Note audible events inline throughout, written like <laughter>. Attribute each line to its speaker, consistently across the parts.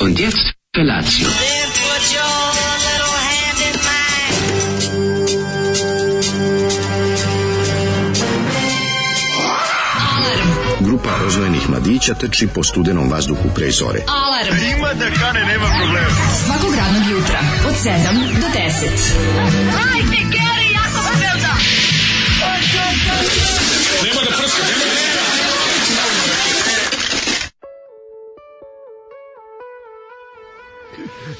Speaker 1: Und jetzt Felatio.
Speaker 2: Then put your little hand in mine.
Speaker 3: Grupa rozvojenih mladića teči po studenom vazduhu pre zore.
Speaker 4: Alarm. Ima da kane, nema problema. Svakog radnog jutra, od 7 do 10.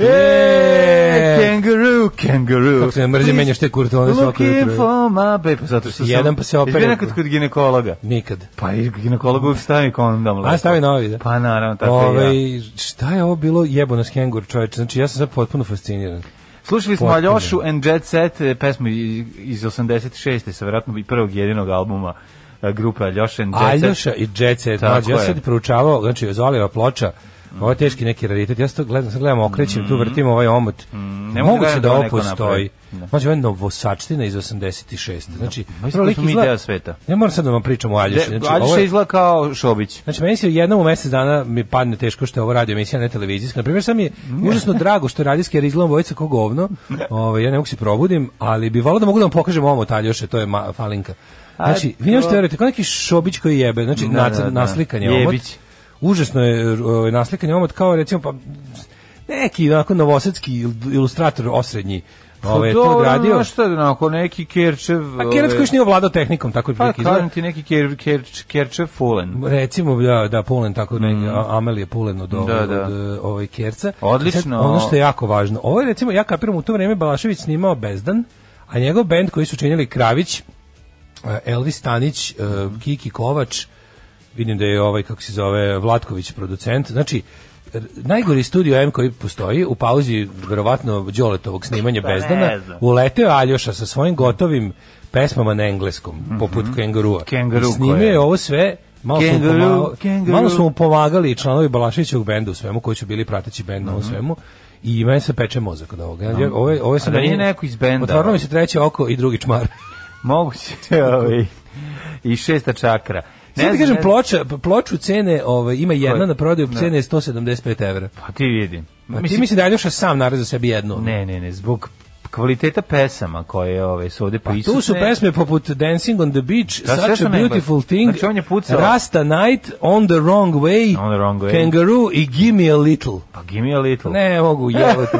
Speaker 5: E,
Speaker 6: Kangaroo, kangaroo.
Speaker 5: Kako se ne mrzi, menjaš te kurtone svako
Speaker 6: Looking
Speaker 5: jutro.
Speaker 6: for my baby. Pa zato što sam...
Speaker 5: Jedan pa se opere.
Speaker 6: Jesi bio nekad kod ginekologa?
Speaker 5: Nikad.
Speaker 6: Pa i ginekologu uvijek stavi kondom. lepo.
Speaker 5: A stavi ovaj novi, da.
Speaker 6: Pa naravno, tako i ja.
Speaker 5: Ove, Ovaj, šta je ovo bilo jebo nas kengur čoveče? Znači ja sam sad potpuno fasciniran.
Speaker 6: Slušali smo
Speaker 5: potpuno.
Speaker 6: Aljošu and Jet Set, e, pesmu i- iz 86. sa vjerojatno i prvog jedinog albuma e, grupe Aljoša and Jet Set.
Speaker 5: Aljoša i Jet Set.
Speaker 6: Tako
Speaker 5: Mlađe, ja
Speaker 6: je. Mm.
Speaker 5: sam sad proučavao, znači Zolijeva ploča, ovo je teški neki raritet. Ja sad to gledam, sad gledam, okrećem, tu vrtim ovaj omot.
Speaker 6: Mm. ne mogu
Speaker 5: Moguće
Speaker 6: da
Speaker 5: da ovo
Speaker 6: neko
Speaker 5: postoji.
Speaker 6: napravi. Da.
Speaker 5: Znači, ovo je novosačtina iz 86. Znači,
Speaker 6: Mislim da smo mi deo sveta.
Speaker 5: Ja moram sad da vam pričam o Aljoši.
Speaker 6: De,
Speaker 5: Znači, ovo
Speaker 6: Aljoša
Speaker 5: je-
Speaker 6: izgleda kao Šobić.
Speaker 5: Znači, meni se jednom u mesec dana mi padne teško što je ovo radio emisija, ne televizijska. Na primjer, sam mi je
Speaker 6: Mm.
Speaker 5: užasno drago što je radijski, jer izgledam vojica kao
Speaker 6: <laughs>
Speaker 5: govno. Ove, ja ne mogu se probudim, ali bi volao da mogu da vam pokažem omot Aljoše, to je ma, falinka. Znači, vi nemojte verujete, kao neki šobić koji jebe, znači,
Speaker 6: Da,
Speaker 5: nacr-
Speaker 6: da, da.
Speaker 5: naslikan je omot.
Speaker 6: Jebić.
Speaker 5: Užasno je ovaj, naslikan je omot, kao recimo, pa, neki onako novosadski il- ilustrator osrednji.
Speaker 6: Pa
Speaker 5: Ove, je to odradio. Pa
Speaker 6: Ono što je onako, neki Kerčev...
Speaker 5: A Kerac koji još nije ovladao tehnikom, tako je
Speaker 6: Pa,
Speaker 5: prilike izgleda.
Speaker 6: kažem ti neki ker, ker, Kerčev Fulen.
Speaker 5: recimo da da Pulen tako mm. Amelije Pulen od ovog,
Speaker 6: Da, da.
Speaker 5: od e, ovaj Kerca.
Speaker 6: Odlično.
Speaker 5: I sad, ono što je jako važno. Ovo je recimo ja kapiram u to vrijeme Balašević snimao Bezdan, a njegov bend koji su činili Kravić, e, Elvis Stanić, e,
Speaker 6: Mhm.
Speaker 5: Kiki Kovač, vidim da je ovaj kako se zove Vlatković producent. Znači r- najgori studio M koji postoji u pauzi verovatno Đoletovog snimanja
Speaker 6: Pa ne
Speaker 5: Bezdana
Speaker 6: znam.
Speaker 5: uleteo je Aljoša sa svojim gotovim pesmama na engleskom poput
Speaker 6: Mhm.
Speaker 5: Kengurua.
Speaker 6: Kenguru
Speaker 5: I snimio
Speaker 6: koje-
Speaker 5: je ovo sve malo su mu
Speaker 6: Kangaroo,
Speaker 5: pomalo-
Speaker 6: kangaroo.
Speaker 5: malo su mu pomagali i članovi Balašićevog benda u svemu, koji su bili prateći bend na ovom svemu. I meni se peče mozak od ovoga. Ja, ovo, je- ovo je sad
Speaker 6: Mhm. da
Speaker 5: meni-
Speaker 6: nije neko iz benda?
Speaker 5: Otvorilo mi se treće oko i drugi čmar.
Speaker 6: Moguće <laughs> je ovaj, i šesta čakra.
Speaker 5: Ne ti
Speaker 6: znam,
Speaker 5: kažem,
Speaker 6: ne znam.
Speaker 5: ploča, ploču cene, ovaj, ima jedna na prodaju,
Speaker 6: Da.
Speaker 5: cene je 175 evra.
Speaker 6: Pa ti vidim.
Speaker 5: Pa ti misli da Aljoša sam narazio sebi jednu?
Speaker 6: Ne, ne, ne, zbog kvaliteta pesama koje ove, su ovde
Speaker 5: Pa
Speaker 6: prisutne.
Speaker 5: tu su pesme poput Dancing on the Beach,
Speaker 6: Da, sve
Speaker 5: Such
Speaker 6: su
Speaker 5: a
Speaker 6: na engleskom.
Speaker 5: Beautiful Thing,
Speaker 6: Znači, on je pucao.
Speaker 5: Rasta Night, On the Wrong Way,
Speaker 6: On the Wrong Way.
Speaker 5: Kangaroo i Give Me a Little.
Speaker 6: Ono, Pa give me a little.
Speaker 5: Ne mogu jebote.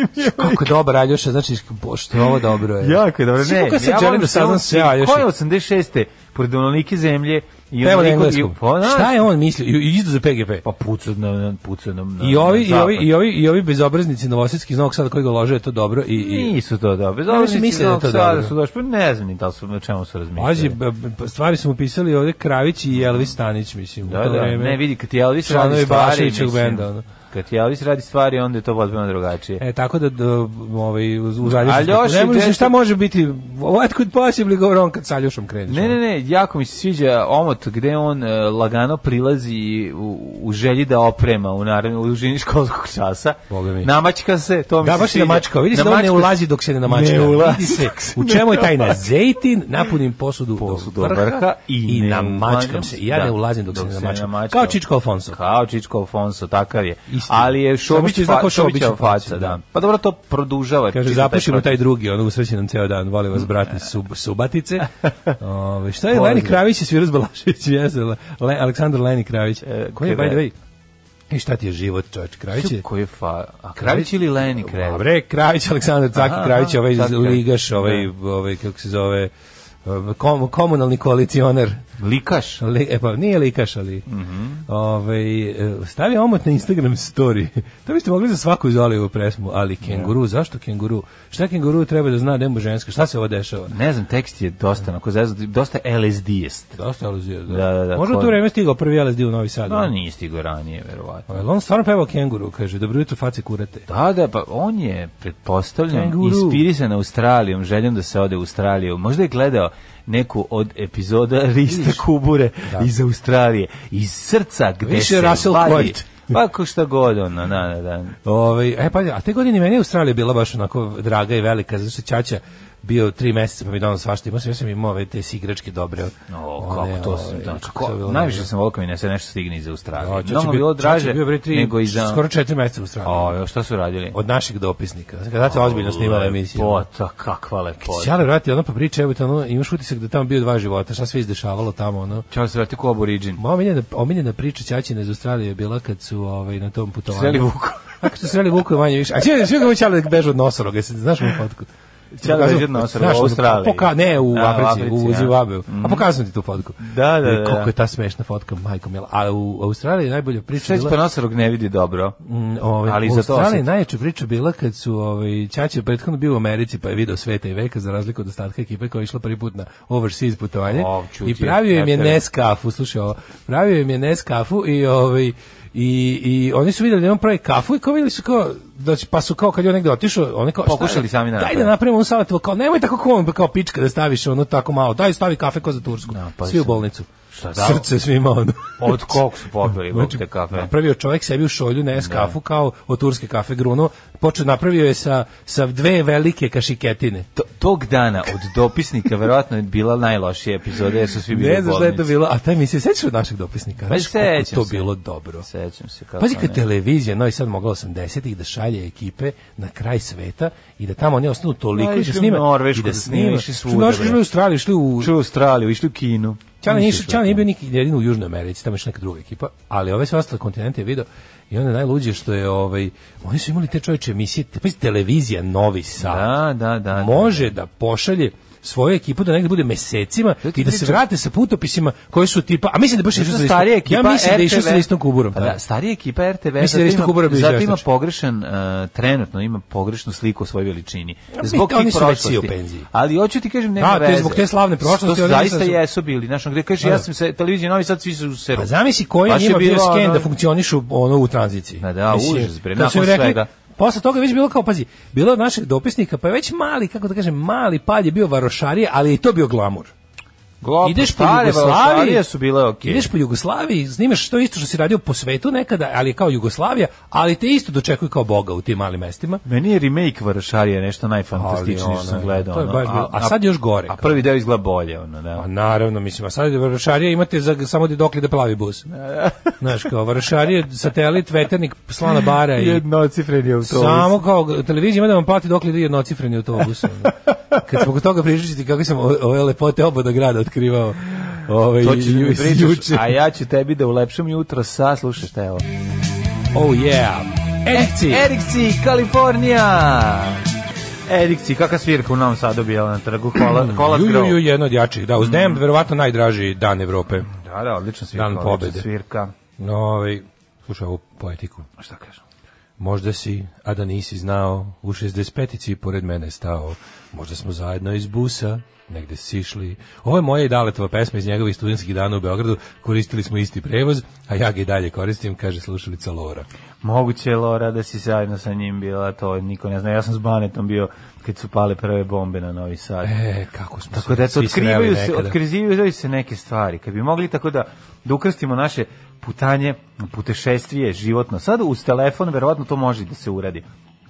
Speaker 5: <laughs> Kako je dobar Aljoša, znači pošto je ovo dobro je.
Speaker 6: Jako je dobro. Ne,
Speaker 5: Kako se
Speaker 6: volim
Speaker 5: želim da saznam
Speaker 6: on-
Speaker 5: sve Aljoša.
Speaker 6: Ko je 86. pored onolike zemlje i
Speaker 5: Peva na
Speaker 6: onoliko-
Speaker 5: engleskom.
Speaker 6: i- Pa, znaš,
Speaker 5: Šta je on mislio? I- I izdu za PGP.
Speaker 6: Pa pucu na, na, pucu na, na
Speaker 5: I ovi, i
Speaker 6: na
Speaker 5: ovi,
Speaker 6: zapad.
Speaker 5: i ovi, i ovi bezobraznici novosadski iz Novog Sada koji ga lože je to dobro i... i
Speaker 6: Nisu to dobro. Bez
Speaker 5: Ne,
Speaker 6: obzira
Speaker 5: mislim, misle da je to dobro.
Speaker 6: Su došli, pa ne znam ni da li su, na čemu su razmišljali.
Speaker 5: Pazi, b- b- stvari smo pisali ovde Kravić i Elvis Stanić, mislim. u
Speaker 6: Da,
Speaker 5: to
Speaker 6: da,
Speaker 5: vreme.
Speaker 6: ne vidi kad je Elvis radi
Speaker 5: Članovi
Speaker 6: stvari,
Speaker 5: Balaševićevog
Speaker 6: mislim,
Speaker 5: benda, ono.
Speaker 6: Kad je Elvis radi stvari, onda je to potpuno drugačije.
Speaker 5: E, tako da, da ovaj, uz, uz Aljoša...
Speaker 6: Aljoši,
Speaker 5: ne možeš
Speaker 6: gde
Speaker 5: šta
Speaker 6: ste-
Speaker 5: može biti... What could possibly go wrong kad sa Aljošom kreneš?
Speaker 6: Ne,
Speaker 5: ono?
Speaker 6: ne, ne, jako mi se sviđa omot gde on e, lagano prilazi u, u želji da oprema u naravno u žini školskog časa.
Speaker 5: Boga mi.
Speaker 6: Namačka se, to mi
Speaker 5: Da,
Speaker 6: se
Speaker 5: baš je
Speaker 6: sviđa.
Speaker 5: namačkao. Vidi se da on ne
Speaker 6: Namačka
Speaker 5: ulazi dok se ne namačka.
Speaker 6: Ne ulazi
Speaker 5: Vidi se
Speaker 6: dok se
Speaker 5: u
Speaker 6: ne
Speaker 5: čemu je tajna. Zejtin, napunim posudu,
Speaker 6: Posudu
Speaker 5: do vrha,
Speaker 6: i
Speaker 5: i,
Speaker 6: ne
Speaker 5: namačkam
Speaker 6: ulažem
Speaker 5: se.
Speaker 6: se.
Speaker 5: I Ja ne
Speaker 6: Da,
Speaker 5: ulazim dok,
Speaker 6: dok
Speaker 5: se
Speaker 6: se
Speaker 5: ne
Speaker 6: ne
Speaker 5: namačkam.
Speaker 6: namačkam.
Speaker 5: Kao Čičko Alfonso.
Speaker 6: Kao Čičko Alfonso, takav je.
Speaker 5: Istina.
Speaker 6: Ali
Speaker 5: Samo
Speaker 6: je
Speaker 5: što
Speaker 6: Šobić,
Speaker 5: je znao
Speaker 6: fa,
Speaker 5: ko Šobićeva
Speaker 6: Šobićeva faca,
Speaker 5: faca,
Speaker 6: da.
Speaker 5: da.
Speaker 6: Pa dobro, to produžava.
Speaker 5: Kaže,
Speaker 6: čitav
Speaker 5: zapušimo taj
Speaker 6: proces.
Speaker 5: drugi, ono usrećen nam ceo dan, volim vas brati
Speaker 6: <laughs>
Speaker 5: sub, subatice. Ove, šta je
Speaker 6: Pozdrav.
Speaker 5: Leni Kravić i Sviras Balašević vjezala? Le, Aleksandar Leni Kravić. Koji je, by
Speaker 6: Kra-
Speaker 5: the way, i šta ti je život, čovječ, Kravić je...
Speaker 6: Ko je fa... A Kravić ili Leni Kravić?
Speaker 5: Dobre, Kravić, Aleksandar Caki
Speaker 6: Aha,
Speaker 5: Kravić, ovaj
Speaker 6: Caki Kravić.
Speaker 5: ligaš, ovaj, ovaj, kako se zove, um, kom, komunalni koalicioner.
Speaker 6: Likaš?
Speaker 5: Li, e pa nije likaš, ali
Speaker 6: Mhm.
Speaker 5: ovaj, e, stavi omot na Instagram story. to biste mogli za svaku izolivu presmu, ali kenguru, zašto kenguru? Šta kenguru treba da zna da je mu ženska? Šta se ovo dešava?
Speaker 6: Ne znam, tekst je dosta, onako, zezno, dosta LSD-est.
Speaker 5: Dosta je LSD, da.
Speaker 6: Da, da, da,
Speaker 5: Možda u
Speaker 6: ko-
Speaker 5: to vreme stigao prvi LSD u Novi Sad.
Speaker 6: No,
Speaker 5: ono?
Speaker 6: nije stigo ranije, verovatno.
Speaker 5: Pa jel on stvarno pevao kenguru, kaže, dobro jutro face kurate.
Speaker 6: Da, da, pa on je, pretpostavljam,
Speaker 5: Kenguru.
Speaker 6: inspirisan Australijom, željom da se ode u Australiju. Možda je gledao neku od epizoda <laughs> Rista Kubure iz Australije, iz srca gde
Speaker 5: Više
Speaker 6: se
Speaker 5: Russell
Speaker 6: vadi.
Speaker 5: Quaid.
Speaker 6: Pa ko šta god, ono, da, da, da.
Speaker 5: Ovaj, Ove, e, pa, a te godine meni je Australija bila baš onako draga i velika, zato što Ćaća bio tri meseca pa mi donao svašta. Imao sam, ja sam imao ove te igračke dobre.
Speaker 6: O,
Speaker 5: one,
Speaker 6: kako to
Speaker 5: ove,
Speaker 6: sam, znači,
Speaker 5: kako to je
Speaker 6: ko,
Speaker 5: bilo? ono,
Speaker 6: najviše sam volio kad mi nese nešto stigne iz Australije.
Speaker 5: A,
Speaker 6: Ja,
Speaker 5: Ćoći
Speaker 6: Nama
Speaker 5: bio-
Speaker 6: bilo
Speaker 5: Ćoći
Speaker 6: draže
Speaker 5: bio, bre, tri-
Speaker 6: nego i za...
Speaker 5: Skoro četiri meseca u stranu.
Speaker 6: O, šta su radili?
Speaker 5: Od našeg dopisnika. Kada se ozbiljno snimala ono. emisija.
Speaker 6: Lepota, kakva lepota.
Speaker 5: Ćale vrati, ono pa priča, evo te, ono, imaš utisak da je tamo bio dva života, šta sve izdešavalo tamo, ono.
Speaker 6: Ćao se vrati ko aboriđin.
Speaker 5: Moja omiljena, omiljena priča Ćaćina iz Australije je bila kad su ovaj, na tom putovanju.
Speaker 6: Sreli Vuko.
Speaker 5: A kad su sreli Vuku je manje više. A svi svi ga Ćale beže od nosoroga, jesi- znaš mu fotku?
Speaker 6: Ćale beže od nosoroga,
Speaker 5: Znaš, ono,
Speaker 6: u Australiji.
Speaker 5: Poka, ne, u
Speaker 6: A, u
Speaker 5: Africi,
Speaker 6: Africi,
Speaker 5: u
Speaker 6: ja. Mm.
Speaker 5: Zimbabveu. A pokazao sam ti tu fotku.
Speaker 6: Da, da,
Speaker 5: I
Speaker 6: da,
Speaker 5: Koliko
Speaker 6: da.
Speaker 5: je ta smešna fotka, majko mila. A u Australiji je najbolja priča
Speaker 6: Sreć
Speaker 5: bila...
Speaker 6: pa nosorog ne vidi dobro.
Speaker 5: Mm, Ovaj,
Speaker 6: Ali
Speaker 5: u
Speaker 6: za to
Speaker 5: Australiji
Speaker 6: osjeti.
Speaker 5: najjača priča bila kad su ovaj, Ćaći je prethodno bio u Americi pa je video sveta i veka za razliku od ostatka ekipe koja je išla prvi put na overseas putovanje
Speaker 6: O, čuti,
Speaker 5: i pravio im je
Speaker 6: eto.
Speaker 5: Neskafu, slušaj ovo, pravio im je Neskafu i ovaj, I, i oni su videli da on pravi kafu i kao videli su kao da će, pa su kao kad je on negde otišao oni kao šta je?
Speaker 6: Pokušali sami da
Speaker 5: daj da
Speaker 6: naprave."
Speaker 5: napravimo onu salatu kao nemoj tako kao pa kao pička da staviš ono tako malo daj stavi kafe kao za tursku
Speaker 6: Da, pa
Speaker 5: svi u
Speaker 6: sam-
Speaker 5: bolnicu
Speaker 6: Šta da?
Speaker 5: srce svima ono
Speaker 6: Od
Speaker 5: <laughs>
Speaker 6: koliko su popili
Speaker 5: Znači,
Speaker 6: bukte kafe?
Speaker 5: Napravio čovjek sebi u šolju ne kafu kao od turske kafe gruno, počeo napravio je sa, sa dve velike kašiketine.
Speaker 6: To- Tog dana od dopisnika verovatno je bila najlošija epizoda jer su svi bili
Speaker 5: Ne
Speaker 6: u
Speaker 5: znaš šta je to
Speaker 6: bolnici.
Speaker 5: bilo, a taj mi se sećaš od našeg dopisnika.
Speaker 6: Pa
Speaker 5: Znaš kako je
Speaker 6: sećam
Speaker 5: to
Speaker 6: se.
Speaker 5: bilo dobro.
Speaker 6: Sećam se kako
Speaker 5: Pazi kad
Speaker 6: ne.
Speaker 5: televizija, no i sad mogla 80-ih da šalje ekipe na kraj sveta i da tamo oni ostanu toliko
Speaker 6: Da,
Speaker 5: i da
Speaker 6: išli u
Speaker 5: snime
Speaker 6: Norvešku
Speaker 5: i da
Speaker 6: da snime,
Speaker 5: snime.
Speaker 6: išli
Speaker 5: Što
Speaker 6: svuda,
Speaker 5: znaš,
Speaker 6: bre.
Speaker 5: išli u Australiju, išli u
Speaker 6: Išli u Australiju, išli u Kinu.
Speaker 5: Ćale nije,
Speaker 6: Nisi
Speaker 5: Ćale nije bio nikad jedin u Južnoj Americi, tamo je neka druga ekipa, ali ove sve ostale kontinente je video i onda je najluđe što je, ovaj, oni su imali te čoveče emisije, te, pazi, televizija Novi Sad,
Speaker 6: Da, da, da. da.
Speaker 5: može da pošalje svoju ekipu da negde bude mesecima
Speaker 6: Ja ti
Speaker 5: i da se
Speaker 6: pričam-
Speaker 5: vrate sa putopisima koji su tipa, a mislim da je baš
Speaker 6: Zato
Speaker 5: išao
Speaker 6: što
Speaker 5: sa
Speaker 6: starija
Speaker 5: listom,
Speaker 6: ekipa
Speaker 5: ja mislim da je išao
Speaker 6: RTV
Speaker 5: sa listom kuburom.
Speaker 6: Pa da, starija ekipa RTV
Speaker 5: Mislim da je
Speaker 6: zato
Speaker 5: isto
Speaker 6: ima-
Speaker 5: Kubura bio
Speaker 6: zato ima
Speaker 5: izveštač.
Speaker 6: pogrešan e, trenutno ima pogrešnu sliku o svojoj veličini.
Speaker 5: mi-
Speaker 6: Zbog
Speaker 5: oni
Speaker 6: tih
Speaker 5: su već svi
Speaker 6: prošlosti.
Speaker 5: u penziji.
Speaker 6: Ali hoću ti kažem nema
Speaker 5: Da, to je
Speaker 6: veze.
Speaker 5: zbog te slavne prošlosti,
Speaker 6: To su
Speaker 5: oni
Speaker 6: zaista
Speaker 5: sad su-
Speaker 6: jesu bili, znaš, gde kažeš
Speaker 5: Da.
Speaker 6: ja sam se televizija Novi Sad svi su se.
Speaker 5: Pa zamisli koji je
Speaker 6: Baš je
Speaker 5: njima bio
Speaker 6: bilo,
Speaker 5: sken
Speaker 6: ono-
Speaker 5: da funkcionišu ono u tranziciji.
Speaker 6: Ma da,
Speaker 5: Mislim,
Speaker 6: užas, bre,
Speaker 5: kad su
Speaker 6: nakon
Speaker 5: rekli-
Speaker 6: svega.
Speaker 5: Posle toga je već bilo kao, pazi, bilo je od naših dopisnika, pa je već mali, kako da kažem, mali pad je bio varošarije, ali je i to bio glamur.
Speaker 6: Glopo,
Speaker 5: ideš po
Speaker 6: stare
Speaker 5: Jugoslaviji,
Speaker 6: Jugoslavije su bile okej.
Speaker 5: ideš po Jugoslaviji, snimaš to isto što si radio po svetu nekada, ali je kao Jugoslavija, ali te isto dočekuju kao Boga u tim malim mestima.
Speaker 6: Meni je remake Varšarije nešto najfantastičnije što
Speaker 5: Ali,
Speaker 6: sam
Speaker 5: ono,
Speaker 6: gledao.
Speaker 5: to je
Speaker 6: Pa ono.
Speaker 5: baš bilo- a sad još gore.
Speaker 6: A prvi deo izgleda bolje, ono, da.
Speaker 5: Pa naravno, mislim, a sad varošarije imate za, samo da dokle da plavi
Speaker 6: <laughs>
Speaker 5: bus. Znaš, kao varošarije, satelit, veternik, slana bara
Speaker 6: <laughs>
Speaker 5: i...
Speaker 6: Jednocifreni autobus.
Speaker 5: Samo kao televizija ima da vam plati dok li ide jednocifreni autobus.
Speaker 6: <laughs>
Speaker 5: ono. Kad smo kod toga pričali kako sam o- ove lepote oboda grada otkrivao. Ove,
Speaker 6: To ćeš da mi pričaš,
Speaker 5: Pa juče.
Speaker 6: a ja ću tebi da ulepšam jutro sa, slušaj šta je ovo.
Speaker 5: Oh yeah. Erikci.
Speaker 6: E, Erikci, Kalifornija! Erikci, kakva svirka u Novom Sadu bila na trgu, Hvala, hvala
Speaker 5: Mm, Ju, ju, ju,
Speaker 6: Grove.
Speaker 5: jedno od jačih. Da, uz Damned, verovatno najdraži dan Evrope.
Speaker 6: Da, da, odlična svirka,
Speaker 5: Dan
Speaker 6: odlična
Speaker 5: pobede.
Speaker 6: svirka.
Speaker 5: No, ovaj, slušaj ovu poetiku.
Speaker 6: Šta kažem?
Speaker 5: Možda si, a da nisi znao, u 65-ici pored mene stao. Možda smo zajedno iz busa, negde sišli. Ovo je moja i Daletova pesma iz njegovih studentskih dana u Beogradu. Koristili smo isti prevoz, a ja ga i dalje koristim, kaže slušalica Lora.
Speaker 6: Moguće je, Lora, da si zajedno sa njim bila, to niko ne zna. Ja sam s Banetom bio kad su pale prve bombe na Novi Sad.
Speaker 5: E, kako smo
Speaker 6: Tako da se
Speaker 5: svi sreli
Speaker 6: otkrivaju se,
Speaker 5: nekada.
Speaker 6: otkrivaju se neke stvari. Kad bi mogli tako da, da ukrstimo naše putanje, putešestvije, životno. Sad uz telefon verovatno to može da se uradi.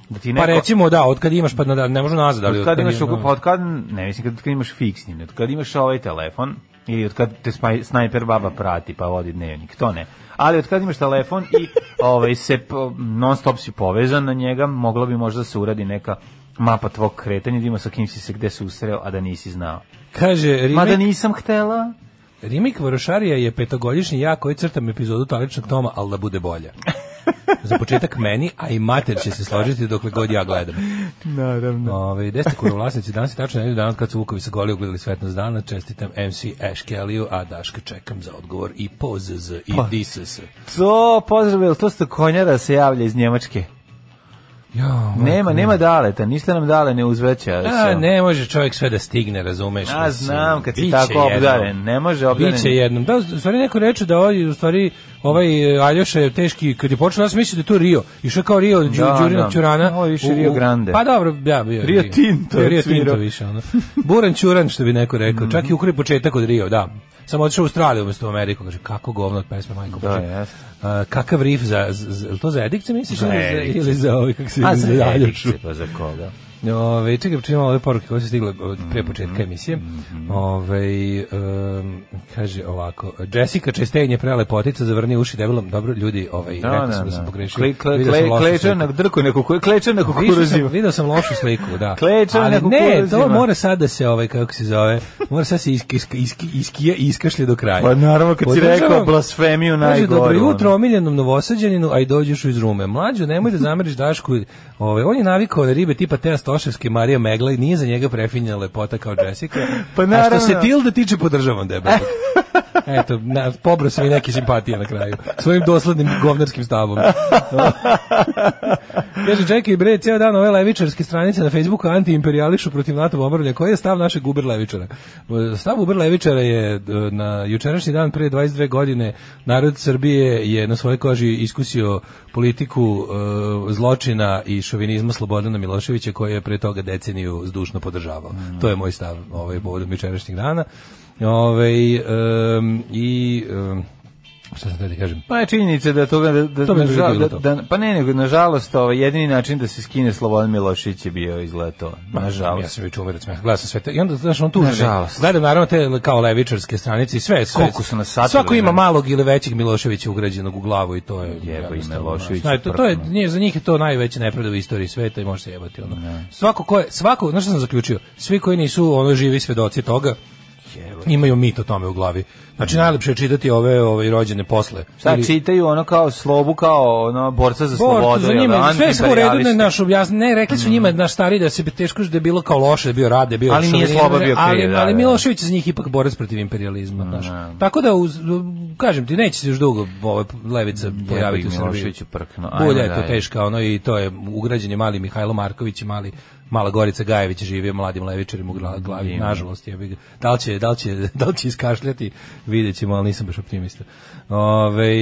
Speaker 6: Da ti neko,
Speaker 5: Pa recimo, da, od kad imaš, pa na- ne možu nazad, ali
Speaker 6: od
Speaker 5: od
Speaker 6: kad
Speaker 5: kad ono,
Speaker 6: imaš,
Speaker 5: ima-
Speaker 6: no. od kad, ne mislim kad, od kad imaš fiksni, od kad imaš ovaj telefon, ili od kad te spaj, snajper baba prati pa vodi dnevnik, to ne. Ali od kad imaš telefon i <laughs> ovaj, se po- non stop si povezan na njega, moglo bi možda se uradi neka mapa tvog kretanja, da ima sa kim si se gde susreo, a da nisi znao.
Speaker 5: Kaže,
Speaker 6: Ma
Speaker 5: remake,
Speaker 6: da nisam htela,
Speaker 5: Rimik Varošarija je petogodišnji ja koji crtam epizodu Taličnog Toma, ali da bude
Speaker 6: <laughs>
Speaker 5: bolja. Za početak meni, a i mater će se složiti dokle god ja gledam.
Speaker 6: Naravno.
Speaker 5: Ove, gde ste kurovlasnici? Danas je tačno jedan dan kad su Vukovi sa Goliju gledali svetnost dana. Čestitam MC Ash Kellyu, a Daška čekam za odgovor i po ZZ i
Speaker 6: Pa,
Speaker 5: DSS.
Speaker 6: To, pozdrav, jel to sto konjara se javlja iz Njemačke?
Speaker 5: Ja,
Speaker 6: Nema, nema daleta, ništa nam dale ne uzveća.
Speaker 5: A,
Speaker 6: se.
Speaker 5: ne može čovjek sve da stigne, razumeš?
Speaker 6: A,
Speaker 5: mislim.
Speaker 6: znam, kad si
Speaker 5: Biće
Speaker 6: tako
Speaker 5: jednom.
Speaker 6: obdaren, ne može obdaren.
Speaker 5: Biće jednom. Da, u stvari neko reče da ovaj, u stvari, ovaj e, Aljoša je teški, kad je počeo, ja sam mislio da je to Rio. Išao je kao Rio, Đu,
Speaker 6: Da,
Speaker 5: Đurinog
Speaker 6: da.
Speaker 5: Ćurana.
Speaker 6: Ovo je više
Speaker 5: u- u-
Speaker 6: Rio Grande.
Speaker 5: Pa dobro, da, bio je
Speaker 6: Rio Tinto je
Speaker 5: Rio Tinto
Speaker 6: svirao.
Speaker 5: više, ono. Buran Ćuran, što bi neko rekao. Čak i ukri početak od Rio, da. Samo otišao u Australiju umesto u Ameriku. Kaže, kako govno od pesme, majko.
Speaker 6: Da,
Speaker 5: Bože.
Speaker 6: jeste.
Speaker 5: A, kakav rif za, za, za- je li to za Edikce misliš?
Speaker 6: Za
Speaker 5: ili, za,
Speaker 6: Edikce.
Speaker 5: ili za ovaj, kako se
Speaker 6: A,
Speaker 5: ili
Speaker 6: za
Speaker 5: za Aljošu?
Speaker 6: Aljošu. Pa za koga?
Speaker 5: Ove, čekaj, čekaj malo ove poruke koje su stigle od
Speaker 6: Mm-hmm.
Speaker 5: pre početka emisije. Ove, um, kaže ovako, Jessica Chastain je prelepotica, zavrni uši debelom. Dobro, ljudi, ovaj,
Speaker 6: Da,
Speaker 5: rekao
Speaker 6: da,
Speaker 5: sam da sam
Speaker 6: da.
Speaker 5: pogrešio.
Speaker 6: Kle, kle,
Speaker 5: Vidio sam
Speaker 6: kle,
Speaker 5: lošu
Speaker 6: klečan
Speaker 5: sliku.
Speaker 6: na drku, neko kukuruzivu. Klečan na
Speaker 5: Video sam,
Speaker 6: kukuruzivu.
Speaker 5: video sam lošu sliku, da.
Speaker 6: Klečan
Speaker 5: Ali
Speaker 6: na
Speaker 5: ne, to
Speaker 6: kukuruzima.
Speaker 5: mora sad da se, ovaj, kako se zove, mora sad se iski, iski, iski, iskija i iskašlje do kraja.
Speaker 6: Pa naravno, kad si
Speaker 5: Podržavam-
Speaker 6: rekao blasfemiju
Speaker 5: Kaže,
Speaker 6: najgoru.
Speaker 5: dobro
Speaker 6: ono.
Speaker 5: jutro omiljenom novosađaninu, a i dođeš iz Rume. Mlađo, nemoj da zameriš Dašku. Ovaj, on je navikao na ribe tipa Teja Stoševske, Marija Megla i nije za njega prefinjena lepota kao Jessica.
Speaker 6: <laughs> Pa
Speaker 5: A što se
Speaker 6: naravno.
Speaker 5: Tilde tiče, podržavam
Speaker 6: <laughs>
Speaker 5: debelog. Eto, na, pobro sam i neke simpatije na kraju. Svojim doslednim govnarskim stavom. Kaže, čekaj bre, ceo dan ove levičarske stranice na Facebooku antiimperiališu protiv NATO bombardovanja. Koji je stav našeg Uber levičara? E, Stav Uber levičara je e, na jučerašnji dan pre 22 godine narod Srbije je na svojoj koži iskusio politiku e, zločina i šovinizma Slobodana Miloševića koji je pre toga deceniju zdušno podržavao. To je moj stav ovaj, povodom jučerašnjeg dana. Ove, I... em, šta sam teo da kažem?
Speaker 6: Pa je činjenica da toga da, da,
Speaker 5: To bi
Speaker 6: nažal-
Speaker 5: bilo
Speaker 6: da,
Speaker 5: to.
Speaker 6: da- pa ne nego nažalost ovaj jedini način da se skine Slobodan Milošević je bio izgleda to.
Speaker 5: Ja
Speaker 6: Nažalost.
Speaker 5: sam već umerac, gledao sam sve te, i onda, znaš, on tuži.
Speaker 6: Nažalost.
Speaker 5: Gledam, naravno, te kao levičarske stranice i sve, sve.
Speaker 6: Koliko su nas satili,
Speaker 5: Svako ima
Speaker 6: ne?
Speaker 5: malog ili većeg Miloševića ugrađenog u glavu i to je... jednostavno, znaš,
Speaker 6: Milošević
Speaker 5: znaš, to, to je,
Speaker 6: uprkno.
Speaker 5: nije, za njih je to najveća nepravda u istoriji sveta i može se jebati. Ono. Svako ko je, svako, znaš što sam zaključio, svi koji nisu ono živi svedoci toga, imaju mit o tome u glavi. Znači, najlepše je čitati ove, ove rođene posle.
Speaker 6: Šta
Speaker 5: Ili-
Speaker 6: čitaju ono kao slobu kao ono borca za
Speaker 5: Bor,
Speaker 6: slobodu.
Speaker 5: za
Speaker 6: jel da,
Speaker 5: njima, sve smo u redu, ne,
Speaker 6: antiimperijaliste.
Speaker 5: naš objasni, ne, rekli su njima, naš stari, da se bi teško da je bilo kao loše, da je bio rad, da je bio
Speaker 6: Ali nije
Speaker 5: šovinizam,
Speaker 6: Sloba bio
Speaker 5: ali,
Speaker 6: kriv, da, Mm,
Speaker 5: ali
Speaker 6: da.
Speaker 5: Milošević je za njih ipak borac protiv imperializma, znaš. Tako da, uz, kažem ti, neće se još dugo ova levica pojaviti u Srbiji.
Speaker 6: Milošević uprkno, ajmo
Speaker 5: Bulja je to
Speaker 6: dalje.
Speaker 5: teška, ono, i to je ugrađen je mali Mihajlo Marković i mali Mala Gorica Gajević živi mladim levičarima u
Speaker 6: Mm,
Speaker 5: gla- glavi, nažalost. jebi ga. Da li će, da li će, <laughs> da li će iskašljati, vidjet ćemo, ali nisam baš optimista. Ove,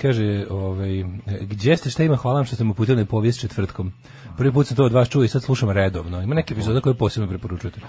Speaker 5: kaže, ove, gdje ste, šta ima, hvala vam što ste mu putili povijest četvrtkom. Prvi put sam to od vas čuo i sad slušam redovno. Ima neke epizode koje posebno preporučujete.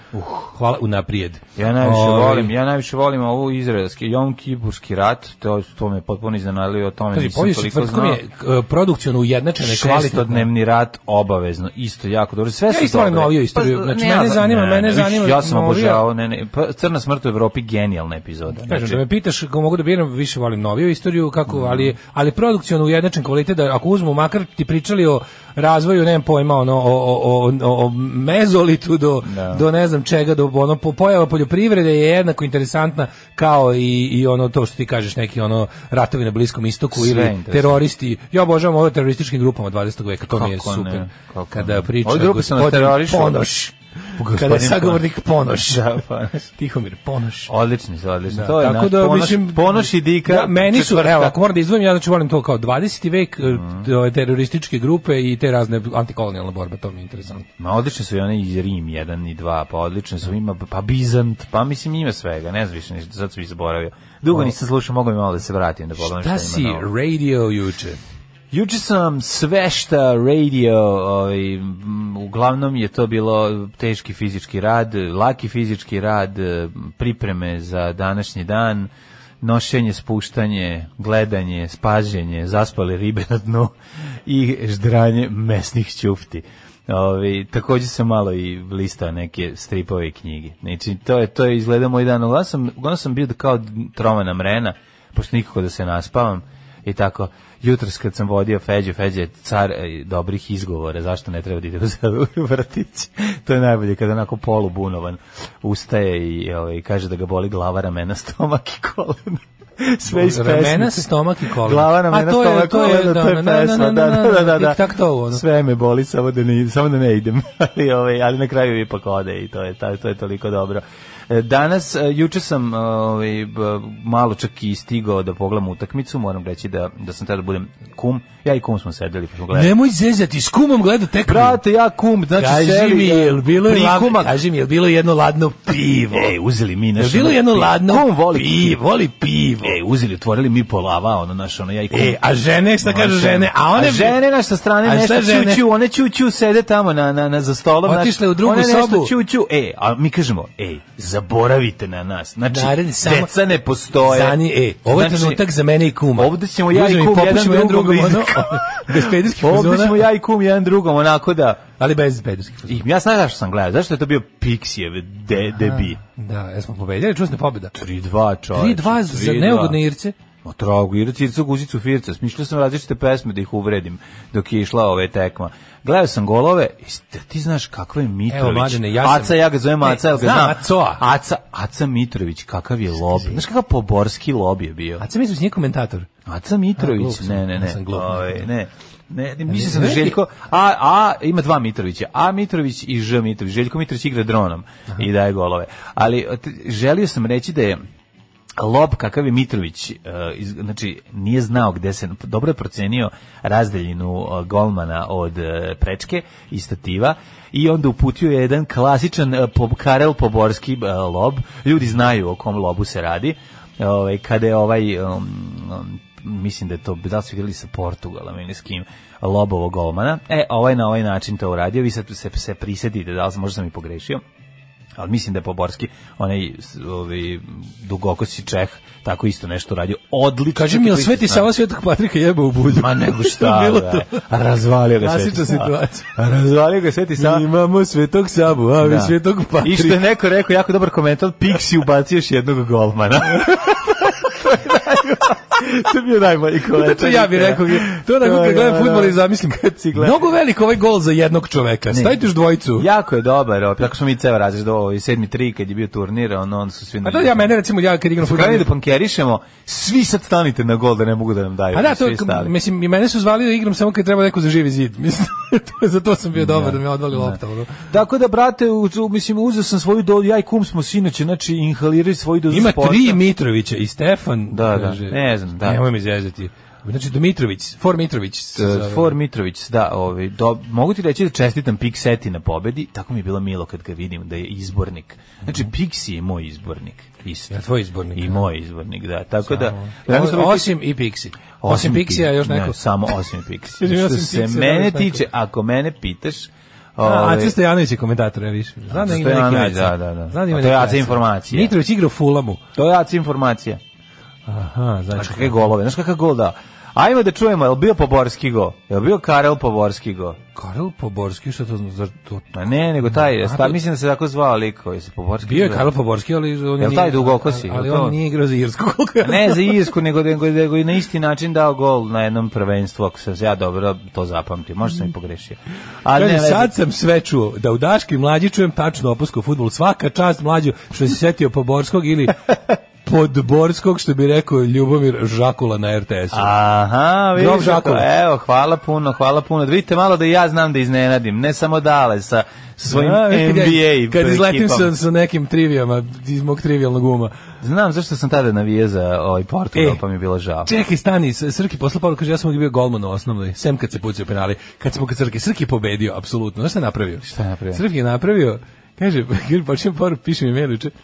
Speaker 5: hvala unaprijed.
Speaker 6: Uh. Ja najviše
Speaker 5: Ovaj,
Speaker 6: volim, ja najviše volim ovu izraelski Jom Kipurski rat, to to me potpuno iznenadilo, o tome
Speaker 5: Pazi,
Speaker 6: nisam
Speaker 5: povijest
Speaker 6: toliko
Speaker 5: četvrtkom
Speaker 6: znao.
Speaker 5: je e, produkciono ujednačene, kvalitetne.
Speaker 6: Šestodnevni rat obavezno, isto jako dobro. Sve
Speaker 5: Ja
Speaker 6: su
Speaker 5: isto volim
Speaker 6: dobre. Pa,
Speaker 5: noviju istoriju, znači,
Speaker 6: ja
Speaker 5: mene
Speaker 6: znam-
Speaker 5: zanima- mene
Speaker 6: viš,
Speaker 5: zanima
Speaker 6: Ja sam
Speaker 5: novija.
Speaker 6: obožavao, ne, ne, pa Crna smrt u Evropi genijalna epizoda. Znači,
Speaker 5: Kažem, da me pitaš kako mogu da biram, više volim noviju istoriju, kako,
Speaker 6: Mhm.
Speaker 5: ali, ali produkciono ujednačen kvalitet, da ako uzmu, makar ti pričali o razvoju, nemam pojma, ono, o, o, o, o- o mezolitu do, do ne znam čega, do ono, po- pojava poljoprivrede je jednako interesantna kao i, i ono to što ti kažeš, neki ono ratovi na Bliskom istoku
Speaker 6: Sve
Speaker 5: ili
Speaker 6: interesantno.
Speaker 5: teroristi. Ja obožavam ove terorističkim grupama 20. veka, to mi je
Speaker 6: Kako ne,
Speaker 5: super.
Speaker 6: kako
Speaker 5: Kada
Speaker 6: ne.
Speaker 5: priča
Speaker 6: Ove grupe su nas
Speaker 5: gospodin
Speaker 6: terorišu.
Speaker 5: Ponoš. Kada je
Speaker 6: Gospodin
Speaker 5: sagovornik Ponoš.
Speaker 6: <laughs> Da, Ponoš.
Speaker 5: Tihomir Ponoš.
Speaker 6: Odlični su, odlični.
Speaker 5: Da,
Speaker 6: to je
Speaker 5: tako
Speaker 6: naš
Speaker 5: da,
Speaker 6: ponoš,
Speaker 5: mislim,
Speaker 6: ponoš i dika.
Speaker 5: Da, meni su,
Speaker 6: četvrtka.
Speaker 5: evo, ako moram da izdvojim, ja znači volim to kao 20. vek, e, ove terorističke grupe i te razne antikolonijalne borbe, to mi je interesantno.
Speaker 6: Ma odlični su i oni iz Rim 1 i 2, pa odlični su ima, pa Bizant, pa mislim ima svega, ne znam više ništa, sad sam i zaboravio. Dugo nisam slušao, mogu mi malo da se vratim da pogledam
Speaker 5: Da
Speaker 6: šta
Speaker 5: si
Speaker 6: ima novo.
Speaker 5: radio juče.
Speaker 6: Juče sam svešta radio, ovaj, m, uglavnom je to bilo teški fizički rad, laki fizički rad, eh, pripreme za današnji dan, nošenje, spuštanje, gledanje, spaženje, zaspale ribe na dnu i ždranje mesnih ćufti. Ovi, takođe sam malo i listao neke stripove i knjige. Znači, to je, to je izgleda moj dan. Uglavnom sam, uglavnom sam bio kao trovana mrena, pošto nikako da se naspavam i tako. Jutros kad sam vodio Feđu, Feđa je car e, dobrih izgovora, zašto ne treba da ide <laughs> u vrtić. to je najbolje kada onako polubunovan ustaje i ovaj, kaže da ga boli glava, ramena, stomak i kolena. <laughs> Sve iz pesmice.
Speaker 5: Ramena, stomak i kolena.
Speaker 6: Glava, ramena,
Speaker 5: A to je-
Speaker 6: stomak,
Speaker 5: to je,
Speaker 6: kolena,
Speaker 5: da,
Speaker 6: to je
Speaker 5: na, na,
Speaker 6: pesma,
Speaker 5: na, na,
Speaker 6: da,
Speaker 5: na,
Speaker 6: da, da, da,
Speaker 5: na,
Speaker 6: da.
Speaker 5: tic-tac toe, ono.
Speaker 6: Sve me boli, samo da ne, samo da ne idem. <laughs> ali, ovaj, ali na kraju ipak ode i to je, ta- to je toliko dobro. E, Danas, e, juče sam ovaj, b- malo čak i stigao da pogledam utakmicu, moram reći da, da sam tada budem kum. Ja i kum smo sedeli pa smo gledali.
Speaker 5: Nemoj zezati, s kumom gleda tek.
Speaker 6: Brate, ja kum, znači
Speaker 5: kaži
Speaker 6: seli,
Speaker 5: mi,
Speaker 6: e,
Speaker 5: jel bilo,
Speaker 6: prikumak.
Speaker 5: lav- kaži mi, jel bilo jedno ladno pivo?
Speaker 6: Ej, E, uzeli mi
Speaker 5: Jel
Speaker 6: nešto.
Speaker 5: bilo jedno ladno
Speaker 6: Kum voli
Speaker 5: pivo, voli pivo.
Speaker 6: E, uzeli, otvorili mi polava, ono, naš, ono, ja i
Speaker 5: E, a žene, šta kažu žene? A one
Speaker 6: a žene na sa strane
Speaker 5: A šta
Speaker 6: nešto
Speaker 5: žene?
Speaker 6: čuću, one čuću, sede tamo na, na, na za stolom. znaš,
Speaker 5: Otišle u drugu
Speaker 6: one
Speaker 5: sobu.
Speaker 6: nešto čuću, e, a mi kažemo, ej, zaboravite na nas. Znači,
Speaker 5: Naredni samo-
Speaker 6: deca ne postoje. Znači,
Speaker 5: Zani, e, ovo je trenutak za mene i kuma.
Speaker 6: Ovde ćemo ja
Speaker 5: Uzmem
Speaker 6: i kum
Speaker 5: popušim
Speaker 6: jedan drugom iz-
Speaker 5: ono, <laughs> bez pederskih
Speaker 6: Ovde
Speaker 5: fazona,
Speaker 6: smo ja i kum jedan drugom, onako da...
Speaker 5: ali bez pederskih fazona.
Speaker 6: I ja znam zašto sam gledao, zašto je to bio Pixijev de, debi.
Speaker 5: Da, jesmo pobedili, čusna pobeda.
Speaker 6: 3-2 čovječe.
Speaker 5: 3-2 za neugodne Irce.
Speaker 6: Ma tragu, Ira Circa, Guzicu, Firca. Smišljao sam različite pesme da ih uvredim dok je išla ove tekma. Gledao sam golove, is- da ti znaš kakva je Mitrović.
Speaker 5: Evo, Mladene, ja sam-
Speaker 6: Aca, ja ga zovem
Speaker 5: Ne,
Speaker 6: Aca, jel ga
Speaker 5: znam
Speaker 6: znam?
Speaker 5: Acoa.
Speaker 6: Aca, Aca Mitrović, kakav je lob. Znaš kakav poborski lob je bio?
Speaker 5: A co misliš, nije komentator?
Speaker 6: Aca
Speaker 5: A, glup
Speaker 6: Mitrović,
Speaker 5: sam,
Speaker 6: ne, ne,
Speaker 5: ja
Speaker 6: ne.
Speaker 5: sam glup.
Speaker 6: Ovaj, ne. Ne, ne, mislim sam da
Speaker 5: ne, ne.
Speaker 6: Željko, a, a, ima dva Mitrovića, A Mitrović i Ž Mitrović, Željko Mitrović igra dronom i daje golove, ali t- želio sam reći da je Lob kakav je Mitrović, e, iz- znači nije znao gde se, dobro je procenio razdeljinu e, golmana od e, prečke i stativa i onda uputio je jedan klasičan e, po- Karel Poborski e, lob, ljudi znaju o kom lobu se radi, ovaj, kada je ovaj, um, um, mislim da je to, da li su igrali sa Portugalom ili s kim, lobovog golmana, e, ovaj na ovaj način to uradio, vi sad se, se prisetite, da li sam, možda sam i pogrešio, ali mislim da je Poborski, onaj s- ovaj, dugokosi Čeh, tako isto nešto radio, odlično.
Speaker 5: Kaži mi, jel
Speaker 6: Čak i
Speaker 5: sveti
Speaker 6: pritisnuo.
Speaker 5: Sava Svetog Patrika jeba u bulju?
Speaker 6: Ma
Speaker 5: <laughs>
Speaker 6: nego šta,
Speaker 5: Bilo
Speaker 6: bre.
Speaker 5: to.
Speaker 6: Razvalio ga
Speaker 5: Klasična
Speaker 6: Sveti Sava.
Speaker 5: situacija.
Speaker 6: Razvalio ga Sveti Sava.
Speaker 5: Imamo Svetog Savu, a vi
Speaker 6: Da.
Speaker 5: Svetog
Speaker 6: I što je
Speaker 5: Patrika.
Speaker 6: neko rekao, jako dobar komentar, Pixi ubacio još jednog
Speaker 5: <laughs>
Speaker 6: golmana. To je najbolji- to je bio najbolji komentar.
Speaker 5: <laughs> To ja bih rekao, to onako kad
Speaker 6: ono,
Speaker 5: gledam futbol i zamislim,
Speaker 6: Kad si gleda-
Speaker 5: mnogo velik ovaj gol za jednog čoveka, stavite još dvojicu.
Speaker 6: Jako je dobar, opet, tako smo mi ceo razred, ovo i sedmi tri, kad je bio turnir, ono, onda su svi...
Speaker 5: A to ja mene recimo ja kad igram fudbal.
Speaker 6: Kada da pankerišemo, svi sad stanite na gol da ne mogu da nam daju.
Speaker 5: A da, to,
Speaker 6: svi stali.
Speaker 5: mislim, i mene su zvali da igram samo kad treba neko za živi zid. <laughs> Mislim, to, za to sam bio dobar da me odvali lopta. ono.
Speaker 6: Tako da, brate, u- u- mislim, uzeo sam svoju dozu, ja i kum smo sinoće, znači, inhalirali svoju dozu
Speaker 5: Ima
Speaker 6: sporta.
Speaker 5: tri Mitrovića i Stefan.
Speaker 6: Da, da, ne znam, da.
Speaker 5: Nemoj mi zezati. Znači, Dmitrović, For Mitrović. se
Speaker 6: E,
Speaker 5: zove.
Speaker 6: For Mitrović, da, ovaj, do, mogu ti reći da čestitam Pixeti na pobedi, tako mi je bilo milo kad ga vidim da je izbornik. Znači, Pixi je moj izbornik. Isto.
Speaker 5: Mhm. Ja, tvoj izbornik.
Speaker 6: I moj izbornik, da. Tako da...
Speaker 5: O-
Speaker 6: Dragan Stojković-
Speaker 5: osim i Pixi. Osim Pixija još
Speaker 6: Ne,
Speaker 5: neko.
Speaker 6: samo osim Pixi.
Speaker 5: Ili
Speaker 6: Što
Speaker 5: osim
Speaker 6: se
Speaker 5: Pixija, da,
Speaker 6: mene
Speaker 5: <laughs> još neko.
Speaker 6: tiče, ako mene pitaš...
Speaker 5: A,
Speaker 6: ovaj,
Speaker 5: Aca Stojanović je komentator, ja više. Znam da ima neki
Speaker 6: Stojanović,
Speaker 5: Aca.
Speaker 6: da, da, da.
Speaker 5: Znam da ima
Speaker 6: A to je
Speaker 5: neki
Speaker 6: Aca informacija.
Speaker 5: Mitrović igra u Fulamu.
Speaker 6: To je AC informacija.
Speaker 5: Aha, znači.
Speaker 6: Znaš kakve golove, znaš kakav gol dao. Ajmo da čujemo, je li bio Poborski go? Je li bio Karel Poborski go?
Speaker 5: Karel Poborski, što to znači? To...
Speaker 6: Ma ne, nego taj,
Speaker 5: to-
Speaker 6: sta, mislim da se tako zvao lik koji se Poborski
Speaker 5: Bio je
Speaker 6: zove.
Speaker 5: Karel Poborski, ali on
Speaker 6: Jel
Speaker 5: nije...
Speaker 6: taj dugokosi?
Speaker 5: Ali
Speaker 6: Jel to?
Speaker 5: on nije igrao za Irsku, koliko ja
Speaker 6: Ne
Speaker 5: znam.
Speaker 6: za Irsku, nego, nego, nego i na isti način dao gol na jednom prvenstvu, ako sam se ja dobro to zapamtio, možda sam i pogrešio. Ali
Speaker 5: Kaže,
Speaker 6: ne, sad...
Speaker 5: sad sam sve čuo, da u Daški mlađi čujem tačno opusku u futbolu, svaka čast mlađu što si setio Poborskog
Speaker 6: <laughs>
Speaker 5: ili Podborskog, što bi rekao Ljubomir Žakula na RTS-u.
Speaker 6: Aha,
Speaker 5: Grof
Speaker 6: vidiš,
Speaker 5: Žaković.
Speaker 6: evo, hvala puno, hvala puno. Da vidite malo da i ja znam da iznenadim, ne samo dale sa svojim
Speaker 5: A,
Speaker 6: NBA
Speaker 5: kad ja- Kad izletim
Speaker 6: ekipom.
Speaker 5: sa, sa nekim trivijama, iz mog trivijalnog uma.
Speaker 6: Znam zašto sam tada navijao za ovaj Portugal,
Speaker 5: E.
Speaker 6: pa mi je bilo žao.
Speaker 5: Čekaj, stani, S- Srki posla poruku, kaže, ja sam uvijek bio golman u osnovnoj, sem kad se pucaju penali, kad smo kod Srki, Srki je pobedio, apsolutno, znaš šta je napravio? Šta
Speaker 6: je napravio?
Speaker 5: Srki je napravio, kaže, <laughs> kaže počinjem poruku, piše mi mail juče,
Speaker 6: <laughs>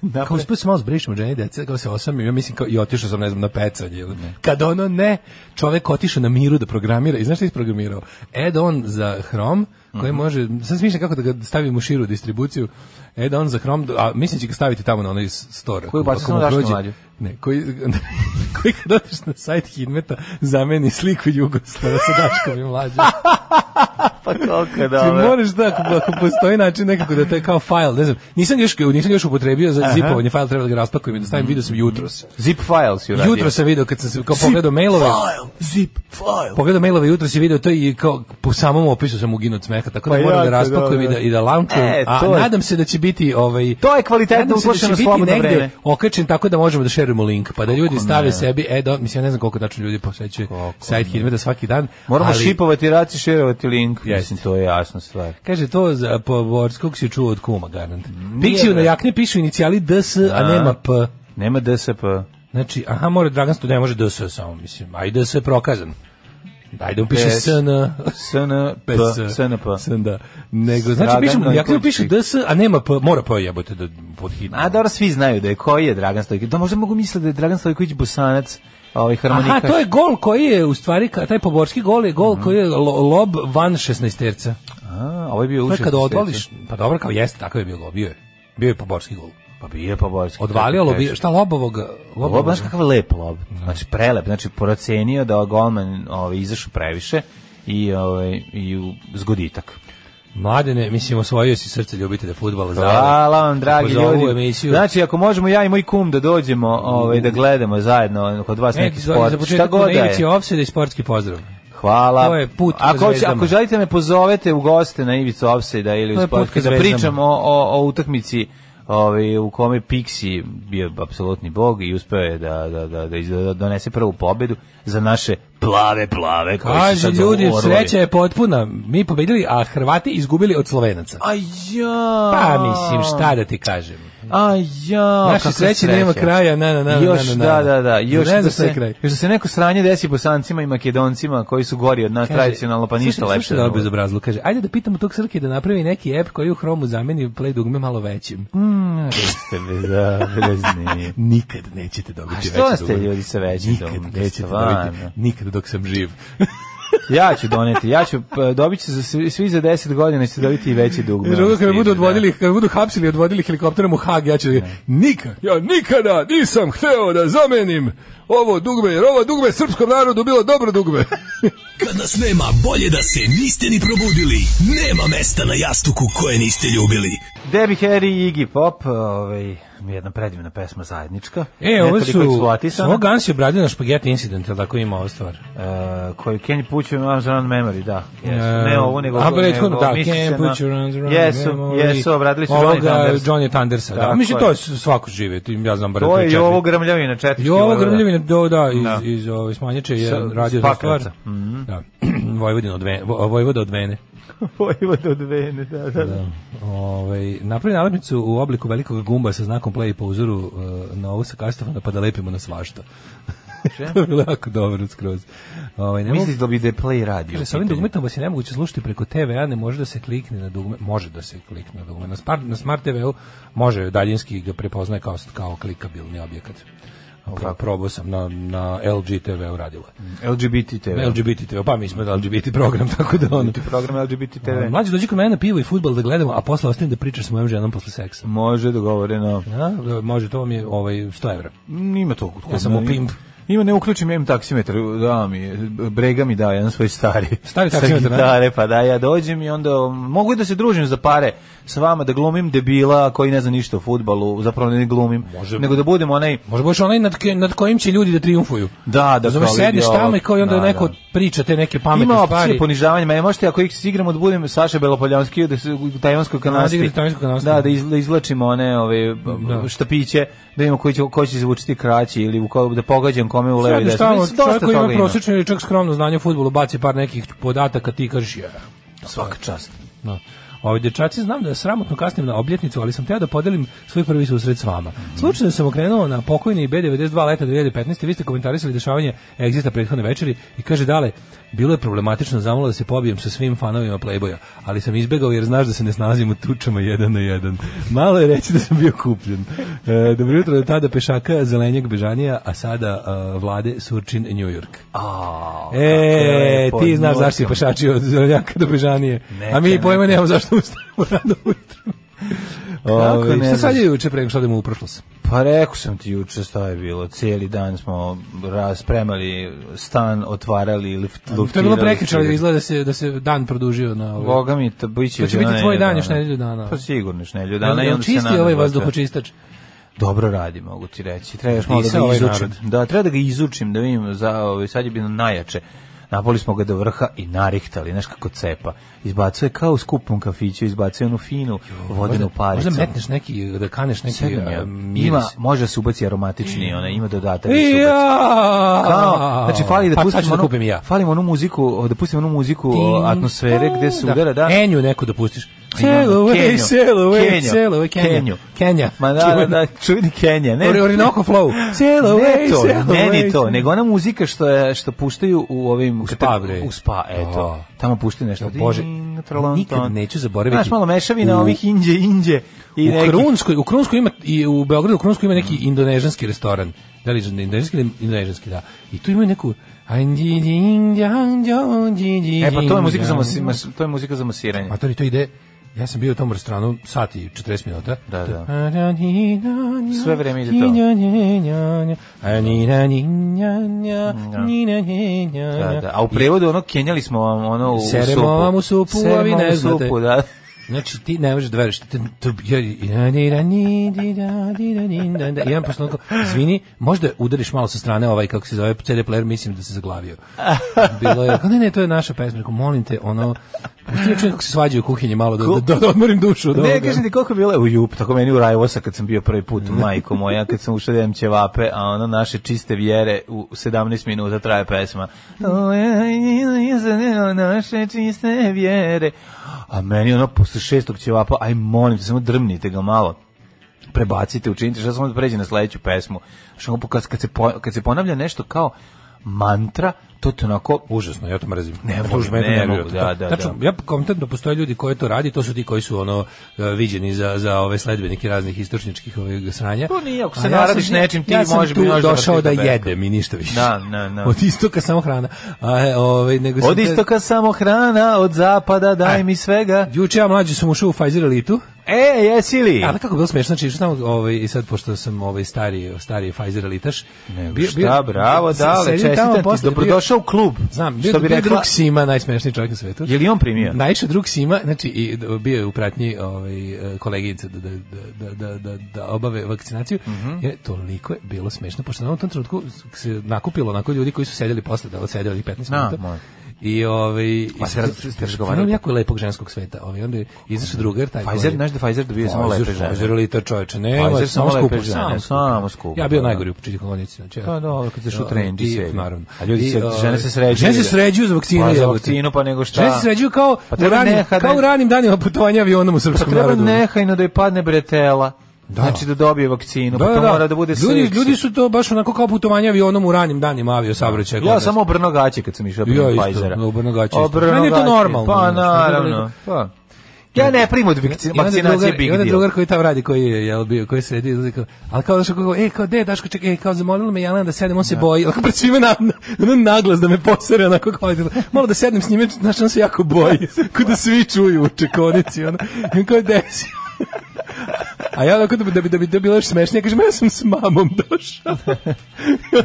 Speaker 5: Kao
Speaker 6: Napred-
Speaker 5: uspio sam malo zbrišim od žene i dece, kao se osamim, ja mislim kao i otišao sam, ne znam, na pecanje. Ili. Kad ono ne, čovek otišao na miru da programira, i znaš šta je isprogramirao? Add-on za Hrom,
Speaker 6: Mhm.
Speaker 5: koji može, sad smišljam kako da ga stavim u širu distribuciju, add-on za Hrom, a mislim će ga staviti tamo na onaj store.
Speaker 6: Koji
Speaker 5: ako-
Speaker 6: bacio
Speaker 5: ako
Speaker 6: na
Speaker 5: mu
Speaker 6: Daško
Speaker 5: prođe.
Speaker 6: Mlađu?
Speaker 5: Ne, koji, <laughs> koji kad odeš na sajt Hidmeta, zameni sliku Jugoslava sa Daškom i mlađom.
Speaker 6: Pa koliko je
Speaker 5: Ti
Speaker 6: dobro.
Speaker 5: moraš da ako, ako postoji način nekako da to je kao file, ne znam. Nisam ga još nisam ga još upotrebio za zipovanje fajla, treba da ga raspakujem i da
Speaker 6: Mm.
Speaker 5: stavim, video sam jutros.
Speaker 6: Zip file si uradio.
Speaker 5: Jutro sam video kad sam se kao pogledao mailove. Pa
Speaker 6: zip file.
Speaker 5: Pogledao mailove jutro si video to i kao po samom opisu sam uginut od smeka, tako da
Speaker 6: Pa
Speaker 5: moram da
Speaker 6: jako
Speaker 5: raspakujem i da,
Speaker 6: dobro.
Speaker 5: i da launchujem.
Speaker 6: E,
Speaker 5: a
Speaker 6: to je-
Speaker 5: nadam se da će biti ovaj
Speaker 6: To je kvalitetno
Speaker 5: nadam se
Speaker 6: uplašeno
Speaker 5: će biti
Speaker 6: slobodno
Speaker 5: negde
Speaker 6: vreme.
Speaker 5: Okačen tako da možemo da šerujemo link, pa da ljudi stave sebi, e, da, mislim, ja ne znam koliko tačno ljudi posećuje sajt Hidmeta svaki dan.
Speaker 6: Moramo
Speaker 5: ali-
Speaker 6: šipovati raci, šerovati link.
Speaker 5: Jeste.
Speaker 6: Mislim, to je jasna stvar.
Speaker 5: Kaže to za Poborskog si čuo od kuma garant. Pixiju na
Speaker 6: bre.
Speaker 5: jakni pišu inicijali DS, a nema P.
Speaker 6: Nema DSP.
Speaker 5: Znači, aha, mora Dragan Sto, ne može DS samo, mislim. A i DS je prokazan. Daj da mu piše SN,
Speaker 6: SNP,
Speaker 5: PS,
Speaker 6: SNP.
Speaker 5: SN, da. Nego, znači,
Speaker 6: Dragan
Speaker 5: piše, mu- ja kada
Speaker 6: Stojković
Speaker 5: piše DS, a nema P, mora P jebote da pod hitno.
Speaker 6: A dobro, svi znaju da je koji je Dragan Stojković. Da možda mogu misliti da je Dragan Stojković bosanac, ovaj harmonikaš.
Speaker 5: Aha, to je gol koji je u stvari ka- taj poborski gol je gol koji je lo- lob van 16-terca.
Speaker 6: A, ovo je bio
Speaker 5: To je
Speaker 6: ušak.
Speaker 5: kada
Speaker 6: u
Speaker 5: odvališ,
Speaker 6: svetu.
Speaker 5: pa dobro kao jeste, tako je bio gol, bio je. Bio je poborski gol.
Speaker 6: Pa bio je pa Borski.
Speaker 5: Odvalio
Speaker 6: Tako
Speaker 5: lobi,
Speaker 6: teško.
Speaker 5: šta lobovog,
Speaker 6: Lob,
Speaker 5: lobovog.
Speaker 6: znaš kakav lep lob. Znači, prelep. Znači, procenio da golman ovaj, izašao previše i, ovaj, i u zgoditak.
Speaker 5: Mladene, mislim, osvojio si srce ljubitelja fudbala za
Speaker 6: Hvala vam, dragi
Speaker 5: Za ovu
Speaker 6: ljudi.
Speaker 5: emisiju.
Speaker 6: Znači, ako možemo ja i moj kum da dođemo ovaj, da gledamo zajedno kod vas neki
Speaker 5: E, za
Speaker 6: sport, šta
Speaker 5: početak
Speaker 6: god
Speaker 5: na
Speaker 6: da
Speaker 5: ivici
Speaker 6: je.
Speaker 5: ofsajda i sportski pozdrav.
Speaker 6: Hvala.
Speaker 5: To je put ka
Speaker 6: ako, hoće-
Speaker 5: zvezdama.
Speaker 6: ako želite me pozovete u goste na Ivicu Offside ili
Speaker 5: To
Speaker 6: u
Speaker 5: je put
Speaker 6: sport,
Speaker 5: ka
Speaker 6: da
Speaker 5: zvezdama.
Speaker 6: pričamo o, o, o utakmici ovaj, u kome je Pixi bio apsolutni bog i uspeo je da, da, da, da, iz- da donese prvu pobedu za naše plave, plave. koji su
Speaker 5: Kaže
Speaker 6: sad
Speaker 5: ljudi,
Speaker 6: orlovi.
Speaker 5: sreća je potpuna. Mi pobedili, a Hrvati izgubili od Slovenaca.
Speaker 6: A ja.
Speaker 5: Pa mislim, šta da ti kažem.
Speaker 6: A ja.
Speaker 5: Naše
Speaker 6: kakva
Speaker 5: sreće nema
Speaker 6: sreća.
Speaker 5: kraja, na, na, na, na,
Speaker 6: još,
Speaker 5: na, na, na.
Speaker 6: da, da, da, još
Speaker 5: Ne
Speaker 6: da
Speaker 5: znam šta je
Speaker 6: se,
Speaker 5: kraj.
Speaker 6: još da se neko sranje desi bosancima i makedoncima koji su gori od nas
Speaker 5: Kaže,
Speaker 6: tradicionalno, pa ništa
Speaker 5: slušaj,
Speaker 6: lepše.
Speaker 5: Slušaj
Speaker 6: ne
Speaker 5: dobro
Speaker 6: bude.
Speaker 5: bezobrazlu, kaže, ajde da pitamo tog Srke da napravi neki app koji u Hromu zameni play dugme malo većim.
Speaker 6: Mm, vi ste bezobrazni.
Speaker 5: Nikad nećete dobiti
Speaker 6: A
Speaker 5: veće
Speaker 6: što ste
Speaker 5: dugme.
Speaker 6: ljudi sa većim dugmom?
Speaker 5: Nikad nećete
Speaker 6: Stvarno.
Speaker 5: dobiti, nikad dok sam živ.
Speaker 6: ja ću doneti, ja ću, pa, dobit će za svi, svi za 10 godina će dobiti i veći dugme.
Speaker 5: Jer ono kada me budu
Speaker 6: Stiže, da.
Speaker 5: odvodili, kada me budu hapsili i odvodili helikopterom u Hag, ja ću da nikad, ja nikada nisam hteo da zamenim ovo dugme, jer ovo dugme srpskom narodu bilo dobro dugme.
Speaker 1: Kad nas nema, bolje da se niste ni probudili. Nema mesta na jastuku koje niste ljubili.
Speaker 6: Debbie Harry i Iggy Pop, ovaj, jedna predivna pesma zajednička.
Speaker 5: E, ovo
Speaker 6: Nekoliko
Speaker 5: su,
Speaker 6: eksploatisana.
Speaker 5: ovo Gans je obradio na špageti incident, ili tako ima ovo stvar?
Speaker 6: Uh, koji Can you put your arms around memory, da. Jesu.
Speaker 5: E,
Speaker 6: Ne ovo, nego...
Speaker 5: a, bre,
Speaker 6: nego
Speaker 5: tko- da,
Speaker 6: misli se
Speaker 5: Can't
Speaker 6: na-
Speaker 5: put your arms around
Speaker 6: Jesu, jesu, obradili su Johnny Thunders.
Speaker 5: Johnny Thundersa, da.
Speaker 6: Tako
Speaker 5: Mislim,
Speaker 6: je.
Speaker 5: to je s- svako žive, ti- ja znam bar
Speaker 6: To
Speaker 5: tri,
Speaker 6: je i
Speaker 5: četiri.
Speaker 6: ovo grmljavina, četvrti.
Speaker 5: I ovo
Speaker 6: ovaj, da. <laughs>
Speaker 5: grmljavina, do, da, iz,
Speaker 6: Da.
Speaker 5: iz ove smanječe je
Speaker 6: Sa-
Speaker 5: radio
Speaker 6: iz
Speaker 5: za stvar.
Speaker 6: Pakraca. Mhm.
Speaker 5: Da. <clears throat> Vojvodina od Vene, Vo- Vojvoda od Vene.
Speaker 6: Vojvod od Vene, da, da. da.
Speaker 5: Ovaj napravi nalepnicu u obliku velikog gumba sa znakom play po uzoru uh, na ovu sa kastofona pa da lepimo na svašta. <laughs> to je bilo jako dobro skroz. Ovaj ne
Speaker 6: Misliš
Speaker 5: mogu,
Speaker 6: da bi da play radio?
Speaker 5: kaže, sa ovim dugmetom vas je nemoguće slušati preko TV-a, ne može da se klikne na dugme, može da se klikne na dugme. Na smart, na smart TV-u može daljinski ga prepoznaje kao, kao klikabilni objekat. Pro, probao sam na, na LG TV-u radilo. je.
Speaker 6: LGBT TV.
Speaker 5: LGBT TV, pa mi smo da LGBT program, <laughs> tako da ono...
Speaker 6: Program LGBT TV.
Speaker 5: Mlađi dođi kod mene na pivo i futbal da gledamo, a posle ostavim da pričaš s mojom ženom posle seksa.
Speaker 6: Može dogovoreno.
Speaker 5: A, da, može, to vam je ovaj, 100 evra.
Speaker 6: Ima to. kod
Speaker 5: Ja sam
Speaker 6: mene.
Speaker 5: u pimp.
Speaker 6: Ima, ne uključim, ja imam taksimetar, da mi, je, brega mi da, jedan svoj stari.
Speaker 5: Stari
Speaker 6: Sa
Speaker 5: taksimetar, ne?
Speaker 6: gitare, pa da, ja dođem i onda mogu i da se družim za pare s vama, da glumim debila koji ne zna ništa o futbalu, zapravo ne glumim,
Speaker 5: Može.
Speaker 6: nego da budem onaj,
Speaker 5: Može budeš onaj nad, ke- nad kojim će ljudi da triumfuju.
Speaker 6: da, da
Speaker 5: Zoveš,
Speaker 6: kao
Speaker 5: sedneš
Speaker 6: vidi
Speaker 5: tamo
Speaker 6: ovog,
Speaker 5: i kao i onda
Speaker 6: da,
Speaker 5: neko
Speaker 6: da.
Speaker 5: priča te neke pametne
Speaker 6: Ima opcije
Speaker 5: stvari.
Speaker 6: ponižavanja, mene možete ako ih igramo da budem Saša Belopoljanski da se u tajvanskoj kanasti.
Speaker 5: Da, da igra tajvansku kanastu.
Speaker 6: Da, da iz- da izvlačimo one ove b- b- štapiće, da vidimo koji će koji će izvučiti kraći ili u ko, da pogađam kome u levi
Speaker 5: Sedneš
Speaker 6: desni.
Speaker 5: tamo,
Speaker 6: Mislim, dosta
Speaker 5: čovjek koji ima
Speaker 6: toga
Speaker 5: prosječno ili čak skromno znanje o futbolu, baci par nekih podataka, ti kažeš je.
Speaker 6: Svaka čast.
Speaker 5: Da. Ovi dečaci znam da je sramotno kasnim na obljetnicu, ali sam teo da podelim svoj prvi susret s vama.
Speaker 6: Mhm.
Speaker 5: Slučajno sam okrenuo na pokojni B92 leta 2015. Vi ste komentarisali dešavanje egzista prethodne večeri i kaže dale, bilo je problematično zamolo da se pobijem sa svim fanovima Playboya, ali sam izbegao jer znaš da se ne snalazim u tučama jedan na jedan. Malo je reći da sam bio kupljen. E, dobro jutro do tada pešaka Zelenjak Bežanija, a sada e, vlade Surčin New York.
Speaker 6: A,
Speaker 5: E, ti znaš zašto je
Speaker 6: pa
Speaker 5: pešači od Zelenjaka do Bežanije.
Speaker 6: Neka,
Speaker 5: A mi
Speaker 6: neka.
Speaker 5: pojma nemamo zašto ustavimo rano ujutro.
Speaker 6: <laughs> Kako
Speaker 5: Ove,
Speaker 6: ne
Speaker 5: Šta
Speaker 6: znaš?
Speaker 5: sad je juče pre nego što odemo u prošlost?
Speaker 6: Pa rekao sam ti juče šta je bilo. Cijeli dan smo raspremali stan, otvarali, lift, luftirali.
Speaker 5: To je bilo prekriče, ali izgleda da se, da se dan produžio na ovaj- ovo.
Speaker 6: Boga mi, to biće
Speaker 5: To će biti tvoj dan još nedelju dana.
Speaker 6: Pa sigurno još nedelju
Speaker 5: Jel-
Speaker 6: dana. i
Speaker 5: jel
Speaker 6: onda se
Speaker 5: čisti
Speaker 6: nadam
Speaker 5: ovaj
Speaker 6: da će-
Speaker 5: vazduhočistač.
Speaker 6: Dobro radi, mogu ti reći. Treba još malo da
Speaker 5: Pisao
Speaker 6: ga
Speaker 5: ovaj
Speaker 6: izučim.
Speaker 5: narod.
Speaker 6: Da, treba da ga izučim, da vidim, za, ovaj, sad je bilo najjače. Napoli smo ga do vrha i narihtali, znaš kako cepa. Izbacuje kao u skupom kafiću, izbacuje onu finu vodenu paricu.
Speaker 5: Možda metneš neki, da kaneš neki
Speaker 6: Sedam je.
Speaker 5: a, miris.
Speaker 6: Ima, može da se ubaci aromatični, ona, ima dodatak da se ubaci.
Speaker 5: Ja!
Speaker 6: Kao, znači fali da
Speaker 5: pa,
Speaker 6: pustimo
Speaker 5: sad ću da
Speaker 6: onu,
Speaker 5: kupim i ja.
Speaker 6: falimo onu muziku, da pustimo onu muziku o, atmosfere gde se udara, da.
Speaker 5: Enju neku da pustiš. Sail
Speaker 6: ono,
Speaker 5: away,
Speaker 6: Kenju.
Speaker 5: sail away,
Speaker 6: Kenju.
Speaker 5: sail away, Kenja.
Speaker 6: Kenju.
Speaker 5: Kenja.
Speaker 6: Ma da, da, da, čuveni Kenja. Ne,
Speaker 5: Ori- Orinoco flow. Sail away,
Speaker 6: ne to,
Speaker 5: sail
Speaker 6: ne
Speaker 5: away.
Speaker 6: ni to, nego ona muzika što, je, što puštaju u ovim... U
Speaker 5: spa, bre.
Speaker 6: U spa, eto.
Speaker 5: Da.
Speaker 6: Tamo puštaju nešto.
Speaker 5: Bože,
Speaker 6: Ding, tralon,
Speaker 5: nikad
Speaker 6: ton.
Speaker 5: neću zaboraviti.
Speaker 6: Znaš, malo mešavina
Speaker 5: U-
Speaker 6: ovih inđe, inđe. I
Speaker 5: u
Speaker 6: nekih
Speaker 5: Krunskoj, u Krunskoj ima i u Beogradu u Krunskoj ima neki indonežanski restoran. Da li je indonežanski ili indonežanski, da. I tu imaju neku
Speaker 6: E pa to je muzika za masi- mas, Pa to je muzika za masiranje.
Speaker 5: A to li to ide Ja sam bio u tom restoranu sat i 40 minuta.
Speaker 6: Da, da.
Speaker 5: Sve
Speaker 6: Sve vreme ide to. Da, da. A u prevodu ono kenjali smo vam ono u
Speaker 5: Seremo
Speaker 6: supu.
Speaker 5: vam u supu, a vi
Speaker 6: Seremo
Speaker 5: ne
Speaker 6: u supu,
Speaker 5: znate.
Speaker 6: da.
Speaker 5: Znači ti ne možeš da veruješ. Ti- to- ja- ja- ni- ra- ni- di- ra- di- ra- ni- da- da. I jedan posle onako, izvini, možda udariš malo sa strane ovaj, kako se zove, CD player, mislim da se zaglavio. Bilo je, ne, ne, to je naša pesma, Rekao, molim te, ono, pusti da čujem kako se svađaju u kuhinji malo, da, da, da odmorim dušu od
Speaker 6: Ne,
Speaker 5: ovoga.
Speaker 6: kažem ti koliko je bilo u Jup, tako meni u Rajvosa kad sam bio prvi <laughs> put, majko moja, kad sam ušao da jem ćevape, a ono naše čiste vjere u 17 minuta traje pesma. To je naše čiste vjere. A meni ono posle šestog ćevapa, aj molim te, samo drmnite ga malo prebacite, učinite, šta samo da pređe na sledeću pesmu. Što ono, kad, kad, se po, kad se ponavlja nešto kao mantra, to te onako
Speaker 5: Užasno, ja to mrzim.
Speaker 6: Ne
Speaker 5: To
Speaker 6: mogu,
Speaker 5: užasno, mene
Speaker 6: ne
Speaker 5: nervira
Speaker 6: mogu,
Speaker 5: to.
Speaker 6: da, da,
Speaker 5: Tačno,
Speaker 6: da.
Speaker 5: ja kontent da postoje ljudi koji to radi, to su ti koji su ono e, viđeni za za ove sledbenike raznih istočničkih ovih sranja.
Speaker 6: To nije, ako se
Speaker 5: A ja
Speaker 6: naradiš
Speaker 5: sam-
Speaker 6: nečim, ti
Speaker 5: ja sam
Speaker 6: možeš
Speaker 5: tu
Speaker 6: bi možda
Speaker 5: došao da
Speaker 6: vrtiti bekom.
Speaker 5: jedem i ništa više.
Speaker 6: Da, da, da.
Speaker 5: Od istoka samo hrana. A e, ovaj nego sam
Speaker 6: Od
Speaker 5: te-
Speaker 6: istoka samo hrana, od zapada daj
Speaker 5: E.
Speaker 6: mi svega.
Speaker 5: Juče ja mlađi sam ušao u Pfizer elitu.
Speaker 6: E, jesi li?
Speaker 5: A da kako je bilo smešno, znači tamo ovaj i sad pošto sam ovaj stari stari Pfizer elitaš.
Speaker 6: Nego
Speaker 5: bio-
Speaker 6: šta,
Speaker 5: bio-
Speaker 6: bravo,
Speaker 5: se-
Speaker 6: dale,
Speaker 5: sedim tamo
Speaker 6: čestitam ti,
Speaker 5: posle, bio-
Speaker 6: dobrodošao u klub.
Speaker 5: Znam, bio,
Speaker 6: što bi
Speaker 5: bio
Speaker 6: rekla,
Speaker 5: drug Sima, najsmešniji čovjek na svetu.
Speaker 6: je li on primio?
Speaker 5: Najče drug Sima, znači i d- bio je u pratnji ovaj e, koleginice da da da da da da obave vakcinaciju.
Speaker 6: Mhm.
Speaker 5: Je toliko je bilo smešno pošto na tom trenutku se nakupilo onako ljudi koji su sedeli posle da odsede ovih 15
Speaker 6: Na,
Speaker 5: minuta.
Speaker 6: moj.
Speaker 5: I ovaj
Speaker 6: Pa se raz-
Speaker 5: i-
Speaker 6: ste razgovarali?
Speaker 5: Imam jako lepog ženskog sveta. Ovaj onda je izašao drugar taj
Speaker 6: Pfizer, znaš da Pfizer dobije samo lepe žene.
Speaker 5: Pfizer ili to čoveče, ne,
Speaker 6: Pfizer
Speaker 5: samo
Speaker 6: samo lepe
Speaker 5: skupo
Speaker 6: žene,
Speaker 5: žene.
Speaker 6: samo skupo,
Speaker 5: Ja bio
Speaker 6: da.
Speaker 5: najgori u početku kolonice, znači. ja-
Speaker 6: Pa dobro, kad se u
Speaker 5: I,
Speaker 6: trendi se.
Speaker 5: naravno.
Speaker 6: A ljudi se,
Speaker 5: I, ovaj,
Speaker 6: žene se sređuju.
Speaker 5: Žene se sređuju za vakcinu.
Speaker 6: Pa za
Speaker 5: jebote.
Speaker 6: vakcinu, pa nego šta?
Speaker 5: Žene se sređuju kao,
Speaker 6: Pa
Speaker 5: u,
Speaker 6: treba
Speaker 5: ranim,
Speaker 6: nehajno-
Speaker 5: kao u ranim danima putovanja avionom u
Speaker 6: Pa
Speaker 5: srpskom
Speaker 6: treba
Speaker 5: narodu.
Speaker 6: nehajno da je padne bretela. Znači da dobije vakcinu,
Speaker 5: Da,
Speaker 6: pa
Speaker 5: da,
Speaker 6: to
Speaker 5: da.
Speaker 6: mora da bude
Speaker 5: ljudi,
Speaker 6: seksi.
Speaker 5: ljudi su to baš onako kao putovanje avionom u ranim danima avio saobraćaja. kod
Speaker 6: Ja
Speaker 5: nas.
Speaker 6: sam obrno gaće kad sam išao
Speaker 5: Ja
Speaker 6: prije
Speaker 5: isto,
Speaker 6: Pfizera.
Speaker 5: obrnuo gaće isto.
Speaker 6: Obrnuo
Speaker 5: Meni je to
Speaker 6: gaće.
Speaker 5: normalno,
Speaker 6: Pa
Speaker 5: znaš,
Speaker 6: naravno. Pa. Ja ne primam od vakci-
Speaker 5: I onda
Speaker 6: vakcinacije
Speaker 5: drugar-
Speaker 6: big
Speaker 5: I onda
Speaker 6: deal.
Speaker 5: <laughs> drugar koji tam radi, koji je jel, bio, koji sedi, izlazi kao, ali kao došao kao, e, kao, de, Daško, čekaj, e, kao zamolila me Jelena da sedem, on se boji, ali kao pred svima na, na, naglas da me posere, onako kao, malo da sednem s njime, znaš, on se jako
Speaker 6: <laughs>
Speaker 5: boji, kao da svi čuju u čekonici, ono, i on kao, desi. A ja onako da bi, da bi, da bi, da bi bilo još smešnije, kažem, ja sam s mamom
Speaker 6: <laughs>
Speaker 5: došao.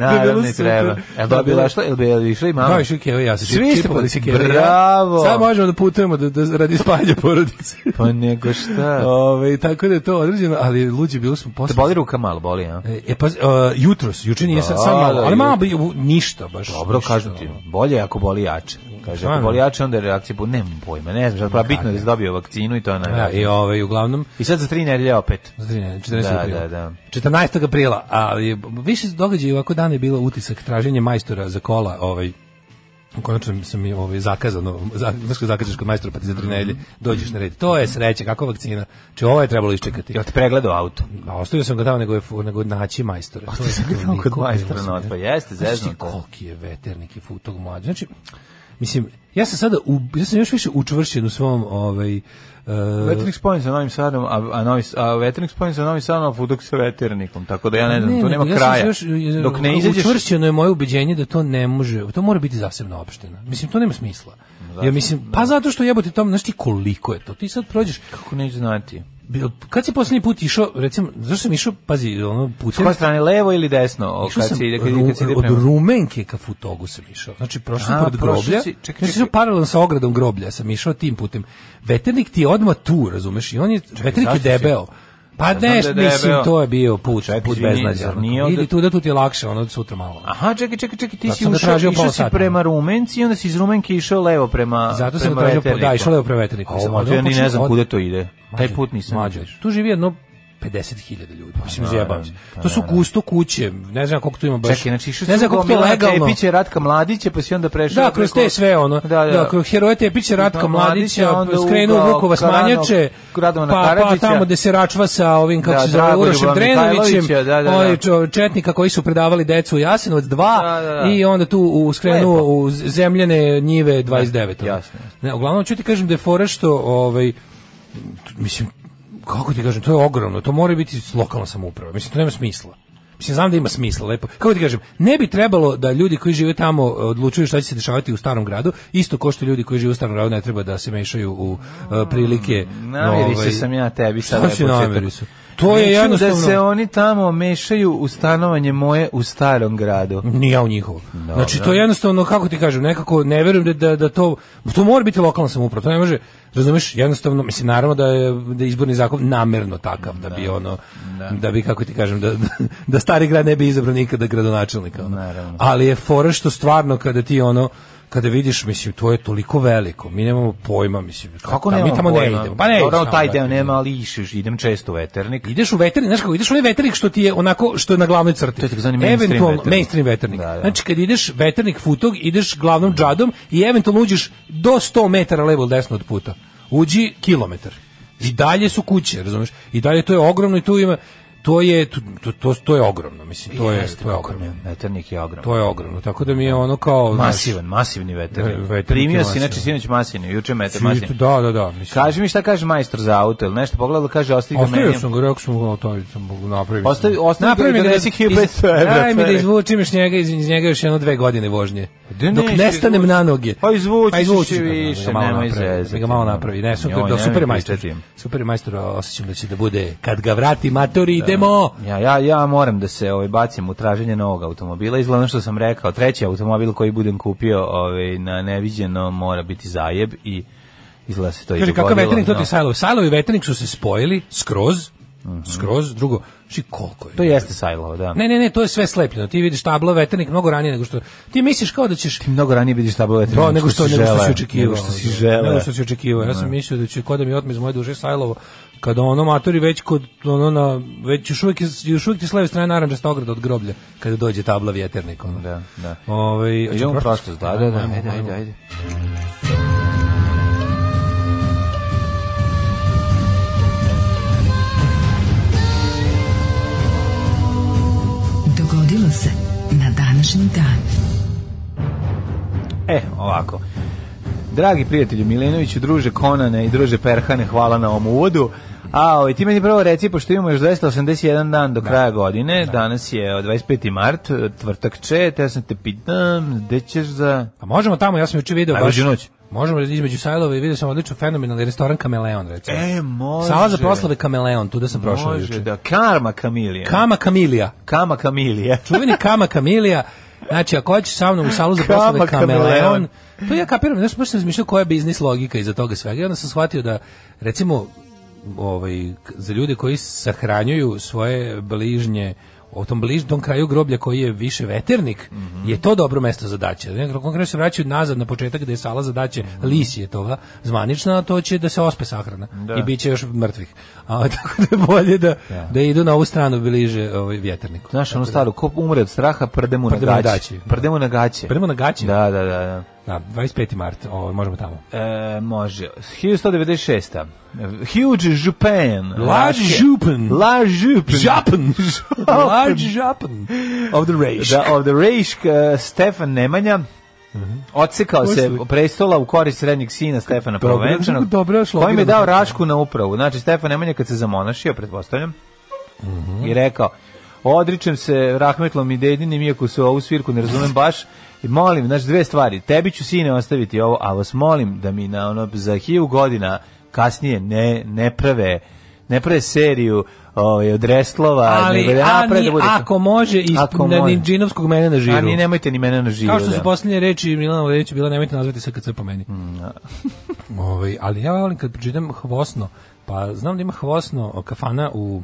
Speaker 6: Naravno, ne treba. Jel dobila što? Jel bi išla i mama?
Speaker 5: Da, išli Keva i ja se
Speaker 6: Svi ste
Speaker 5: čipali se
Speaker 6: pod-
Speaker 5: Keva i ja.
Speaker 6: Bravo!
Speaker 5: Sad možemo da putujemo da, da radi spajanja porodice.
Speaker 6: Pa nego šta?
Speaker 5: Ove, tako <laughs> da je to određeno, ali luđi bili smo
Speaker 6: Te
Speaker 5: posle.
Speaker 6: boli ruka malo, boli, a?
Speaker 5: E, pa, uh, jutros, juče nije sad,
Speaker 6: Da,
Speaker 5: sad malo,
Speaker 6: da,
Speaker 5: ali malo bi ništa baš.
Speaker 6: Dobro,
Speaker 5: ništa,
Speaker 6: kažem ti, bolje ako boli jače. Kaže, ako
Speaker 5: Stvarno?
Speaker 6: boli jače, onda je reakcija, bu- nemam pojma, ne znam, šta, pa bitno je da si dobio vakcinu i to je
Speaker 5: Da,
Speaker 6: najvažnije.
Speaker 5: i ovaj, uglavnom,
Speaker 6: I sad za tri nedelje opet.
Speaker 5: za 13, 14.
Speaker 6: Da,
Speaker 5: aprila.
Speaker 6: da, da.
Speaker 5: 14. aprila, ali više događaja ovako dana je bilo utisak traženje majstora za kola, ovaj, konačno sam mi ovaj zakazano, za- znaš kad zakažeš kod majstora pa ti za
Speaker 6: Mhm.
Speaker 5: tri nedelje dođeš na red. To je sreće, kako vakcina. Če ovo je trebalo iščekati.
Speaker 6: Jel te pregledao auto?
Speaker 5: A ostavio sam ga tamo nego je fu- nego naći majstora. To je
Speaker 6: sam ga
Speaker 5: to
Speaker 6: tamo
Speaker 5: niko
Speaker 6: kod
Speaker 5: ne
Speaker 6: majstora
Speaker 5: može.
Speaker 6: na otpad. pa Jeste,
Speaker 5: Znaš ti
Speaker 6: zeznuto je.
Speaker 5: Koliki je veternik i fu- tog mlađa. Znači, mislim, ja sam sada, u, ja sam još više učvršćen u svom, ovaj, e,
Speaker 6: Veternik spojen sa Novim Sadom, a, a, novi, a veternik spojen sa Novim Sadom, a Fudok sa veternikom, tako da ja ne znam, to
Speaker 5: Pa nego
Speaker 6: nema
Speaker 5: ja sam
Speaker 6: kraja.
Speaker 5: se još, e,
Speaker 6: Dok ne izađeš...
Speaker 5: Učvršćeno je moje ubeđenje da to ne može, to mora biti zasebno opština. Mislim, to nema smisla. Ja mislim, pa zato što jebote tamo, znaš ti koliko je to? Ti sad prođeš,
Speaker 6: Kako neću znati?
Speaker 5: bil- kad si poslednji put išao, recimo, zašto sam išao, pazi, ono,
Speaker 6: S
Speaker 5: putem...
Speaker 6: koje strane, levo ili desno? O,
Speaker 5: Išao
Speaker 6: kad
Speaker 5: sam
Speaker 6: se ide, kad,
Speaker 5: Ru-
Speaker 6: kad se ide
Speaker 5: od
Speaker 6: prema...
Speaker 5: Rumenke ka Futogu sam išao. Znači, prošao sam
Speaker 6: A,
Speaker 5: pored
Speaker 6: prošao si-
Speaker 5: groblja.
Speaker 6: čekaj, čekaj.
Speaker 5: Znači, sam paralelno sa ogradom groblja sam išao tim putem. Veternik ti je odmah tu, razumeš? I on je, veternik je
Speaker 6: zašto si-
Speaker 5: debeo. Pa
Speaker 6: znam
Speaker 5: ne,
Speaker 6: da je
Speaker 5: mislim,
Speaker 6: debeo.
Speaker 5: to je bio put,
Speaker 6: Čekaj,
Speaker 5: put
Speaker 6: izvini,
Speaker 5: beznađa.
Speaker 6: zar
Speaker 5: onako.
Speaker 6: nije ovde-
Speaker 5: Idi tu da tu ti je lakše, ono sutra malo.
Speaker 6: Aha, čekaj, čekaj, čekaj, ti
Speaker 5: Zato
Speaker 6: si
Speaker 5: sam ga
Speaker 6: ušao,
Speaker 5: tražio
Speaker 6: išao
Speaker 5: pola
Speaker 6: si
Speaker 5: sata.
Speaker 6: prema Rumenci i onda si iz Rumenke išao levo prema
Speaker 5: Zato sam
Speaker 6: prema
Speaker 5: ga tražio, po- da,
Speaker 6: Veterniku.
Speaker 5: išao levo prema veterniku.
Speaker 6: A,
Speaker 5: Sam-
Speaker 6: ma,
Speaker 5: ali
Speaker 6: to ja
Speaker 5: on
Speaker 6: ni
Speaker 5: počinje
Speaker 6: ne znam
Speaker 5: od-
Speaker 6: kude to ide. Taj
Speaker 5: Mlađe,
Speaker 6: put nisam
Speaker 5: mlađe.
Speaker 6: išao.
Speaker 5: Tu živi jedno 50.000 ljudi. Mislim,
Speaker 6: Pa
Speaker 5: zjebam
Speaker 6: naravno,
Speaker 5: se.
Speaker 6: pa
Speaker 5: To su
Speaker 6: naravno.
Speaker 5: gusto kuće, ne znam koliko tu ima baš.
Speaker 6: Čekaj, znači išao
Speaker 5: ne znam koliko to legalno.
Speaker 6: Tepiće, Ratka Mladića, pa si onda prešao...
Speaker 5: Da, kroz te sve ono. Da, da. kroz heroje Tepića, Ratka
Speaker 6: Pa Mladića,
Speaker 5: Mladića,
Speaker 6: onda
Speaker 5: skrenuo
Speaker 6: ugao
Speaker 5: u Vukovac
Speaker 6: Karano-
Speaker 5: Manjače,
Speaker 6: Radovana
Speaker 5: pa, pa
Speaker 6: Karadžića.
Speaker 5: tamo gde se račva sa ovim, kako
Speaker 6: Da,
Speaker 5: se zove,
Speaker 6: Dragoljubom
Speaker 5: Urošem Drenovićem,
Speaker 6: Mihajlovića, da, da, da.
Speaker 5: oni čo- četnika koji su predavali decu u Jasenovac 2
Speaker 6: Da, da, da.
Speaker 5: i onda tu u, skrenuo
Speaker 6: Lepo.
Speaker 5: u zemljene njive 29. ono.
Speaker 6: Jasno,
Speaker 5: Ne, uglavnom ću ti kažem da je fora što, ovaj, mislim, kako ti kažem, to je ogromno, to mora biti lokalna samouprava, mislim, to nema smisla. Mislim, znam da ima smisla, lepo. Kako ti kažem, ne bi trebalo da ljudi koji žive tamo e, odlučuju šta će se dešavati u starom gradu, isto ko što ljudi koji žive u starom gradu ne treba da se mešaju u e, prilike.
Speaker 6: Mm, Namiri
Speaker 5: ovaj,
Speaker 6: se sam ja tebi
Speaker 5: Šta
Speaker 6: sad ovaj
Speaker 5: si
Speaker 6: početak.
Speaker 5: namiri se? To je
Speaker 6: Neću
Speaker 5: jednostavno-
Speaker 6: da se oni tamo mešaju u stanovanje moje u starom gradu.
Speaker 5: Ni ja u njihovo. znači, to je jednostavno, kako ti kažem, nekako ne verujem da, da, da to, to mora biti lokalna samouprava, to ne može, razumeš, jednostavno, mislim, naravno da je, da je izborni zakon namerno takav, da bi ono, da, bi, kako ti kažem, da, <laughs> da stari grad ne bi izabrao nikada gradonačelnika. Ono.
Speaker 6: Naravno.
Speaker 5: Ali je fora što stvarno kada ti ono, kada vidiš, mislim, to je toliko veliko, mi nemamo pojma, mislim,
Speaker 6: Kako
Speaker 5: ta-
Speaker 6: nemamo
Speaker 5: mi tamo
Speaker 6: pojma?
Speaker 5: ne idemo. Pa ne ideš
Speaker 6: Dobro,
Speaker 5: tamo,
Speaker 6: taj
Speaker 5: brate,
Speaker 6: deo nema,
Speaker 5: idemo.
Speaker 6: ali išeš, idem često u veternik.
Speaker 5: Ideš u veternik, znaš kako, ideš u onaj veternik što ti je onako, što je na glavnoj crti.
Speaker 6: To je takozvani mainstream
Speaker 5: Eventualno-
Speaker 6: veternik.
Speaker 5: mainstream veternik.
Speaker 6: Da, da.
Speaker 5: Znači kad ideš veternik futog, ideš glavnom džadom i eventualno uđeš do 100 metara levo ili desno od puta. Uđi kilometar. I dalje su kuće, razumeš? I dalje to je ogromno i tu ima to je to, to, to, to je ogromno, mislim, to je
Speaker 6: Jeste,
Speaker 5: to je
Speaker 6: kako
Speaker 5: ogromno.
Speaker 6: ne, Veternik je ogrom.
Speaker 5: To je ogromno. Tako da mi je ono kao znaš,
Speaker 6: Masivan, masivni veternik.
Speaker 5: Ne, veternik
Speaker 6: Primio
Speaker 5: je
Speaker 6: si, znači
Speaker 5: masivan.
Speaker 6: sinoć masivni, juče metar masivni.
Speaker 5: Da, da, da, mislim.
Speaker 6: Kaži mi šta kaže majstor za auto, ili nešto pogledalo, kaže ostavi ga
Speaker 5: Ostavio
Speaker 6: meni.
Speaker 5: sam ga, rekao sam ga, to sam mogu napraviti.
Speaker 6: Ostavi- ostavi ga i donesi 1500 evra,
Speaker 5: Daj mi da
Speaker 6: čovek.
Speaker 5: izvučim iz njega, iz iz njega još jedno dve godine vožnje.
Speaker 6: Pa Da
Speaker 5: Dok
Speaker 6: neće
Speaker 5: ne stanem
Speaker 6: izvući.
Speaker 5: na noge.
Speaker 6: Pa izvučiš
Speaker 5: izvučiš
Speaker 6: i
Speaker 5: ga, da, da ga
Speaker 6: više,
Speaker 5: malo
Speaker 6: nemoj
Speaker 5: napravi,
Speaker 6: zezati.
Speaker 5: Da ga malo napravi. Ne, super,
Speaker 6: Joj,
Speaker 5: da,
Speaker 6: nemoj
Speaker 5: super je majstor.
Speaker 6: pričati.
Speaker 5: Super je majstor, osjećam da će da bude. Kad ga vrati, matori, idemo!
Speaker 6: Ja, ja, ja moram da se ovaj, bacim u traženje novog automobila. Izgleda ono što sam rekao, treći automobil koji budem kupio ovaj, na neviđeno mora biti zajeb i izgleda se to i
Speaker 5: Kaže,
Speaker 6: dogodilo.
Speaker 5: kakav veternik, to ti
Speaker 6: no. Mhm.
Speaker 5: je Sajlov. Sajlov i veternik su se spojili, skroz, skroz, drugo, ši koliko je.
Speaker 6: To jeste sajlovo, da.
Speaker 5: Ne, ne, ne, to je sve slepljeno. Ti vidiš tablo veternik mnogo ranije nego što... Ti misliš kao da ćeš...
Speaker 6: Mnogo ranije vidiš tablo veternik
Speaker 5: Da, nego što, nego što si očekivao. ono,
Speaker 6: Nego što si
Speaker 5: Da,
Speaker 6: želeo.
Speaker 5: Nego što si očekivao. Ja sam mislio da će ko da mi otme iz moje duže Sajlovo kada ono matori već kod ono na već još uvijek, iz- još uvijek ti s leve strane narandžasta ograda od groblja kada dođe tabla vjeternik ono.
Speaker 6: Da, da.
Speaker 5: Ovaj
Speaker 6: Idemo
Speaker 5: hoću
Speaker 6: prosto, da, da, da,
Speaker 5: Ajmo,
Speaker 6: ajde,
Speaker 5: ajmo.
Speaker 6: ajde, ajde.
Speaker 4: Dogodilo se na današnji dan.
Speaker 6: E, ovako. Dragi prijatelju Milenoviću, druže Konane i druže Perhane, hvala na ovom uvodu. A ovaj, ti meni prvo reci, pošto imamo još 281 dan do kraja godine, danas je o, 25. mart, eh, tvrtak če, te ja sam te pitam, gde ćeš za...
Speaker 5: A možemo tamo, ja sam juče video
Speaker 6: Ajmo
Speaker 5: baš.
Speaker 6: noć.
Speaker 5: Možemo između Sajlova i vidio sam odlično fenomenalni restoran Kameleon recimo.
Speaker 6: E, može.
Speaker 5: Sala za proslave Kameleon, tu da sam prošao
Speaker 6: Može,
Speaker 5: juče.
Speaker 6: da, karma kamilija.
Speaker 5: Kama Kamilija.
Speaker 6: Kama
Speaker 5: <laughs>
Speaker 6: kamilija.
Speaker 5: čuveni Kama Kamilija. Znači, ako hoćeš sa mnom u salu za
Speaker 6: Kama
Speaker 5: poslove
Speaker 6: Kameleon.
Speaker 5: Kameleon, to ja kapiram, znaš, baš sam razmišljao koja je biznis logika iza toga svega. I onda sam shvatio da, recimo, ovaj, k- za ljude koji sahranjuju svoje bližnje u tom bližnjem kraju groblja koji je više veternik, je to dobro mesto za daće. Nekako konkretno se vraćaju nazad na početak gde je sala za daće, lis je toga, zvanična, a to će da se ospe sahrana i bit će još mrtvih. A, <laughs> tako da je bolje da, da idu na ovu stranu bliže ovaj, vjeterniku.
Speaker 6: Znaš, ono staro, ko umre od straha, prde mu na
Speaker 5: Prde mu na
Speaker 6: gaće.
Speaker 5: gaće.
Speaker 6: Prde mu na gaće.
Speaker 5: Primo na gaće.
Speaker 6: Da, da, da. da.
Speaker 5: Da, 25. mart, ovo, možemo tamo.
Speaker 6: E, može. 1196. Huge Japan.
Speaker 5: Large
Speaker 6: Raške.
Speaker 5: Japan.
Speaker 6: Large Japan.
Speaker 5: Large Japan of the race.
Speaker 6: Da, of the Reišk, e, Stefan Nemanja
Speaker 5: Mhm.
Speaker 6: odsekao se
Speaker 5: Posle.
Speaker 6: prestola u korist srednjeg sina Stefana
Speaker 5: Dobro,
Speaker 6: Provenčanog,
Speaker 5: dobro, šlo
Speaker 6: kojim je
Speaker 5: bi na
Speaker 6: dao
Speaker 5: dobro.
Speaker 6: Rašku na upravu. Znači, Stefan Nemanja kad se zamonašio, pretpostavljam,
Speaker 5: Mhm.
Speaker 6: i rekao, odričem se rahmetlom i dedinim, iako se ovu svirku ne razumem baš, i molim, znači dve stvari, tebi ću sine ostaviti ovo, a vas molim da mi na ono, za hilju godina kasnije ne, ne prave ne prave seriju ovaj, od restlova,
Speaker 5: Ali,
Speaker 6: nego da naprave
Speaker 5: ani,
Speaker 6: da bude-
Speaker 5: ako može, iz
Speaker 6: Ako
Speaker 5: na
Speaker 6: može.
Speaker 5: Ninđinovskog mene na žiru.
Speaker 6: A ni nemojte ni mene na živo.
Speaker 5: Kao što su
Speaker 6: da.
Speaker 5: posljednje reči Milana Vladevića bila, nemojte nazvati SKC po meni.
Speaker 6: Mm,
Speaker 5: <laughs> ovaj, ali ja volim kad pročitam hvosno, pa znam da ima hvosno kafana u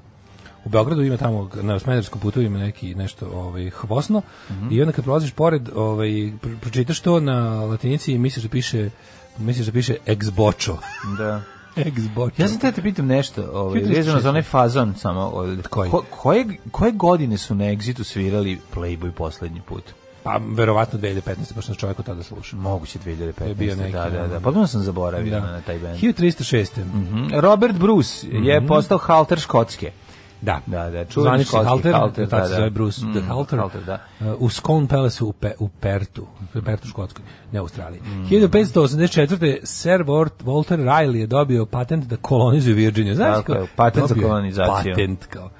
Speaker 5: u Beogradu ima tamo na Smederskom putu ima neki nešto ovaj hvosno
Speaker 6: Mhm.
Speaker 5: i onda kad prolaziš pored ovaj pr-
Speaker 6: <laughs>
Speaker 5: pročitaš to na latinici i misliš da piše misliš da piše ex bocho
Speaker 6: Da.
Speaker 5: Ex-bočar.
Speaker 6: Ja sam te te pitam nešto, ovaj,
Speaker 5: Pitam
Speaker 6: vezano
Speaker 5: što?
Speaker 6: za onaj fazon samo. Ovaj,
Speaker 5: Koji?
Speaker 6: Ko, koje, koje godine su na Exitu svirali Playboy poslednji put?
Speaker 5: Pa, verovatno 2015. Pošto sam čovjek od tada slušao.
Speaker 6: Moguće 2015.
Speaker 5: Je bio neki, ono.
Speaker 6: da, da, da.
Speaker 5: da.
Speaker 6: Potpuno sam zaboravio na taj band.
Speaker 5: 1306.
Speaker 6: Mhm. Robert Bruce
Speaker 5: Mhm.
Speaker 6: je postao halter Škotske.
Speaker 5: Da,
Speaker 6: Da, da, čuveni
Speaker 5: Zvanični
Speaker 6: škotski
Speaker 5: halter,
Speaker 6: halter,
Speaker 5: tako
Speaker 6: da,
Speaker 5: se
Speaker 6: da.
Speaker 5: zove Bruce
Speaker 6: Mm,
Speaker 5: the Halter,
Speaker 6: halter, da.
Speaker 5: uh, u Scone Palace u, Pe, u Pertu, u Pertu Škotskoj, ne u Australiji. 1584. Sir Walt- Walter Raleigh je dobio patent da kolonizuje Virginiju. Znaš
Speaker 6: Tako
Speaker 5: kao-
Speaker 6: je, patent za
Speaker 5: dobio je
Speaker 6: kolonizaciju. Mhm.
Speaker 5: Patent kao.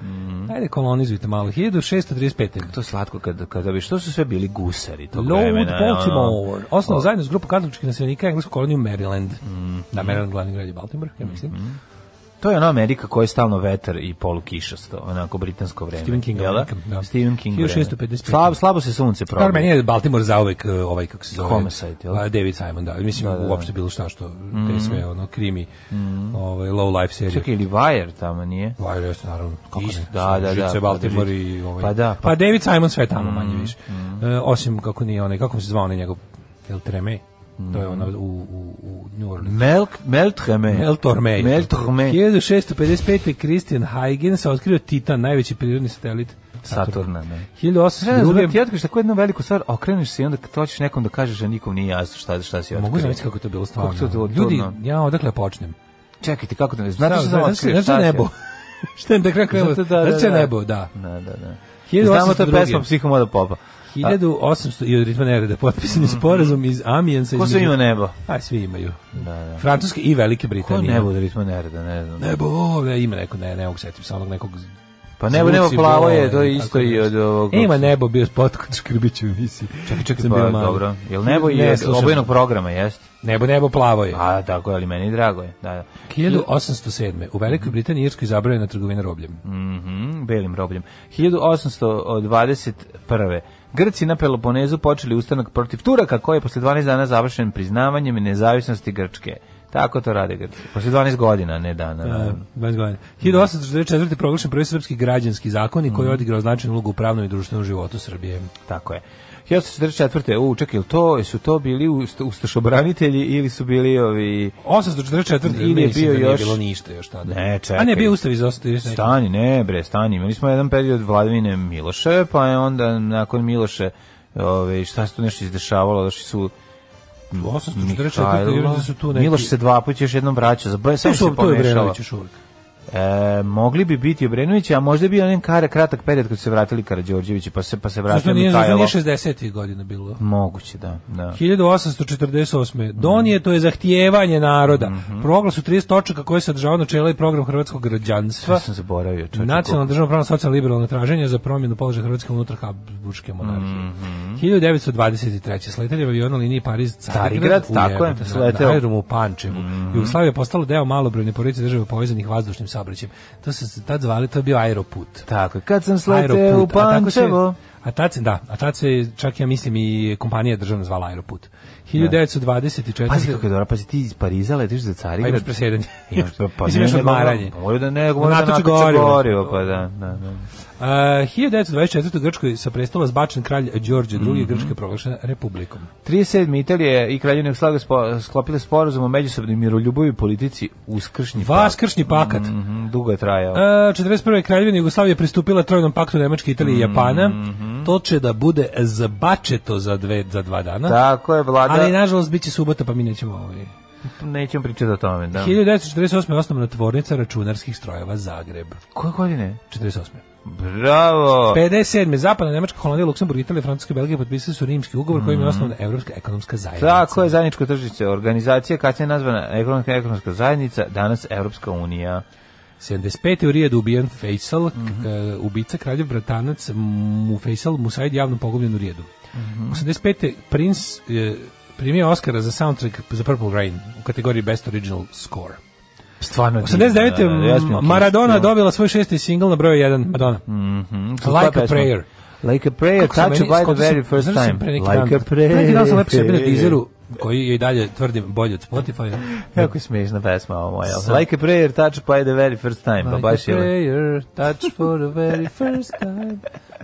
Speaker 5: Ajde kolonizujte malo. 1635.
Speaker 6: To je slatko kad, kad bi, što su sve bili gusari tog
Speaker 5: Lowood
Speaker 6: vremena?
Speaker 5: Baltimore,
Speaker 6: ono?
Speaker 5: osnovan zajedno s grupom katoličkih naseljenika englesku koloniju Maryland.
Speaker 6: Mhm.
Speaker 5: Da, Maryland glavni grad je Baltimore, ja mislim.
Speaker 6: To je ona Amerika koja je stalno vetar i polukišasto, onako britansko vreme.
Speaker 5: Stephen King
Speaker 6: jel da?
Speaker 5: Amerika, da.
Speaker 6: Stephen King vreme.
Speaker 5: 1655.
Speaker 6: Slab, slabo se sunce
Speaker 5: Dobro, meni
Speaker 6: probi.
Speaker 5: je Baltimore zauvek uh, ovaj, kako se zove?
Speaker 6: Homicide, jel?
Speaker 5: A, David Simon, da. Mislim,
Speaker 6: Da, Mhm. da, da.
Speaker 5: uopšte bilo šta što, te sve, ono, krimi, ovaj, low life serije.
Speaker 6: Čekaj, ili Wire tamo nije?
Speaker 5: Wire Pa, jeste, naravno. Kako
Speaker 6: Isto,
Speaker 5: ne?
Speaker 6: da, da, da,
Speaker 5: Žice,
Speaker 6: pa
Speaker 5: Baltimore
Speaker 6: da,
Speaker 5: i
Speaker 6: žice.
Speaker 5: ovaj.
Speaker 6: Pa Mm, da,
Speaker 5: Pa,
Speaker 6: pa-
Speaker 5: David Simon sve je tamo manje više. E, osim, kako nije onaj, kako se zvao onaj njegov, El Treme? To
Speaker 6: Mm.
Speaker 5: je ono u, u, u New Orleans.
Speaker 6: Melk, Meltreme.
Speaker 5: El Torme.
Speaker 6: Mel Torme.
Speaker 5: 1655. Christian Huygens otkrio Titan, najveći prirodni satelit
Speaker 6: Saturna, ne. Treba da
Speaker 5: 1802.
Speaker 6: ti otkriš tako jednu veliku stvar, okreneš se i onda to hoćeš nekom da kažeš da nikom nije jasno šta, šta si otkrio.
Speaker 5: Mogu zamisliti kako je to bilo stvarno.
Speaker 6: Kako to- to- to-
Speaker 5: Ljudi,
Speaker 6: no.
Speaker 5: ja odakle počnem?
Speaker 6: Čekajte, kako to ne znate što sam
Speaker 5: Znate-
Speaker 6: otkrio?
Speaker 5: znate
Speaker 6: šta si-
Speaker 5: nebo? Šta je da kraj krajeva?
Speaker 6: Znate, da, da,
Speaker 5: Znate
Speaker 6: da.
Speaker 5: nebo, da.
Speaker 6: Da, da, da.
Speaker 5: 1802.
Speaker 6: Znamo to je pesma Psihomoda Popa.
Speaker 5: 1800 i od ritma nereda potpisan je sporazum iz Amijensa.
Speaker 6: Mhm. Ko sve ima nebo?
Speaker 5: Aj, svi imaju. Francuske i Velike
Speaker 6: Ko
Speaker 5: Britanije.
Speaker 6: nebo da ritmo nereda, ne znam.
Speaker 5: Nebo, ove, ima neko, ne, ne mogu setim, sa onog nekog...
Speaker 6: Pa nebo,
Speaker 5: Zvuci
Speaker 6: nebo plavo je, to je
Speaker 5: bole,
Speaker 6: isto
Speaker 5: tako E,
Speaker 6: i od ovog...
Speaker 5: Ima nebo, bio spot kod Škrbića u emisiji. Čekaj, čekaj,
Speaker 6: Pa, dobro. Jel nebo je obojenog programa, jeste?
Speaker 5: Nebo, nebo, plavo je.
Speaker 6: A, tako je, ali meni drago je. Da, da.
Speaker 5: 1807. U Velikoj Britaniji i Irskoj zabranjena trgovina robljem.
Speaker 6: Mhm, belim robljem. 1821. Grci na Peloponezu počeli ustanak protiv Turaka, koji je posle 12 dana završen priznavanjem nezavisnosti Grčke. Tako to rade Grci. Posle 12 godina, ne dana. naravno.
Speaker 5: 20 godina. 1844. proglašen prvi srpski građanski zakon i koji je
Speaker 6: Mhm.
Speaker 5: odigrao značajnu ulogu u pravnom i društvenom životu Srbije.
Speaker 6: Tako je. 1844. U, čekaj, jel to, su to bili ust- ustašobranitelji ili su bili ovi...
Speaker 5: 844.
Speaker 6: Ili je
Speaker 5: mislim
Speaker 6: bio
Speaker 5: da nije
Speaker 6: još-
Speaker 5: bilo ništa još tada.
Speaker 6: Ne, čekaj.
Speaker 5: A ne, bio ustav iz ostavio.
Speaker 6: Stani, ne bre, stani. Imali smo jedan period vladavine Miloše, pa je onda nakon Miloše ove, šta se tu nešto izdešavalo, došli su
Speaker 5: 844. i onda su tu neki...
Speaker 6: Miloš se dva puta još jednom vraćao, za broj
Speaker 5: To
Speaker 6: sam
Speaker 5: su-
Speaker 6: se
Speaker 5: to je
Speaker 6: pomešalo.
Speaker 5: Brenović još uvijek.
Speaker 6: E, mogli bi biti Obrenović, a možda bi onaj kare kratak period kad su se vratili Karađorđevići, pa se pa se
Speaker 5: Zašto
Speaker 6: vratio
Speaker 5: nije, zašto
Speaker 6: Mihajlo.
Speaker 5: nije 60. godina bilo?
Speaker 6: Moguće, da, da.
Speaker 5: 1848. Donijeto je zahtijevanje naroda.
Speaker 6: Mhm.
Speaker 5: Proglas u 30 točaka koje sadržava načela i program hrvatskog građanstva.
Speaker 6: Ja sam zaboravio, čoče.
Speaker 5: Nacionalno državno pravno socijalno liberalno traženje za promjenu položaja Hrvatske unutar Habsburgske monarhije.
Speaker 6: Mhm.
Speaker 5: 1923. Sleteli avion liniji Pariz Carigrad,
Speaker 6: Carigrad, tako je,
Speaker 5: na
Speaker 6: sleteo. Mhm.
Speaker 5: aerodromu u Pančevu. Jugoslavija je postala deo malobrojne porodice države povezanih vazdušnim saobraćajem. To se tad zvali, to je bio aeroput.
Speaker 6: Tako je. Kad sam sleteo u
Speaker 5: Aeroput, a tako se-
Speaker 6: Pančevo.
Speaker 5: A tad se, da, a tad se čak ja mislim i kompanija državna zvala Aeroput. 1924.
Speaker 6: Pazi kako je dobro, pazi ti iz Pariza letiš za
Speaker 5: Pa imaš
Speaker 6: Carigrad. <laughs>
Speaker 5: presedanje.
Speaker 6: Imaš pa,
Speaker 5: <laughs>
Speaker 6: pa
Speaker 5: Mislim, imaš
Speaker 6: ne, nego-
Speaker 5: odmaranje.
Speaker 6: Moj da ne, moj da
Speaker 5: Natoč
Speaker 6: natoče
Speaker 5: gorivo.
Speaker 6: gorivo, pa da, da, da.
Speaker 5: Uh, 1924. u Grčkoj sa prestola zbačen kralj Đorđe II.
Speaker 6: Mhm.
Speaker 5: Grčka je proglašena republikom.
Speaker 6: 37. Italije i Kraljevina Jugoslavije spo, sklopile sporazum o međusobnoj miroljubavi i politici uskršnji
Speaker 5: Vaskršnji pakat.
Speaker 6: pakt. Mhm, dugo je trajao.
Speaker 5: Uh, 41. Kraljevina Jugoslavije pristupila trojnom paktu Nemačke, Italije i Japana.
Speaker 6: Mhm.
Speaker 5: To će da bude zabačeto za, dve, za dva dana.
Speaker 6: Tako je, vlada,
Speaker 5: Ali nažalost bit će subota pa mi nećemo ovaj.
Speaker 6: nećemo pričati o tome. Da.
Speaker 5: 1948. osnovna tvornica računarskih strojeva Zagreb.
Speaker 6: Koje godine?
Speaker 5: 48.
Speaker 6: Bravo!
Speaker 5: 57. Zapadna Nemačka, Holandija, Luksemburg, Italija, Francuska i Belgija potpisali su rimski ugovor kojim je osnovna Evropska ekonomska zajednica.
Speaker 6: Mm. Tako je zajedničko tržište, organizacija kasnije nazvana ekonomska, ekonomska zajednica, danas Evropska unija.
Speaker 5: 75. u Rijedu ubijen Faisal, k-
Speaker 6: Mhm.
Speaker 5: e, ubica kraljev bratanac mu Faisal Musaid javno pogubljen u Rijedu.
Speaker 6: Mhm.
Speaker 5: 85. Prince e, primio Oscara za soundtrack za Purple Rain u kategoriji Best Original Score.
Speaker 6: Stvarno
Speaker 5: 89.
Speaker 6: Jasmine Kiss,
Speaker 5: Maradona
Speaker 6: da.
Speaker 5: dobila svoj šesti singl na broju 1 Madonna.
Speaker 6: Mhm, su
Speaker 5: Like
Speaker 6: koja
Speaker 5: a
Speaker 6: pesma?
Speaker 5: prayer.
Speaker 6: Like a prayer,
Speaker 5: Kako sam
Speaker 6: touch you
Speaker 5: meni-
Speaker 6: by
Speaker 5: skontao
Speaker 6: the
Speaker 5: sam-
Speaker 6: very first
Speaker 5: znaš da sam
Speaker 6: time.
Speaker 5: pre neki dan-
Speaker 6: Like a prayer.
Speaker 5: Pre neki dan sam lepo šepio na Deezeru, koji je i dalje, tvrdim, bolji od Spotify.
Speaker 6: Jako je smiješna pesma ovo moja. Like a prayer, touch you by the very first time. pa baš je...
Speaker 5: prayer, touch for the very first time.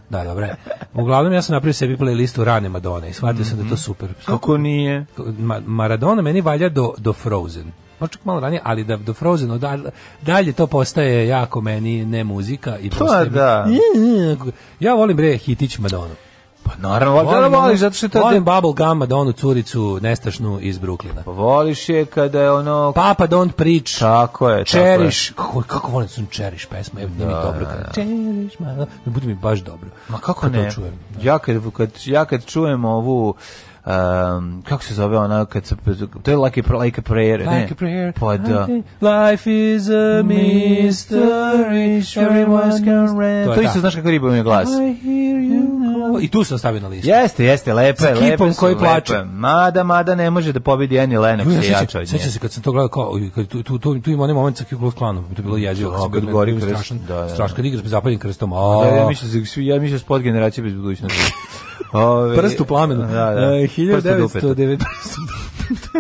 Speaker 5: Da, dobro je. Uglavnom, ja sam napravio sebi playlistu rane
Speaker 6: Mhm.
Speaker 5: Madone i shvatio sam da je to super.
Speaker 6: Kako nije?
Speaker 5: Ma- Maradona meni valja do, do Frozen. možda čak malo ranije, ali da do Frozen odal- dalje to postaje jako meni ne muzika i postaje mi-
Speaker 6: Pa da.
Speaker 5: Ja volim bre Hitić Madonu.
Speaker 6: Pa naravno, volim,
Speaker 5: ono-
Speaker 6: voliš, zato što je to...
Speaker 5: volim Bubble Gum Madonu curicu nestašnu iz Bruklina.
Speaker 6: Pa voliš je kada je ono...
Speaker 5: Papa don't preach.
Speaker 6: Tako je, tako je.
Speaker 5: Cherish, kako, kako volim sun Cherish pesma, evo, da, mi je dobro kada Cherish, ma, bude mi baš dobro.
Speaker 6: Ma kako
Speaker 5: Kad to
Speaker 6: ne?
Speaker 5: čujem.
Speaker 6: Ja kad, kad, ja kad čujem ovu... Um, kako se zove ona kad se to je like a, like a prayer ne?
Speaker 5: Like a prayer.
Speaker 6: pa da
Speaker 5: Life is a mystery. Everyone's gonna
Speaker 6: to,
Speaker 5: To je
Speaker 6: isto
Speaker 5: da.
Speaker 6: znaš kako riba ima glas
Speaker 5: I hear you call. I tu sam stavio na listu.
Speaker 6: jeste jeste lepa je
Speaker 5: Sa
Speaker 6: lepa
Speaker 5: kipom
Speaker 6: su,
Speaker 5: koji
Speaker 6: lepa
Speaker 5: plače.
Speaker 6: je. mada mada ne može da pobedi Annie
Speaker 5: Ju,
Speaker 6: Lennox
Speaker 5: ja
Speaker 6: je
Speaker 5: sećam-
Speaker 6: jača od nje
Speaker 5: Sećam se kad sam to gledao kao uj, kad tu tu tu, tu ima onaj moment sa Ku Klux Klanom, to je bilo jezivo,
Speaker 6: Mm, Da,
Speaker 5: kako
Speaker 6: kad
Speaker 5: meni
Speaker 6: gori
Speaker 5: bilo
Speaker 6: krst,
Speaker 5: strašan,
Speaker 6: da, da, da.
Speaker 5: strašan kad igraš zapaljen krstom. A,
Speaker 6: Da, ja mislim da svi- ja mislim da su pod generacije bez <laughs> budućnosti. Ove,
Speaker 5: prst u plamenu.
Speaker 6: Da, da.
Speaker 5: E,
Speaker 6: Prst u dupetu.
Speaker 5: 1990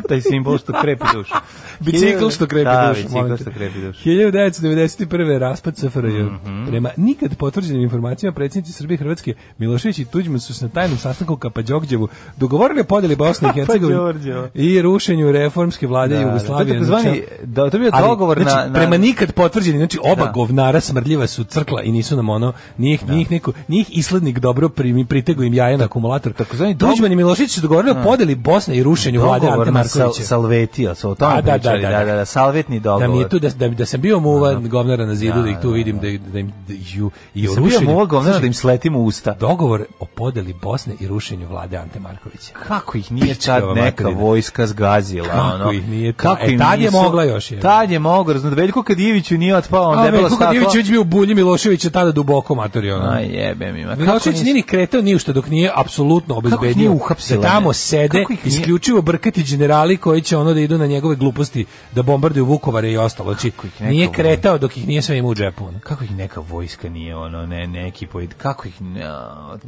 Speaker 6: taj simbol što krepi dušu.
Speaker 5: <laughs> Bicikl što krepi
Speaker 6: da,
Speaker 5: dušu. molim te.
Speaker 6: bicikl što krepi dušu. Mhm.
Speaker 5: 1991. raspad SFRJ. Prema nikad potvrđenim informacijama predsjednici Srbije i Hrvatske Milošević i Tuđman su se na tajnom sastanku u Kapađogđevu dogovorili o
Speaker 6: <laughs>
Speaker 5: podeli Bosne i
Speaker 6: Kapađorđevo.
Speaker 5: Hercegovine i rušenju reformske vlade Jugoslavije.
Speaker 6: Da, to je takozvani-
Speaker 5: na čelu-
Speaker 6: da, to je bio
Speaker 5: Ali,
Speaker 6: dogovor
Speaker 5: znači,
Speaker 6: na, na...
Speaker 5: prema nikad potvrđeni, znači oba
Speaker 6: Da.
Speaker 5: govnara smrdljiva su crkla i nisu nam ono, nije ih, nije ih neko, nije ih islednik dobro primi, pritegu im jaja na akumulator.
Speaker 6: Takozvani dog-
Speaker 5: Tuđman i Milošević su dogovorili o podeli Bosne i rušenju vlade Ante
Speaker 6: dogovor na sal,
Speaker 5: Markovića.
Speaker 6: salvetija, sa o tome
Speaker 5: A, da, da,
Speaker 6: pričali,
Speaker 5: da,
Speaker 6: da, da,
Speaker 5: da.
Speaker 6: da, salvetni dogovor.
Speaker 5: Da mi je tu da, da, da sam bio muva govnara na zidu da, ih tu vidim da, da im da, ju i o
Speaker 6: Sam bio
Speaker 5: rušenju.
Speaker 6: mu ovog govna da im sletim u usta.
Speaker 5: dogovor o podeli Bosne i rušenju vlade Ante Markovića.
Speaker 6: Kako ih nije tad
Speaker 5: Pičkava
Speaker 6: neka
Speaker 5: materina.
Speaker 6: vojska zgazila,
Speaker 5: Kako
Speaker 6: ono.
Speaker 5: ih nije tad? E, tad je mogla još, je.
Speaker 6: Tad je mogla, znači Veljko Kadijeviću nije otpao, on
Speaker 5: A
Speaker 6: debelo
Speaker 5: Veljko Kadijević
Speaker 6: staklo.
Speaker 5: već bio u bulji Miloševića tada duboko matori ono.
Speaker 6: Aj jebem ima.
Speaker 5: Milošević nije ni kretao ni u što dok nije apsolutno
Speaker 6: Kako ih nije
Speaker 5: obezbedio
Speaker 6: uhapsila,
Speaker 5: da tamo
Speaker 6: ne?
Speaker 5: sede
Speaker 6: Kako ih nije-
Speaker 5: isključivo brkati generali koji će ono da idu na njegove gluposti da bombarduju Vukovare i ostalo. Znači,
Speaker 6: ih neko
Speaker 5: nije
Speaker 6: voli?
Speaker 5: kretao dok ih nije sve imao u džepu. ono.
Speaker 6: kako ih neka vojska nije ono ne neki poid kako ih ne,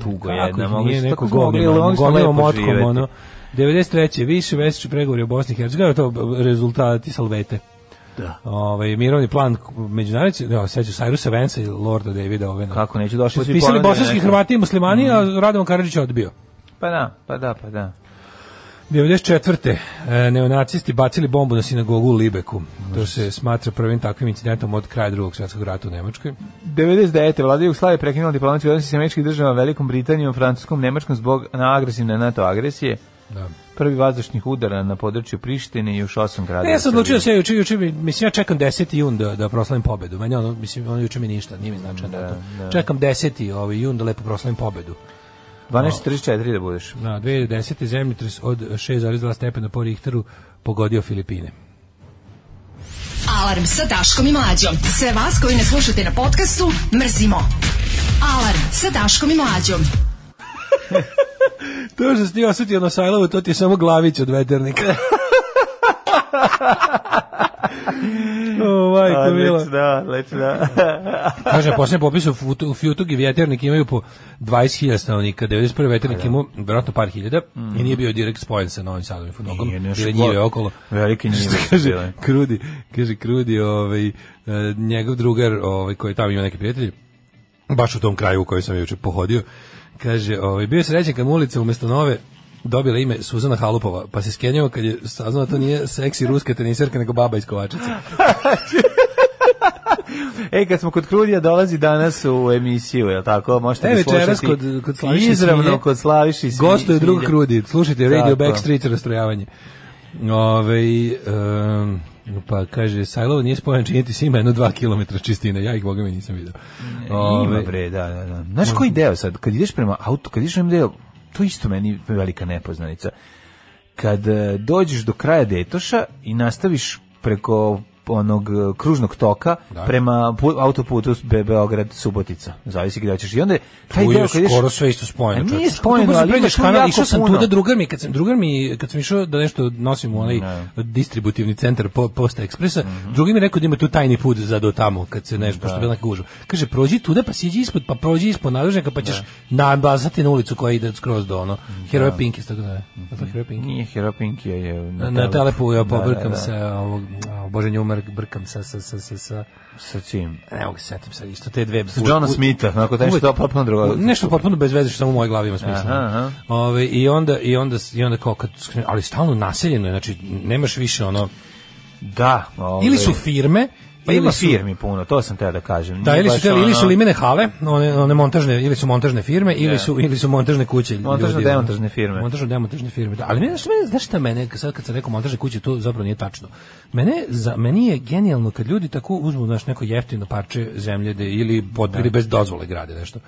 Speaker 6: tugo
Speaker 5: Kako
Speaker 6: je
Speaker 5: ih
Speaker 6: ne
Speaker 5: nije
Speaker 6: mogli su-
Speaker 5: neko
Speaker 6: tako smo mogli
Speaker 5: gomila,
Speaker 6: mogli smo
Speaker 5: gomila
Speaker 6: lepo
Speaker 5: motkom,
Speaker 6: živeti.
Speaker 5: ono. 93. više mesečni pregovori o Bosni i Hercegovini, to b- rezultati salvete.
Speaker 6: Da.
Speaker 5: Ovaj mirovni plan k- međunarodni, da, sećaš Cyrus Evansa i Lorda Davida Ovena.
Speaker 6: kako neće došli su i
Speaker 5: Potpisali
Speaker 6: ponudili
Speaker 5: bosanski
Speaker 6: nešto.
Speaker 5: Hrvati i muslimani,
Speaker 6: Mhm.
Speaker 5: a Radovan Karadžić je odbio.
Speaker 6: pa da pa da pa da
Speaker 5: 94. E, neonacisti bacili bombu na sinagogu u Libeku. To se smatra prvim takvim incidentom od kraja drugog svjetskog rata u Nemačkoj.
Speaker 6: 99. vlada Jugoslavije prekinula diplomatske odnose sa američkih država Velikom Britanijom, Francuskom, Nemačkom zbog na agresivne NATO agresije.
Speaker 5: Da.
Speaker 6: Prvi vazdušnih udara na području Prištine i još osam gradova.
Speaker 5: Ne, Pa ja sam odlučio da
Speaker 6: Srbije.
Speaker 5: se ja juče, juče, mi- mislim ja čekam 10. jun da, da proslavim pobedu. Meni ono, mislim, ono juče mi ništa, nije mi značajno. to. Čekam 10. Ovaj, jun da lepo proslavim pobedu.
Speaker 6: 12.44 da budeš.
Speaker 5: Na 2010. zemljotres od 6,2 stepena po Richteru pogodio Filipine.
Speaker 4: Alarm sa Daškom i Mlađom. Sve vas koji ne slušate na podcastu, mrzimo. Alarm sa Daškom i Mlađom.
Speaker 5: To što si ti osjetio na Sajlovu, to ti je samo glavić od <laughs> veternika. o, majko mila.
Speaker 6: da, leć, da.
Speaker 5: Kaže, na posljednjem popisu Futu- u Fjutug i Vjeternik imaju po 20.000 stanovnika. 91. Vjeternik imao vjerojatno par hiljada i nije bio direkt spojen sa Novim Sadom i Futnogom.
Speaker 6: Mhm. Nije, nešto
Speaker 5: Bile njive
Speaker 6: bilo.
Speaker 5: okolo. <laughs>
Speaker 6: Velike njive
Speaker 5: Što
Speaker 6: su
Speaker 5: kaže,
Speaker 6: bile.
Speaker 5: Krudi, kaže Krudi, ovaj, e, njegov drugar ovaj, koji tamo ima neki prijatelji, baš u tom kraju u kojem sam juče pohodio, kaže, ovaj, bio je srećen kad mu ulica umjesto nove dobila ime Suzana Halupova, pa se skenjao kad je saznao da to nije seksi ruska teniserka, nego baba iz Kovačice.
Speaker 6: E, kad smo kod Krudija, dolazi danas u emisiju, je li tako? Možete
Speaker 5: E,
Speaker 6: ga
Speaker 5: večeras
Speaker 6: slušati
Speaker 5: kod- kod Slaviše
Speaker 6: Izravno
Speaker 5: Smilje.
Speaker 6: kod Slaviši Smilje.
Speaker 5: Gosto je drug krudi. Slušajte Radio
Speaker 6: Tako.
Speaker 5: Backstreet rastrojavanje. Ove, um, pa kaže, Sajlovo nije spojen činiti svima jedno dva kilometra čistine. Ja ih, boga mi, nisam vidio.
Speaker 6: Ima bre, da, da, da. Znaš koji deo sad, kad ideš prema auto, kad ideš prema deo, to je isto meni velika nepoznanica. Kad e, dođeš do kraja Detoša i nastaviš preko onog e, kružnog toka prema pu- autoputu Be- Beograd-Subotica. Zavisi gdje ćeš. Pa I onda je taj
Speaker 5: tu
Speaker 6: deo
Speaker 5: je
Speaker 6: kad ideš...
Speaker 5: skoro sve isto spojeno.
Speaker 6: A
Speaker 5: čoveče.
Speaker 6: nije spojeno,
Speaker 5: Tu brzo
Speaker 6: ali ima
Speaker 5: pređeš
Speaker 6: tu
Speaker 5: kanal,
Speaker 6: jako
Speaker 5: išao sam
Speaker 6: puno.
Speaker 5: tuda, drugar mi, kad sam, drugar mi, kad sam išao da nešto nosim u onaj distributivni centar po, Posta Ekspresa, drugi mi je rekao da ima tu tajni put za do tamo, kad se nešto, pošto je bila neka gužva. Kaže, prođi tuda, pa siđi ispod, pa prođi ispod nadružnjaka, pa ćeš nabazati na ulicu koja ide skroz do ono. Heroje Pinkies, tako da je. Je li to Heroje Pinkies?
Speaker 6: Nije Heropinki, je
Speaker 5: Na, na telepu ja
Speaker 6: Da, da,
Speaker 5: pobrkam
Speaker 6: da.
Speaker 5: se, ovog, a, bože nju umr, brkam sa, sa, sa, sa, sa,
Speaker 6: Sa čim?
Speaker 5: ne mogu se setim sad isto, te dve...
Speaker 6: Sa Johna Smitha, onako taj što je potpuno drugo.
Speaker 5: Nešto potpuno bez veze što samo u mojoj glavi ima smisla.
Speaker 6: Aha, aha.
Speaker 5: Ove, i onda i onda i onda kao kad skrenu- ali stalno naseljeno je, znači nemaš više ono
Speaker 6: Da. Ovaj.
Speaker 5: Ili su firme,
Speaker 6: Pa ili firmi puno, to sam teo da kažem.
Speaker 5: Da,
Speaker 6: Nije
Speaker 5: ili su,
Speaker 6: baš
Speaker 5: teli, ili su
Speaker 6: ono-
Speaker 5: limene hale, one, one montažne, ili su montažne firme, ili su, ili su montažne kuće.
Speaker 6: Montažno-demontažne firme.
Speaker 5: Montažno-demontažne firme, da. Ali mene, znaš, mene, znaš šta mene, sad kad sam rekao montažne kuće, to zapravo nije tačno. Mene, za, meni je genijalno kad ljudi tako uzmu, znaš, neko jeftino parče zemlje da, ili potpili bez dozvole grade nešto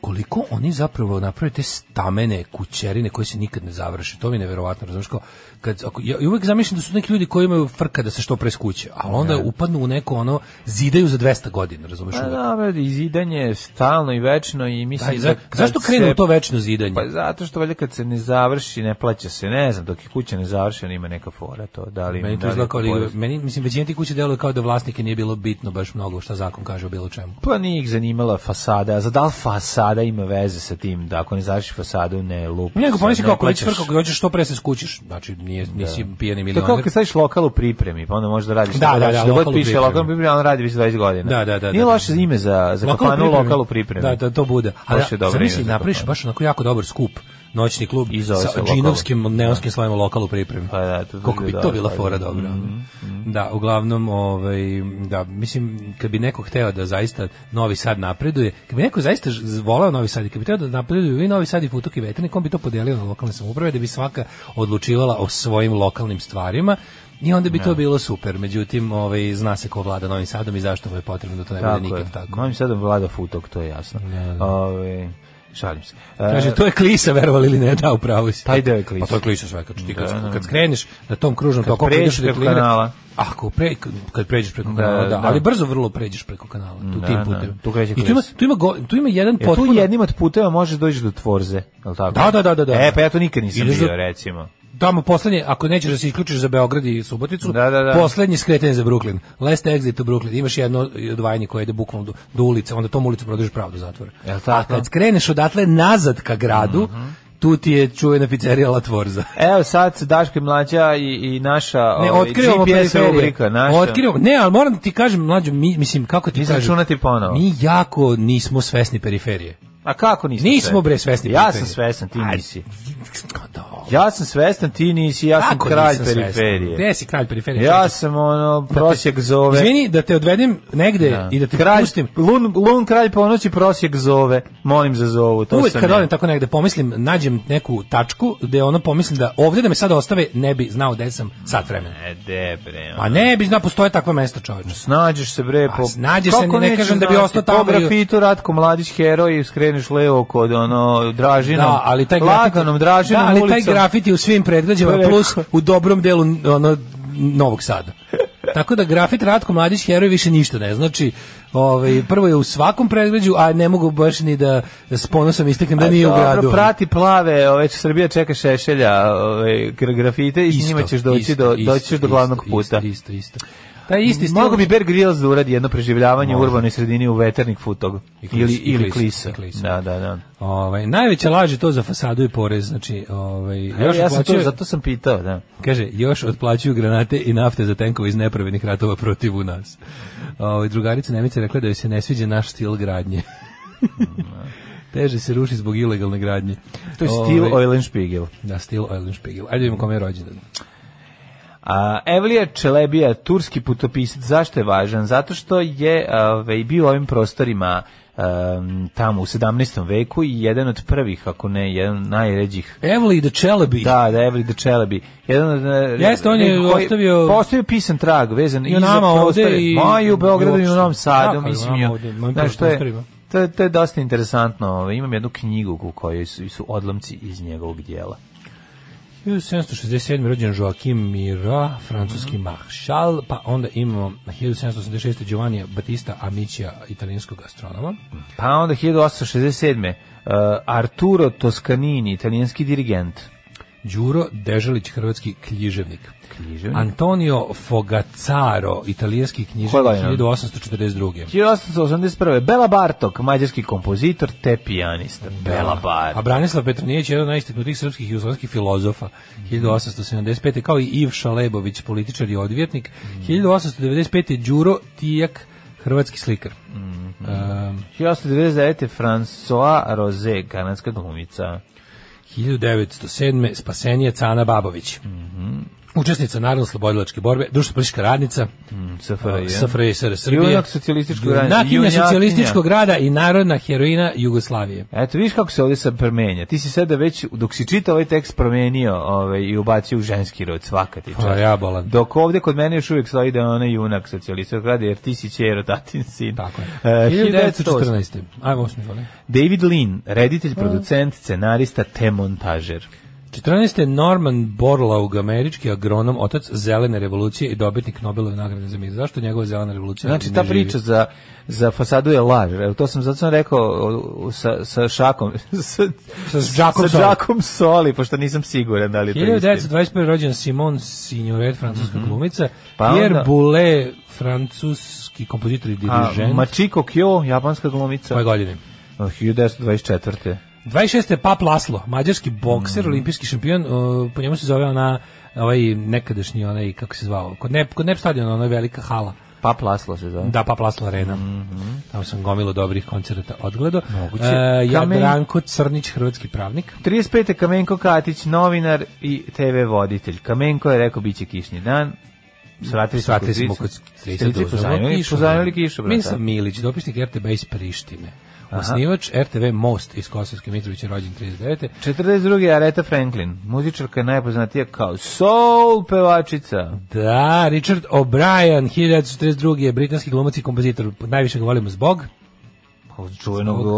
Speaker 5: koliko oni zapravo naprave te stamene kućerine koje se nikad ne završe. To mi je neverovatno, razumeš kao kad ako ja ja uvek zamišljam da su neki ljudi koji imaju frka da se što pre skuće, a onda upadnu u neko ono zidaju za 200 godina, razumeš?
Speaker 6: Pa
Speaker 5: uvek.
Speaker 6: dobro, izidanje je stalno i večno i
Speaker 5: Da, i
Speaker 6: mislim
Speaker 5: za,
Speaker 6: kad
Speaker 5: zašto
Speaker 6: se-
Speaker 5: krenu u to večno zidanje?
Speaker 6: Pa zato što valjda kad se ne završi, ne plaća se, ne znam, dok je kuća ne završena ima neka fora to, da li...
Speaker 5: meni to
Speaker 6: da li
Speaker 5: izgleda kao liga-
Speaker 6: porez-
Speaker 5: meni, mislim, većina tih kuće deluje kao da vlasnike nije bilo bitno baš mnogo šta zakon kaže o bilo čemu.
Speaker 6: Pa nije ih zanimala fasada, a za da li fasada ima veze sa tim, da ako ne završi fasadu ne lupi.
Speaker 5: Nego
Speaker 6: se,
Speaker 5: pomisli
Speaker 6: ne
Speaker 5: kako već
Speaker 6: plaćaš.
Speaker 5: frka, hoćeš što pre se skućiš. Znači, nije, nisi pijani
Speaker 6: To je kao
Speaker 5: milioner.
Speaker 6: kad staviš lokal u pripremi, pa onda možeš da radiš.
Speaker 5: Da,
Speaker 6: šta
Speaker 5: da,
Speaker 6: hoćeš,
Speaker 5: da,
Speaker 6: god
Speaker 5: lokal u
Speaker 6: piše
Speaker 5: pripremi.
Speaker 6: lokal u pripremi, on radi već 20 godina.
Speaker 5: Da, da, da,
Speaker 6: Nije
Speaker 5: da,
Speaker 6: loše
Speaker 5: da.
Speaker 6: ime za, za
Speaker 5: Lokal u
Speaker 6: kafanu,
Speaker 5: pripremi.
Speaker 6: lokal u pripremi.
Speaker 5: Da, da, to bude. Ali
Speaker 6: Baš je dobro
Speaker 5: zamisli,
Speaker 6: ime za
Speaker 5: napraviš
Speaker 6: kafanu.
Speaker 5: baš onako jako dobar skup noćni klub
Speaker 6: I
Speaker 5: sa
Speaker 6: zove se lokal.
Speaker 5: džinovskim neonskim slovima lokal u pripremi.
Speaker 6: Pa da, to bi
Speaker 5: Koliko bi
Speaker 6: bilo
Speaker 5: to
Speaker 6: dobro, Mhm,
Speaker 5: bila
Speaker 6: pa da.
Speaker 5: fora dobra. ono. Da, uglavnom, ovaj, da, mislim, kad bi neko hteo da zaista Novi Sad napreduje, kad bi neko zaista ž- voleo Novi Sad i kad bi hteo da napreduju i Novi Sad i Futok i Veternik, on bi to podelio na lokalne samouprave da bi svaka odlučivala o svojim lokalnim stvarima i onda bi to bilo super. Međutim, ovaj, zna se ko vlada Novim Sadom i zašto mu je potrebno da to ne bude
Speaker 6: Tako
Speaker 5: nikad
Speaker 6: je.
Speaker 5: tako.
Speaker 6: Novim Sadom vlada futok, to je jasno. Ove, šalim se. E,
Speaker 5: Kaže, to je klisa, verovali ili ne, da, upravo si.
Speaker 6: Taj deo je klisa.
Speaker 5: Pa to je klisa sveka. Ti kad, kad skreneš na tom kružnom toku, ako
Speaker 6: pređeš
Speaker 5: ideš do
Speaker 6: preko
Speaker 5: Kline-
Speaker 6: kanala.
Speaker 5: Ako pre, kad pređeš preko kanala, da,
Speaker 6: da.
Speaker 5: ali brzo vrlo pređeš preko kanala, tu
Speaker 6: Da,
Speaker 5: tim
Speaker 6: da,
Speaker 5: putem.
Speaker 6: tu kreće
Speaker 5: I tu ima,
Speaker 6: klisa.
Speaker 5: tu ima, go, tu ima jedan
Speaker 6: Jer tu
Speaker 5: potpuno...
Speaker 6: jednim od puteva možeš doći do tvorze, je li tako?
Speaker 5: Da, da, da, da, da.
Speaker 6: E, pa ja to nikad nisam
Speaker 5: Ideš do-
Speaker 6: bio, recimo.
Speaker 5: Tamo poslednje, ako nećeš da se isključiš za Beograd i Suboticu,
Speaker 6: Da, da, da.
Speaker 5: poslednje skretanje za Brooklyn. Last exit u Brooklyn. Imaš jedno odvajanje koje ide bukvalno do, do ulice, onda tom ulicu produžiš pravo do zatvora.
Speaker 6: Jel tako? Mhm.
Speaker 5: A kad skreneš odatle nazad ka gradu, tu ti je čuvena pizzerija Latvorza.
Speaker 6: Evo sad se Daško i Mlađa i, i naša
Speaker 5: Ne,
Speaker 6: ovaj,
Speaker 5: otkrivamo
Speaker 6: GPS
Speaker 5: periferije.
Speaker 6: rubrika. Naša.
Speaker 5: Otkrivamo. Ne, ali moram da ti kažem, mlađo, mi, mislim, kako ti
Speaker 6: Nisam
Speaker 5: kažem.
Speaker 6: čunati ponovo.
Speaker 5: Mi jako nismo svesni periferije.
Speaker 6: A kako nismo?
Speaker 5: Nismo, bre, svesni
Speaker 6: Ja
Speaker 5: periferije.
Speaker 6: sam svestan, ti nisi.
Speaker 5: Da.
Speaker 6: Ja sam svestan, ti nisi, ja sam
Speaker 5: Kako
Speaker 6: kralj
Speaker 5: nisam svestan?
Speaker 6: periferije.
Speaker 5: Gde si kralj periferije?
Speaker 6: Ja
Speaker 5: Čekaj.
Speaker 6: sam ono, prosjek zove.
Speaker 5: Izvini da te odvedem negde i da te
Speaker 6: kralj,
Speaker 5: pustim.
Speaker 6: Lun, lun kralj ponoći prosjek zove. Molim za zovu. To
Speaker 5: Uvek
Speaker 6: sam
Speaker 5: kad
Speaker 6: ja.
Speaker 5: odem tako negde pomislim, nađem neku tačku gde ono pomislim da ovde da me sad ostave ne bi znao gde sam sat vremena.
Speaker 6: E, de, bre.
Speaker 5: Pa ne bi znao, postoje takva mesta čoveče.
Speaker 6: Snađeš se bre po...
Speaker 5: A snađeš se, ne
Speaker 6: Kako nećeš
Speaker 5: kažem da bi
Speaker 6: znati?
Speaker 5: ostao tamo
Speaker 6: Po
Speaker 5: i-
Speaker 6: grafitu Ratko Mladić heroj i skreneš levo kod ono Dražinom.
Speaker 5: Da, ali taj grafit,
Speaker 6: Laganom Dražinom
Speaker 5: da, ali taj
Speaker 6: ulicom.
Speaker 5: grafiti u svim predgrađima
Speaker 6: Preko.
Speaker 5: plus u dobrom delu ono, Novog Sada. Tako da grafit Ratko Mladić heroj više ništa ne znači. Ovaj prvo je u svakom predgrađu, a ne mogu baš ni da s ponosom istaknem da
Speaker 6: A
Speaker 5: nije u
Speaker 6: dobro,
Speaker 5: gradu.
Speaker 6: prati plave, ove Srbija čeka šešelja, ove gra- grafite i s njima ćeš doći
Speaker 5: isto,
Speaker 6: do
Speaker 5: isto,
Speaker 6: doći ćeš do
Speaker 5: isto,
Speaker 6: glavnog
Speaker 5: isto,
Speaker 6: puta.
Speaker 5: Isto, isto. Taj isti stil.
Speaker 6: Mogu bi Bear Grylls da uradi jedno preživljavanje u urbanoj sredini u veternik futog
Speaker 5: klis-
Speaker 6: ili
Speaker 5: i
Speaker 6: ili
Speaker 5: klisa,
Speaker 6: klisa.
Speaker 5: i klisa.
Speaker 6: Da, da, da.
Speaker 5: Ovaj najveća laž je to za fasadu i porez, znači, ovaj još
Speaker 6: ja sam to,
Speaker 5: otplaćuje-
Speaker 6: zato sam pitao, da.
Speaker 5: Kaže, još otplaćuju granate i nafte za tenkove iz nepravednih ratova protiv u nas. Ovaj, drugarica Nemica je rekla da joj se ne sviđa naš stil gradnje. <laughs> Teže se ruši zbog ilegalne gradnje.
Speaker 6: To je Steve
Speaker 5: Ovaj,
Speaker 6: Eulenspiegel.
Speaker 5: Da, stil Eulenspiegel. Ajde vidimo kome je rođendan.
Speaker 6: A Evlija Čelebija, turski putopisac, zašto je važan? Zato što je ovaj, bio u ovim prostorima em, tamo u 17. veku i jedan od prvih, ako ne, jedan od najređih
Speaker 5: Evli the Chelebi.
Speaker 6: Da, da, Everly the Chelebi. Jedan od e,
Speaker 5: Jeste, on je
Speaker 6: koji-
Speaker 5: ostavio-
Speaker 6: postavio pisan trag vezan
Speaker 5: I
Speaker 6: i
Speaker 5: o nama
Speaker 6: za
Speaker 5: ovde
Speaker 6: prostore.
Speaker 5: i-
Speaker 6: Ma, i u Beogradu i u
Speaker 5: uopšte.
Speaker 6: Novom Sadu,
Speaker 5: Tako je,
Speaker 6: mislim
Speaker 5: o nama
Speaker 6: ja.
Speaker 5: ovde, na ovim
Speaker 6: Znaš, to je-
Speaker 5: prostorima.
Speaker 6: To je, to je dosta interesantno. ovaj, Imam jednu knjigu u kojoj su, su odlomci iz njegovog dijela.
Speaker 5: 1767. rođen Joaquim Mira, francuski
Speaker 6: Mhm.
Speaker 5: maršal, pa onda imamo 1786. Giovanni Battista Amicija, italijanskog astronoma.
Speaker 6: Pa onda 1867. Uh, Arturo Toscanini, italijanski dirigent.
Speaker 5: Đuro Deželić, hrvatski književnik.
Speaker 6: Književnik.
Speaker 5: Antonio Fogazzaro, italijanski književnik
Speaker 6: Hvala, ja.
Speaker 5: 1842.
Speaker 6: 1881. Bela Bartok, mađarski kompozitor te pijanista. Bela Bartok.
Speaker 5: A Branislav Petronijević je jedan od najistaknutijih srpskih i jugoslovenskih filozofa
Speaker 6: Mhm.
Speaker 5: 1875. kao i Iv Šalebović, političar i odvjetnik.
Speaker 6: Mhm.
Speaker 5: 1895. Đuro Tijak, hrvatski slikar.
Speaker 6: Mhm.
Speaker 5: Um,
Speaker 6: 1899. François Rose, kanadska glumica. Mhm.
Speaker 5: 1907. spasenje Cana Babović. Učesnica narodno-slobodilačke borbe, društvo politička radnica,
Speaker 6: Mhm. SFRJ.
Speaker 5: SFRJ SR Srbije,
Speaker 6: Junak socijalističkog rada.
Speaker 5: junakinja
Speaker 6: Junjakinja.
Speaker 5: socijalističkog rada i narodna heroina Jugoslavije.
Speaker 6: Eto, vidiš kako se ovdje sad promenja. Ti si sada već, dok si čitao ovaj tekst, promenio ovaj, i ubacio u ženski rod, svaka ti
Speaker 5: Pa
Speaker 6: čast.
Speaker 5: ja bolan.
Speaker 6: Dok ovdje kod mene još uvijek stoji da je ona junak socijalista rada, jer ti si čero, tatin sin.
Speaker 5: Tako je.
Speaker 6: E, 1914.
Speaker 5: 1914. Ajmo osmi, volim.
Speaker 6: David Lin, reditelj, producent, scenarista, te montažer.
Speaker 5: 14. Norman Borlaug, američki agronom, otac zelene revolucije i dobitnik Nobelove nagrade za mir. Zašto njegova zelena revolucija?
Speaker 6: Znači,
Speaker 5: ne
Speaker 6: ta
Speaker 5: živi?
Speaker 6: priča za, za fasadu je laž. Evo, to sam, zato sam rekao o, o, sa, sa šakom, <laughs> sa,
Speaker 5: Sa Žakom
Speaker 6: sa
Speaker 5: Soli.
Speaker 6: Žakom soli, pošto nisam siguran da li je to istina.
Speaker 5: 1921. rođen Simon Signoret, francuska glumica,
Speaker 6: Pa
Speaker 5: Pierre
Speaker 6: onda-
Speaker 5: Boulez, francuski kompozitor i
Speaker 6: A,
Speaker 5: dirižent.
Speaker 6: Machiko Kyo, japanska glumica.
Speaker 5: Koje godine?
Speaker 6: Pa- 1924.
Speaker 5: 26. je Pap Laslo, mađarski bokser,
Speaker 6: Mhm.
Speaker 5: olimpijski šampion, uh, po njemu se zove ona ovaj nekadašnji onaj kako se zvao kod ne kod Nep stadiona ona velika hala
Speaker 6: Pa Plaslo se zove.
Speaker 5: da pa Laslo arena tamo sam gomilo dobrih koncerata odgledao
Speaker 6: Mhm. Moguće.
Speaker 5: uh,
Speaker 6: Kamen-
Speaker 5: Jadranko Crnić hrvatski pravnik
Speaker 6: 35. Kamenko Katić, novinar i TV voditelj. Kamenko je rekao biće kišni dan. Svratili smo
Speaker 5: Svratili
Speaker 6: kod
Speaker 5: smo
Speaker 6: strica.
Speaker 5: kod strica
Speaker 6: Strici
Speaker 5: da uzmemo
Speaker 6: pozajmili-
Speaker 5: kišu.
Speaker 6: pozajmili kišu, brata.
Speaker 5: Mislav Milić, dopisnik RTB iz Prištine. Osnivač RTV Most iz Kosovske Mitrovića, rođen 39.
Speaker 6: 42. Aretha Franklin, muzičarka najpoznatija kao soul pevačica.
Speaker 5: Da, Richard O'Brien, 1942. je britanski glumac i kompozitor. Najviše ga volimo zbog...
Speaker 6: Od čuvenog O'Brienovog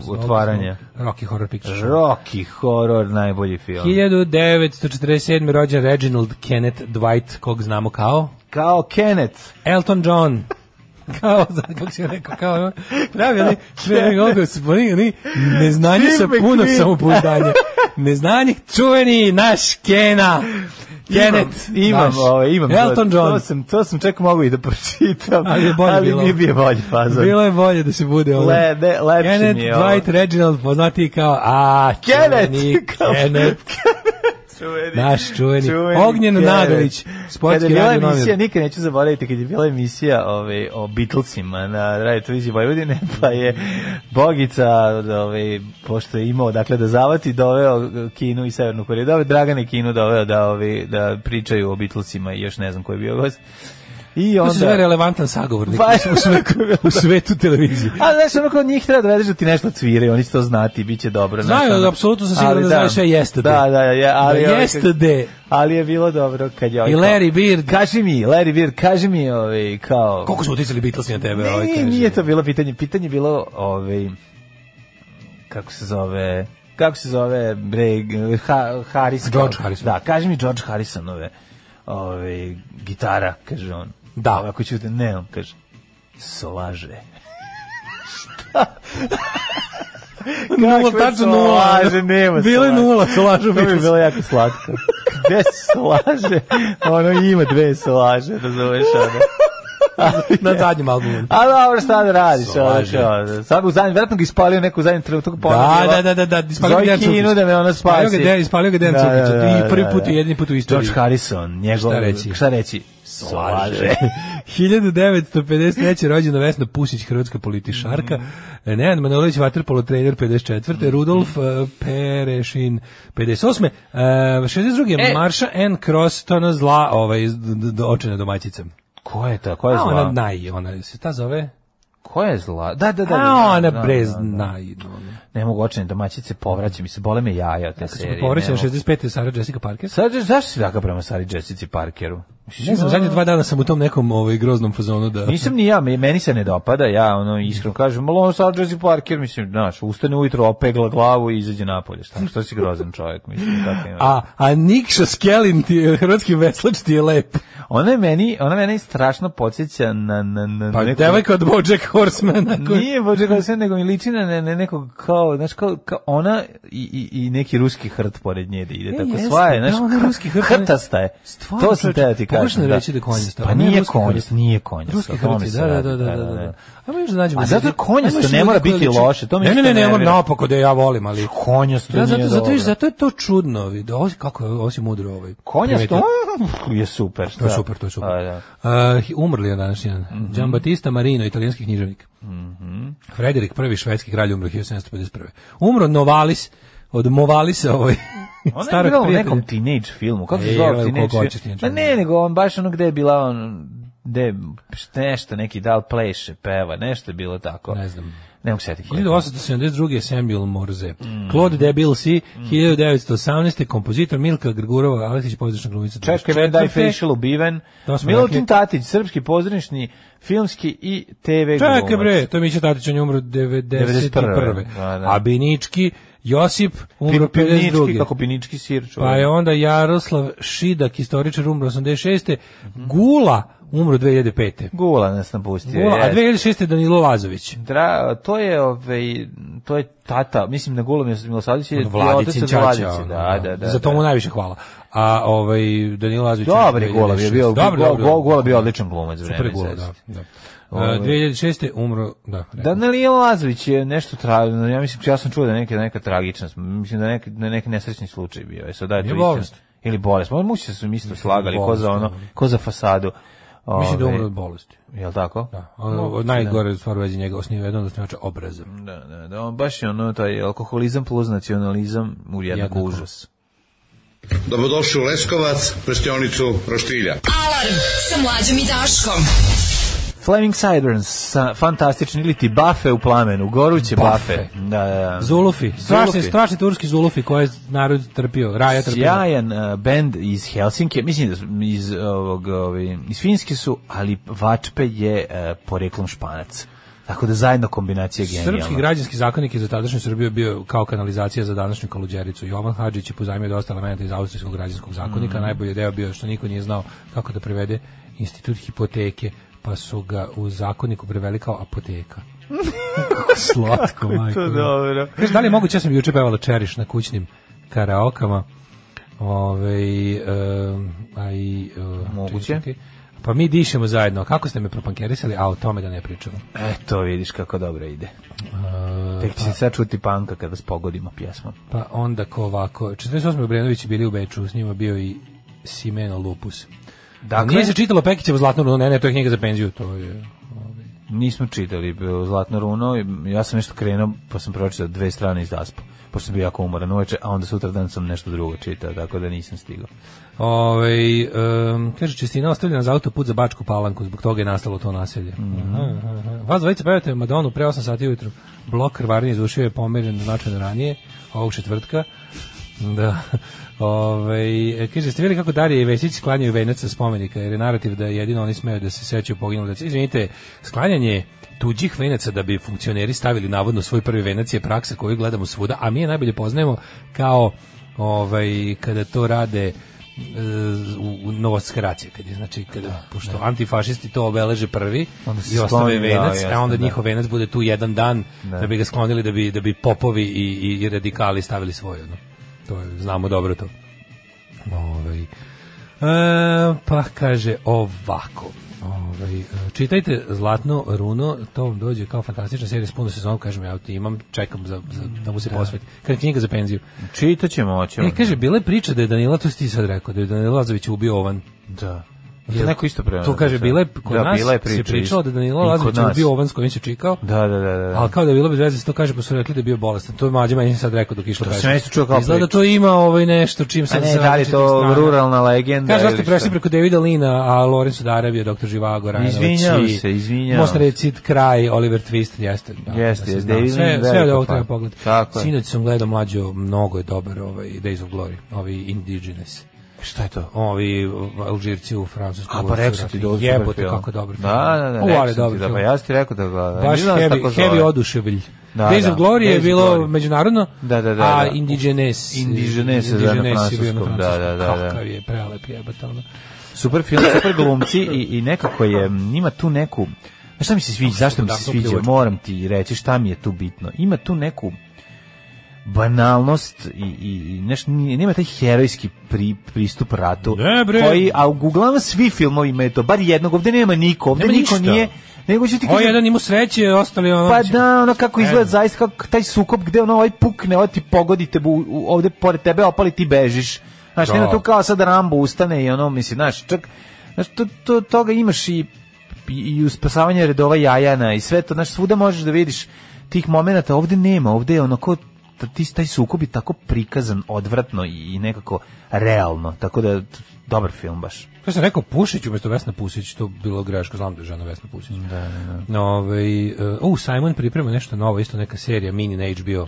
Speaker 5: zbog-
Speaker 6: otvaranja.
Speaker 5: zbog Rocky Horror Picture Show.
Speaker 6: Rocky Horror, najbolji film.
Speaker 5: 1947. rođen Reginald Kenneth Dwight, kog znamo kao
Speaker 6: Kao Kenneth.
Speaker 5: Elton John. <laughs> kao, za, kako si rekao, kao, ono, pravi oni,
Speaker 6: <laughs>
Speaker 5: pravi ono, oni, oni, neznanje sa
Speaker 6: Steve
Speaker 5: puno
Speaker 6: McQueen. <laughs>
Speaker 5: samopouzdanja. Neznanje, čuveni naš Kena. Kenneth,
Speaker 6: Imam, imam,
Speaker 5: naš
Speaker 6: ovaj, imam. to.
Speaker 5: Elton
Speaker 6: To
Speaker 5: John.
Speaker 6: sam, to sam čak mogu i da pročitam,
Speaker 5: Ali je bolje
Speaker 6: ali
Speaker 5: bilo.
Speaker 6: mi je bio bolji fazon.
Speaker 5: Bilo je bolje da se bude ovo.
Speaker 6: Le- ne, lepše
Speaker 5: Kenneth
Speaker 6: mi je ovo.
Speaker 5: Dwight Reginald, poznati kao, a,
Speaker 6: Kenneth,
Speaker 5: čuveni
Speaker 6: <laughs> kao-
Speaker 5: Kenneth,
Speaker 6: Čuveni.
Speaker 5: naš čuveni,
Speaker 6: Čuveni
Speaker 5: Ognjen
Speaker 6: Kenneth.
Speaker 5: Nadović,
Speaker 6: Kada
Speaker 5: sportski
Speaker 6: je bila
Speaker 5: radio
Speaker 6: emisija,
Speaker 5: novinar.
Speaker 6: nikad neću zaboraviti, kad je bila emisija ove, o Beatlesima na Radio Televiziji Vojvodine, <laughs> pa je Bogica, ove, pošto je imao dakle da zavati, doveo Kinu i Severnu Koreju, doveo Dragane Kinu, doveo da, ove, da pričaju o Beatlesima i još ne znam ko je bio gost. I
Speaker 5: To se zove
Speaker 6: onda...
Speaker 5: relevantan sagovornik
Speaker 6: <laughs> Pa-
Speaker 5: u svetu, u svetu televizije.
Speaker 6: A znaš, ono kod njih treba da vedeš da ti nešto cvire, oni će to znati, bit će dobro. znaš,
Speaker 5: Znaju,
Speaker 6: ono.
Speaker 5: apsolutno sam siguran
Speaker 6: Ali
Speaker 5: da znaju sve yesterday.
Speaker 6: Da, da, ja, ali...
Speaker 5: Da,
Speaker 6: ovaj,
Speaker 5: yesterday.
Speaker 6: Ali je bilo dobro kad je... ovaj
Speaker 5: I
Speaker 6: kao-
Speaker 5: Larry Bird,
Speaker 6: Kaži mi, Larry Bird, kaži mi ovaj, kao...
Speaker 5: koliko su uticali Beatlesi na tebe? ovaj,
Speaker 6: Ne,
Speaker 5: kaže?
Speaker 6: nije to bilo pitanje. Pitanje je bilo, ovaj, kako se zove, kako se zove, bre, g- ha, Harrison.
Speaker 5: George Harrison.
Speaker 6: Da, kaži mi George Harrisonove ovaj, gitara, kaže on.
Speaker 5: Da.
Speaker 6: Ovako ću te, ne, on kaže, solaže.
Speaker 5: Nula,
Speaker 6: Kakve
Speaker 5: tačno nula.
Speaker 6: solaže, nema
Speaker 5: Bilo je
Speaker 6: solaže.
Speaker 5: nula, solažu
Speaker 6: To bi
Speaker 5: Beatles.
Speaker 6: bilo jako slatko. Gde se solaže? Ono ima dve solaže, razumeš ono.
Speaker 5: Na zadnjem albumu.
Speaker 6: A dobro, šta da radiš?
Speaker 5: Slaže.
Speaker 6: ono, kao, Sad u zadnjem, vjerojatno ga ispalio neko u zadnjem trenutku. Pa
Speaker 5: Da, da, da, da, da, ispalio ga
Speaker 6: Zove
Speaker 5: Dejan Cukić.
Speaker 6: Kinu da me ona spasi.
Speaker 5: Ispalio ga Dejan- ispalio ga Dejan Cukić. I prvi put i jedini put u istoriji.
Speaker 6: George Harrison, njegov...
Speaker 5: Šta reći?
Speaker 6: Šta reći? Slaže.
Speaker 5: 1953. rođena Vesna Pusić, hrvatska politišarka.
Speaker 6: Mhm.
Speaker 5: Nenad Manolović, vaterpolo trener 54. Rudolf eh, Perešin 58. Eh, 62.
Speaker 6: E.
Speaker 5: Marša N. Cross, to ona zla, ovaj, iz- d- d- očena domaćica.
Speaker 6: Ko je ta? Ko je
Speaker 5: A ona
Speaker 6: zla?
Speaker 5: naj, ona se ta zove?
Speaker 6: Ko je zla? Da, da, da. da,
Speaker 5: A
Speaker 6: da,
Speaker 5: ona
Speaker 6: da,
Speaker 5: brez
Speaker 6: da, da.
Speaker 5: naj.
Speaker 6: Ne mogu očene domaćice, povraća mi se, bole me jaja od te
Speaker 5: Kad smo
Speaker 6: serije.
Speaker 5: povraćali
Speaker 6: ne mogu.
Speaker 5: 65. Sara Jessica Parker.
Speaker 6: Sad, zašto si takav prema Sari Jessici Parkeru?
Speaker 5: Ne znam, zadnje dva dana sam u tom nekom ovaj, groznom fazonu da...
Speaker 6: Nisam ni ja, me- meni se ne dopada, ja ono iskreno kažem, malo ono sad Jesse Parker, mislim, znaš, ustane ujutro, opegla glavu i izađe napolje, šta, što si grozan
Speaker 5: <laughs>
Speaker 6: čovjek, mislim, tako ima.
Speaker 5: A, a Nikša Skelin, ti, je- hrvatski veslač, ti je lep.
Speaker 6: Ona je meni, ona mene strašno podsjeća na, na, na
Speaker 5: Pa
Speaker 6: neku-
Speaker 5: devojka od Bojack Horsemana. Koji...
Speaker 6: Nije Bože Horseman, nego mi liči na, na, na nekog kao, znaš, kao, kao ona i, i, i neki ruski hrt pored nje da ide
Speaker 5: E,
Speaker 6: tako
Speaker 5: jeste,
Speaker 6: sva je,
Speaker 5: da,
Speaker 6: znaš,
Speaker 5: ona je ruski hrt, ona je-
Speaker 6: hrtasta je.
Speaker 5: Stvarno,
Speaker 6: to sam
Speaker 5: čoveče,
Speaker 6: teo ti kažem.
Speaker 5: pogrešno je reći da je konjasta,
Speaker 6: Pa
Speaker 5: ona je
Speaker 6: nije
Speaker 5: ruski hrt.
Speaker 6: konjast, nije konjast.
Speaker 5: Ruski
Speaker 6: o tome
Speaker 5: hrti,
Speaker 6: se
Speaker 5: da, da,
Speaker 6: radi,
Speaker 5: da, da, da, da. Ajmo još da nađemo
Speaker 6: A
Speaker 5: ljudi-
Speaker 6: zato je konjasto,
Speaker 5: Ajmo još
Speaker 6: ne
Speaker 5: ljudi
Speaker 6: mora
Speaker 5: koji
Speaker 6: biti
Speaker 5: liče-
Speaker 6: loše, to mi
Speaker 5: Ne, ne,
Speaker 6: isto
Speaker 5: ne, ne, mora
Speaker 6: nervira.
Speaker 5: naopako da ja volim, ali...
Speaker 6: Konjasto
Speaker 5: Da, zato,
Speaker 6: nije
Speaker 5: zato,
Speaker 6: dobro.
Speaker 5: zato je to čudno, vidi, ovo je- kako je, ovo si mudro ovaj.
Speaker 6: Konjasto
Speaker 5: primetio.
Speaker 6: mm, je super.
Speaker 5: To <laughs> je super, to je super.
Speaker 6: A, da. Mhm.
Speaker 5: Uh, umrli je današnji dan. Mm -hmm. Giambattista Marino, italijanski književnik. Mm Frederik I, švedski kralj, umro 1751. Umro Novalis, od Movalisa, ovaj,
Speaker 6: <laughs> Ona Ono je
Speaker 5: starog
Speaker 6: bila u
Speaker 5: prijatelja.
Speaker 6: nekom teenage filmu, kako se
Speaker 5: Ej,
Speaker 6: zove
Speaker 5: ovaj,
Speaker 6: teenage
Speaker 5: koliko
Speaker 6: film?
Speaker 5: hoćeš teenage
Speaker 6: Pa ne,
Speaker 5: film.
Speaker 6: nego on baš ono gde je bila on, gde je šta- nešto, neki dal pleše, peva, nešto je bilo tako.
Speaker 5: Ne znam.
Speaker 6: Ne mogu setiti. koje je to.
Speaker 5: 1872. Samuel Morze.
Speaker 6: Mhm.
Speaker 5: Claude Debilsi, 1918. kompozitor Milka Grgurova, Aleksić pozdrašna glumica.
Speaker 6: Češki
Speaker 5: 24..
Speaker 6: Van Dye Facial ubiven.
Speaker 5: To smo
Speaker 6: Milutin
Speaker 5: rekli.
Speaker 6: Tatić, srpski pozorišni, filmski i TV
Speaker 5: Čekaj
Speaker 6: glumac.
Speaker 5: bre, to je Mića Tatić, on je umro 91.
Speaker 6: Da, da.
Speaker 5: A Binički, Josip, umro
Speaker 6: Pi- pivnički,
Speaker 5: 52.
Speaker 6: kako pinički sir čovjek.
Speaker 5: Pa je onda Jaroslav Šidak, istoričar, umro 86. Gula, umro 2005.
Speaker 6: Gula nas napustio.
Speaker 5: Gula, a
Speaker 6: jes.
Speaker 5: 2006. Danilo Lazović.
Speaker 6: Dra, to je ovaj to je tata, mislim na Golom Milosavljević je
Speaker 5: Vladi
Speaker 6: otac od Vladice,
Speaker 5: Cinčača. ono,
Speaker 6: da, da, da.
Speaker 5: Za to
Speaker 6: da.
Speaker 5: mu najviše hvala. A ovaj Danilo Lazović...
Speaker 6: Dobar je Golov je bio,
Speaker 5: Dobar,
Speaker 6: Gol-
Speaker 5: dobar.
Speaker 6: Gol- Golov je bio odličan glumac
Speaker 5: Super
Speaker 6: vreme.
Speaker 5: je Gula, da.
Speaker 6: sećam se.
Speaker 5: da. E,
Speaker 6: Ovaj.
Speaker 5: 2006. umro, da. rekao.
Speaker 6: Danilo Lazović je nešto tragično, ja mislim, ja sam čuo da je neka, neka tragična, mislim da je neki, da je neki nesrećni slučaj bio, e sad da je to
Speaker 5: Nije
Speaker 6: istina.
Speaker 5: bolest.
Speaker 6: Ili bolest, možda mu se su im isto slagali, ko
Speaker 5: bolest,
Speaker 6: za ono,
Speaker 5: ono.
Speaker 6: ko za fasadu.
Speaker 5: Mislim da je
Speaker 6: Ovaj,
Speaker 5: umro od bolesti.
Speaker 6: Jel tako?
Speaker 5: Da. Ono, najgore stvar u vezi njega osniva jedan od osnivača obraza.
Speaker 6: Da, da, da, on baš je ono, taj alkoholizam plus nacionalizam u jednako
Speaker 5: Jednako.
Speaker 6: užas.
Speaker 7: Dobrodošli u Leskovac, prštionicu Roštilja.
Speaker 4: Alarm sa mlađom i Daškom.
Speaker 6: Flaming Sideburns, sa, fantastični ili ti bafe u plamenu, goruće bafe.
Speaker 5: Bafe.
Speaker 6: Da, da, da.
Speaker 5: Zulufi, strašni,
Speaker 6: Zulufi.
Speaker 5: strašni turski Zulufi koje je narod trpio, raja trpio.
Speaker 6: Sjajan uh, band iz Helsinki, mislim da su iz, ovog, ovi, iz Finjske su, ali Vačpe je uh, poreklom španac. Tako da zajedno kombinacija je genijalna.
Speaker 5: Srpski građanski zakonik je za tadašnju Srbiju bio kao kanalizacija za današnju Kaluđericu. Jovan Hadžić je pozajmio dosta elementa iz austrijskog građanskog zakonika.
Speaker 6: Mhm.
Speaker 5: Najbolji deo bio je što niko nije znao kako da prevede institut hipoteke, pa su ga u zakoniku preveli kao
Speaker 6: <laughs>
Speaker 5: apoteka. Slatko, majko.
Speaker 6: To je
Speaker 5: moja.
Speaker 6: dobro.
Speaker 5: Znaš, da li je moguće, ja sam juče pevala Čeriš na kućnim karaokama, Ove, um, a i, uh,
Speaker 6: Moguće.
Speaker 5: čekaj, čekaj. Pa mi dišemo zajedno. Kako ste me propankerisali, a o tome da ne pričamo.
Speaker 6: Eto, vidiš kako dobro ide.
Speaker 5: Uh,
Speaker 6: Tek će se sad čuti panka kad vas pogodimo pjesmom.
Speaker 5: Pa onda ko ovako, 48. Obrenović je bili u Beču, s njima bio i Simeno Lupus.
Speaker 6: Dakle-
Speaker 5: Dakle, nije se čitalo Pekićevo zlatno runo, ne, ne, to je knjiga za penziju, to je...
Speaker 6: Nismo čitali bio Zlatno runo, ja sam nešto krenuo, pa sam pročitao dve strane iz Daspa, pošto sam bio jako umoran uveče, a onda sutra dan sam nešto drugo čitao, tako da nisam stigao.
Speaker 5: Ove, um, kaže, čestina ostavljena za autoput za Bačku palanku, zbog toga je nastalo to naselje. Aha, aha, aha. Vas dvojica pevate Madonu pre 8 sati ujutru. Blok krvarnije izušio je pomeren značajno ranije, ovog četvrtka. Da. <laughs> Ove, kaže, ste vidjeli kako Darija i Vesić sklanjaju venac sa spomenika, jer je narativ da jedino oni smeju da se sećaju poginuli. dece. Izvinite, sklanjanje tuđih venaca da bi funkcioneri stavili navodno svoj prvi venac je praksa koju gledamo svuda, a mi je najbolje poznajemo kao ovaj, kada to rade e, u, u Novosadska racija, kad je, znači, kada, pošto antifašisti to obeleže prvi
Speaker 6: Onda se
Speaker 5: i
Speaker 6: skloni,
Speaker 5: ostave
Speaker 6: da,
Speaker 5: venac,
Speaker 6: jasno,
Speaker 5: a onda
Speaker 6: da.
Speaker 5: njihov venac bude tu jedan dan da, bi ga sklonili da bi, da bi popovi i, i, i radikali stavili svoj. Ono. To je, znamo dobro to. Ovaj. E, pa kaže ovako. Ovaj, e, čitajte Zlatno runo, to vam dođe kao fantastična serija s puno sezonom, kažem ja, imam, čekam za, za, da mu se posveti. Kad je knjiga za penziju.
Speaker 6: Čitat ćemo, oćemo.
Speaker 5: E, kaže, bila je priča da je Danila, to si ti sad rekao, da je Danila Lazović ubio ovan.
Speaker 6: Da. Je neko isto prema.
Speaker 5: To kaže, bila je, kod
Speaker 6: da,
Speaker 5: nas
Speaker 6: bila je
Speaker 5: se
Speaker 6: priča
Speaker 5: pričalo da
Speaker 6: isto.
Speaker 5: je Danila
Speaker 6: I kod
Speaker 5: Lazović
Speaker 6: nas.
Speaker 5: ubio ovan s kojim se čikao,
Speaker 6: Da, da, da, da. da.
Speaker 5: ali kao da je bilo bez veze, to kaže, pa su rekli da je bio bolestan. To je mlađe meni sad rekao dok je išlo
Speaker 6: To sam
Speaker 5: peša.
Speaker 6: ja isto čuo kao
Speaker 5: Izgleda da
Speaker 6: priču.
Speaker 5: to ima ovaj nešto čim
Speaker 6: A
Speaker 5: sad
Speaker 6: ne,
Speaker 5: se
Speaker 6: da li je
Speaker 5: različitih
Speaker 6: to
Speaker 5: strana.
Speaker 6: ruralna legenda?
Speaker 5: Kaže, da ste
Speaker 6: ili
Speaker 5: prešli
Speaker 6: šta?
Speaker 5: preko Davida Lina, a Lorenz Udarav je doktor Živago, Rajanović.
Speaker 6: Izvinjavam
Speaker 5: i
Speaker 6: se, izvinjavam
Speaker 5: Most
Speaker 6: se.
Speaker 5: Recit, Kraj, Oliver Twist, jeste. Da,
Speaker 6: Jeste,
Speaker 5: da se
Speaker 6: jeste,
Speaker 5: zna.
Speaker 6: David
Speaker 5: sve,
Speaker 6: Lin,
Speaker 5: sve od
Speaker 6: velika
Speaker 5: ovog treba
Speaker 6: fan.
Speaker 5: pogled.
Speaker 6: Tako je.
Speaker 5: Sinoć sam gledao mlađo, mnogo je dobar ovaj Days of Glory, ovi Indigenous.
Speaker 6: Šta je to?
Speaker 5: Ovi uh, Alžirci u Francuskoj.
Speaker 6: A pa
Speaker 5: vojsci
Speaker 6: rekao sam ti
Speaker 5: ratni.
Speaker 6: da je ovo super
Speaker 5: Jebote,
Speaker 6: film.
Speaker 5: kako dobar film.
Speaker 6: Da, da, da,
Speaker 5: Ovo,
Speaker 6: rekao
Speaker 5: ali
Speaker 6: sam
Speaker 5: dobar
Speaker 6: ti da,
Speaker 5: film.
Speaker 6: pa ja sam ti rekao da ga...
Speaker 5: Baš
Speaker 6: ne znam da se
Speaker 5: heavy,
Speaker 6: tako zove.
Speaker 5: heavy oduševilj.
Speaker 6: Da,
Speaker 5: Days
Speaker 6: da,
Speaker 5: of Glory
Speaker 6: Days
Speaker 5: je
Speaker 6: of
Speaker 5: bilo
Speaker 6: Glory.
Speaker 5: međunarodno,
Speaker 6: Da, da, da,
Speaker 5: a
Speaker 6: da.
Speaker 5: Indigenes,
Speaker 6: Indigenes je bio na francuskom, da, da, da, da.
Speaker 5: Kakav je prelep jebata. Ono.
Speaker 6: Super film, super glumci i, i nekako je, m, ima tu neku... Znaš šta mi se sviđa, zašto mi se
Speaker 5: Darko
Speaker 6: sviđa,
Speaker 5: Ključ.
Speaker 6: moram ti reći šta mi je tu bitno. Ima tu neku banalnost i, i, i neš, nije- nema taj herojski pri, pristup ratu.
Speaker 5: Ne, bre.
Speaker 6: Koji, a uglavnom svi filmovi imaju to, bar jednog, ovde nema niko, ovde
Speaker 5: Nema
Speaker 6: niko
Speaker 5: ništa.
Speaker 6: nije, nego ću ti
Speaker 5: Ovo
Speaker 6: kažem-
Speaker 5: jedan imao sreće, ostali ono...
Speaker 6: Pa
Speaker 5: će-
Speaker 6: da, ono kako izgleda
Speaker 5: Evo.
Speaker 6: zaista, kako taj sukop gde ono ovaj pukne, ovaj ti pogodi te, bu, u- ovde pored tebe opali ti bežiš. Znaš,
Speaker 5: Da.
Speaker 6: nema tu kao sad Rambo ustane i ono, misli, znaš, čak, znaš, to, to, toga imaš i, i, i u spasavanje redova jajana i sve to, znaš, svuda možeš da vidiš tih momenata, ovde nema, ovde je ono ko ta- ti- taj sukob je tako prikazan odvratno i, i nekako realno, tako da t- dobar film baš.
Speaker 5: Ja sam rekao Pušić umjesto Vesna Pusić, to bilo greško, znam da je žena Vesna Pusić. Da, da, da. Ove, uh, Simon priprema nešto novo, isto neka serija, mini na HBO.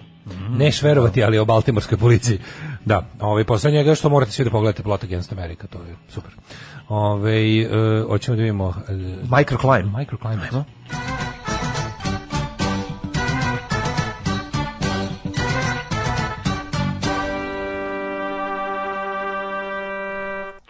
Speaker 5: Neš verovati, ali o Baltimorskoj policiji. Da, ovaj, posle njega što morate svi da pogledate Plot Against America, to je super. Ove, uh, hoćemo da vidimo... Uh,
Speaker 6: Microclimb.
Speaker 5: Microclimate.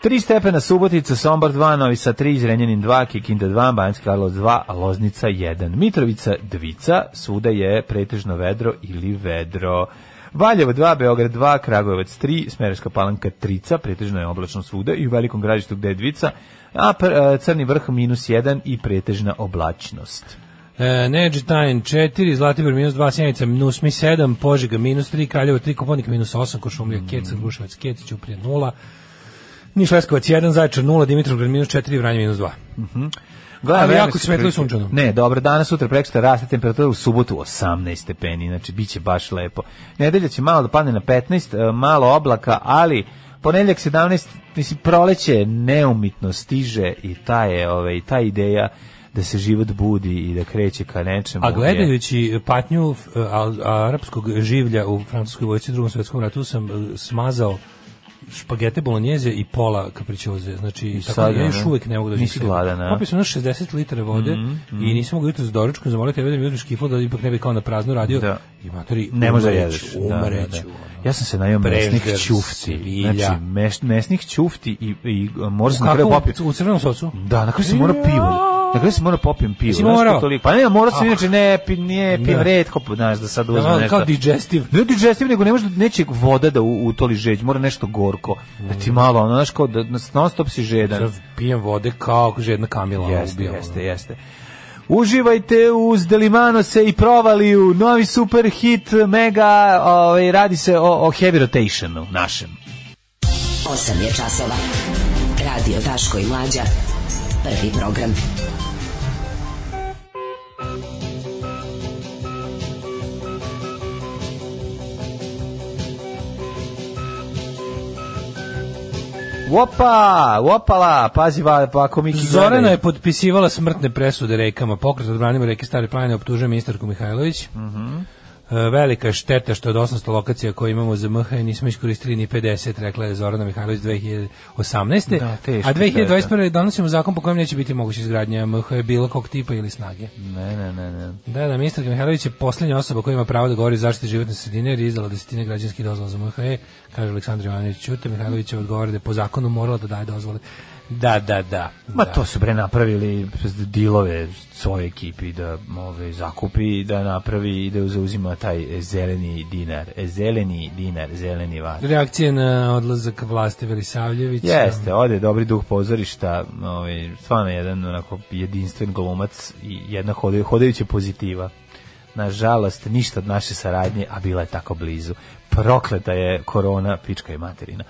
Speaker 6: Tri stepena Subotica, Sombor 2, Novi Sad 3, Zrenjanin 2, Kikinda 2, Banjski Karlovac 2, a Loznica 1. Mitrovica Dvica, svuda je pretežno vedro ili vedro. Valjevo 2, Beograd 2, Kragujevac 3, Smereska palanka 3, pretežno je oblačno svuda i u velikom gradištu gde je Dvica, a pr- e, Crni vrh minus 1 i pretežna oblačnost.
Speaker 5: E, Neđetajn 4, Zlatibor minus 2, Sjenica minus mi 7, Požega minus 3, Kraljevo 3, Koponik minus 8, Košumlija mm. Kec, Gruševac Kec, Ćuprije 0, Niš Leskovac 1, Zaječar 0, Dimitrovgrad minus 4, Vranje minus 2.
Speaker 6: Gledam,
Speaker 5: Ali
Speaker 6: vremenske
Speaker 5: jako svetlo i
Speaker 6: prilike.
Speaker 5: sunčano.
Speaker 6: Ne, dobro, danas, sutra, prekosutra raste temperatura u subotu 18 stepeni, znači bit će baš lepo. Nedelja će malo da padne na 15, e, malo oblaka, ali ponedjeljak 17, mislim, proleće neumitno stiže i ta je, ovaj, ta ideja da se život budi i da kreće ka nečemu.
Speaker 5: A
Speaker 6: je-
Speaker 5: gledajući patnju e, al- arapskog življa u francuskoj vojci u drugom svjetskom ratu sam e, smazao špagete bolonjeze i pola kapričoze. Znači, I tako, da
Speaker 6: sad,
Speaker 5: ja još
Speaker 6: ono,
Speaker 5: uvijek ne mogu da
Speaker 6: nisi gladan, a? Mhm,
Speaker 5: Popio sam ono 60 litara vode i nisam mogao jutro za doručkom, zamolio tebe da mi uzmeš kiflu da ipak ne bi kao na prazno radio.
Speaker 6: Da.
Speaker 5: I matori,
Speaker 6: ne može da
Speaker 5: umreću,
Speaker 6: jedeš.
Speaker 5: Umreću. ono.
Speaker 6: Ja sam se najeo mesnih
Speaker 5: Prežger,
Speaker 6: ćufti.
Speaker 5: Sevilja.
Speaker 6: Znači, meš, mesnih ćufti i, i morao sam na kraju
Speaker 5: Kako
Speaker 6: popiti.
Speaker 5: u, u crvenom socu?
Speaker 6: Da, na kraju sam morao pivo. Na kraju sam morao popijem pivo.
Speaker 5: Jesi
Speaker 6: znaš,
Speaker 5: morao?
Speaker 6: to Toliko. Pa ne, morao sam
Speaker 5: Ah.
Speaker 6: inače ne, pi, nije, pijem
Speaker 5: Da.
Speaker 6: redko, znaš, da sad
Speaker 5: Da,
Speaker 6: uzmem
Speaker 5: ono
Speaker 6: nešto.
Speaker 5: kao digestive.
Speaker 6: Ne digestiv, nego ne može neće voda da u, utoli žeđ, mora nešto gorko. Da ti malo, ono, znaš, kao da non stop si žedan.
Speaker 5: Sad pijem vode kao žedna kamila. ono,
Speaker 6: Jeste,
Speaker 5: ubijam,
Speaker 6: jeste, jeste. Uživajte uz Delimano se i provaliju, novi super hit, mega, ovaj, radi se o, o heavy rotationu našem.
Speaker 8: 8 je časova. Radio Daško i Mlađa. Prvi program.
Speaker 6: Opa, opala, pazi, va, pa ako mi
Speaker 5: Zorana je potpisivala smrtne presude rekama. Pokret odbranimo reke Stare planine optužuje ministarku Mihajlović.
Speaker 6: Mhm.
Speaker 5: E, Velika je šteta što od 800 lokacija koje imamo za MH nismo iskoristili ni 50, rekla je Zorana Mihajlović 2018.
Speaker 6: Da, teška
Speaker 5: a 2021. donosimo zakon po kojem neće biti moguće izgradnja MH bilo kog tipa ili snage.
Speaker 6: Ne, ne, ne, ne.
Speaker 5: Da, da, ministarka Mihajlović je posljednja osoba koja ima pravo da govori o zaštiti životne sredine jer je izdala desetine građanskih dozvola za MHE, kaže Aleksandar Ivanović Ćute. Mihajlović je odgovara da je po zakonu morala da daje dozvole. Da, da, da.
Speaker 6: Ma
Speaker 5: da.
Speaker 6: to su bre napravili dilove svoje ekipi da ove, zakupi, da napravi i da zauzima taj zeleni dinar. E, Zeleni dinar, zeleni var.
Speaker 5: Reakcije na odlazak vlasti Velisavljevića.
Speaker 6: Jeste, ovdje je dobri duh pozorišta, ovaj, stvarno jedan onako jedinstven glumac i jedna hoda- hodajuća pozitiva. Nažalost, ništa od naše saradnje, a bila je tako blizu. Prokleta je korona, pička je materina.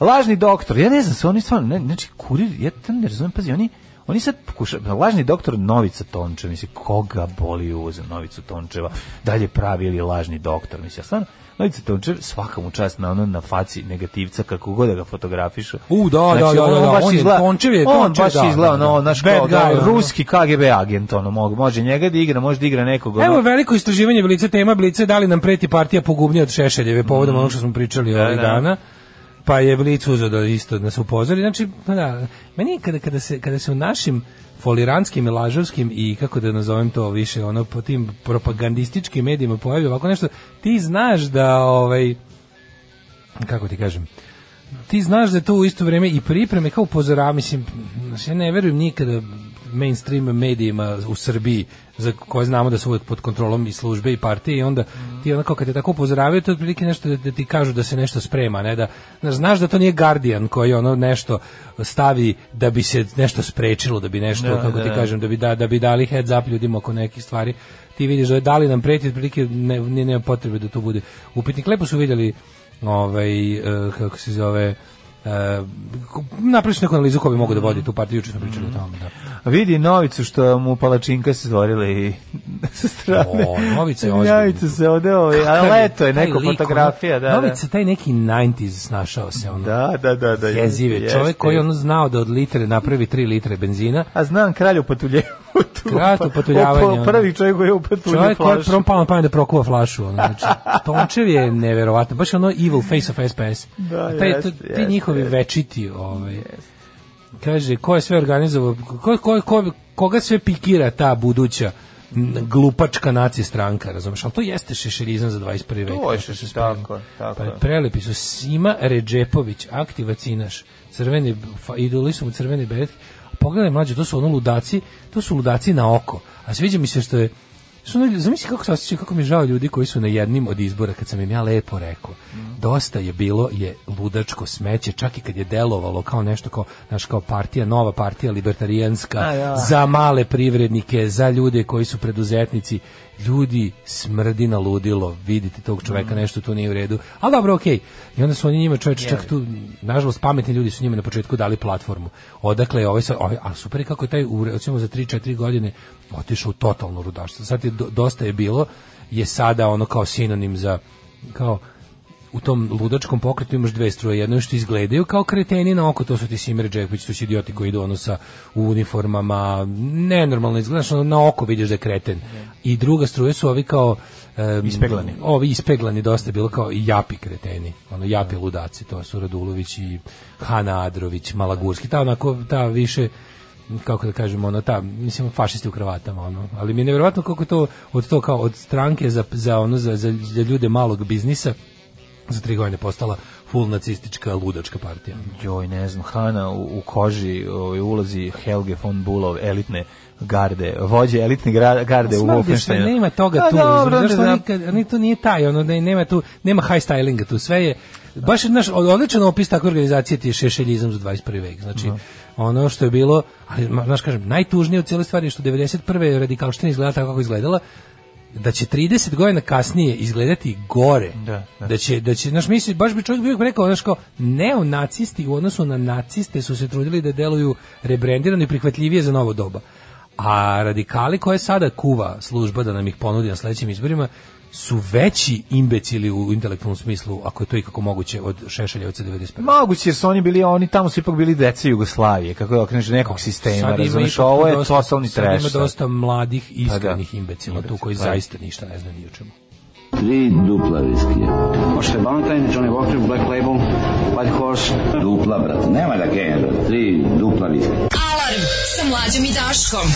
Speaker 6: Lažni doktor, ja ne znam se, oni stvarno, ne, znači, kurir, ja to ne razumijem, pazi, oni, oni sad pokušaju, lažni doktor Novica Tončeva, mislim, koga boli uza Novicu Tončeva, dalje pravi ili lažni doktor, mislim, ja stvarno, Novica Tončev, svaka mu čast na ono, na faci negativca, kako god da ga fotografišu.
Speaker 5: U, da, da, da,
Speaker 6: ono
Speaker 5: da, da,
Speaker 6: baš
Speaker 5: on je-
Speaker 6: izgleda-
Speaker 5: Tončev je-
Speaker 6: on
Speaker 5: Tončev,
Speaker 6: baš
Speaker 5: da,
Speaker 6: izgleda,
Speaker 5: da, da.
Speaker 6: ono, naš
Speaker 5: Bad
Speaker 6: kao, da,
Speaker 5: guy, ono.
Speaker 6: ruski KGB agent, ono, mog- može njega da igra, može da igra nekog, ono,
Speaker 5: Evo veliko istraživanje Blice tema Blice da li nam preti partija pogubnija od Šešeljeve povodom onog što smo pričali ovih
Speaker 6: Mm. da.
Speaker 5: dana. Pa je Blic uzeo da isto nas upozori. Znači, pa da, meni je kada, kada, se, kada se u našim foliranskim i lažovskim i kako da nazovem to više ono po tim propagandističkim medijima pojavi ovako nešto ti znaš da ovaj kako ti kažem ti znaš da je to u isto vrijeme i pripreme kao upozorava, mislim, znaš, ja ne verujem nikada mainstream medijima u Srbiji za koje znamo da su uvijek pod kontrolom i službe i partije i onda ti onako kad te tako upozoravaju to je otprilike nešto da, da ti kažu da se nešto sprema a ne da znaš, znaš da to nije Guardian koji ono nešto stavi da bi se nešto sprečilo da bi nešto kako ti kažem da bi da, da bi dali heads up ljudima oko nekih stvari ti vidiš da je da li nam preti otprilike ne, ne, nema potrebe da to bude upitnik lepo su vidjeli ovaj, e, kako eh,
Speaker 6: Mm-hmm.
Speaker 5: se zove, e, napravili su neku analizu ko bi mogu da vodi tu partiju, juče smo pričali o tome. Da.
Speaker 6: Vidi Novicu što mu palačinka se stvorila i <laughs> sa strane.
Speaker 5: O, Novica je ozbiljna.
Speaker 6: Novica se ovde, ovaj, a leto je neko fotografija, da, da.
Speaker 5: Novica, ono, taj neki 90s snašao se ono.
Speaker 6: Da, da, da, da.
Speaker 5: Jezive,
Speaker 6: jeste,
Speaker 5: čovjek koji je
Speaker 6: jeste.
Speaker 5: ono znao da od litre napravi 3 litre benzina,
Speaker 6: A znam kralju <laughs> patulje.
Speaker 5: Kralj upatuljavanja, ono.
Speaker 6: pa- Prvi čovjek koji je upatuljio
Speaker 5: Čovjek koji je
Speaker 6: flašu.
Speaker 5: prvom palom pamet da prokuva flašu. Ono,
Speaker 6: <laughs>
Speaker 5: znači, Tončev je neverovatno. Baš ono evil face of SPS.
Speaker 6: Da,
Speaker 5: A taj,
Speaker 6: jeste,
Speaker 5: to- ti
Speaker 6: jeste,
Speaker 5: njihovi
Speaker 6: jeste.
Speaker 5: večiti. Ovaj, Kaže, ko je sve organizovao, ko, ko, ko, koga sve pikira ta buduća n- glupačka naci stranka, razumeš? Ali to jeste šešeljizam za 21. vek.
Speaker 6: To je
Speaker 5: znaš, što se
Speaker 6: šešelj-
Speaker 5: sprema.
Speaker 6: tako je, tako
Speaker 5: Pa
Speaker 6: je.
Speaker 5: prelepi su Sima Ređepović, aktivacinaš, crveni, fa- idoli su mu crveni beret. Pogledaj mlađe, to su ono ludaci, to su ludaci na oko. A sviđa mi se što je, što ono, zamisli kako se osjećaju, kako mi je žao ljudi koji su na jednim od izbora, kad sam im ja lepo rekao.
Speaker 6: Mhm.
Speaker 5: Dosta je bilo, je ludačko smeće, čak i kad je delovalo kao nešto kao, znaš, kao partija, nova partija, libertarijanska,
Speaker 6: A, ja.
Speaker 5: za male privrednike, za ljude koji su preduzetnici, ljudi smrdi na ludilo, vidite tog čoveka, nešto tu nije u redu, ali dobro, okej. I onda su oni njima čoveče, čak tu, nažalost, pametni ljudi su njima na početku dali platformu. Odakle je ovaj, sad- ovaj ali super je kako je taj, u, recimo, za 3-4 godine otišao u totalno rudarstvo. Sad je, do- dosta je bilo, je sada ono kao sinonim za, kao, u tom ludačkom pokretu imaš dve struje. Jedno je što izgledaju kao kreteni na oko, to su ti Simir Džeković, to su idioti koji idu ono sa u uniformama, nenormalno izgledaš, ono na oko vidiš da je kreten. I druga struja su ovi kao... em,
Speaker 6: Ispeglani.
Speaker 5: Ovi ispeglani dosta je bilo kao i japi kreteni, ono japi ludaci, to su Radulović i Hana Adrović, Malagurski, ta onako, ta više kako da kažemo, ono, ta, mislim, fašisti u kravatama, ono, ali mi je nevjerovatno koliko to, od to kao, od stranke za, za ono, za, za, za ljude malog biznisa, za tri godine postala full nacistička ludačka partija.
Speaker 6: Joj, ne znam, Hana u, u koži ovaj, ulazi Helge von Bulov, elitne garde, vođe elitne gra- garde u
Speaker 5: Pa Smrdi se,
Speaker 6: Wolfensteinu.
Speaker 5: nema toga
Speaker 6: A,
Speaker 5: tu,
Speaker 6: dobro,
Speaker 5: razumiješ,
Speaker 6: onda
Speaker 5: zašto
Speaker 6: da-
Speaker 5: nikad, ni to nije taj, ono, ne, nema tu, nema high stylinga tu, sve je, baš, znaš, od- odličan opis takve organizacije ti je šešeljizam za 21. vek, znači, ono što je bilo, ali, ma, znaš, kažem, najtužnije u cijeloj stvari je što 91. radikalština izgleda tako kako je izgledala, da će 30 godina kasnije izgledati gore.
Speaker 6: Da, da.
Speaker 5: da će da će naš misli baš bi čovjek bio rekao znači kao neonacisti u odnosu na naciste su se trudili da deluju rebrendirano i prihvatljivije za novo doba. A radikali koje sada kuva služba da nam ih ponudi na sledećim izborima su veći imbecili u intelektualnom smislu, ako je to ikako moguće, od Šešeljevca 91.
Speaker 6: Moguće jer su oni bili, oni tamo su ipak bili deca Jugoslavije, kako da okreneš nekog sistema,
Speaker 5: Sad ima
Speaker 6: razumeš,
Speaker 5: ipak
Speaker 6: ovo
Speaker 5: tu
Speaker 6: je
Speaker 5: dosta-
Speaker 6: totalni
Speaker 5: sad
Speaker 6: trash. sad.
Speaker 5: Ima dosta mladih,
Speaker 6: da.
Speaker 5: iskrenih imbecila tu koji
Speaker 6: Pa.
Speaker 5: zaista ništa ne znaju ni o čemu.
Speaker 9: Tri dupla viskija. Možete Valentine, Johnny Walker, Black Label, White Horse. Dupla, brate, nema da genja, tri dupla viskija.
Speaker 4: Alarm sa mlađom i Daškom.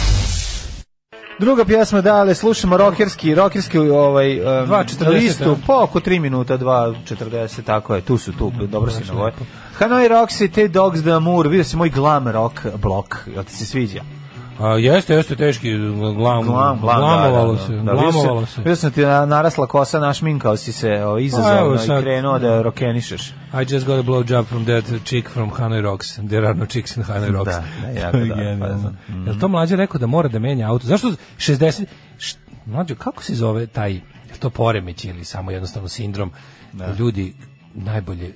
Speaker 6: Druga pjesma dale, slušamo rokerski, rokerski ovaj um,
Speaker 5: 2.40,
Speaker 6: listu,
Speaker 5: a?
Speaker 6: po oko 3 minuta, 2.40, tako je, tu su tu, dobro si na vojku. Hanoi Rocks i Te Dogs the Amour, vidio si moj glam rock blok, jel ti se sviđa?
Speaker 5: A, jeste, jeste teški, glam,
Speaker 6: Glam, glam,
Speaker 5: glamovalo
Speaker 6: da, da,
Speaker 5: se,
Speaker 6: da, da. Vidio
Speaker 5: glamovalo se.
Speaker 6: Vidio sam ti na- narasla kosa, našminkao si se o,
Speaker 5: Pa, evo
Speaker 6: izazovno i
Speaker 5: sad.
Speaker 6: krenuo da rokenišeš.
Speaker 5: I just got a blow job from that chick from Hanoi Rocks. There are no chicks in Hanoi Rocks.
Speaker 6: Da, da, jako
Speaker 5: To <laughs> je
Speaker 6: da,
Speaker 5: genijalno.
Speaker 6: pa
Speaker 5: Jel to mlađe rekao da mora da menja auto? Zašto 60... Št, mlađo, kako se zove taj, je to poremeć ili samo jednostavno sindrom? Ljudi najbolje,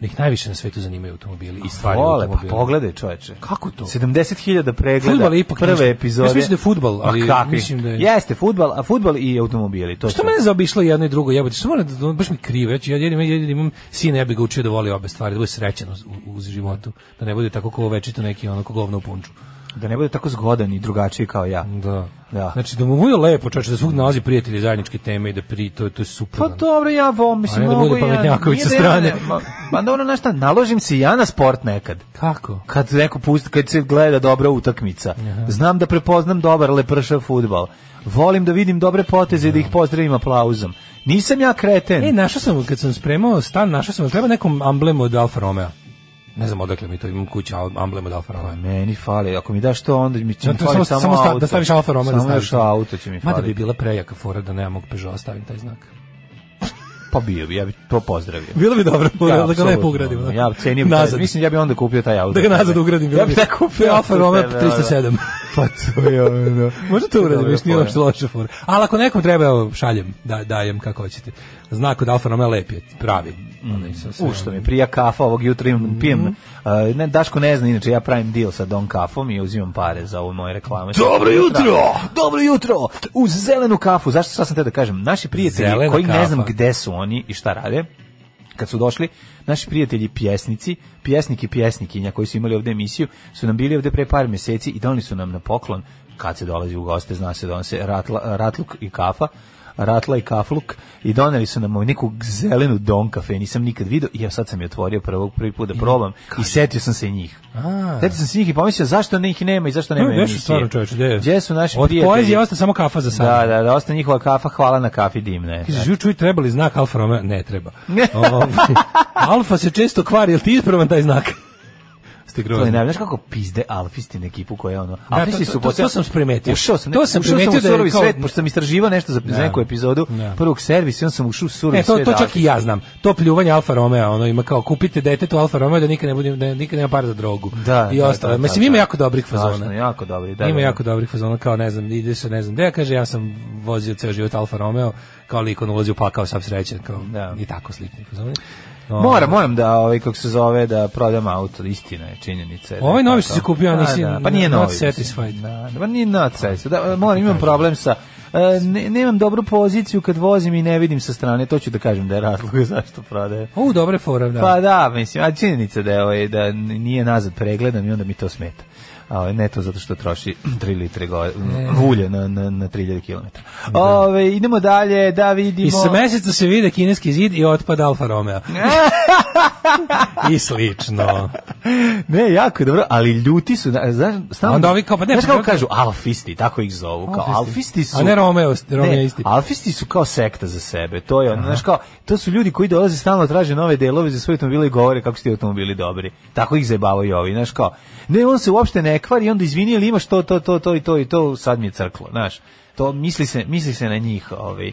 Speaker 5: da ih najviše na svetu zanimaju automobili i stvari u
Speaker 6: Vole, pa
Speaker 5: automobilu.
Speaker 6: pogledaj čoveče.
Speaker 5: Kako to?
Speaker 6: 70.000 pregleda
Speaker 5: Fudbal je ipak
Speaker 6: prve
Speaker 5: nešto-
Speaker 6: epizode.
Speaker 5: Ja sam mislim da je fudbal, ali
Speaker 6: Ma kakvi?
Speaker 5: mislim da je-
Speaker 6: Jeste, fudbal, a fudbal i automobili. To
Speaker 5: Što
Speaker 6: su-
Speaker 5: mene zaobišlo jedno i drugo jebote? Što mora da baš mi krivo. Ja ću- ja jedin, jedin imam sina, ja bih ga učio da voli obe stvari, da bude srećan uz, uz životu, da ne bude tako kao večito neki onako govno u punču.
Speaker 6: da ne bude tako zgodan i drugačiji kao ja.
Speaker 5: Da.
Speaker 6: Da.
Speaker 5: Znači da mu bude lepo, čoveče, da svugdje nalazi prijatelje zajedničke teme i da pri to to je super.
Speaker 6: Pa dobro, ja vo, mislim,
Speaker 5: A ne da
Speaker 6: mogu
Speaker 5: bude
Speaker 6: i ja-
Speaker 5: pametnjaković
Speaker 6: nije
Speaker 5: sa
Speaker 6: da ja ne-
Speaker 5: strane.
Speaker 6: Ma, ma dobro, znaš šta, naložim se i ja na sport nekad.
Speaker 5: Kako?
Speaker 6: Kad neko pusti, kad se gleda dobra utakmica. Znam da prepoznam dobar lepršav fudbal. Volim da vidim dobre poteze i da ih pozdravim aplauzom. Nisam ja kreten.
Speaker 5: E, našao sam, kad sam spremao stan, našao sam, treba nekom amblemu od Alfa Romeo. Ne znam odakle mi to, imam kuća amblem od Alfa Romeo.
Speaker 6: Meni fali, ako mi daš to, onda mi će
Speaker 5: Ja,
Speaker 6: mi
Speaker 5: to
Speaker 6: fali
Speaker 5: samo,
Speaker 6: samo,
Speaker 5: samo sta,
Speaker 6: auto.
Speaker 5: da staviš Alfa Romeo da
Speaker 6: Samo
Speaker 5: staviš.
Speaker 6: još auto će mi
Speaker 5: Mada
Speaker 6: faliti.
Speaker 5: bi bila prejaka fora da nemam mog Peugeot stavim taj znak.
Speaker 6: Pa bio bi, ja bi to pozdravio.
Speaker 5: Bilo bi dobro, <laughs> da, da ga
Speaker 6: apsolutno.
Speaker 5: lepo ugradimo. onako.
Speaker 6: Ja cenim,
Speaker 5: Nazad.
Speaker 6: mislim, ja bi onda kupio taj auto.
Speaker 5: Da ga nazad ugradim.
Speaker 6: Ja
Speaker 5: bilo
Speaker 6: bi
Speaker 5: bi.
Speaker 6: tako kupio
Speaker 5: Alfa Romeo
Speaker 6: Da, da, da.
Speaker 5: 307.
Speaker 6: <laughs> Pa to je ono.
Speaker 5: Možda to uradim,
Speaker 6: Dobra
Speaker 5: još nije
Speaker 6: fora.
Speaker 5: loša, loša fora. Ali ako nekom treba, evo, šaljem, da, dajem kako hoćete. Znak od Alfa Romeo lep je, pravi. Mm.
Speaker 6: U što mi prija kafa ovog jutra
Speaker 5: Mhm.
Speaker 6: imam pijem. uh, ne, Daško ne zna, inače ja pravim deal sa Don Kafom i uzimam pare za ovu moje reklame.
Speaker 5: Dobro jutro!
Speaker 6: Dobro jutro! Uz zelenu kafu. Zašto sad sam te da kažem? Naši prijatelji
Speaker 5: Zelena
Speaker 6: koji ne znam
Speaker 5: kafa.
Speaker 6: gde su oni i šta rade, kad su došli, naši prijatelji pjesnici, pjesnik i pjesnikinja koji su imali ovde emisiju, su nam bili ovde pre par meseci i doneli su nam na poklon, kad se dolazi u goste, zna se donose ratla, ratluk i kafa, ratla i kafluk i doneli su nam ovaj neku zelenu don kafe, nisam nikad video i ja sad sam je otvorio prvog prvi put da probam i setio sam se njih.
Speaker 5: A.
Speaker 6: Setio sam se njih i pomislio zašto ne ih nema i zašto nema
Speaker 5: Ne,
Speaker 6: emisije.
Speaker 5: nešto stvarno čoveče, gde je?
Speaker 6: Gde su naši
Speaker 5: Od
Speaker 6: prijatelji?
Speaker 5: poezije ostaje samo kafa za sad.
Speaker 6: Da, da, da, ostaje njihova kafa, hvala na kafi dimne.
Speaker 5: Kaže, ju čuj, treba li znak Alfa Romeo? Ne treba.
Speaker 6: Ne.
Speaker 5: Ovaj, <laughs> Alfa se često kvari, jel ti ispravan taj znak? Ste
Speaker 6: To je
Speaker 5: grozni.
Speaker 6: najbolje. Znaš kako pizde alfisti na ekipu koja je ono...
Speaker 5: Da,
Speaker 6: Alfisti
Speaker 5: to-
Speaker 6: su
Speaker 5: to-
Speaker 6: posle-
Speaker 5: to sam primetio.
Speaker 6: Ušao sam,
Speaker 5: To sam
Speaker 6: ušao
Speaker 5: primetio
Speaker 6: u
Speaker 5: da je
Speaker 6: surovi
Speaker 5: kao-
Speaker 6: svet, pošto sam istraživao nešto za, za neku epizodu
Speaker 5: Da.
Speaker 6: prvog servisa, i onda sam ušao u surovi
Speaker 5: E, to,
Speaker 6: svet
Speaker 5: to čak
Speaker 6: alfisti.
Speaker 5: i ja znam. To pljuvanje Alfa Romeo, ono ima kao kupite detetu Alfa Romeo da nikad ne bude da nikad nema para za drogu.
Speaker 6: Da,
Speaker 5: I
Speaker 6: da,
Speaker 5: ostalo.
Speaker 6: da, da,
Speaker 5: Mislim
Speaker 6: da.
Speaker 5: ima jako dobrih fazona.
Speaker 6: Strašno, jako dobri, da,
Speaker 5: ima
Speaker 6: da, da.
Speaker 5: jako dobrih fazona kao ne znam, ide se ne znam gde, kaže ja sam vozio ceo život Alfa Romeo, kao lik on ulazi u pakao sav srećan, kao
Speaker 6: Da.
Speaker 5: i tako slični fazoni.
Speaker 6: Moram, moram da, ovaj, kako se zove, da prodam auto, istina je, činjenica. je da
Speaker 5: Ovaj
Speaker 6: je
Speaker 5: novi
Speaker 6: tako.
Speaker 5: što si kupio, a
Speaker 6: Da,
Speaker 5: nisi-
Speaker 6: da, pa nije
Speaker 5: not
Speaker 6: novi.
Speaker 5: satisfied.
Speaker 6: Da, da, pa nije not satisfied. Da, moram, imam problem sa... e, ne, nemam dobru poziciju kad vozim i ne vidim sa strane, to ću da kažem da je razlog <laughs> zašto prodaje.
Speaker 5: O, dobre fora, da.
Speaker 6: Pa da, mislim, a činjenica da, je, ovaj, da n- nije nazad pregledan i onda mi to smeta. A ovaj, ne to zato što troši <clears throat> 3 litre go, ulja na, na, na 3000 km. Ove, idemo dalje, da vidimo...
Speaker 5: I sa meseca se vide kineski zid i otpada Alfa
Speaker 6: <laughs>
Speaker 5: Romeo. I slično.
Speaker 6: Ne, jako je dobro, ali ljuti su, na- znaš, stalno...
Speaker 5: Onda ovi kao, pa ne,
Speaker 6: znaš
Speaker 5: pa
Speaker 6: kako
Speaker 5: kako-
Speaker 6: kažu, alfisti, tako ih zovu, kao
Speaker 5: Alfisti.
Speaker 6: alfisti su...
Speaker 5: A ne Romeo, Romeo
Speaker 6: Ne,
Speaker 5: isti.
Speaker 6: alfisti su kao sekta za sebe, to je ono, znaš kao, to su ljudi koji dolaze stalno traže nove delove za svoje automobile i govore kako su ti automobili dobri. Tako ih zajebavaju i ovi, znaš kao, ne, on se uopšte ne kvari, onda izvini, ili imaš to, to, to, to i to i to, sad mi je crklo, znaš. To misli se, misli se na njih, ovaj.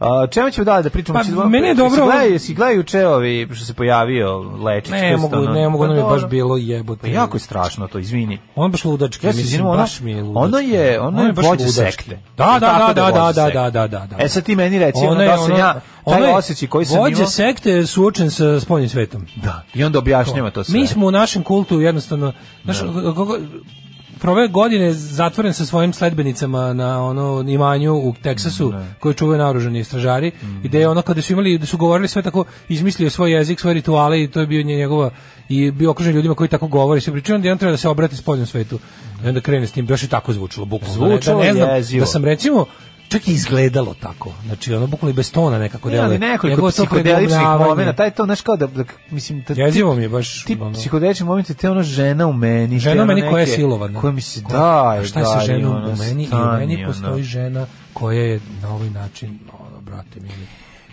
Speaker 6: A, čemu ćemo dalje da pričamo?
Speaker 5: Pa,
Speaker 6: Hoćemo-
Speaker 5: meni je
Speaker 6: jesi
Speaker 5: dobro-
Speaker 6: Gledaj, jesi gledaj juče ovi što se pojavio Lečić?
Speaker 5: Ne
Speaker 6: to
Speaker 5: mogu,
Speaker 6: je stvarno-
Speaker 5: ne mogu,
Speaker 6: Pa
Speaker 5: ono mi je baš
Speaker 6: dobro.
Speaker 5: bilo
Speaker 6: Pa
Speaker 5: jebote.
Speaker 6: jako je strašno to, izvini.
Speaker 5: On baš ludački,
Speaker 6: Ja se
Speaker 5: mislim,
Speaker 6: izvinim, ono,
Speaker 5: baš mi je ludački.
Speaker 6: ono je, ono
Speaker 5: On
Speaker 6: je
Speaker 5: baš
Speaker 6: vođa
Speaker 5: ludački.
Speaker 6: sekte.
Speaker 5: Da, da, da,
Speaker 6: Tako da
Speaker 5: da,
Speaker 6: je
Speaker 5: da,
Speaker 6: vođa
Speaker 5: da,
Speaker 6: sekte.
Speaker 5: da, da, da, da.
Speaker 6: E sad ti meni reci, ono,
Speaker 5: Ono je,
Speaker 6: da sam
Speaker 5: ono-
Speaker 6: ja, taj
Speaker 5: ono je
Speaker 6: osjećaj koji sam
Speaker 5: Vođa
Speaker 6: imao-
Speaker 5: sekte je suočen sa spoljnim svetom.
Speaker 6: Da. I onda objašnjava to sve.
Speaker 5: Mi smo u našem kultu jednostavno, znaš, kako- proveo godine zatvoren sa svojim sledbenicama na ono imanju u Teksasu koje čuvaju naoružani stražari
Speaker 6: Mhm.
Speaker 5: i da je ono kada su imali da su govorili sve tako izmislio je svoj jezik, svoje rituale i to je bio nje- njegova i bio okružen ljudima koji tako govore i se pričaju da on treba da se obrati spoljnom svetu i onda krene s tim baš je tako zvučilo bukvalno Da ne-
Speaker 6: Zvučalo
Speaker 5: da ne znam
Speaker 6: jezivo.
Speaker 5: da sam recimo čak i izgledalo tako znači ono bukvalno i bez tona nekako
Speaker 6: Ne, ali
Speaker 5: deluje
Speaker 6: nekoliko
Speaker 5: Njegovo to
Speaker 6: psihodeličnih
Speaker 5: predomljavanje.
Speaker 6: momenta, taj to, znaš kao da, da mislim, da,
Speaker 5: jezivo mi je baš
Speaker 6: ti
Speaker 5: ono.
Speaker 6: psihoterapeutski momenti te ono žena u meni
Speaker 5: Žena
Speaker 6: te
Speaker 5: u
Speaker 6: ono
Speaker 5: meni koja je
Speaker 6: neke-
Speaker 5: silovana.
Speaker 6: koja mi se ono,
Speaker 5: Koja-
Speaker 6: da
Speaker 5: A šta je sa ženom u meni? I u meni postoji žena koja je na ovaj način, ono, brate mili.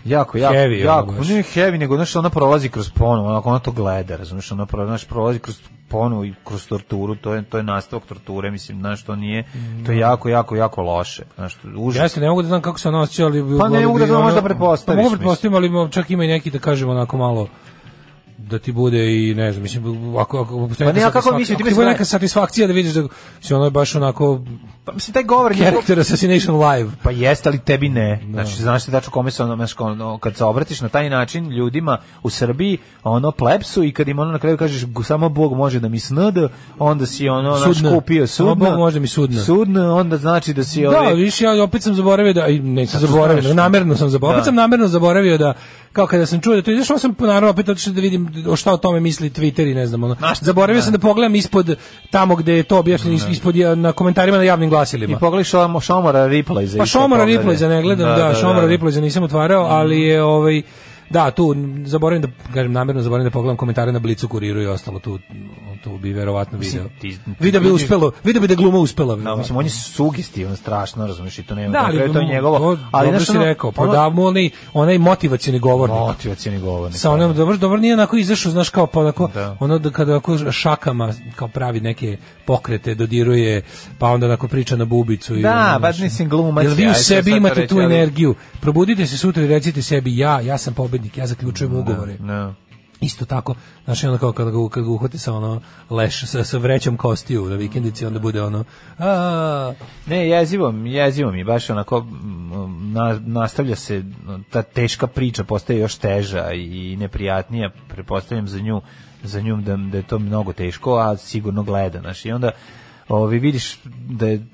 Speaker 6: jako jako
Speaker 5: Heavy, ono,
Speaker 6: jako
Speaker 5: baš.
Speaker 6: nije heavy nego znači ona prolazi kroz ponu ona ona to gleda razumiješ ona prolazi znaš, prolazi kroz ponu i kroz torturu to je to je nastavak torture mislim znaš to nije to je jako jako jako loše znaš to je užas
Speaker 5: Ja se ne mogu da znam kako se ona osjeća, ali...
Speaker 6: Pa ne
Speaker 5: ali
Speaker 6: mogu
Speaker 5: bi
Speaker 6: da znam,
Speaker 5: ono-
Speaker 6: možda pretpostaviš,
Speaker 5: Pa Mogu pretpostaviti, ali mo- čak ima i neki da kažem onako malo da ti bude i ne znam, mislim, ako, ako, ako
Speaker 6: Pa ne, a kako mislim, ti
Speaker 5: ti, ti
Speaker 6: misliš
Speaker 5: bude
Speaker 6: da-
Speaker 5: neka satisfakcija da vidiš da se ono je baš onako
Speaker 6: pa mislim taj govor njegov-
Speaker 5: character assassination live.
Speaker 6: Pa jeste, ali tebi ne. Znači, znaš se tačno kome se ono, znaš, kao, ono, kad se obratiš na taj način ljudima u Srbiji, ono, plepsu i kad im ono na kraju kažeš, "Gu- samo Bog može da mi snd, onda si ono, znaš,
Speaker 5: Sudna.
Speaker 6: kupio sudna.
Speaker 5: Samo Bog može da mi sudna.
Speaker 6: Sudna, onda znači da si
Speaker 5: Da,
Speaker 6: ovaj...
Speaker 5: viš ja opet sam zaboravio da, i ne sam zaboravio,
Speaker 6: znaš.
Speaker 5: nego namerno sam zaboravio,
Speaker 6: Da.
Speaker 5: opet sam namerno zaboravio da, kao kada sam čuo da to izašao sam, naravno, opet otišao da vidim o šta o tome misli Twitter i ne znam, ono. zaboravio sam da pogledam ispod tamo gde je to objašnjeno, is- ispod je- na komentarima na javnim
Speaker 6: I
Speaker 5: glasilima.
Speaker 6: pogledaj šom, Šomora Ripley za
Speaker 5: Pa
Speaker 6: isto
Speaker 5: Šomora
Speaker 6: pogledaj.
Speaker 5: Ripley za ne gledam, da, Šomora Ripley za nisam otvarao, ali je ovaj Da, tu m, zaboravim da kažem namerno zaboravim da pogledam komentare na Blicu Kuriru i ostalo tu tu bi verovatno video.
Speaker 6: ti- ti
Speaker 5: Video bi
Speaker 6: ljudi-
Speaker 5: uspelo, video bi da gluma uspela.
Speaker 6: Da, mislim, on je sugestivan, strašno, razumiješ, i to nema.
Speaker 5: Da,
Speaker 6: na kraju
Speaker 5: ali
Speaker 6: Dakle, to je njegovo. ali,
Speaker 5: dobro
Speaker 6: znaš,
Speaker 5: si
Speaker 6: ono,
Speaker 5: rekao, pa
Speaker 6: ono-
Speaker 5: da mu onaj, onaj motivacioni govornik.
Speaker 6: Motivacioni govornik.
Speaker 5: sa onom dobro dobro nije onako izašao znaš kao pa onako
Speaker 6: Da.
Speaker 5: ono da kada onako šakama kao pravi neke pokrete dodiruje pa onda onako priča na bubicu i
Speaker 6: Da,
Speaker 5: ono,
Speaker 6: pa
Speaker 5: znaš.
Speaker 6: mislim, glumac
Speaker 5: Jel
Speaker 6: je,
Speaker 5: vi u
Speaker 6: ajde,
Speaker 5: sebi
Speaker 6: sad to
Speaker 5: imate
Speaker 6: reći,
Speaker 5: tu
Speaker 6: ali-
Speaker 5: energiju probudite se sutra i recite sebi ja ja sam pobednik ja zaključujem ugovore
Speaker 6: Ne.
Speaker 5: Isto tako, znaš, i onda kao kad ga, kad ga uhvati sa ono leš, sa, sa vrećom kostiju na vikendici, onda bude ono, a,
Speaker 6: Ne, jezivo, mi- jezivo mi, baš onako mm, na, nastavlja se ta teška priča, postaje još teža i neprijatnija, prepostavljam za nju, za nju da, da je to mnogo teško, a sigurno gleda, znaš, i onda ovi, vidiš da je,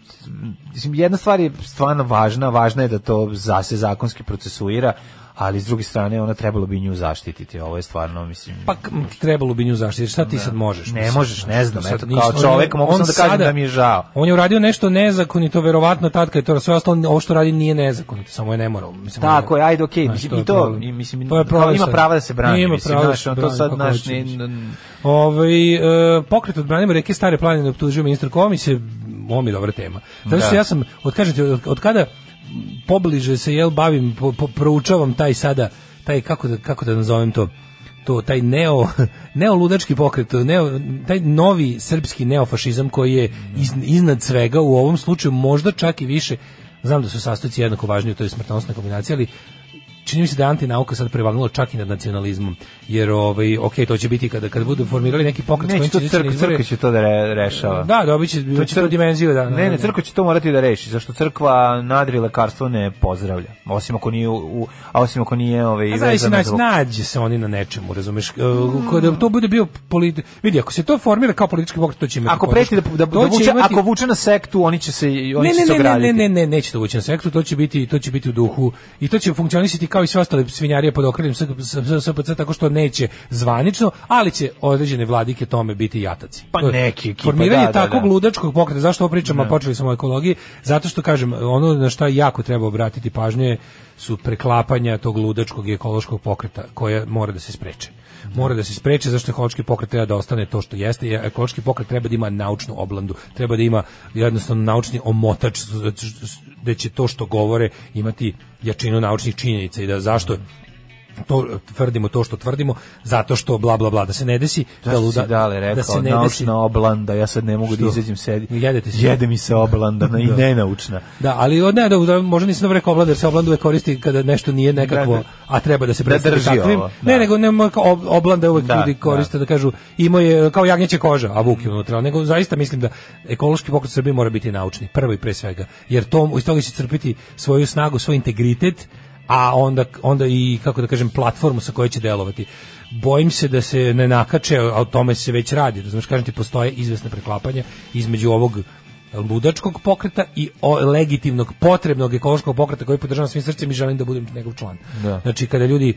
Speaker 6: mislim, jedna stvar je stvarno važna, važna je da to za, se zakonski procesuira, ali s druge strane ona trebalo bi nju zaštititi, ovo je stvarno, mislim...
Speaker 5: pa k- m, trebalo bi nju zaštiti, šta ti sad možeš?
Speaker 6: Ne
Speaker 5: mislim,
Speaker 6: možeš,
Speaker 5: znaš,
Speaker 6: ne znam,
Speaker 5: sad
Speaker 6: eto,
Speaker 5: ništa,
Speaker 6: kao
Speaker 5: on je-
Speaker 6: čovek mogu
Speaker 5: on
Speaker 6: samo da kažem
Speaker 5: sada-
Speaker 6: da mi je žao.
Speaker 5: On je uradio nešto nezakonito, verovatno tad kad je to sve ostalo, ovo što radi nije nezakonito, samo je nemoralno. Mislim, ono,
Speaker 6: Tako je, ajde, okej,
Speaker 5: Znaš,
Speaker 6: mislim,
Speaker 5: to je
Speaker 6: i to,
Speaker 5: problem.
Speaker 6: i, mislim,
Speaker 5: To je problem
Speaker 6: kao ima
Speaker 5: sad.
Speaker 6: prava da se brani,
Speaker 5: Ima
Speaker 6: mislim,
Speaker 5: prava da
Speaker 6: znaš,
Speaker 5: se
Speaker 6: on to
Speaker 5: brani,
Speaker 6: sad,
Speaker 5: kako
Speaker 6: znaš,
Speaker 5: hoće,
Speaker 6: ne-
Speaker 5: mislim. Ovaj, e, pokret odbranimo reke Stare planine optužio ministar Komić je ovo mi je dobra tema. Zato što
Speaker 6: Da.
Speaker 5: ja sam, od, kažete, od, od kada pobliže se jel bavim, po, po, proučavam taj sada, taj kako da, kako da nazovem to, to taj neo <laughs> neoludački pokret, neo, taj novi srpski neofašizam koji je iz, iznad svega u ovom slučaju možda čak i više znam da su sastojci jednako važni, to je smrtonosna kombinacija, ali čini mi se da je antinauka sad prevagnula čak i nad nacionalizmom. Jer ovaj okej, to će biti kada kad budu formirali neki pokret s kojim
Speaker 6: Neće to
Speaker 5: će izaći na
Speaker 6: crk,
Speaker 5: izbore-
Speaker 6: crkva će to da re, rešava.
Speaker 5: Da, dobiće će to
Speaker 6: crk-
Speaker 5: dimenziju da. da,
Speaker 6: Ne, ne,
Speaker 5: da.
Speaker 6: crkva će to morati da reši, zašto crkva nadri lekarstvo ne pozdravlja. Osim ako nije u, u a osim ako nije ovaj
Speaker 5: A zavisi,
Speaker 6: vezano
Speaker 5: nađe,
Speaker 6: za-
Speaker 5: nađe se oni na nečemu, razumeš? E, Kada to bude bio politi... Vidi, ako se to formira kao politički pokret, to će imati
Speaker 6: Ako
Speaker 5: podršku.
Speaker 6: preti da, da, da
Speaker 5: To će
Speaker 6: vuče,
Speaker 5: imati-
Speaker 6: ako vuče na sektu, oni će se i- oni
Speaker 5: ne,
Speaker 6: će se
Speaker 5: ne, ne,
Speaker 6: ograditi.
Speaker 5: ne, ne, ne, neće to ući na sektu, to će biti, to će biti u duhu i to će funkcionisati kao i sve ostale svinjarije pod okriljem S- S- S- SPC tako što neće zvanično, ali će određene vladike tome biti jataci.
Speaker 6: Pa
Speaker 5: To je-
Speaker 6: neki ekipa,
Speaker 5: Formiranje
Speaker 6: da, da,
Speaker 5: takvog
Speaker 6: da.
Speaker 5: ludačkog pokreta, zašto ovo pričamo, a počeli smo o ekologiji, zato što kažem, ono na šta jako treba obratiti pažnju je su preklapanja tog ludačkog i ekološkog pokreta koja mora da se spreče. Mora da se spreče zašto ekološki pokret treba da ostane to što jeste, jer ekološki pokret treba da ima naučnu oblandu, treba da ima jednostavno naučni omotač da će to što govore imati jačinu naučnih činjenica i da zašto to tvrdimo to što tvrdimo zato što bla bla bla da se ne desi
Speaker 6: Da luda, dale, rekao,
Speaker 5: da se ne desi
Speaker 6: naučna oblanda, ja sad ne mogu da
Speaker 5: Što?
Speaker 6: izađem sedi.
Speaker 5: Jedete se.
Speaker 6: Jede mi se
Speaker 5: <laughs>
Speaker 6: oblanda i nenaučna.
Speaker 5: Da, ali od ne, da, da, možda nisam dobro rekao oblad, jer se oblanda uvek koristi kada nešto nije nekakvo,
Speaker 6: Da, da.
Speaker 5: a treba da se
Speaker 6: Da
Speaker 5: predstavi
Speaker 6: drži
Speaker 5: takvim.
Speaker 6: ovo,
Speaker 5: Ne,
Speaker 6: da.
Speaker 5: nego ne, mo- kao ob- oblanda uvek
Speaker 6: Da,
Speaker 5: ljudi koriste da. kažu imao je kao jagnjeća koža, a vuk je unutra. Nego zaista mislim da ekološki pokret Srbije mora biti naučni, prvo i pre svega, jer to, iz toga će crpiti svoju snagu, svoj integritet, a onda, onda i, kako da kažem, platformu sa kojoj će delovati. Bojim se da se ne nakače, a o tome se već radi. Razumeš, kažem ti, postoje izvesne preklapanja između ovog ludačkog pokreta i o, legitimnog, potrebnog ekološkog pokreta koji podržavam svim srcem i želim da budem njegov član.
Speaker 6: Da.
Speaker 5: Znači, kada ljudi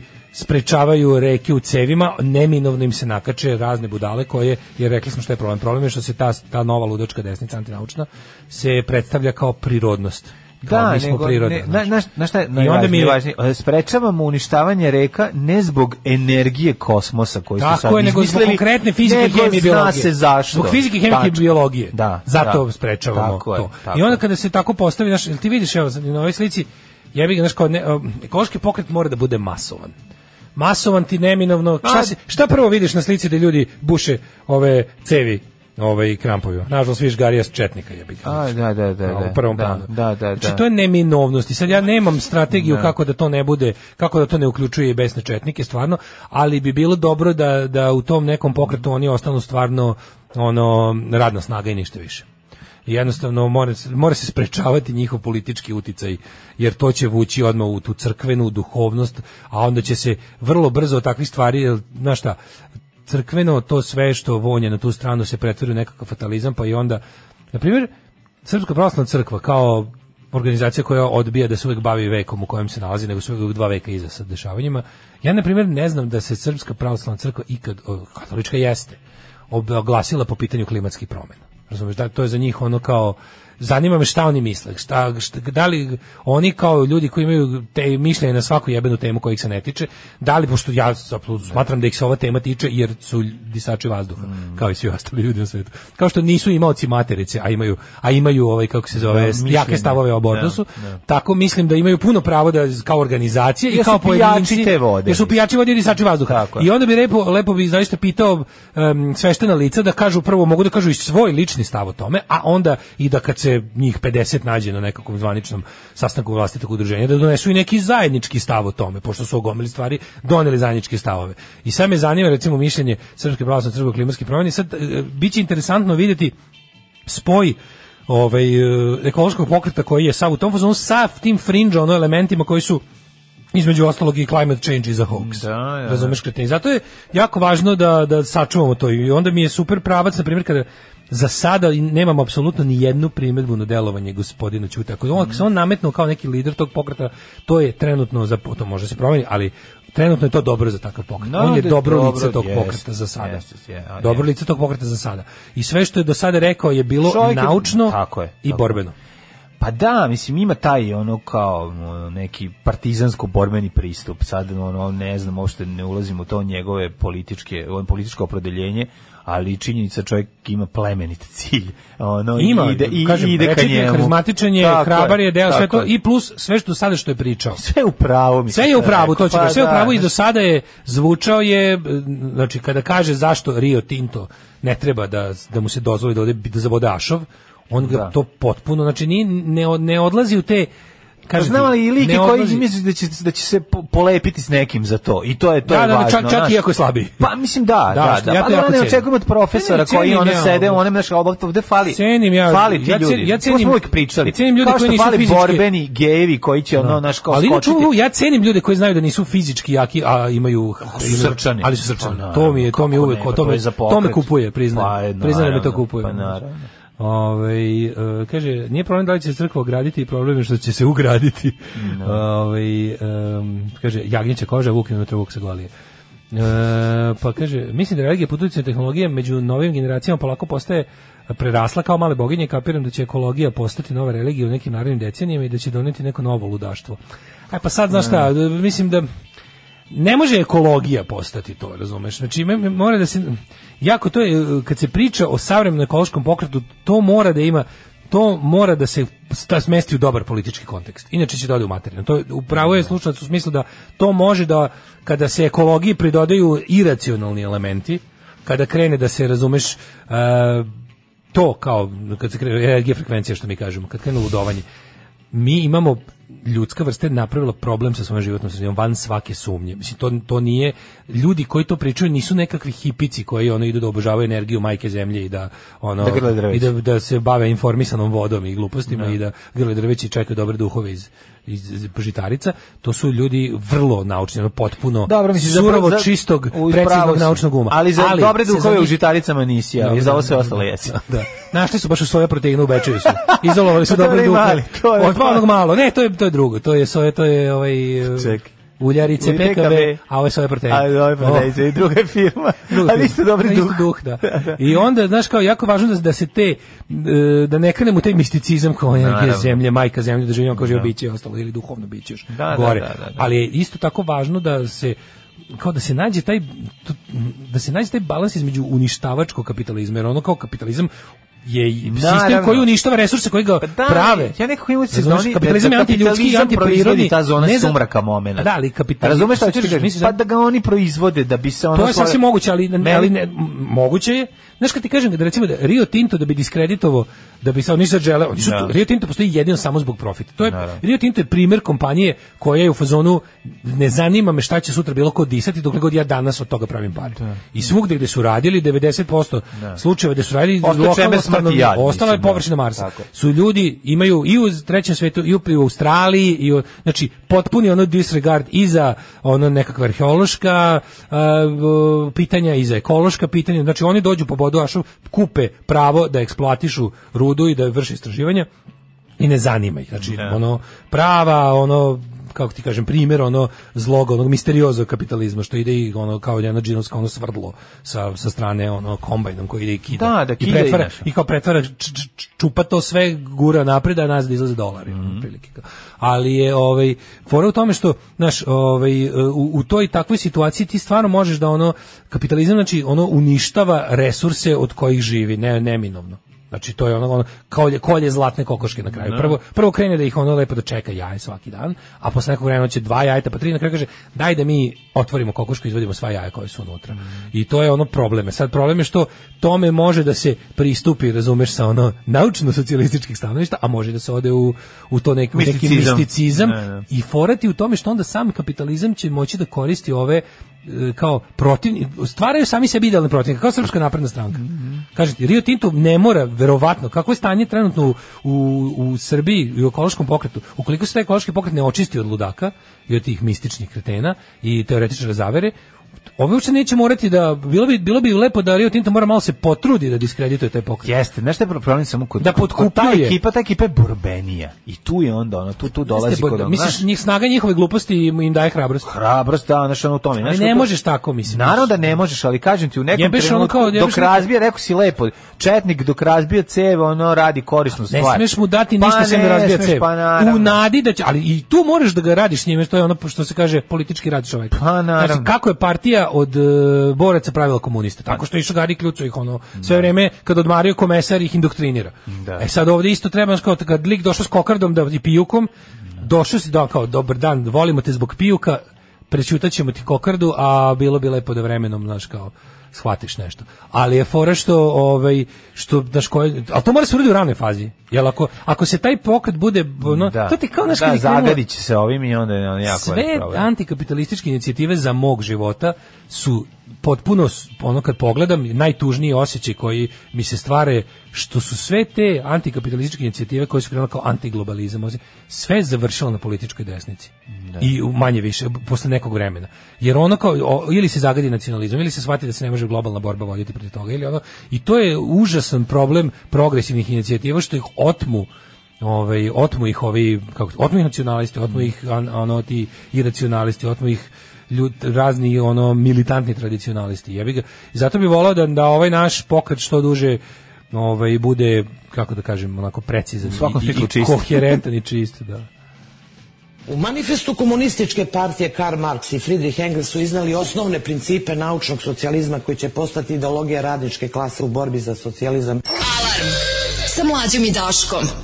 Speaker 5: sprečavaju reke u cevima, neminovno im se nakače razne budale koje, jer rekli smo što je problem. Problem je što se ta, ta nova ludačka desnica, antinaučna, se predstavlja kao prirodnost. Kao mi smo znači. priroda.
Speaker 6: ne, na,
Speaker 5: znaš.
Speaker 6: na, na šta je
Speaker 5: I onda mi je-
Speaker 6: najvažnije? Važnije, sprečavamo uništavanje reka ne zbog energije kosmosa koji su sad
Speaker 5: Tako je, nego zbog
Speaker 6: izmislili,
Speaker 5: konkretne fizike,
Speaker 6: nego
Speaker 5: hemije i biologije.
Speaker 6: Zna se zašto.
Speaker 5: Zbog fizike, hemije i
Speaker 6: Tačno.
Speaker 5: biologije.
Speaker 6: Da,
Speaker 5: Zato
Speaker 6: da.
Speaker 5: sprečavamo
Speaker 6: Tako je,
Speaker 5: to.
Speaker 6: tako
Speaker 5: I onda
Speaker 6: je.
Speaker 5: kada se tako postavi, znaš, jel ti vidiš evo, sad i na ovoj slici, jebi ga, znaš, kao ne, um, ekološki pokret mora da bude masovan. Masovan ti neminovno. Šta,
Speaker 6: A-
Speaker 5: si, šta prvo vidiš na slici da ljudi buše ove cevi ove i krampovi? Nažalost, vidiš Garija s Četnika, jebi ga.
Speaker 6: A, da, da, da, da.
Speaker 5: u prvom
Speaker 6: da,
Speaker 5: planu.
Speaker 6: Da, da, da.
Speaker 5: Znači to je neminovnost i sad ja nemam strategiju kako da to ne bude, kako da to ne uključuje i besne četnike stvarno, ali bi bilo dobro da da u tom nekom pokretu oni ostanu stvarno ono radna snaga i ništa više. I Jednostavno mora, se- mora se sprečavati njihov politički uticaj, jer to će vući odmah u tu crkvenu duhovnost, a onda će se vrlo brzo od takvih stvari, jer, znaš šta, crkveno to sve što vonje na tu stranu se pretvori u nekakav fatalizam, pa i onda, na primjer, Srpska pravoslavna crkva kao organizacija koja odbija da se uvek bavi vekom u kojem se nalazi, nego su uvek dva veka iza sa dešavanjima. Ja, na primjer, ne znam da se Srpska pravoslavna crkva ikad, o, katolička jeste, oglasila po pitanju klimatskih promjena. Razumeš, da, to je za njih ono kao, zanima me šta oni misle, šta, šta, da li oni kao ljudi koji imaju te mišljenje na svaku jebenu temu kojih se ne tiče, da li, pošto ja zapravo smatram da ih se ova tema tiče jer su disači vazduha, kao i svi ostali ljudi na svetu. Kao što nisu imaoci materice, a imaju, a imaju ovaj, kako se zove,
Speaker 6: mišljenje.
Speaker 5: jake stavove o abortusu, tako mislim da imaju puno pravo da kao organizacije i
Speaker 6: Jer su
Speaker 5: kao pojedinci,
Speaker 6: pijači te vode.
Speaker 5: jer su pijači vode i disači vazduha.
Speaker 6: Tako je.
Speaker 5: I onda bi lepo, lepo bi zaista pitao um, sveštena lica da kažu prvo, mogu da kažu i svoj lični stav o tome, a onda i da kad se se njih 50 nađe na nekakvom zvaničnom sastanku vlastitog udruženja da donesu i neki zajednički stav o tome, pošto su ogomili stvari, doneli zajedničke stavove. I sad me zanima recimo mišljenje Srpske pravoslavne crkve o klimatskih promjena i sad e, biće interesantno vidjeti spoj ovaj e, ekološkog pokreta koji je sav u tom fazonu sa tim fringe ono elementima koji su između ostalog i climate change i za hoax.
Speaker 6: Da, da, da.
Speaker 5: Razumeš kreteni. Zato je jako važno da, da sačuvamo to i onda mi je super pravac, na primjer, kada za sada i nemamo apsolutno ni jednu primjedbu na delovanje gospodina Ćuta. Ako je on, ako se on nametnuo kao neki lider tog pokreta, to je trenutno, za, to može se promijeniti, ali trenutno je to dobro za takav pokret.
Speaker 6: No,
Speaker 5: on je
Speaker 6: da je
Speaker 5: dobro,
Speaker 6: dobro,
Speaker 5: lice tog
Speaker 6: jest,
Speaker 5: pokreta za sada.
Speaker 6: jest, jest, je, a,
Speaker 5: dobro
Speaker 6: je.
Speaker 5: lice tog pokreta za sada. I sve što je do sada rekao je bilo
Speaker 6: Čovjek je-
Speaker 5: naučno
Speaker 6: Tako je,
Speaker 5: i
Speaker 6: tako.
Speaker 5: borbeno.
Speaker 6: Pa da, mislim ima taj ono kao ono, neki partizansko borbeni pristup. Sad ono ne znam, uopšte ne ulazim u to njegove političke, on političko opredeljenje, ali činjenica čovjek ima plemenit cilj. Ono i
Speaker 5: Ima,
Speaker 6: ide i
Speaker 5: kažem,
Speaker 6: ide ka
Speaker 5: rečit je,
Speaker 6: njemu.
Speaker 5: karizmatičan je,
Speaker 6: Tako
Speaker 5: hrabar je, deo sve
Speaker 6: tako
Speaker 5: to
Speaker 6: je.
Speaker 5: i plus sve što sada što je pričao.
Speaker 6: sve u pravu mislim.
Speaker 5: Sve je u
Speaker 6: što
Speaker 5: pravu, to
Speaker 6: rekao.
Speaker 5: ćemo,
Speaker 6: Pa
Speaker 5: sve je u
Speaker 6: da,
Speaker 5: pravu i do
Speaker 6: znaš,
Speaker 5: sada je zvučao je, znači kada kaže zašto Rio Tinto ne treba da, da mu se dozvoli da ode da zavode Ašov, on ga
Speaker 6: Da.
Speaker 5: to potpuno, znači nije, ne, od- ne odlazi u te
Speaker 6: Pa
Speaker 5: kaže
Speaker 6: znam ali i like
Speaker 5: ne
Speaker 6: koji
Speaker 5: odlazi-
Speaker 6: misliš da će, da će se po- polepiti s nekim za to. I to je to
Speaker 5: Da,
Speaker 6: je
Speaker 5: da, da,
Speaker 6: važno.
Speaker 5: čak- čak i
Speaker 6: znaš.
Speaker 5: ako je slabiji.
Speaker 6: Pa mislim da,
Speaker 5: Da,
Speaker 6: da,
Speaker 5: što-
Speaker 6: da.
Speaker 5: ja
Speaker 6: pa
Speaker 5: to
Speaker 6: dobro,
Speaker 5: jako
Speaker 6: ne
Speaker 5: cenim.
Speaker 6: očekujem od profesora
Speaker 5: Ne, ne,
Speaker 6: koji
Speaker 5: cenim
Speaker 6: ono
Speaker 5: ja,
Speaker 6: sede,
Speaker 5: ono.
Speaker 6: on znaš, ali ovde fali.
Speaker 5: Cenim ja,
Speaker 6: Fali ti
Speaker 5: ja cenim-
Speaker 6: ljudi.
Speaker 5: ja
Speaker 6: To
Speaker 5: cenim-
Speaker 6: smo uvijek pričali.
Speaker 5: ja cenim ljude
Speaker 6: Kao
Speaker 5: koji
Speaker 6: što
Speaker 5: nisu
Speaker 6: fali
Speaker 5: fizički-
Speaker 6: borbeni gejevi koji će ono naš kao
Speaker 5: ali inače,
Speaker 6: skočiti.
Speaker 5: u- ja cenim ljude koji znaju da nisu fizički jaki, a imaju imaju-
Speaker 6: srčani.
Speaker 5: Ali su srčani.
Speaker 6: Pa,
Speaker 5: to mi je,
Speaker 6: naravno,
Speaker 5: to mi je
Speaker 6: kako
Speaker 5: uvek,
Speaker 6: ne, pa
Speaker 5: to,
Speaker 6: to
Speaker 5: me,
Speaker 6: je za
Speaker 5: to me
Speaker 6: pokret.
Speaker 5: kupuje, priznajem.
Speaker 6: Pa, je,
Speaker 5: priznajem da me to
Speaker 6: naravno,
Speaker 5: kupuje.
Speaker 6: pa, naravno.
Speaker 5: Ovaj, e, kaže, nije problem da li će se crkva ograditi, problem je što će se ugraditi. Ovaj, em, kaže, jagnjeća koža, vuk je unutra vuk sa golije. E, pa kaže, mislim da religija pod utjecajem tehnologije među novim generacijama polako postaje prerasla kao male boginje, kapiram da će ekologija postati nova religija u nekim narednim decenijama i da će doneti neko novo ludaštvo. Aj pa sad, znaš šta, mislim da ne može ekologija postati to, razumeš? Znači, me- me- mora da se... Jako to je, e, kad se priča o savremenom ekološkom pokretu, to mora da ima to mora da se sta smesti u dobar politički kontekst. Inače će da ode u materinu. To je- upravo je slučajac u smislu da to može da kada se ekologiji pridodaju iracionalni elementi, kada krene da se razumeš e, to kao kad se krene energija frekvencija što mi kažemo, kad krene ludovanje. Mi imamo ljudska vrsta je napravila problem sa svojom životnom sredinom van svake sumnje. Mislim to to nije ljudi koji to pričaju nisu nekakvi hipici koji ono idu da obožavaju energiju majke zemlje i da ono
Speaker 6: Da grle drveće.
Speaker 5: i da, da se bave informisanom vodom i glupostima i da grle drveće i čekaju dobre duhove iz iz iz žitarica, to su ljudi vrlo naučni, ono potpuno
Speaker 6: Dobro, mislim, za-
Speaker 5: surovo
Speaker 6: za-
Speaker 5: čistog,
Speaker 6: u pravu
Speaker 5: preciznog
Speaker 6: si.
Speaker 5: naučnog uma.
Speaker 6: Ali za dobre
Speaker 5: se
Speaker 6: duhove
Speaker 5: za
Speaker 6: u
Speaker 5: njih-
Speaker 6: žitaricama nisi, ali
Speaker 5: Dobro,
Speaker 6: za ovo sve
Speaker 5: da,
Speaker 6: ostalo
Speaker 5: da,
Speaker 6: <laughs> jesi.
Speaker 5: Da. Našli su baš u soja proteinu u Bečeju su. Izolovali su
Speaker 6: Pa <laughs> to
Speaker 5: dobre
Speaker 6: je
Speaker 5: duhove.
Speaker 6: mali, to je
Speaker 5: Od pa
Speaker 6: mali.
Speaker 5: onog malo. Ne, to je to je drugo. To je soja, to je ovaj e,
Speaker 6: Čekaj.
Speaker 5: uljarice
Speaker 6: Ulj-
Speaker 5: PKB,
Speaker 6: PKB,
Speaker 5: a ovo je soja protein. Oh.
Speaker 6: A dobro, pa
Speaker 5: O,
Speaker 6: da, i druga <laughs> je firma.
Speaker 5: drugi
Speaker 6: Ali
Speaker 5: film.
Speaker 6: isto dobri
Speaker 5: A, isto
Speaker 6: duh. <laughs>
Speaker 5: da. I onda, znaš, kao jako važno da, da se te, e, da ne krenemo u taj misticizam kao "E, energija
Speaker 6: Naravno.
Speaker 5: zemlje, majka zemlje, da živimo kao živo biće i ostalo, ili duhovno biće još
Speaker 6: Da, da,
Speaker 5: gore.
Speaker 6: da, da, da.
Speaker 5: Ali je isto tako važno da se kao da se nađe taj to- da se nađe taj balans između uništavačkog kapitalizma jer ono kao kapitalizam je i sistem
Speaker 6: Naravno. Pa
Speaker 5: koji uništava resurse koji ga
Speaker 6: da,
Speaker 5: prave.
Speaker 6: Ja nekako imam se
Speaker 5: Razumeš, kapitalizam je antiljudski i antiprirodni.
Speaker 6: ta zona
Speaker 5: Ne za-
Speaker 6: sumraka momenta.
Speaker 5: Da, ali kapitalizam...
Speaker 6: Razumeš šta ću ti
Speaker 5: Misliš
Speaker 6: kažem?
Speaker 5: da-
Speaker 6: Pa da ga oni proizvode, da bi se ono...
Speaker 5: to je
Speaker 6: svoje-
Speaker 5: sasvim moguće, ali,
Speaker 6: Meni-
Speaker 5: ali ne, m- moguće je. Znaš kad ti kažem da recimo da Rio Tinto da bi diskreditovo, da bi se oni sad žele, oni su,
Speaker 6: Da.
Speaker 5: Rio Tinto postoji jedino samo zbog profita. To je,
Speaker 6: Naravno.
Speaker 5: Rio Tinto je primjer kompanije koja je u fazonu ne zanima me šta će sutra bilo ko disati dokle god ja danas od toga pravim pare. I svugde gde su radili 90% slučajeva gde su radili
Speaker 6: Ostao čemer smrti
Speaker 5: stanovništvo-
Speaker 6: jad, mislim,
Speaker 5: ostala je
Speaker 6: da.
Speaker 5: površina Marsa.
Speaker 6: Tako je.
Speaker 5: Su ljudi imaju i u trećem svetu i u, i u Australiji i u, znači potpuni ono disregard i za ono nekakva arheološka e, v- pitanja i za ekološka pitanja. Znači oni dođu po bodoašu, kupe pravo da eksploatišu rudu i da vrše istraživanja i ne zanima ih. Znači, ono, prava, ono, kako ti kažem, primjer ono zloga, onog misterioza kapitalizma što ide i ono kao jedna džinovska ono svrdlo sa, sa strane ono kombajnom koji ide i kida.
Speaker 6: Da, da,
Speaker 5: I
Speaker 6: kida i
Speaker 5: pretvara,
Speaker 6: nešto.
Speaker 5: i kao pretvara č- č- č- čupa to sve gura napred a nas da izlaze dolari
Speaker 6: Mhm.
Speaker 5: otprilike. ali je ovaj fora u tome što znaš ovaj u, u toj takvoj situaciji ti stvarno možeš da ono kapitalizam znači ono uništava resurse od kojih živi ne neminovno Znači to je ono, ono kolje, kolje zlatne kokoške na kraju. Prvo prvo krene da ih ono lepo dočeka jaje svaki dan, a posle nekog vremena će dva jajeta, pa tri na kraju kaže daj da mi otvorimo kokošku i izvadimo sva jaja koja su unutra. I to je ono probleme. Sad problem je što tome može da se pristupi, razumeš, sa ono naučno socijalističkih stanovišta, a može da se ode u, u to neki, u neki
Speaker 6: Misticizam.
Speaker 5: misticizam
Speaker 6: Da, da.
Speaker 5: i forati u tome što onda sam kapitalizam će moći da koristi ove e, kao protivni, stvaraju sami sebi idealne protivnike, kao srpska napredna stranka. Kažete, Rio Tinto ne mora, verovatno, kako je stanje trenutno u, u, u Srbiji i u ekološkom pokretu, ukoliko se taj ekološki pokret ne očisti od ludaka i od tih mističnih kretena i teoretičara zavere, ove uopšte neće morati da, bilo bi, bilo bi lepo da Rio Tinto mora malo se potrudi da diskredituje taj pokret.
Speaker 6: Jeste, znaš šta je problem samo kod...
Speaker 5: Da
Speaker 6: kod- Kod ta
Speaker 5: potkupljuje.
Speaker 6: ekipa, ta ekipa je borbenija. I tu je onda, ono, tu, tu dolazi
Speaker 5: Jeste,
Speaker 6: kod... Ono,
Speaker 5: misliš,
Speaker 6: znaš,
Speaker 5: njih snaga njihove gluposti im im daje hrabrost.
Speaker 6: hrabrost, da, znaš, ono u tome.
Speaker 5: Ali
Speaker 6: znaš,
Speaker 5: ne
Speaker 6: u to-
Speaker 5: možeš tako, mislim.
Speaker 6: Naravno da ne možeš, ali kažem ti u nekom
Speaker 5: Jebeš ono
Speaker 6: trenutku,
Speaker 5: kao, jebeš
Speaker 6: dok
Speaker 5: neko-
Speaker 6: razbija, rekao si lepo, četnik dok razbija ceve, ono radi korisnu
Speaker 5: Ne
Speaker 6: stvar.
Speaker 5: smeš mu dati ništa
Speaker 6: pa
Speaker 5: sem
Speaker 6: ne
Speaker 5: da razbija
Speaker 6: smeš,
Speaker 5: cev.
Speaker 6: Pa naravno.
Speaker 5: U nadi da će, ali i tu moraš da ga radiš s njime, to je ono što se kaže politički rad čoveka.
Speaker 6: Pa naravno.
Speaker 5: Znači, kako je partija od e, boraca pravila komuniste? Tako što je išao Gari Kljuco ih ono, sve vreme kad odmario komesar ih indoktrinira.
Speaker 6: Da.
Speaker 5: E sad ovde isto treba, znaš, kao kad lik došao s kokardom da, i pijukom, došao si da kao, dobar dan, volimo te zbog pijuka, prećutat ćemo ti kokardu, a bilo bi lepo da vremenom, znaš, kao, shvatiš nešto. Ali je fora što ovaj što znaš koje, ali to mora se uraditi u ranoj fazi. Jel ako ako se taj pokret bude ono,
Speaker 6: Da.
Speaker 5: to ti kao znaš
Speaker 6: da,
Speaker 5: kad je krenulo-
Speaker 6: zagadit će se ovim i onda je ono jako
Speaker 5: sve
Speaker 6: velik problem.
Speaker 5: antikapitalističke inicijative za mog života su potpuno s- ono kad pogledam najtužniji osjećaj koji mi se stvare što su sve te antikapitalističke inicijative koje su krenule kao antiglobalizam osje- sve je završilo na političkoj desnici i u- manje više b- posle nekog vremena jer ono kao o- ili se zagadi nacionalizam ili se shvati da se ne može globalna borba voditi protiv toga ili ono i to je užasan problem progresivnih inicijativa što ih otmu ovaj otmu ih ovi kako otmu ih nacionalisti,
Speaker 6: Mm.
Speaker 5: otmu ih an, ono ti iracionalisti, otmu ih ljud, razni ono militantni tradicionalisti. Ja bih ga zato bih voleo da da ovaj naš pokret što duže ovaj bude kako da kažem onako precizan
Speaker 6: svakom
Speaker 5: i, i,
Speaker 6: smislu
Speaker 5: i
Speaker 6: čist.
Speaker 5: koherentan i čist, da.
Speaker 10: U manifestu komunističke partije Karl Marx i Friedrich Engels su iznali osnovne principe naučnog socijalizma koji će postati ideologija radničke klase u borbi za socijalizam.
Speaker 8: Alarm sa mlađom i Daškom.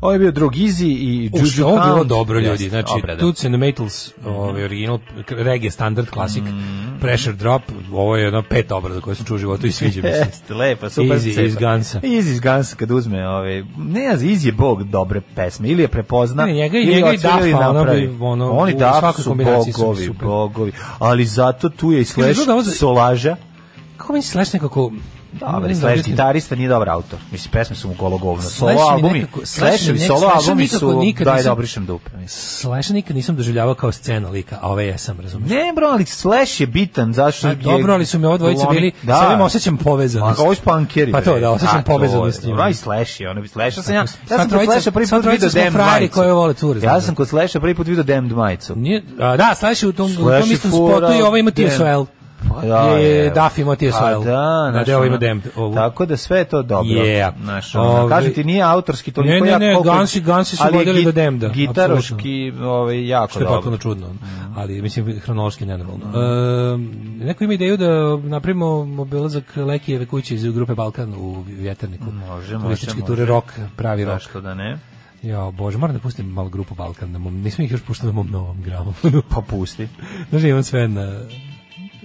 Speaker 6: Ovo je bio Drogizi i
Speaker 5: U, što
Speaker 6: <laughs> Juju
Speaker 5: je ovo bilo
Speaker 6: Count.
Speaker 5: dobro ljudi,
Speaker 6: Jeste, Mhm.
Speaker 5: znači
Speaker 6: obrada.
Speaker 5: Toots and the Maytals, ovaj original k- reggae standard klasik,
Speaker 6: Mhm.
Speaker 5: pressure drop, ovo je jedno pet obraza koje sam čuo u životu i sviđa mi
Speaker 6: <laughs>
Speaker 5: se.
Speaker 6: Jeste, lepa, super
Speaker 5: Easy
Speaker 6: cepa.
Speaker 5: E, iz Gunsa.
Speaker 6: Easy iz Gunsa kad uzme ove, ne znam, Easy je bog dobre pesme, ili je prepozna,
Speaker 5: Ne, njega i-
Speaker 6: ili
Speaker 5: njega i
Speaker 6: odsvira
Speaker 5: Duffa, ono
Speaker 6: napravi.
Speaker 5: bi, ono,
Speaker 6: Oni
Speaker 5: u
Speaker 6: Duff
Speaker 5: svakoj
Speaker 6: su
Speaker 5: kombinaciji su
Speaker 6: bogovi,
Speaker 5: super.
Speaker 6: bogovi, ali zato tu je i Slash
Speaker 5: druga, ovo za-
Speaker 6: Solaža,
Speaker 5: Kako meni Slash nekako... ne znam da
Speaker 6: Dobar, Slash
Speaker 5: objasnim.
Speaker 6: gitarista nije dobar autor. Mislim, pesme su mu golo govno. Solo
Speaker 5: Slash mi
Speaker 6: albumi,
Speaker 5: nekako- Slash mi
Speaker 6: Slashovi
Speaker 5: nek-
Speaker 6: solo
Speaker 5: Slasha
Speaker 6: albumi
Speaker 5: nikako
Speaker 6: su,
Speaker 5: nikad
Speaker 6: daj
Speaker 5: nisam-
Speaker 6: da obrišem dupe, mislim.
Speaker 5: Slasha nikad nisam doživljavao kao scena lika, a ove jesam, razumiješ?
Speaker 6: Ne bro, ali Slash je bitan, zašto
Speaker 5: A,
Speaker 6: je...
Speaker 5: dobro, ali su mi ovo dvojice
Speaker 6: Lomi-
Speaker 5: bili,
Speaker 6: Da.
Speaker 5: sa ovim osjećam povezanost.
Speaker 6: Pa, ovo je punkeri.
Speaker 5: Pa to,
Speaker 6: bre.
Speaker 5: da, osjećam
Speaker 6: A, to je,
Speaker 5: povezanost s njima.
Speaker 6: Dobro, i Slash je, ono bi Slasha sam ja... Ja
Speaker 5: sva
Speaker 6: sam kod
Speaker 5: trojica-
Speaker 6: Slasha prvi
Speaker 5: sva
Speaker 6: put
Speaker 5: trojica
Speaker 6: vidio
Speaker 5: smo
Speaker 6: Damned
Speaker 5: frajeri
Speaker 6: majicu.
Speaker 5: koje vole cure,
Speaker 6: Ja
Speaker 5: znaš.
Speaker 6: sam kod Slasha prvi put vidio Damned majicu.
Speaker 5: Nije, a, da, Slash je u tom, u
Speaker 6: Slash
Speaker 5: tom
Speaker 6: je
Speaker 5: istom
Speaker 6: fora,
Speaker 5: spotu i ovo ima
Speaker 6: Damned.
Speaker 5: TSOL.
Speaker 6: Pa da,
Speaker 5: je,
Speaker 6: je.
Speaker 5: Duff ima
Speaker 6: Pa
Speaker 5: TSOL.
Speaker 6: da,
Speaker 5: na
Speaker 6: znaš,
Speaker 5: deo ovaj ima
Speaker 6: ono,
Speaker 5: Damned. Ovu.
Speaker 6: Tako da sve je to dobro.
Speaker 5: Yeah.
Speaker 6: Znaš, ono,
Speaker 5: Ove-
Speaker 6: kažem ti, nije autorski toliko
Speaker 5: Ne, ne,
Speaker 6: jak
Speaker 5: ne,
Speaker 6: koliko-
Speaker 5: Gansi- Gansi su
Speaker 6: ali je
Speaker 5: vodili
Speaker 6: git-
Speaker 5: do Damned-a,
Speaker 6: Gitaroški, ovaj, jako
Speaker 5: što je
Speaker 6: dobro. Mhm.
Speaker 5: potpuno čudno, ali mislim hronološki nenormalno. Ehm, neko ima ideju da napravimo obilazak Lekijeve kuće iz grupe Balkan u vjeterniku.
Speaker 6: Može, može,
Speaker 5: Turistički
Speaker 6: može.
Speaker 5: ture rock, pravi rock.
Speaker 6: Zašto da ne?
Speaker 5: Ja, bože, moram da pustim malo grupu Balkan, na mom, nisam ih još puštao na mom novom gramofonu.
Speaker 6: Pa pusti.
Speaker 5: Znaš, imam sve na...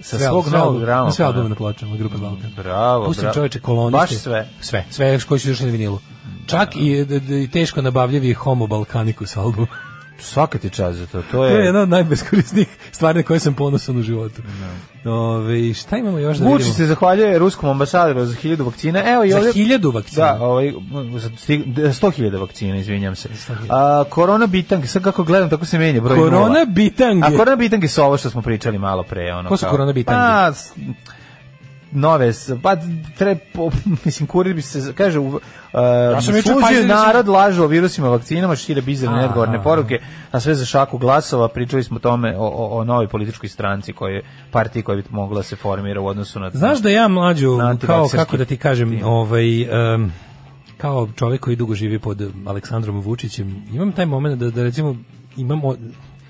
Speaker 6: Sa
Speaker 5: sve-
Speaker 6: svog
Speaker 5: sve
Speaker 6: novog
Speaker 5: albume-
Speaker 6: gramofona.
Speaker 5: Sve albume na pločama, grupe Balkan.
Speaker 6: Bravo,
Speaker 5: Pustim
Speaker 6: bravo.
Speaker 5: čoveče koloniste.
Speaker 6: Baš sve.
Speaker 5: Sve, sve koji su još na vinilu. Čak i, d- d- i teško nabavljivi Homo Balkanicus album.
Speaker 6: E. Svaka ti čast za to. To
Speaker 5: To je
Speaker 6: je...
Speaker 5: jedna od najbeskorisnijih stvari na koje sam ponosan u životu. Ove, šta imamo još da
Speaker 6: Vučić
Speaker 5: vidimo?
Speaker 6: se zahvaljuje ruskom ambasadoru za hiljadu vakcina. Evo i
Speaker 5: Za
Speaker 6: ovdje...
Speaker 5: hiljadu vakcina.
Speaker 6: Da, ovaj, za stig- d- 100.000 vakcina, izvinjam se. A, korona bitang, sad kako gledam, tako se menja broj
Speaker 5: korona
Speaker 6: nula.
Speaker 5: bitange.
Speaker 6: A korona bitange su ovo što smo pričali malo pre. Ono,
Speaker 5: Ko su
Speaker 6: kao-
Speaker 5: korona bitange?
Speaker 6: Pa, s- nove, s- pa tre, po- <laughs> mislim, kurir bi se, kaže, uh, ja
Speaker 5: sam juče Pfizer-
Speaker 6: narod lažu o virusima, vakcinama, šire bizarne,
Speaker 5: Aha.
Speaker 6: odgovorne poruke, a sve za šaku glasova, pričali smo o tome, o, o, o novoj političkoj stranci, koje, partiji koja bi mogla da se formira u odnosu na...
Speaker 5: Znaš da ja mlađu,
Speaker 6: Na
Speaker 5: kao
Speaker 6: antivakserski
Speaker 5: kako da ti kažem,
Speaker 6: tim.
Speaker 5: ovaj, em, kao čovjek koji dugo živi pod em, Aleksandrom Vučićem, imam taj moment da, da recimo imamo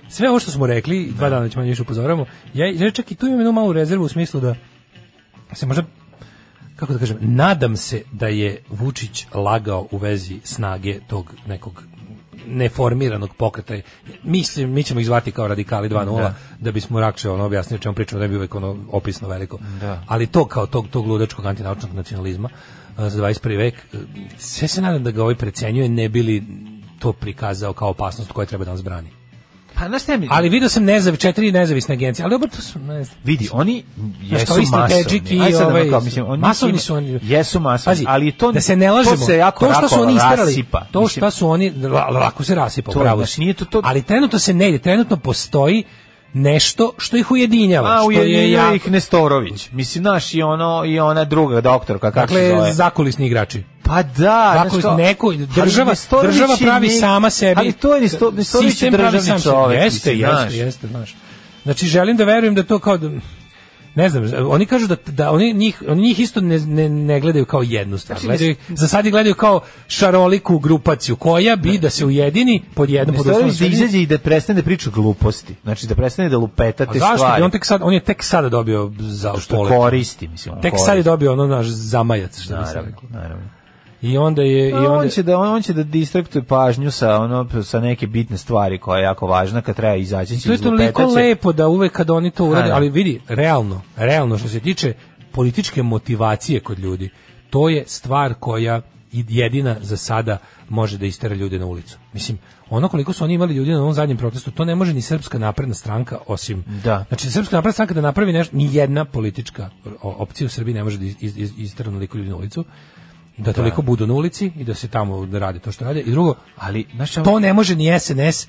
Speaker 5: sve ovo što smo rekli, dva dana već manje više upozoravamo, ja, ja čak i tu imam jednu malu rezervu u smislu da se možda kako da kažem, nadam se da je Vučić lagao u vezi snage tog nekog neformiranog pokreta. Mislim, mi ćemo ih zvati kao radikali 2.0 da. da bismo Rakše ono objasnio o čemu pričamo, da bi uvek ono opisno veliko.
Speaker 6: Da.
Speaker 5: Ali to kao tog, tog ludačkog antinaučnog nacionalizma a, za 21. vek, e, sve se nadam da ga ovaj precenjuje, ne bili to prikazao kao opasnost koja treba da nas brani.
Speaker 6: Pa znaš šta mi...
Speaker 5: Ali video sam nezav, četiri nezavisne agencije, ali dobro, to su, ne znam.
Speaker 6: vidi, oni jesu
Speaker 5: kao isti
Speaker 6: masovni.
Speaker 5: Tedžik i
Speaker 6: Ajde sad da
Speaker 5: ovaj-
Speaker 6: kao, mislim, oni
Speaker 5: masovni
Speaker 6: ima-
Speaker 5: su oni.
Speaker 6: Jesu masovni,
Speaker 5: Pazi,
Speaker 6: ali to,
Speaker 5: da se ne lažemo,
Speaker 6: to se jako
Speaker 5: to šta su
Speaker 6: lako
Speaker 5: oni isterali,
Speaker 6: rasipa.
Speaker 5: to
Speaker 6: Mislim,
Speaker 5: šta su oni la- lako se rasipa,
Speaker 6: To je,
Speaker 5: pravo.
Speaker 6: znaš,
Speaker 5: si.
Speaker 6: nije to- to-
Speaker 5: Ali trenutno se ne ide, trenutno postoji nešto što ih ujedinjava,
Speaker 6: A
Speaker 5: što je
Speaker 6: ujedinio
Speaker 5: jako-
Speaker 6: ih Nestorović. Mislim, naš i ono i ona druga doktorka, kako se
Speaker 5: Dakle,
Speaker 6: zove.
Speaker 5: zakulisni igrači.
Speaker 6: Pa da,
Speaker 5: Tako
Speaker 6: znaš kao-
Speaker 5: neko
Speaker 6: Ali
Speaker 5: država
Speaker 6: Nestorović
Speaker 5: država
Speaker 6: je
Speaker 5: pravi
Speaker 6: ne-
Speaker 5: sama sebi.
Speaker 6: Ali to je Nesto- Nestorović je
Speaker 5: sistem pravi sam
Speaker 6: državni
Speaker 5: sebi.
Speaker 6: čovjek.
Speaker 5: Jeste,
Speaker 6: mislim, znaš.
Speaker 5: jeste, jeste, znaš. Znači želim da verujem da to kao da- ne znam, oni kažu da, da oni njih oni njih isto ne, ne, ne gledaju kao jednu stvar.
Speaker 6: Znači,
Speaker 5: Gledaju, ih- za sad ih gledaju kao šaroliku grupaciju koja bi da se ujedini pod jednom pod
Speaker 6: Nestorović da
Speaker 5: osnovom-
Speaker 6: izađe i da prestane da priča gluposti. Znači da prestane da lupeta
Speaker 5: A
Speaker 6: te
Speaker 5: Pa zašto bi
Speaker 6: Pa stvari.
Speaker 5: on tek sad on je tek sada dobio za
Speaker 6: što
Speaker 5: polet.
Speaker 6: koristi, mislim. on
Speaker 5: Tek sad je
Speaker 6: koristi.
Speaker 5: dobio ono naš zamajac što bi se
Speaker 6: Naravno,
Speaker 5: reklo.
Speaker 6: naravno.
Speaker 5: I onda je i
Speaker 6: I on
Speaker 5: onda
Speaker 6: će da on, on će da distraktuje pažnju sa ono sa neke bitne stvari koja je jako važna kad treba izaći će
Speaker 5: To je toliko lepo da uvek kad oni to urade,
Speaker 6: da.
Speaker 5: ali vidi, realno, realno što se tiče političke motivacije kod ljudi, to je stvar koja i- jedina za sada može da istera ljude na ulicu. Mislim, ono koliko su oni imali ljudi na ovom zadnjem protestu, to ne može ni srpska napredna stranka osim...
Speaker 6: Da.
Speaker 5: Znači, srpska napredna stranka da napravi nešto, ni jedna politička o- opcija u Srbiji ne može da iz- iz- iz- istera toliko ljudi na ulicu, da toliko budu na ulici i da se tamo radi to što rade. I drugo,
Speaker 6: ali znaš šta-
Speaker 5: to ne može ni SNS,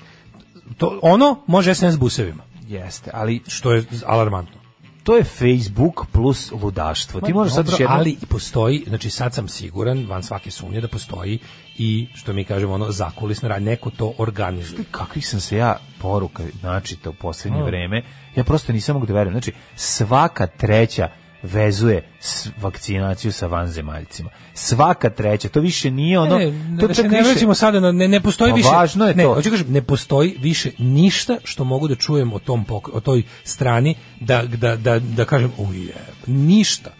Speaker 5: to, ono može SNS busevima
Speaker 6: jeste, ali
Speaker 5: što je alarmantno.
Speaker 6: to je Facebook plus ludaštvo. Pa Ti možeš sad
Speaker 5: Dobro,
Speaker 6: još jednom-
Speaker 5: ali postoji, znači sad sam siguran, van svake sumnje da postoji i što mi kažemo ono zakulisno rad, neko to organizuje.
Speaker 6: kakvih sam se ja poruka načita u
Speaker 5: Mm.
Speaker 6: posljednje vreme, ja prosto nisam mogu da verujem. Znači, svaka treća vezuje s vakcinaciju sa vanzemaljcima. Svaka treća. To više nije ono...
Speaker 5: Ne,
Speaker 6: to
Speaker 5: ne,
Speaker 6: čak
Speaker 5: se ne
Speaker 6: više-
Speaker 5: vraćamo sada na ne, ne postoji
Speaker 6: Pa
Speaker 5: više.
Speaker 6: važno je
Speaker 5: ne,
Speaker 6: to.
Speaker 5: hoću kažem ne postoji više ništa što mogu da čujem o tom pok- o toj strani da da da da kažem u je ništa.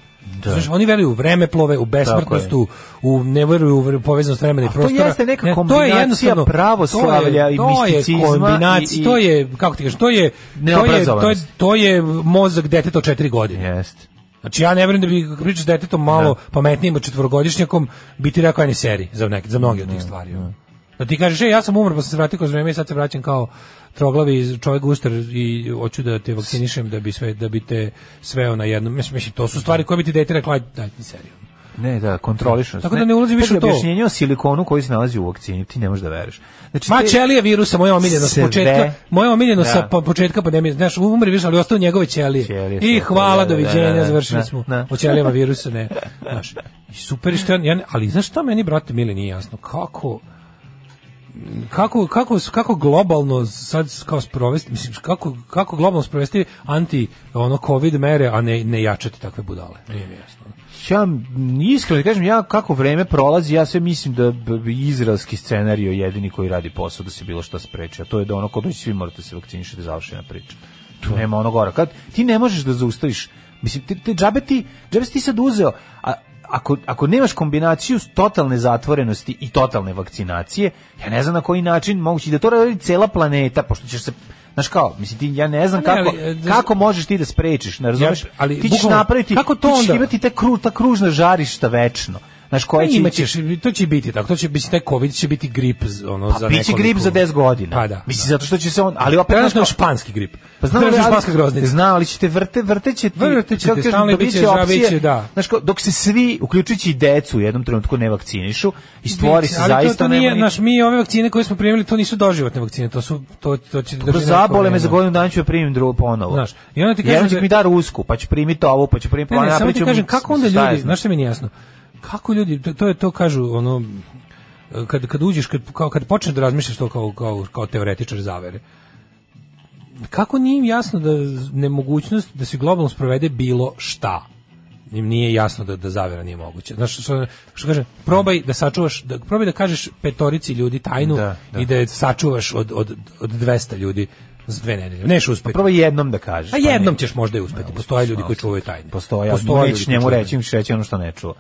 Speaker 5: Znaš, oni veruju u vremeplove, u besmrtnost,
Speaker 6: Tako je.
Speaker 5: u, u ne veruju u vre- povezanost vremena i
Speaker 6: A to
Speaker 5: prostora.
Speaker 6: jeste neka
Speaker 5: Ne, to je
Speaker 6: kombinacija
Speaker 5: jednostavno-
Speaker 6: pravoslavlja
Speaker 5: to je-
Speaker 6: i
Speaker 5: to je
Speaker 6: misticizma
Speaker 5: kombinacija,
Speaker 6: i- i-
Speaker 5: To je, kako ti kažeš, to je, to je, to je,
Speaker 6: Neobrazovanost.
Speaker 5: to je mozak deteta od četiri godine.
Speaker 6: Jeste.
Speaker 5: Znači ja ne verujem da bi pričao s detetom malo pametnijim od četvorogodišnjakom biti rekao ajne seri za neke za mnoge od tih stvari. ono. Da ti kažeš, e, ja sam umro, pa sam se vratio kroz vreme i sad se vraćam kao troglavi čovjek guster i hoću da te vakcinišem da bi sve da bi te sveo na jednom. Mislim, mislim to su stvari koje bi ti dete rekla, ajde, daj mi ono." seriju.
Speaker 6: Ne, da, kontrolišnost.
Speaker 5: Tako da ne ulazi više
Speaker 6: Pazi,
Speaker 5: u to.
Speaker 6: Objašnjenje o silikonu koji se nalazi u vakcini, ti ne možeš da veruješ. Znači,
Speaker 5: Ma
Speaker 6: te-
Speaker 5: ćelije virusa, moje omiljeno s
Speaker 6: Sve.
Speaker 5: početka, moje omiljeno sa
Speaker 6: Da.
Speaker 5: po- početka pandemije, znaš, umri virus, ali ostao njegove ćelije.
Speaker 6: Ćelije,
Speaker 5: I
Speaker 6: sve,
Speaker 5: hvala,
Speaker 6: da, da,
Speaker 5: doviđenja,
Speaker 6: da, da,
Speaker 5: završili
Speaker 6: da,
Speaker 5: smo.
Speaker 6: da.
Speaker 5: O ćelijama virusa ne. Znaš, i super je što ja, ja ne- ali znaš šta meni brate mili nije jasno kako kako kako su- kako globalno sad kao sprovesti mislim kako kako globalno sprovesti anti ono covid mere a ne ne jačati takve budale nije mi jasno
Speaker 6: Ja m, iskreno ti kažem, ja kako vreme prolazi, ja sve mislim da b- b- izraelski scenario je jedini koji radi posao da se bilo šta spreči, a to je da ono kod dođe svi morate se vakcinišati, završena priča. Tu nema ono gora. Kad ti ne možeš da zaustaviš, mislim ti, ti džabe ti, džabe si ti sad uzeo, a Ako, ako nemaš kombinaciju totalne zatvorenosti i totalne vakcinacije, ja ne znam na koji način mogući da to radi cela planeta, pošto ćeš se, znaš kao, mislim ti, ja ne znam
Speaker 5: A ne,
Speaker 6: kako,
Speaker 5: ali, e, da-
Speaker 6: kako možeš ti da sprečiš, ne razumeš?
Speaker 5: ali
Speaker 6: ti ćeš
Speaker 5: bukvalno,
Speaker 6: napraviti,
Speaker 5: kako to
Speaker 6: ti ćeš
Speaker 5: onda?
Speaker 6: imati ti te kru, ta kružna žarišta večno. Znaš, koja Pa će
Speaker 5: Ima
Speaker 6: ići-
Speaker 5: ćeš, Pa to će biti tako, to će biti taj covid će biti grip z- ono
Speaker 6: Pa
Speaker 5: za
Speaker 6: biće grip za 10 godina.
Speaker 5: Pa da.
Speaker 6: Mislim, zato što će se on... Ali opet, znaš,
Speaker 5: Trenutno je
Speaker 6: kao-
Speaker 5: španski grip.
Speaker 6: Pa znam,
Speaker 5: Trenutno je
Speaker 6: ali,
Speaker 5: španska groznica.
Speaker 6: znam, ali će te vrte, vrte će ti...
Speaker 5: Vrte će
Speaker 6: kako
Speaker 5: te,
Speaker 6: kažem,
Speaker 5: stalno
Speaker 6: dobit
Speaker 5: biće
Speaker 6: će
Speaker 5: žabe,
Speaker 6: opcije,
Speaker 5: će, da.
Speaker 6: Znaš, kao, dok se svi, uključujući i decu, u jednom trenutku ne vakcinišu i stvori se
Speaker 5: Ali to-
Speaker 6: zaista...
Speaker 5: to, nije,
Speaker 6: nema ni-
Speaker 5: znaš, mi ove vakcine koje smo primili, to nisu doživotne vakcine, to su to to će
Speaker 6: Ako
Speaker 5: drži neko
Speaker 6: zabole me
Speaker 5: vreme.
Speaker 6: za godinu dana ću ja primim drugo ponovo.
Speaker 5: Znaš, i onda ti kažem
Speaker 6: Jedan će
Speaker 5: da-
Speaker 6: mi da rusku, pa ću primiti ovo, pa ću primiti...
Speaker 5: Ne,
Speaker 6: ono,
Speaker 5: ne, samo
Speaker 6: napravit
Speaker 5: ti
Speaker 6: ću-
Speaker 5: kažem, kako onda
Speaker 6: šta ja
Speaker 5: ljudi,
Speaker 6: znam.
Speaker 5: znaš što mi nije jasno, kako ljudi, to, to je to kažu, ono, kad, kad uđeš, kad, kao, kad počneš da razmišljaš to kao, kao, kao teoretičar zavere, kako nije im jasno da nemogućnost da se globalno sprovede bilo šta? im nije jasno da da zavera nije moguća. Znaš što, što kaže, probaj da sačuvaš, da probaj da kažeš petorici ljudi tajnu
Speaker 6: Da, da.
Speaker 5: i da je sačuvaš od od od 200 ljudi za dve nedelje. Neš uspeti.
Speaker 6: Prvo jednom da kažeš.
Speaker 5: A
Speaker 6: pa
Speaker 5: jednom
Speaker 6: ne.
Speaker 5: ćeš možda i uspeti. Postoje ljudi koji čuvaju tajne. Postoje
Speaker 6: Postoje, postoje
Speaker 5: ljudi
Speaker 6: nećeš
Speaker 5: koji
Speaker 6: njemu
Speaker 5: čuvaju.
Speaker 6: reći, ćeš reći ono što ne čuva.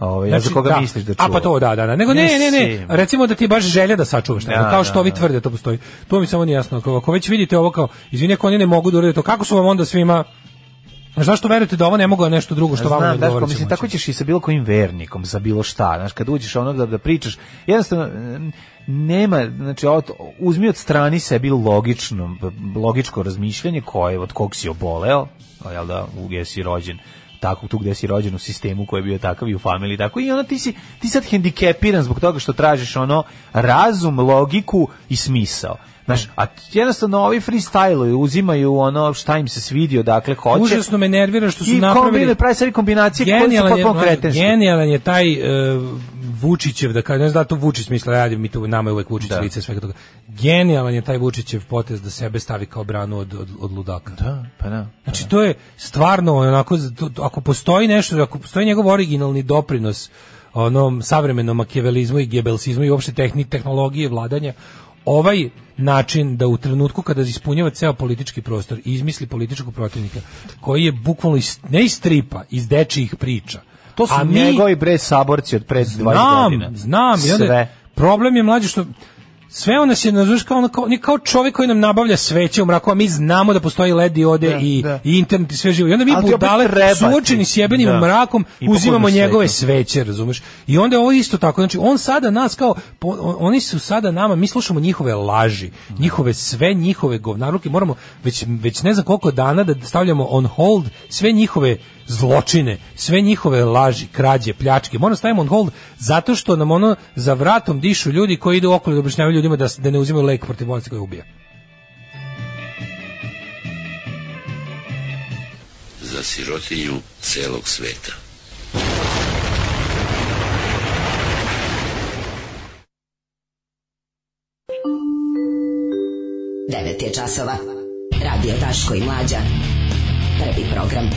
Speaker 6: Ovaj, a za koga misliš da čuva?
Speaker 5: A pa to da, da, da. Nego ne, ne, ne.
Speaker 6: Mislim.
Speaker 5: Recimo da ti je baš želja da sačuvaš tajnu,
Speaker 6: Da,
Speaker 5: kao što
Speaker 6: da,
Speaker 5: ovi
Speaker 6: da.
Speaker 5: tvrde to postoji. To mi samo nije jasno. Ako, ako već vidite ovo kao, izvini, ako oni ne mogu da urede to, kako su vam onda svima Zašto verujete da ovo ne mogu, a nešto drugo što
Speaker 6: Znam,
Speaker 5: vam ne
Speaker 6: Daško,
Speaker 5: odgovara? će
Speaker 6: mislim,
Speaker 5: moći?
Speaker 6: tako ćeš i sa bilo kojim vernikom, za bilo šta, znaš, kad uđeš ono da, da pričaš, jednostavno, em, nema, znači, od, uzmi od strani sebi logično, logičko razmišljanje koje, od kog si oboleo, a jel da, u gdje si rođen, tako tu gdje si rođen u sistemu koji je bio takav i u familiji tako i onda ti si ti sad hendikepiran zbog toga što tražiš ono razum, logiku i smisao. Znaš, a jednostavno ovi freestyluju, uzimaju ono šta im se svidi, odakle hoće.
Speaker 5: Užasno me nervira što su
Speaker 6: I
Speaker 5: napravili
Speaker 6: kombine, pravi sebi kombinacije koje su
Speaker 5: genijalan je,
Speaker 6: potpuno
Speaker 5: mlađo,
Speaker 6: kretenske.
Speaker 5: genijalan je taj e, Vučićev, da kažem, ne znam da to Vučić misle, radi mi tu, nama je uvek Vučić
Speaker 6: Da.
Speaker 5: lice svega toga. Genijalan je taj Vučićev potez da sebe stavi kao branu od, od, od ludaka.
Speaker 6: Da, pa da.
Speaker 5: Znači to je stvarno onako to- to- ako postoji nešto, ako postoji njegov originalni doprinos onom savremenom makijavelizmu i gebelsizmu i uopšte tehni tehnologije vladanja, ovaj način da u trenutku kada ispunjava ceo politički prostor i izmisli političkog protivnika koji je bukvalno iz, ne iz stripa, iz dečijih priča.
Speaker 6: To su
Speaker 5: A mi-
Speaker 6: njegovi bre saborci od pred 20 godina.
Speaker 5: Znam, znam. I onda
Speaker 6: Sve.
Speaker 5: problem je mlađe što sve ona se nazoveš kao, ono- kao, ni kao čovjek koji nam nabavlja sveće u mraku, a mi znamo da postoji led i ode
Speaker 6: Da,
Speaker 5: i,
Speaker 6: da.
Speaker 5: i internet i sve živo. I onda mi
Speaker 6: Ali ti opet
Speaker 5: budale
Speaker 6: treba ti.
Speaker 5: suočeni s jebenim
Speaker 6: Da.
Speaker 5: mrakom
Speaker 6: I
Speaker 5: uzimamo
Speaker 6: pokloniš
Speaker 5: njegove
Speaker 6: sveću.
Speaker 5: sveće, razumeš? I onda je ovo isto tako. Znači, on sada nas kao, po- on- oni su sada nama, mi slušamo njihove laži, njihove sve njihove govnaruke, moramo već, već ne znam koliko dana da stavljamo on hold sve njihove zločine, sve njihove laži, krađe, pljačke. Moramo stavimo on hold zato što nam ono za vratom dišu ljudi koji idu okolo da objašnjavaju ljudima da, s- da ne uzimaju lek protiv bolesti koja ubija.
Speaker 3: Za sirotinju celog sveta.
Speaker 8: Devet je časova. Radio Daško i Mlađa. Prvi program.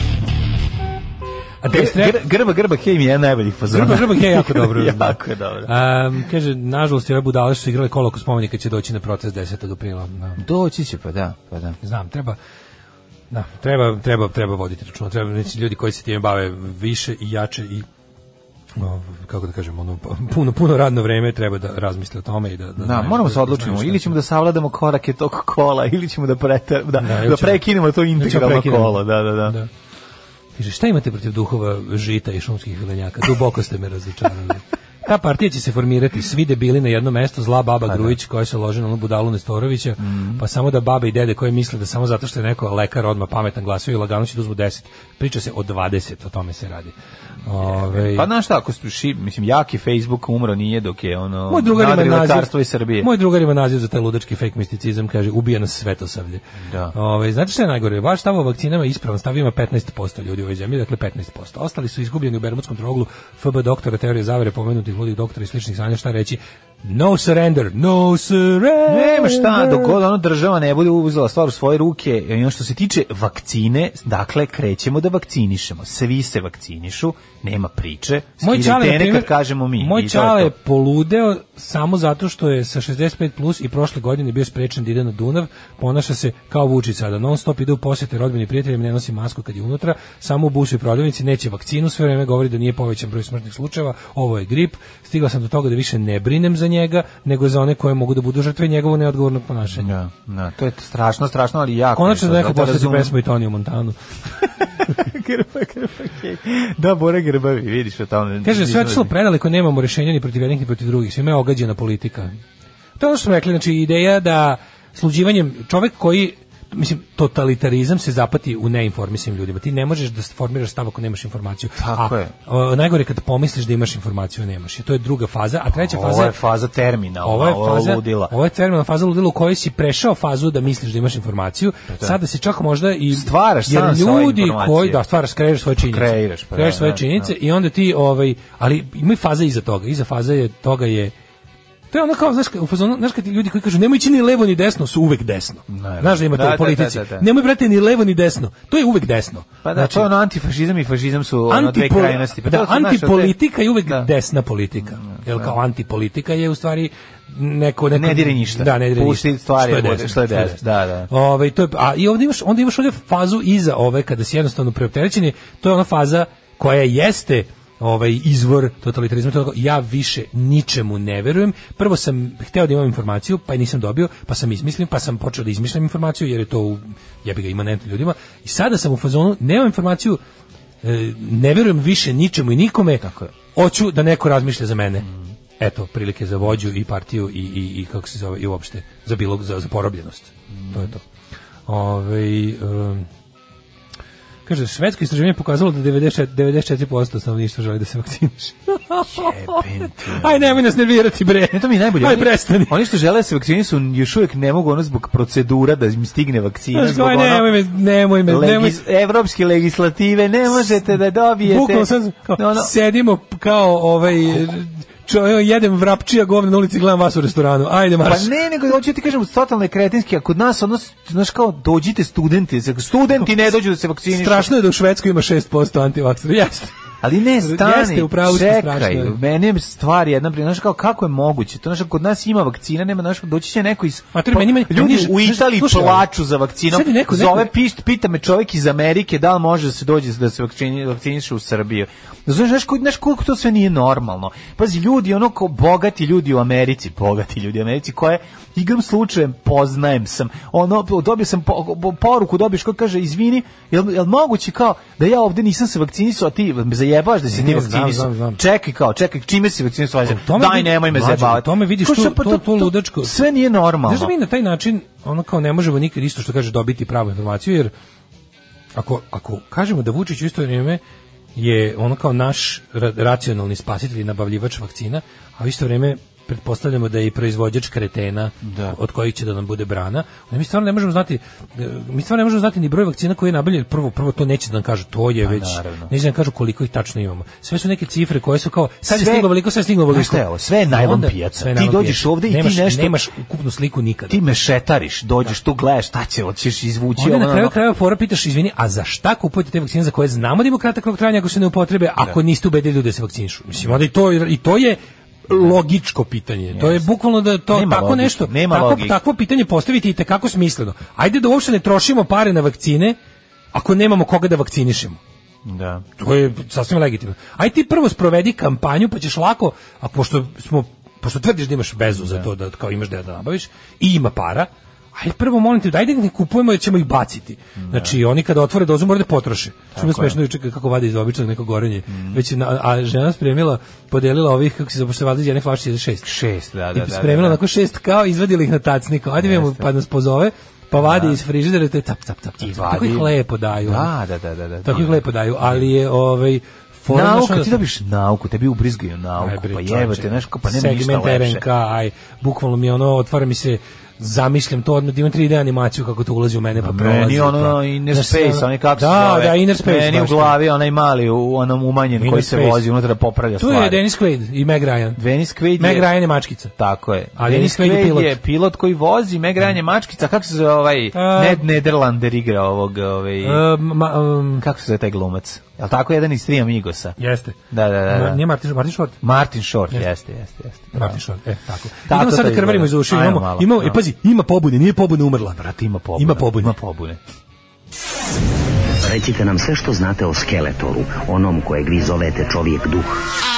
Speaker 5: A
Speaker 6: Gr,
Speaker 5: destre-
Speaker 6: gr, grba, grba, hej mi je jedan najboljih fazona.
Speaker 5: Grba, grba, je
Speaker 6: <laughs>
Speaker 5: jako dobro.
Speaker 6: jako je dobro.
Speaker 5: Ehm, kaže, nažalost, i ove budale što su igrali kolo oko spomenika će doći na protest 10. aprila. Da.
Speaker 6: Doći će, pa da, pa da.
Speaker 5: Znam, treba da, treba, treba, treba voditi računa. Treba znači, ljudi koji se time bave više i jače i o, kako da kažem, ono, puno, puno radno vreme treba da razmisle o tome i da, da,
Speaker 6: Da,
Speaker 5: znaju-
Speaker 6: moramo se
Speaker 5: da
Speaker 6: odlučimo,
Speaker 5: znaju šta
Speaker 6: ili
Speaker 5: će.
Speaker 6: ćemo da savladamo korake tog kola, ili ćemo da, preter, da,
Speaker 5: ili
Speaker 6: da,
Speaker 5: ćemo-
Speaker 6: prekinemo to
Speaker 5: ćemo
Speaker 6: integralno
Speaker 5: prekinuti.
Speaker 6: kolo, da, da, da.
Speaker 5: Da. Kaže, šta imate protiv duhova žita i šumskih vilenjaka? Duboko ste me razočarali. Ta partija će se formirati, svi debili na jedno mesto, zla baba Grujić koja se loži na onu budalu Nestorovića, pa samo da babe i dede koje misle da samo zato što je neko lekar odmah pametan glasuje i lagano će da uzmu 10. Priča se o 20, o tome se radi. Ove,
Speaker 6: Pa znaš šta, ako su ši, mislim, jaki Facebook umro nije dok je ono
Speaker 5: moj drugar ima
Speaker 6: nadrilo
Speaker 5: naziv,
Speaker 6: carstvo iz Srbije.
Speaker 5: Moj drugar ima naziv za taj ludački fake misticizam, kaže ubija nas svetosavlje.
Speaker 6: Da.
Speaker 5: Ovaj, znate šta je najgore? Vaš stav o vakcinama je ispravan, stav ima 15% ljudi u ovoj zemlji, dakle 15%. Ostali su izgubljeni u Bermudskom troglu, FB doktora, teorije zavere, pomenutih ludih doktora i sličnih sanja, šta reći? No surrender, no surrender.
Speaker 6: Nema šta, dok god ono država ne bude uzela stvar u svoje ruke, i ono što se tiče vakcine, dakle, krećemo da vakcinišemo. Svi se vakcinišu, nema priče.
Speaker 5: Moj
Speaker 6: Skidajte
Speaker 5: čale, na
Speaker 6: ene
Speaker 5: primjer,
Speaker 6: kad kažemo mi.
Speaker 5: Moj
Speaker 6: i to je
Speaker 5: čale je
Speaker 6: to.
Speaker 5: poludeo samo zato što je sa 65 plus i prošle godine bio sprečen da ide na Dunav, ponaša se kao Vučić sada, non stop ide u posjete rodbini prijateljima, ne nosi masku kad je unutra, samo u bušu i prodavnici, neće vakcinu, sve vreme govori da nije povećan broj smrtnih slučajeva, ovo je grip, stigla sam do toga da više ne brinem za njega, nego za one koje mogu da budu žrtve njegovog neodgovornog ponašanja.
Speaker 6: Da, da, to je strašno, strašno, ali jako.
Speaker 5: Konačno
Speaker 6: je
Speaker 5: da
Speaker 6: to,
Speaker 5: neko
Speaker 6: te
Speaker 5: posjeti
Speaker 6: razumem.
Speaker 5: pesmu i Toniju Montanu.
Speaker 6: <laughs> grba, grba, hej. Da, Bore Grbavi, vidiš o tome.
Speaker 5: Kaže, sve otišlo predaleko, nemamo rješenja ni protiv jednih ni protiv drugih, svima je ogađena politika. To je ono što smo rekli, znači ideja da sluđivanjem čovjek koji mislim totalitarizam se zapati u neinformisanim ljudima. Ti ne možeš da formiraš stav ako nemaš informaciju.
Speaker 6: Tako
Speaker 5: a,
Speaker 6: je.
Speaker 5: o, najgore je kad pomisliš da imaš informaciju, a nemaš. I to je druga faza, a treća faza
Speaker 6: Ovo je faza termina,
Speaker 5: ovo je faza,
Speaker 6: ludila.
Speaker 5: ovo je terminalna faza ludila u kojoj si prešao fazu da misliš da imaš informaciju. Sada se čak možda i
Speaker 6: Pa Stvaraš
Speaker 5: jer
Speaker 6: sam svoje
Speaker 5: ljudi
Speaker 6: informacije.
Speaker 5: koji da stvaraš kreiraš svoje činjenice.
Speaker 6: Kreiraš, pa da,
Speaker 5: Kreiraš svoje
Speaker 6: da,
Speaker 5: činjenice i onda ti ovaj ali ima i faza iza toga. Iza faze je toga je To je ono kao, znaš, ka- u fazonu, znaš kad ti ljudi koji kažu nemoj ići ni levo ni desno su uvek desno.
Speaker 6: Naravno.
Speaker 5: Znaš da ima to
Speaker 6: Da, da,
Speaker 5: u politici.
Speaker 6: da, da, da.
Speaker 5: Nemoj brate ni levo ni desno. To je uvek desno.
Speaker 6: Pa da, to je ono antifašizam i fašizam su ono dve
Speaker 5: znači- Antipo-
Speaker 6: krajnosti. Pa
Speaker 5: da,
Speaker 6: to su, znaš,
Speaker 5: antipolitika je uvek
Speaker 6: Da.
Speaker 5: desna politika. Jel kao antipolitika je u stvari neko neko
Speaker 6: Ne dire ništa.
Speaker 5: Da, ne dire
Speaker 6: Pusti
Speaker 5: ništa.
Speaker 6: stvari da bude-
Speaker 5: desno,
Speaker 6: što je desno, da, da.
Speaker 5: Ovaj to je a i ovdje imaš onda imaš ovdje fazu iza ove kada si jednostavno preopterećeni, to je ona faza koja jeste ovaj izvor totalitarizma to je onako, ja više ničemu ne verujem prvo sam hteo da imam informaciju pa je nisam dobio pa sam izmislio pa sam počeo da izmišljam informaciju jer je to u- jebi ga imanentno ljudima i sada sam u fazonu nemam informaciju e, ne verujem više ničemu i nikome
Speaker 6: Tako je. Mm.
Speaker 5: hoću da neko razmišlja za mene eto prilike za vođu i partiju i, i, i kako se zove i uopšte za bilo za, za porobljenost to je to Ovaj, em, kaže švedsko istraživanje pokazalo da 94 94% stanovništva želi da se vakciniše
Speaker 6: Jebem ti.
Speaker 5: <laughs> aj nemoj nas nervirati bre
Speaker 6: Ne, to mi je najbolje.
Speaker 5: aj
Speaker 6: Oni-
Speaker 5: prestani <laughs>
Speaker 6: Oni što žele da se vakcinisu još uvijek ne mogu ono zbog procedura da im stigne vakcina.
Speaker 5: Znaš,
Speaker 6: Zbog
Speaker 5: aj,
Speaker 6: ono,
Speaker 5: nemoj me nemoj me nemoj
Speaker 6: legis, evropske legislative, ne možete da dobijete.
Speaker 5: Bukvalno sam, kao,
Speaker 6: Ono,
Speaker 5: sedimo p- kao ovaj čo, evo, jedem vrapčija govna na ulici gledam vas u restoranu. Ajde marš.
Speaker 6: Pa ne, nego hoću ti kažem, totalno je kretinski, a kod nas, ono, znaš kao, dođite studenti, studenti ne dođu da se vakcinišu.
Speaker 5: Strašno je da u Švedskoj ima 6% antivaksera. Jeste.
Speaker 6: Ali ne, stani,
Speaker 5: Jeste, u pravu ste, strašno
Speaker 6: čekaj,
Speaker 5: je.
Speaker 6: meni je stvar jedna, pri- znaš kao, kako je moguće, to znaš, kod nas ima vakcina, nema, znaš, doći će neko iz, pa,
Speaker 5: Mater, meni ima-
Speaker 6: ljudi
Speaker 5: meni-
Speaker 6: u
Speaker 5: znaš,
Speaker 6: Italiji
Speaker 5: slušaj,
Speaker 6: plaču za vakcinom,
Speaker 5: sad je neko- neko-
Speaker 6: zove, pišt, pita me čovjek iz Amerike, da li može da se dođe da se vakcini, vakciniše u Srbiju. Znaš, znaš, ko- znaš koliko to sve nije normalno. Pazi, ljudi, ono kao bogati ljudi u Americi, bogati ljudi u Americi, koje igram slučajem poznajem sam. Ono, dobio sam po- po- poruku, dobiješ ko kaže, izvini, jel, jel moguće kao da ja ovdje nisam se vakcinisao, a ti me zajebaš da si
Speaker 5: Ne,
Speaker 6: ti
Speaker 5: ne, znam,
Speaker 6: vakcinisao.
Speaker 5: znam, znam.
Speaker 6: Čekaj kao, čekaj, čime si vakcinisao?
Speaker 5: U tome
Speaker 6: Daj,
Speaker 5: vidi-
Speaker 6: nemoj me
Speaker 5: Mlađe,
Speaker 6: zajebavati.
Speaker 5: u tome vidiš
Speaker 6: Kao,
Speaker 5: tu-
Speaker 6: šta, pa
Speaker 5: tu- tu ludačko-
Speaker 6: Sve nije normalno.
Speaker 5: Znaš da mi na taj način, ono kao ne možemo nikad isto što kaže dobiti pravu informaciju, jer ako, ako kažemo da Vučić u isto vrijeme je ono kao naš ra- racionalni spasitelj i nabavljivač vakcina, a u isto vrijeme pretpostavljamo da je i proizvođač kretena od kojih će da nam bude brana. onda Mi stvarno ne možemo znati e, mi stvarno ne možemo znati ni broj vakcina koji je nabavljen. Prvo prvo to neće da nam kažu, to je već
Speaker 6: Pa naravno.
Speaker 5: neće da nam kažu koliko ih tačno imamo. Sve su neke cifre koje su kao sad je
Speaker 6: Sve-
Speaker 5: stiglo veliko, sad je stiglo
Speaker 6: Znaš
Speaker 5: veliko.
Speaker 6: šta je ovo? Sve je najlon
Speaker 5: Onda-
Speaker 6: pijaca.
Speaker 5: sve je
Speaker 6: Ti
Speaker 5: najlon
Speaker 6: dođeš
Speaker 5: pijaca.
Speaker 6: ovde i ti
Speaker 5: Nemaš-
Speaker 6: nešto-
Speaker 5: nemaš ukupnu sliku nikada.
Speaker 6: ti mešetariš, dođeš tu, gledaš šta će, hoćeš izvući
Speaker 5: Onda
Speaker 6: ovo,
Speaker 5: na kraju
Speaker 6: ono.
Speaker 5: krajeva fora pitaš, izvini, a za šta kupujete te vakcine za koje znamo da imaju kratak rok trajanja ako se ne upotrebe, ako niste ubedili ljude da se vakcinišu? Mislim, onda i to, i to je logičko pitanje. To je bukvalno da to
Speaker 6: Nema
Speaker 5: tako
Speaker 6: logike,
Speaker 5: nešto,
Speaker 6: nema
Speaker 5: tako,
Speaker 6: logike.
Speaker 5: takvo pitanje postaviti i tekako smisleno. Ajde da uopšte ne trošimo pare na vakcine ako nemamo koga da vakcinišemo.
Speaker 6: Da.
Speaker 5: To je sasvim legitimno. Aj ti prvo sprovedi kampanju, pa ćeš lako, a pošto smo pošto tvrdiš da imaš vezu za to da kao imaš da da nabaviš i ima para, aj prvo molim te, ajde ne kupujemo jer ćemo ih baciti. Znači oni kada otvore dozu moraju da potroše. Što mi je smešno juče kako vade iz običnog nekog gorenje.
Speaker 6: Mhm.
Speaker 5: Već je na, a žena spremila, podelila ovih kako se zapošljavali iz jedne flaše za šest.
Speaker 6: Šest, da, da,
Speaker 5: I
Speaker 6: da, da,
Speaker 5: spremila
Speaker 6: da.
Speaker 5: onako šest kao izvadili ih na tacni, kao ajde vidimo pa nas pozove, pa vadi iz frižidera i to je tap tap tap. tap.
Speaker 6: I
Speaker 5: Tako
Speaker 6: vadi.
Speaker 5: ih lepo daju. ono.
Speaker 6: Da, da, da, da, da.
Speaker 5: Tako ih lepo daju, ali je ovaj fora znaš,
Speaker 6: Nauka,
Speaker 5: onda-
Speaker 6: ti dobiš nauku, tebi ubrizgaju nauku,
Speaker 5: Aj, bre,
Speaker 6: pa
Speaker 5: čoveče,
Speaker 6: jebate, znaš, kao, pa nema ništa
Speaker 5: segment
Speaker 6: lepše.
Speaker 5: RNK, aj, bukvalno mi je ono, otvara mi se, zamislim to odmah, imam 3D animaciju kako to ulazi u mene, pa prolazi.
Speaker 6: Meni ono
Speaker 5: pa-
Speaker 6: Inner
Speaker 5: Znaš,
Speaker 6: Space,
Speaker 5: ono-
Speaker 6: onaj kako se
Speaker 5: da,
Speaker 6: zove.
Speaker 5: Da, Inner Space.
Speaker 6: Meni u
Speaker 5: baš to.
Speaker 6: glavi onaj mali, u onom umanjen
Speaker 5: Inner
Speaker 6: koji se
Speaker 5: Space.
Speaker 6: vozi unutra da popravlja
Speaker 5: Tu je
Speaker 6: stvari.
Speaker 5: Dennis Quaid i Meg Ryan.
Speaker 6: Dennis Quaid je-
Speaker 5: Meg Ryan je mačkica.
Speaker 6: Tako je.
Speaker 5: A
Speaker 6: Dennis
Speaker 5: Dennis Quaid je
Speaker 6: Quaid
Speaker 5: pilot. Mm.
Speaker 6: je pilot koji vozi, me granje mačkica, kako se zove ovaj, Ned Nederlander igra ovog, ovaj,
Speaker 5: Um, ma, um,
Speaker 6: kako se zove taj glumac? Je li tako jedan iz tri Amigosa?
Speaker 5: jeste.
Speaker 6: Da, da, da,
Speaker 5: Ma-
Speaker 6: da.
Speaker 5: Nije Martin, Martin Short.
Speaker 6: Martin Short, jeste, jeste, jeste.
Speaker 5: Martin Short, e, tako.
Speaker 6: Tako
Speaker 5: Idemo
Speaker 6: to
Speaker 5: sad da
Speaker 6: izgleda.
Speaker 5: krvarimo iz uši.
Speaker 6: Ajmo
Speaker 5: Imamo,
Speaker 6: malo,
Speaker 5: imamo, e,
Speaker 6: da.
Speaker 5: pazi, ima pobune, nije pobune umrla.
Speaker 6: Brate, ima pobune.
Speaker 5: Ima pobune.
Speaker 6: Ima pobune.
Speaker 3: Recite nam sve što znate o Skeletoru, onom kojeg vi zovete čovjek duh.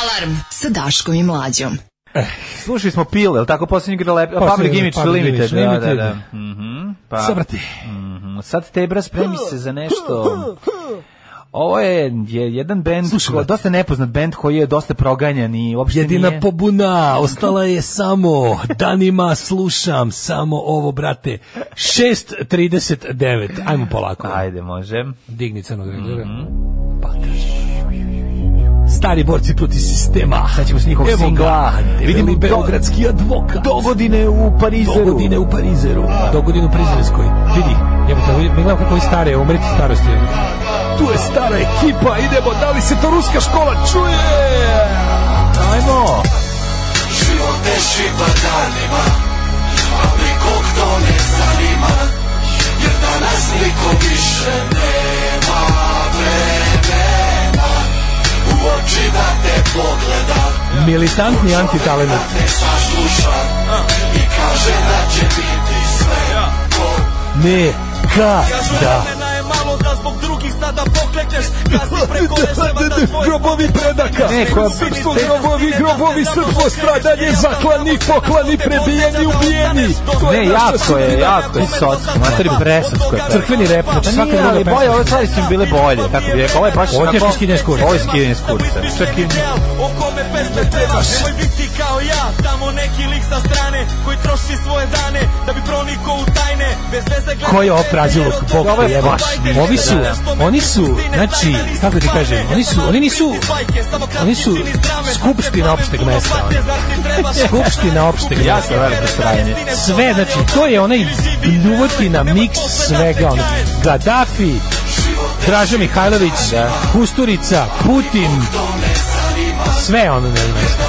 Speaker 4: Alarm sa Daškom i Mlađom.
Speaker 6: Slušali smo Pil, je li tako posljednji igra lepi?
Speaker 5: Posljednji
Speaker 6: Public
Speaker 5: igra,
Speaker 6: Image
Speaker 5: Public
Speaker 6: Limited.
Speaker 5: Image
Speaker 6: Da, da, da.
Speaker 5: Limited.
Speaker 6: Mhm, pa,
Speaker 5: Sabrati.
Speaker 6: mhm, Sad Tebra spremi se za nešto... Ovo je, je jedan bend,
Speaker 5: Slušaj,
Speaker 6: ko,
Speaker 5: brate.
Speaker 6: dosta nepoznat bend koji je dosta proganjan i uopšte
Speaker 5: Jedina
Speaker 6: nije...
Speaker 5: pobuna, ostala je samo, danima slušam samo ovo, brate. 6.39, ajmo polako.
Speaker 6: Ajde, može.
Speaker 5: Digni crnog reglera. Pa drži. Stari borci proti sistema.
Speaker 6: Sad ćemo s njihovog
Speaker 5: Evo ga,
Speaker 6: singla.
Speaker 5: debeli
Speaker 6: Vidimo do-
Speaker 5: beogradski advokat.
Speaker 6: Dogodine u Parizeru.
Speaker 5: Dogodine u Parizeru. Dogodine u Prizrenskoj. Vidi, jebo te, mi gledamo kako je stare, umreti starosti. Tu je stara ekipa, idemo, da li se to ruska škola čuje?
Speaker 6: Ajmo!
Speaker 11: Život teži badanima, a nikog to ne zanima, jer danas niko više nema vremena u oči da te pogleda.
Speaker 5: Militantni antitalenat.
Speaker 11: Ne sasluša i kaže da će biti sve po
Speaker 5: Ne, ka,
Speaker 11: Kažu
Speaker 5: da.
Speaker 11: vremena je malo da zbog drugih sada poklekneš Da si
Speaker 5: <laughs>
Speaker 11: preko leševa da svoj
Speaker 5: grobovi predaka,
Speaker 6: Neko-
Speaker 5: srpsko grobovi, grobovi srpsko stradanje, zaklani, poklani, prebijeni, ubijeni.
Speaker 6: Ne, jako je, jako je sotsko, mater presotsko je.
Speaker 5: Crkveni rep, znači
Speaker 6: Pa
Speaker 5: svaka
Speaker 6: nije,
Speaker 5: druga
Speaker 6: ali
Speaker 5: pesma.
Speaker 6: bolje, ove stvari su mi bile bolje, kako bi rekao, ovo je baš...
Speaker 5: Ovo je
Speaker 6: onako-
Speaker 5: teško skidanje s kurca.
Speaker 6: Ovo je skidanje s kurca. Čak i...
Speaker 11: O kome pesme pevaš, nemoj biti kao ja Tamo neki lik sa strane koji troši svoje dane Da bi pronikao u tajne, bez veze gleda
Speaker 5: Ko je ovo praziluk, bog
Speaker 6: Ovo je
Speaker 5: te jeba.
Speaker 6: baš
Speaker 5: Ovi su, oni su, znači, kako ti kažem, oni su, oni nisu, oni su skupština opšteg mesta. ono. Skupština opšteg
Speaker 6: Jako
Speaker 5: mesta.
Speaker 6: veliko stranje.
Speaker 5: Sve, znači, to je onaj bljuvotina, miks svega, ono, Gaddafi, Draža Mihajlović, Kusturica, Putin, sve ono na jednom mestu.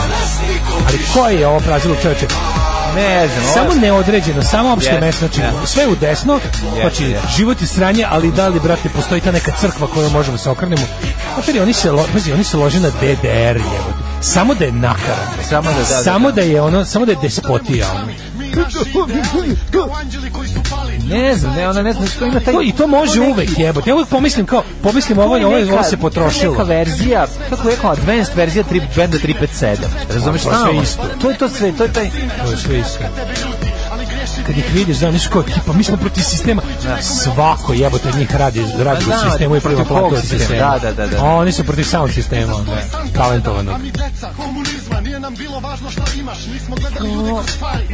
Speaker 5: Ali ko je ovo prazilo čoveče?
Speaker 6: Ne znam, ovo je-
Speaker 5: Samo neodređeno, samo opšte
Speaker 6: Jeste,
Speaker 5: mesto, znači
Speaker 6: jeste.
Speaker 5: sve u desno, znači
Speaker 6: jeste.
Speaker 5: život je sranje, ali da li brate postoji ta neka crkva koju možemo se okrenemo. Znači oni se lo, pazi, oni se lože na DDR jebote. Samo da je nakaran.
Speaker 6: Samo da- da, da,
Speaker 5: samo
Speaker 6: da.
Speaker 5: da je ono, samo da je despotija. ono.
Speaker 6: Ne znam, ne, ona ne znam, što ima taj...
Speaker 5: To, I to može uvek jebote. Ja uvek pomislim kao, pomislim Pa ovo, je- ovo, je- ovo se potrošilo.
Speaker 6: Neka verzija, kako je rekao, advanced verzija 3, benda 357. Razumeš
Speaker 5: To je
Speaker 6: šta?
Speaker 5: Pa sve isto.
Speaker 6: To je to sve, to je taj...
Speaker 5: To je sve isto. Kad ih vidiš, da oni su kao tipa, mi smo protiv sistema. Svako jebote od njih radi, radi
Speaker 6: Ma Pa da,
Speaker 5: u sistemu i
Speaker 6: protiv
Speaker 5: protiv
Speaker 6: kog
Speaker 5: platnog
Speaker 6: sistema?
Speaker 5: sistema.
Speaker 6: Da, da, da, da.
Speaker 5: A Oni su protiv sound sistema, onda, talentovanog.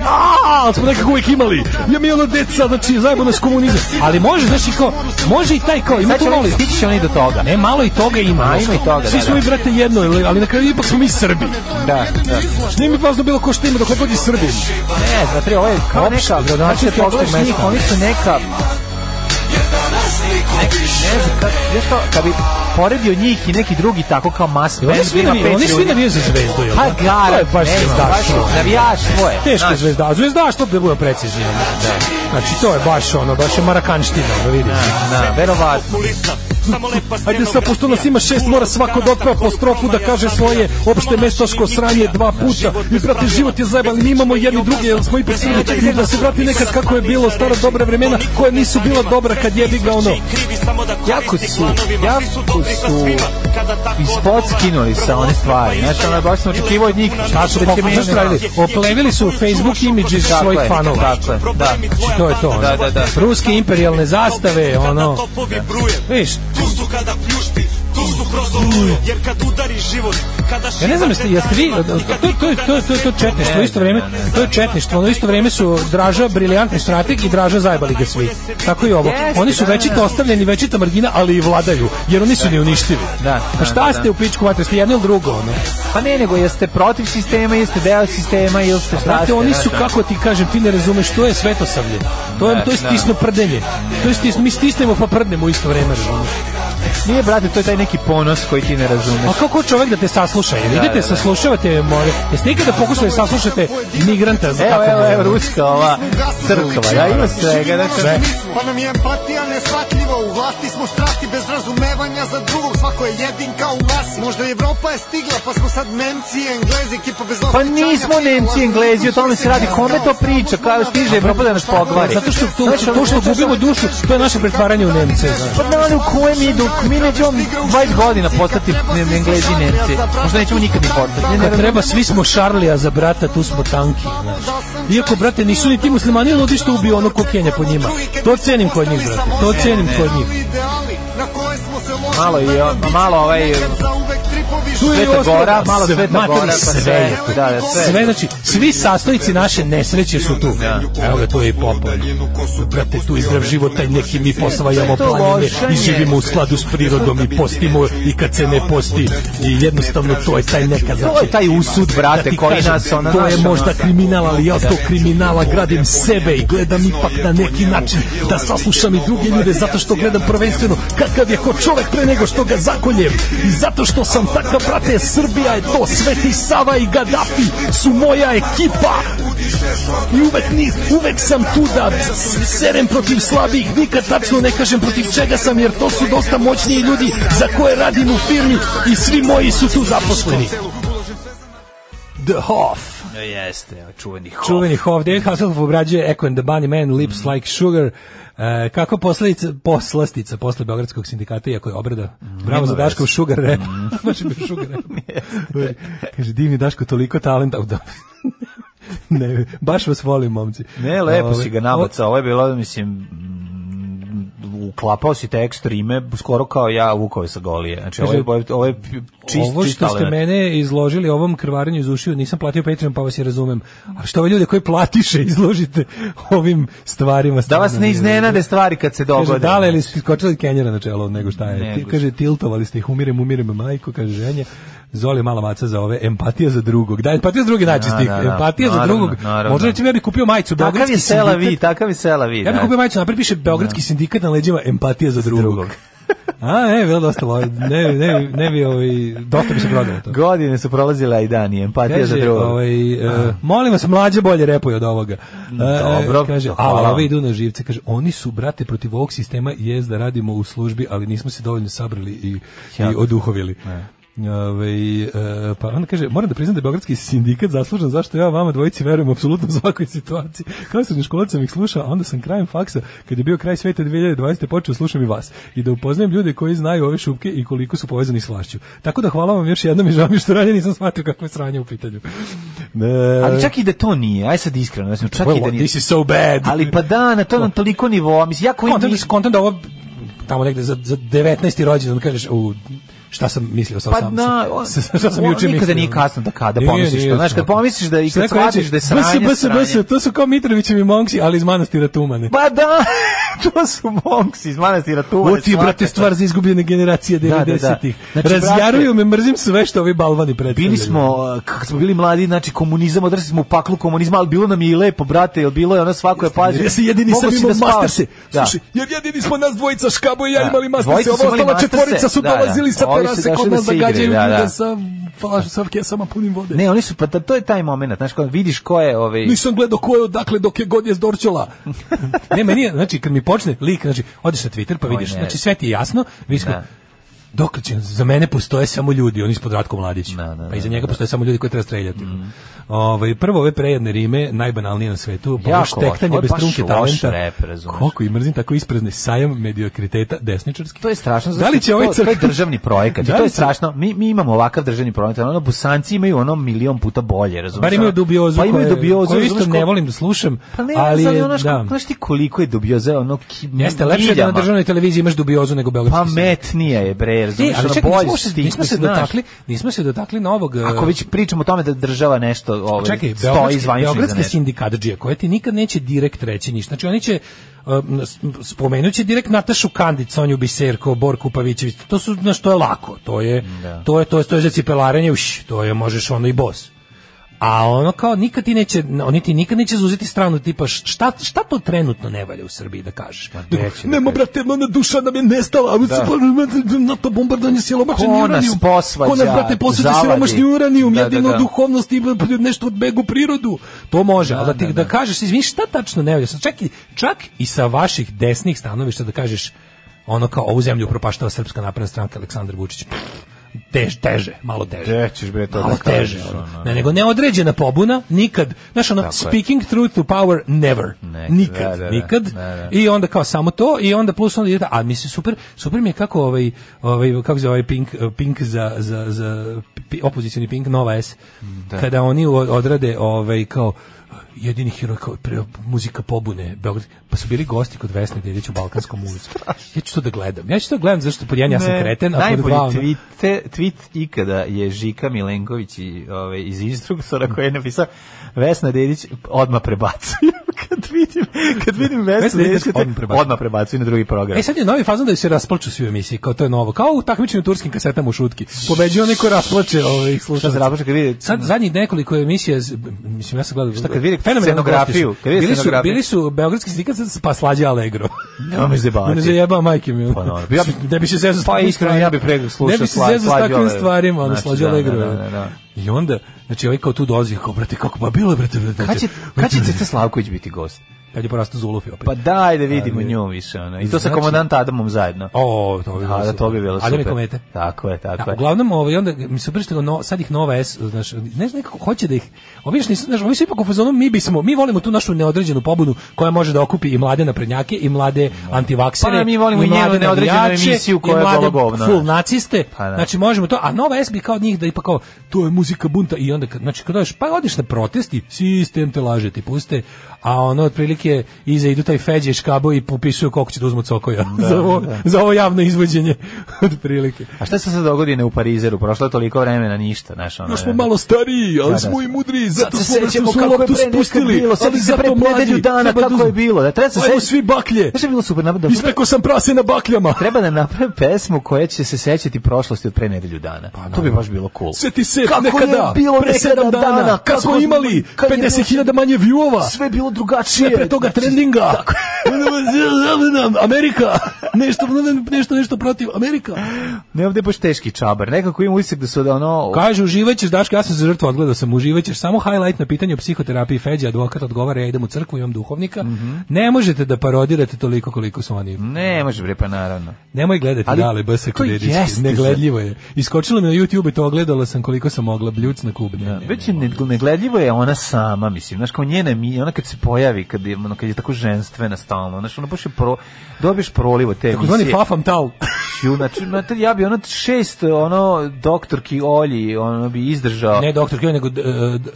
Speaker 5: A, ali smo nekako uvijek imali. Ja mi ono deca, znači, zajebo nas komunizam. Ali može, znači, kao, može i taj kao, ima
Speaker 6: Sad
Speaker 5: tu
Speaker 6: će
Speaker 5: malo...
Speaker 6: oni, stići će oni do toga.
Speaker 5: Ne, malo i toga ima.
Speaker 6: A,
Speaker 5: znaš,
Speaker 6: ima i toga,
Speaker 5: Svi
Speaker 6: da,
Speaker 5: smo
Speaker 6: da.
Speaker 5: mi, brate, jedno, ali ali na kraju ipak smo mi Srbi.
Speaker 6: Da, da.
Speaker 5: Što nije mi pazno bilo ko što ima dok god je Srbin.
Speaker 6: Ne, znam, tri, ovo je kao
Speaker 5: Opšta,
Speaker 6: neka...
Speaker 5: gradonačelnik
Speaker 6: Znači, pogledaš
Speaker 5: opšteg
Speaker 6: njih,
Speaker 5: mesta.
Speaker 6: oni su neka... Ne znam, kad, znaš kao, kad bi poredio njih i neki drugi tako kao mas
Speaker 5: I Oni
Speaker 6: band,
Speaker 5: svi
Speaker 6: ima pet
Speaker 5: navijaju, oni svi
Speaker 6: ljudi.
Speaker 5: navijaju za zvezdu, jel?
Speaker 6: Pa
Speaker 5: da?
Speaker 6: gara,
Speaker 5: To je baš ono.
Speaker 6: ne, baš
Speaker 5: zvezdaštvo.
Speaker 6: navijaš svoje.
Speaker 5: Teško je zvezda, zvezdaštvo da budemo precizni. ono. Znači, to je baš ono, baš je marakanština, da vidiš.
Speaker 6: Na, verovatno.
Speaker 5: Ajde sad, pošto nas ima šest, mora svako da otpeva po strofu da kaže svoje opšte mestaško sranje dva puta. I, brate, život je zajeban, ali mi imamo jedni druge, jer smo ipak srbi. I da se vrati nekad kako je bilo stara dobra vremena, koja nisu bila dobra kad jebi ga ono.
Speaker 6: Jako su, jako su iz spot skinuli sa one stvari. Znači, ono, baš sam očekivao od njih.
Speaker 5: Šta su
Speaker 6: da će
Speaker 5: pokušali
Speaker 6: meni-
Speaker 5: raditi? Oplevili su Facebook imidži
Speaker 6: Tako
Speaker 5: svojih
Speaker 6: je,
Speaker 5: fanova.
Speaker 6: Tako je, da.
Speaker 5: Znači, to je to. ono.
Speaker 6: Da, da, da.
Speaker 5: Ruske imperialne zastave, ono. Viš,
Speaker 11: Tu su kada pljušti, tu su kroz oluju, jer kad udari život, kada
Speaker 5: ja ne znam jeste, jeste vi, to, to, to, to, to četništvo, isto vreme, to je četništvo, ono isto vreme su Draža briljantni strateg i Draža zajbali ga svi. Tako i ovo.
Speaker 6: Jeste,
Speaker 5: Oni su
Speaker 6: da,
Speaker 5: večito
Speaker 6: da.
Speaker 5: ostavljeni, večita margina, ali i vladaju, jer oni su neuništivi.
Speaker 6: Da,
Speaker 5: Pa
Speaker 6: da,
Speaker 5: šta
Speaker 6: da,
Speaker 5: ste
Speaker 6: da.
Speaker 5: u pičku vatre, ste jedno ili drugo, ono?
Speaker 6: Pa ne, nego jeste protiv sistema, jeste deo sistema ili ste šta
Speaker 5: Znate,
Speaker 6: ste.
Speaker 5: oni
Speaker 6: znaš,
Speaker 5: su,
Speaker 6: ono.
Speaker 5: kako ti kažem, ti ne razumeš, to je svetosavlje. To je, to je
Speaker 6: Da, da.
Speaker 5: stisno prdenje. To je stis, mi stisnemo pa prdnemo u isto vreme, razumeš?
Speaker 6: ono. Nije, brate, to je taj neki ponos koji ti ne razumeš.
Speaker 5: A kako čovjek da te sasluša? Jel idete,
Speaker 6: da, da.
Speaker 5: saslušavate more? Jeste nikada pokušali da saslušate migranta? za
Speaker 6: Evo,
Speaker 5: kako
Speaker 6: evo,
Speaker 5: mu je?
Speaker 6: evo, ruska ova crkva, da ima svega, znači,
Speaker 5: Sve.
Speaker 12: Pa nam je empatija neshvatljiva, u vlasti smo strasti bez razumevanja za drugog, svako je jedin kao u masi. Možda i Evropa je stigla, pa smo sad Nemci i Englezi, ekipa bez
Speaker 6: Pa nismo Nemci i Englezi, o tome se radi, kome to priča, kao stiže Evropa da nas pogvari.
Speaker 5: Zato što to, to što gubimo dušu, to je naše pretvaranje u Nemce. znaš.
Speaker 6: Pa ne, ali u kojem idu, mi nećemo 20 godina postati ne- Englezi i Nemci. Možda nećemo nikad ni postati. Ne, ne,
Speaker 5: Kad
Speaker 6: ne,
Speaker 5: treba, svi smo Šarlija za brata, tu smo tanki. Znaš. Iako, brate, nisu ni ti muslimani ludi što ubiju ono kokenje po njima. To cenim kod njih, brate. To cenim kod njih.
Speaker 6: malo i on- malo ovaj
Speaker 5: Tu je
Speaker 6: Sveta
Speaker 5: ostalo-
Speaker 6: Gora, malo
Speaker 5: sve-
Speaker 6: Sveta
Speaker 5: mater,
Speaker 6: Gora, pa
Speaker 5: sve
Speaker 6: sve.
Speaker 5: je tu.
Speaker 6: Da, da, sve.
Speaker 5: Sve, znači, svi sastojci naše nesreće su tu. Evo ga, tu je i Popović. Brate, tu je zdrav život, taj neki mi posvajamo
Speaker 6: To je to
Speaker 5: planine i
Speaker 6: lošanje.
Speaker 5: živimo u skladu s prirodom i postimo i kad se ne posti. I jednostavno, to je taj neka znači.
Speaker 6: je taj usud, brate,
Speaker 5: ti
Speaker 6: koji
Speaker 5: kažem,
Speaker 6: nas, ona,
Speaker 5: To je
Speaker 6: znaš,
Speaker 5: možda
Speaker 6: ono-
Speaker 5: kriminal, ali ja od tog kriminala gradim sebe i gledam ipak na neki način da saslušam i druge ljude zato što gledam prvenstveno kakav je ko čovek pre nego što ga zakoljem i zato što sam
Speaker 1: Tako, brate, Srbija je to, Sveti Sava i Gaddafi su moja ekipa. I uvek, ni, uvek sam tu da serem protiv slabih, nikad tačno ne kažem protiv čega sam, jer to su dosta moćniji ljudi za koje radim u firmi i svi moji su tu zaposleni. The Hoff.
Speaker 6: No, E, jeste, čuveni Mhm. hof.
Speaker 5: Čuveni Hof, David Hasselhoff obrađuje Echo and the Bunny Man, Lips Like Sugar, E, kako posledica, poslastica posle Beogradskog sindikata, iako je obrada. Bravo za
Speaker 6: Mhm, veze. Mhm.
Speaker 5: Daškov sugar rap. <laughs> Baš je bio sugar rap. Kaže, divni Daško, toliko talenta. Au, da. <laughs> ne, baš vas volim, momci.
Speaker 6: Ne, lepo
Speaker 5: Ove,
Speaker 6: si ga nabacao, ovo je bilo, mislim, mm, uklapao si tekst rime, skoro kao ja vukove sa golije. Znači, ovo je, ovo je, ovo je čist,
Speaker 5: ovo
Speaker 6: čist
Speaker 5: što ste
Speaker 6: talent.
Speaker 5: mene izložili ovom krvarenju iz ušiju, nisam platio Patreon, pa vas je razumem. Ali što ove ljude koji platiše izložite ovim stvarima?
Speaker 6: Da vas
Speaker 5: stvarno
Speaker 6: ne
Speaker 5: nije
Speaker 6: iznenade stvari kad se dogode.
Speaker 5: Kaže, dale li ste skočili kenjera na čelo, nego šta je. Ti,
Speaker 6: Nego
Speaker 5: kaže, tiltovali ste ih, umirem, umirem, majko, kaže ženja. Zoli je mala maca za ove, empatija za drugog. Da, empatija za drugi naći
Speaker 6: Da,
Speaker 5: stih.
Speaker 6: da, da.
Speaker 5: Empatija za
Speaker 6: Naravno,
Speaker 5: drugog.
Speaker 6: naravno.
Speaker 5: Možda recimo ja bih kupio majicu.
Speaker 6: Takav
Speaker 5: Beogradski
Speaker 6: je sela
Speaker 5: sindikat.
Speaker 6: vi, takav je sela vi.
Speaker 5: Ja bih
Speaker 6: da.
Speaker 5: kupio majicu, napred piše Beogradski sindikat na leđima, empatija za drugog. <laughs> A, ne, bilo dosta lovi. Ne, ne, ne bi, ovaj, dosta bi se prodalo to.
Speaker 6: Godine su prolazile, a i dani, empatija za
Speaker 5: Kaže,
Speaker 6: drugog.
Speaker 5: ovaj, e, molim vas, mlađe bolje repuje od ovoga. E,
Speaker 6: Dobro,
Speaker 5: kaže,
Speaker 6: hvala
Speaker 5: ali
Speaker 6: vam.
Speaker 5: ovi idu na živce. Kaže, oni su, brate, protiv ovog sistema i jest da radimo u službi, ali nismo se dovoljno sabrali i, i
Speaker 6: Jako. E.
Speaker 5: oduhovili. Ovaj, e, pa onda kaže, moram da priznam da je Beogradski sindikat zaslužan zašto ja vama dvojici verujem apsolutno u svakoj situaciji. Kao sam školac sam ih slušao, a onda sam krajem faksa, kad je bio kraj sveta 2020. počeo slušam i vas i da upoznajem ljude koji znaju ove šupke i koliko su povezani s vlašću. Tako da hvala vam još jednom i žao mi je što ranije nisam shvatio kako je sranje u pitanju. Ne.
Speaker 6: Ali čak i da to nije, aj sad iskreno, znači, čak i da nije.
Speaker 5: This is so bad.
Speaker 6: Ali pa da, na to na toliko nivoa, mislim, ja koji
Speaker 5: Kontam da,
Speaker 6: mi...
Speaker 5: kontam da ovo tamo negde za, za 19. rođendan kažeš u šta sam mislio sa
Speaker 6: Pa
Speaker 5: sam,
Speaker 6: na, on,
Speaker 5: sa, sa, <laughs> šta sam
Speaker 6: on
Speaker 5: juče mislio.
Speaker 6: nikada nije kasno da kada
Speaker 5: Nije,
Speaker 6: pomisliš
Speaker 5: nije,
Speaker 6: to. Znaš, kad
Speaker 5: apsolutno.
Speaker 6: pomisliš da i
Speaker 5: Što
Speaker 6: kad
Speaker 5: neko reče,
Speaker 6: shvatiš da je sranje,
Speaker 5: BS, BS,
Speaker 6: sranje.
Speaker 5: BS, to su kao Mitrovićevi momci, ali iz manastira Tumane.
Speaker 6: Pa da, <laughs> to su momksi iz manastira Tuvane.
Speaker 5: Ovo ti je, brate, stvar za izgubljene generacije
Speaker 6: Da, da, da.
Speaker 5: 90-ih.
Speaker 6: Znači,
Speaker 5: Razjaruju me, mrzim sve što ovi balvani predstavljaju.
Speaker 6: Bili smo, eh, kako smo bili mladi, znači komunizam, odrasli smo u paklu komunizma, ali bilo nam je i lepo, brate, jer bilo je ono svako je pazio.
Speaker 5: Ja se jedini sam
Speaker 6: Mogao si
Speaker 5: imao
Speaker 6: spavaš.
Speaker 5: masterse.
Speaker 6: Da.
Speaker 5: Slušaj, jer jedini smo nas dvojica, Škabo i ja
Speaker 6: Da.
Speaker 5: imali masterse,
Speaker 6: Dvojica su
Speaker 5: ovo
Speaker 6: imali
Speaker 5: ostala
Speaker 6: masterse,
Speaker 5: četvorica su
Speaker 6: da, da.
Speaker 5: dolazili sa
Speaker 6: Ovi su
Speaker 5: terase
Speaker 6: došli
Speaker 5: kod
Speaker 6: da
Speaker 5: nas da
Speaker 6: se igraju,
Speaker 5: gađaju
Speaker 6: da,
Speaker 5: ljude
Speaker 6: da.
Speaker 5: sa flašom, sa kesama punim vode.
Speaker 6: Ne, oni su, pa to je taj moment, znaš, kad vidiš ko je, ovaj,
Speaker 5: Nisam gledao ko je odakle dok je god je
Speaker 6: <laughs>
Speaker 5: zdorčola. ne, meni je, znači, kad mi počne lik, znači, odeš na Twitter pa vidiš,
Speaker 6: ne.
Speaker 5: znači, sve ti je jasno, vidiš kao, dokle će, za mene postoje samo ljudi, oni ispod Ratko Mladić, pa iza njega postoje samo ljudi koji treba streljati.
Speaker 6: Mhm.
Speaker 5: Ovaj, prvo ove prejedne rime, najbanalnije na svetu, pa
Speaker 6: Jako
Speaker 5: ovo
Speaker 6: loš,
Speaker 5: štektanje
Speaker 6: ovo je
Speaker 5: bez
Speaker 6: baš
Speaker 5: trunke
Speaker 6: loš
Speaker 5: talenta,
Speaker 6: rap, razumeš.
Speaker 5: koliko i mrzim tako isprezni sajam mediokriteta desničarski.
Speaker 6: To je strašno. znači,
Speaker 5: Da li će ovaj
Speaker 6: to, to je
Speaker 5: crk-
Speaker 6: državni projekat. i
Speaker 5: Da li
Speaker 6: to je
Speaker 5: će-
Speaker 6: strašno. Mi, mi imamo ovakav državni projekat, ali ono Bosanci imaju ono milion puta bolje, razumiješ?
Speaker 5: Bar imaju dubiozu,
Speaker 6: Pa imaju
Speaker 5: koje-
Speaker 6: dubiozu,
Speaker 5: koju isto
Speaker 6: razumeš, ko-
Speaker 5: ne volim da slušam,
Speaker 6: Pa ne,
Speaker 5: ali,
Speaker 6: ali ono
Speaker 5: da.
Speaker 6: što, znaš ti koliko je dubioza, ono ki,
Speaker 5: Jeste, lepše je da na
Speaker 6: miljama.
Speaker 5: državnoj televiziji imaš dubiozu nego Beogradski sistem.
Speaker 6: Pametnija je, bre,
Speaker 5: Ne,
Speaker 6: razumiješ?
Speaker 5: ali
Speaker 6: Pa ono
Speaker 5: čekaj,
Speaker 6: bolje
Speaker 5: nismo se,
Speaker 6: stisne,
Speaker 5: nismo se
Speaker 6: znaš.
Speaker 5: dotakli, nismo se dotakli novog... e, Pa
Speaker 6: Ako već pričamo o tome da država nešto ovaj,
Speaker 5: čekaj,
Speaker 6: stoji
Speaker 5: Beogradski,
Speaker 6: zvanično iza
Speaker 5: Beogradski
Speaker 6: nešto.
Speaker 5: sindikatđije, koje ti nikad neće direkt reći ništa. Znači, oni će, um, s- spomenut će direkt Natašu Kandić, Sonju Biserko, Borku Pavićević, to su, znaš, to je lako, to je, to je, to je, to je za cipelarenje, uš, to je, možeš ono i bos. A ono kao nikad ti neće, oni ti nikad neće zauzeti stranu tipa š- šta, šta to trenutno ne valja u Srbiji da kažeš.
Speaker 6: neće da
Speaker 5: Nemo brate, ona duša nam je nestala, a mi se pa- na to bombardanje silomašni
Speaker 6: Ko nas
Speaker 5: uranijum.
Speaker 6: posvađa,
Speaker 5: Ko nas brate posvađa
Speaker 6: zavadi.
Speaker 5: silomašni uranijum,
Speaker 6: Da, da,
Speaker 5: jedino
Speaker 6: da.
Speaker 5: duh duhovnost i nešto od begu prirodu. To može, ali da, ti, da, kažeš, izvini, šta tačno ne valja? Sad Čak i, čak i sa vaših desnih stanovišta da kažeš ono kao ovu zemlju propaštava Srpska napredna stranka Aleksandar Vučić. Pff, Tež, teže, malo teže.
Speaker 6: Gde ćeš, bre, to
Speaker 5: malo
Speaker 6: da kažeš,
Speaker 5: teže. ono.
Speaker 6: ono.
Speaker 5: Ne, nego neodređena pobuna, nikad. Znaš, ono,
Speaker 6: Tako je.
Speaker 5: speaking truth to power, never.
Speaker 6: Ne,
Speaker 5: nikad,
Speaker 6: da, da, da.
Speaker 5: nikad.
Speaker 6: Da, da.
Speaker 5: I onda kao samo to, i onda plus onda ide, a mislim, super, super mi je kako ovaj, ovaj kako se zove ovaj Pink, Pink za, za, za pi- opozicioni Pink, Nova S, kada oni u- odrade ovaj, kao jedini heroj kao pre, muzika pobune Beograd, pa su bili gosti kod Vesne Dedić u Balkanskom ulicu. Ja ću to da gledam. Ja ću to da gledam zašto pod jedan ja sam
Speaker 6: Ne,
Speaker 5: kreten, a pod
Speaker 6: najbolji
Speaker 5: dva ono-
Speaker 6: tweet, tweet ikada je Žika Milenković i, ovaj, iz instruktora koji je napisao Vesna Dedić odma prebacuje. <laughs> kad vidim, kad vidim Vesu
Speaker 5: Vesu Dedić,
Speaker 6: Dedić,
Speaker 5: odmah prebaci.
Speaker 6: odmah prebacuju na drugi program.
Speaker 5: E sad je novi fazon da se rasplaču svi u emisiji, kao to je novo. Kao u takmičenju turskim kasetama u šutki. Pobeđuje onaj ko rasplače ovih slušalaca.
Speaker 6: Šta se rasplače kad vidi-
Speaker 5: Sad zadnjih nekoliko emisija, z- mislim ja sam gledao.
Speaker 6: Šta kad vidi
Speaker 5: fenomenalni
Speaker 6: scenografiju,
Speaker 5: gosti su.
Speaker 6: kad vidi
Speaker 5: bili su,
Speaker 6: scenografiju.
Speaker 5: bili su beogradski sindikat sad pa slađe Allegro.
Speaker 6: Nema me zajebavati.
Speaker 5: Ne zajebao majke mi.
Speaker 6: Pa dobro. Ja bi-
Speaker 5: ne bi se zezao s
Speaker 6: Pa
Speaker 5: takvim
Speaker 6: iskreno,
Speaker 5: stvarima.
Speaker 6: ja bi pre slušao
Speaker 5: Ne bi se
Speaker 6: Sla-
Speaker 5: zezao s
Speaker 6: Slađe
Speaker 5: takvim
Speaker 6: Allegro.
Speaker 5: stvarima, ono
Speaker 6: Znači,
Speaker 5: slađe
Speaker 6: da, da,
Speaker 5: Allegro.
Speaker 6: da,
Speaker 5: je.
Speaker 6: da, da.
Speaker 5: I onda, znači ovaj kao tu dolazi, kao brate, kako pa bilo je, brate, brate.
Speaker 6: Kad će, kad će Ceca Slavković biti gost?
Speaker 5: Kad je porastao Zuluf i opet.
Speaker 6: Pa daj da vidimo nju više. Ono. I to sa
Speaker 5: Znači-
Speaker 6: komandant Adamom zajedno.
Speaker 5: O, to bi bilo
Speaker 6: A, da,
Speaker 5: super.
Speaker 6: to bi bilo super.
Speaker 5: Adam i komete.
Speaker 6: Tako je, tako
Speaker 5: Da,
Speaker 6: je.
Speaker 5: uglavnom ovaj onda mi se prišli no, sad ih nova S, znaš, ne znam nekako hoće da ih ovi još nisu, znaš, ovi su ipak u fazonu mi bismo, mi volimo tu našu neodređenu pobunu koja može da okupi i mlade naprednjake i mlade antivaksere.
Speaker 6: Pa, mi volimo
Speaker 5: i
Speaker 6: njenu
Speaker 5: mlade
Speaker 6: neodređenu
Speaker 5: navijače,
Speaker 6: emisiju koja
Speaker 5: i
Speaker 6: je
Speaker 5: mlade
Speaker 6: golo govno.
Speaker 5: Full naciste.
Speaker 6: Pa, da.
Speaker 5: Znači možemo to, a nova S bi kao od njih da ipak kao to je muzika bunta i onda kad znači kad dođeš pa odeš na protesti, sistem te laže ti puste, a ono otprilike iza idu taj feđe i škabo i popisuju koliko će da uzmu <laughs> cokoja za, ovo, za ovo javno izvođenje <laughs> otprilike.
Speaker 6: A šta se sad dogodi ne u Parizeru? Prošlo je toliko vremena, ništa. Znaš, ono,
Speaker 5: Još smo malo stariji, ali
Speaker 6: Da, da.
Speaker 5: smo i mudriji,
Speaker 6: Sad
Speaker 5: zato
Speaker 6: se
Speaker 5: smo se
Speaker 6: sećamo kako je
Speaker 5: loptu
Speaker 6: pre nekad
Speaker 5: spustili,
Speaker 6: bilo,
Speaker 5: ali
Speaker 6: sećam se
Speaker 5: zato
Speaker 6: pre
Speaker 5: mladi,
Speaker 6: nedelju dana
Speaker 5: treba da
Speaker 6: kako je
Speaker 5: uzmu-
Speaker 6: bilo. Da, treba se
Speaker 5: Ajmo
Speaker 6: sećati-
Speaker 5: svi baklje,
Speaker 6: Znaš šta je bilo super? Da, da,
Speaker 5: ispekao sam prase na bakljama.
Speaker 6: treba da naprave pesmu koja će se sećati prošlosti od pre nedelju dana. to bi baš bilo cool.
Speaker 5: Pa Sve ti se
Speaker 6: Kako je
Speaker 5: nekada,
Speaker 6: bilo
Speaker 5: pre
Speaker 6: nekada
Speaker 5: sedam dana,
Speaker 6: dana,
Speaker 5: kad smo
Speaker 6: kako-
Speaker 5: imali
Speaker 6: kad je
Speaker 5: 50.000 manje viewova,
Speaker 6: Sve znači, je bilo drugačije.
Speaker 5: sve pre toga trendinga. <laughs> Amerika, <laughs> nešto, nešto, nešto protiv Amerika.
Speaker 6: Ne, ovde je baš teški čabar. Nekako ima utisak da su da ono...
Speaker 5: Kaže, uživaćeš, Daško, ja sam se žrtva odgledao sam, uživaćeš, samo highlight na pitanje o psihoterapiji Feđa, advokat odgovara, ja idem u crkvu, imam duhovnika,
Speaker 6: Mhm.
Speaker 5: ne možete da parodirate toliko koliko su oni.
Speaker 6: Ne, može bre, pa naravno.
Speaker 5: Nemoj gledati
Speaker 6: Ali
Speaker 5: dale bse
Speaker 6: to jeste
Speaker 5: koderički, negledljivo je. Iskočilo mi na YouTube i to ogledala sam koliko sam mogla, bljuc na kub. Ne, ne.
Speaker 6: Već je ne- negledljivo je ona sama, mislim, znaš, kao njena mi, ona kad se pojavi, kad je, ono, kad je tako ženstvena stalno, znaš, ona baš je pro, dobiješ prolivo te
Speaker 5: Tako zvani
Speaker 6: emisije.
Speaker 5: fafam
Speaker 6: <laughs>
Speaker 5: tal.
Speaker 6: Ju, znači, znate, ja bi ono šest, ono, doktorki Olji, ono bi izdržao.
Speaker 5: Ne, doktor Kjoj, nego e,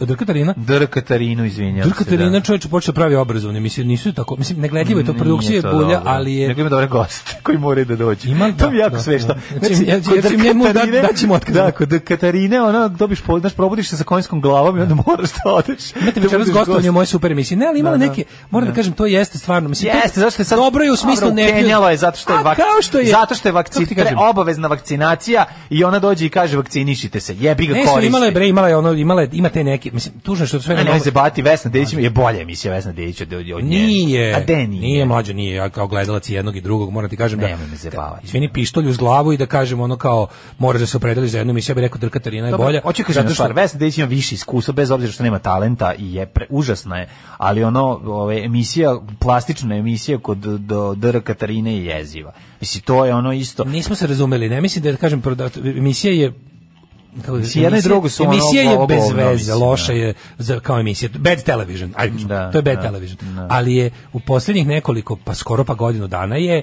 Speaker 5: D- Katarina.
Speaker 6: Dr. Katarinu, izvinjam
Speaker 5: Dr. Katarina čoveče počeo pravi obrazovne emisije, nisu tako, mislim, negledljivo je to, produkcija je bulja, ali je...
Speaker 6: Nego ima dobre goste koji moraju da dođu.
Speaker 5: Ima-
Speaker 6: to mi
Speaker 5: da,
Speaker 6: jako
Speaker 5: da,
Speaker 6: sve što.
Speaker 5: da. Znači, ja- ja ću njemu da- daćemo otkaz.
Speaker 6: Da, kod Katarine, ono, dobiš, po- znaš, probudiš se sa konjskom glavom i onda moraš da odeš.
Speaker 5: Imate
Speaker 6: da
Speaker 5: večeras
Speaker 6: budeš
Speaker 5: gostovanje
Speaker 6: gost.
Speaker 5: u mojoj super emisiji. Ne, ali imala
Speaker 6: Da, da.
Speaker 5: neke, moram da kažem, to jeste stvarno. Mislim, to-
Speaker 6: Jeste, zašto je sad
Speaker 5: Dobro je u smislu
Speaker 6: Dobro,
Speaker 5: ne...
Speaker 6: ukenjala je zato što je
Speaker 5: A,
Speaker 6: vak...
Speaker 5: kao što je...
Speaker 6: zato što je
Speaker 5: Kako ti
Speaker 6: vakci...
Speaker 5: kažem?
Speaker 6: pre- obavezna vakcinacija i ona dođe i kaže vakcinišite se. Jebi ga
Speaker 5: Ne, su
Speaker 6: koristi.
Speaker 5: imala je bre, imala je ono, imala je, ima te neke, mislim, tužno je što su sve
Speaker 6: Ne,
Speaker 5: na
Speaker 6: ne,
Speaker 5: novo-
Speaker 6: se bati Vesna Dedić je bolja emisija Vesna Dedić od, od nje.
Speaker 5: Nije.
Speaker 6: A de nije?
Speaker 5: Nije mlađe, nije. Ja kao gledalac i jednog i drugog moram ti kažem da...
Speaker 6: Nemoj me zajebavati.
Speaker 5: Izvini, pištolj uz glavu i da kažem ono kao moraš da se opredeliš za jednu emisiju, ja bih rekao da Katarina je
Speaker 6: Dobro,
Speaker 5: bolja.
Speaker 6: Hoću kažem
Speaker 5: zato
Speaker 6: jednu
Speaker 5: što-
Speaker 6: stvar, Vesna Dedić ima više iskustva, bez obzira što nema talenta i je pre, užasna je, ali ono, ove, emisija, plastična emisija kod do, do, DR Katarine je jeziva. Mislim, to je ono isto.
Speaker 5: Nismo se razumeli, ne mislim da je, da kažem, prodat, emisija je kako da-
Speaker 6: Mislim, jedna i
Speaker 5: emisija-
Speaker 6: drugo su ono
Speaker 5: emisija
Speaker 6: govno,
Speaker 5: je bez
Speaker 6: govno,
Speaker 5: veze,
Speaker 6: mislim,
Speaker 5: loša
Speaker 6: da.
Speaker 5: je za, kao emisija, bad television, ajde, kažem,
Speaker 6: Da,
Speaker 5: to je bad
Speaker 6: da,
Speaker 5: television,
Speaker 6: da.
Speaker 5: ali je u posljednjih nekoliko, pa skoro pa godinu dana je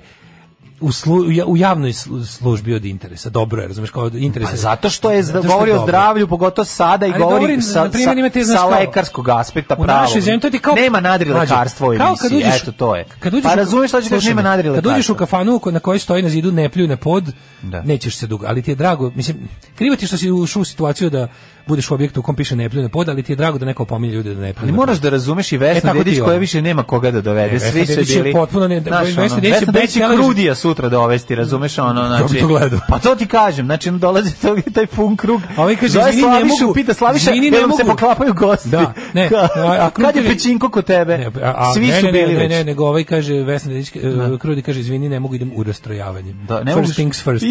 Speaker 5: u, slu, u ja- u javnoj slu- službi od interesa, dobro je, razumeš, kao od interesa.
Speaker 6: Pa zato što je
Speaker 5: Zato što
Speaker 6: govori o
Speaker 5: dobro.
Speaker 6: zdravlju, pogotovo sada i
Speaker 5: Ali
Speaker 6: govori
Speaker 5: govorim,
Speaker 6: sa,
Speaker 5: na primjer,
Speaker 6: sa-
Speaker 5: imate,
Speaker 6: sa
Speaker 5: znaš, kao-
Speaker 6: lekarskog aspekta
Speaker 5: U
Speaker 6: pravo.
Speaker 5: našoj zemlji to ti je kao
Speaker 6: nema nadri
Speaker 5: Mlađe,
Speaker 6: lekarstvo u
Speaker 5: kao
Speaker 6: emisiji,
Speaker 5: kad uđeš-
Speaker 6: eto to je.
Speaker 5: Kad uđeš
Speaker 6: pa
Speaker 5: u-
Speaker 6: razumeš šta ćeš
Speaker 5: slušaj
Speaker 6: kaži, nema
Speaker 5: me,
Speaker 6: nadri lekarstvo.
Speaker 5: Kad uđeš u kafanu ko- na kojoj stoji na zidu ne pljuj na pod,
Speaker 6: Da.
Speaker 5: nećeš se dugo, ali ti je drago, mislim, krivo ti je što si ušao u situaciju da budeš u objektu u kom piše ne pljuj na pod, ali ti je drago da neko opominje ljude da ne pljuju.
Speaker 6: Ali
Speaker 5: na
Speaker 6: moraš
Speaker 5: pod.
Speaker 6: da razumeš i
Speaker 5: E,
Speaker 6: Vesna
Speaker 5: tako ti
Speaker 6: Dedić
Speaker 5: je
Speaker 6: koja
Speaker 5: ovo.
Speaker 6: više nema koga da dovede.
Speaker 5: Ne,
Speaker 6: Svi
Speaker 5: Vesna
Speaker 6: su
Speaker 5: Dedić je
Speaker 6: bili...
Speaker 5: potpuno ne-
Speaker 6: Znaš,
Speaker 5: Vesna
Speaker 6: ono,
Speaker 5: Dedić je
Speaker 6: Vesna
Speaker 5: bad
Speaker 6: Dedić je
Speaker 5: television.
Speaker 6: Krudija sutra dovesti, razumeš? Ono, znači,
Speaker 5: bi to gledao.
Speaker 6: Pa to ti kažem, znači, ono, dolazi to, taj pun krug.
Speaker 5: A ovaj kaže,
Speaker 6: Zove
Speaker 5: "Izvini, ne
Speaker 6: Slavišu,
Speaker 5: mogu."
Speaker 6: Pita Slaviša,
Speaker 5: Izvini, ne
Speaker 6: jel vam se
Speaker 5: mogu.
Speaker 6: poklapaju gosti?
Speaker 5: Da,
Speaker 6: <laughs>
Speaker 5: ne,
Speaker 6: Ka-
Speaker 5: a- a
Speaker 6: Kad je
Speaker 5: Krudija-
Speaker 6: pećinko kod tebe?
Speaker 5: Ne, a, a,
Speaker 6: Svi
Speaker 5: ne,
Speaker 6: su
Speaker 5: ne,
Speaker 6: bili
Speaker 5: ne, ne, ne,
Speaker 6: već.
Speaker 5: nego ovaj kaže Vesna Dedić, e, Krudi kaže izvini, ne mogu idem u rastrojavanje.
Speaker 6: Da, ne
Speaker 5: first
Speaker 6: možeš-
Speaker 5: things
Speaker 6: <laughs>
Speaker 5: first.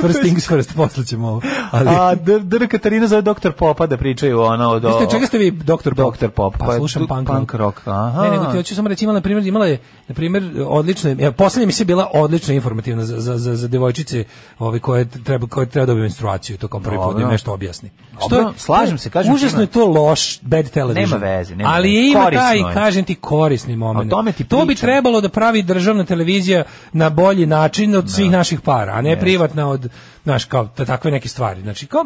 Speaker 5: first things first, posle ćemo ovo. <laughs> Ali,
Speaker 6: A Dr. Dr. Katarina zove doktor Popa da pričaju ono od...
Speaker 5: Vi ste, čega ste vi doktor Pop?
Speaker 6: Doktor Pop.
Speaker 5: Pa,
Speaker 6: Pa,
Speaker 5: slušam
Speaker 6: tu-
Speaker 5: punk,
Speaker 6: punk rock, aha.
Speaker 5: Ne, nego ti hoću samo reći, imala, na primjer, imala je, na primjer, odlično, ja, posljednja mi se bila odlično informativna za, za, za, za devojčice ove, koje treba, koje treba dobiti menstruaciju, to kao prvi put da im
Speaker 6: Dobro.
Speaker 5: nešto objasni.
Speaker 6: Dobro,
Speaker 5: je-
Speaker 6: slažem se, kažem ti,
Speaker 5: Užasno
Speaker 6: ima-
Speaker 5: je to loš, bad television.
Speaker 6: Nema veze, nema
Speaker 5: Ali
Speaker 6: veze.
Speaker 5: je ima
Speaker 6: Korisno
Speaker 5: taj,
Speaker 6: je.
Speaker 5: kažem ti, korisni moment.
Speaker 6: O tome ti
Speaker 5: to bi
Speaker 6: pričam.
Speaker 5: trebalo da pravi državna televizija na bolji način od svih naših para, a ne privatna od, znaš, kao ta- takve neke stvari. Znači, kao,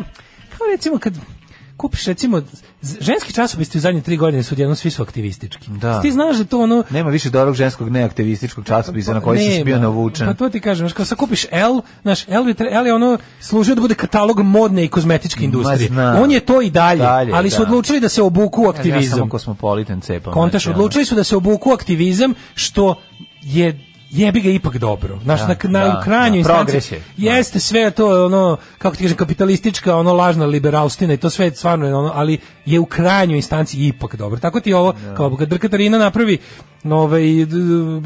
Speaker 5: kao recimo kad kupiš recimo z- ženski časopisi u zadnje tri godine su odjednom svi su aktivistički.
Speaker 6: Da.
Speaker 5: Ti znaš da to ono pa
Speaker 6: Nema više dobrog ženskog neaktivističkog časopisa na koji si
Speaker 5: Nema.
Speaker 6: bio navučen.
Speaker 5: Pa to ti kažem, znaš, kao sad kupiš L, znaš, L, bi tre- L je ono služio da bude katalog modne i kozmetičke industrije.
Speaker 6: znam.
Speaker 5: On je to i dalje,
Speaker 6: Dalje,
Speaker 5: ali su
Speaker 6: da.
Speaker 5: odlučili da se obuku u
Speaker 6: Ja, ja samo
Speaker 5: aktivizam.
Speaker 6: kosmopolitan cepam.
Speaker 5: Kontaš,
Speaker 6: znači, ono.
Speaker 5: odlučili su da se obuku u aktivizam, što je jebi ga ipak dobro. Znaš,
Speaker 6: Da,
Speaker 5: na, na
Speaker 6: da,
Speaker 5: u krajnjoj
Speaker 6: da,
Speaker 5: instanci
Speaker 6: progres je.
Speaker 5: Jeste sve to ono kako ti kažem kapitalistička, ono lažna liberalština i to sve je stvarno je ono, ali je u krajnjoj instanci ipak dobro. Tako ti je ovo kao kad Drkatarina napravi nove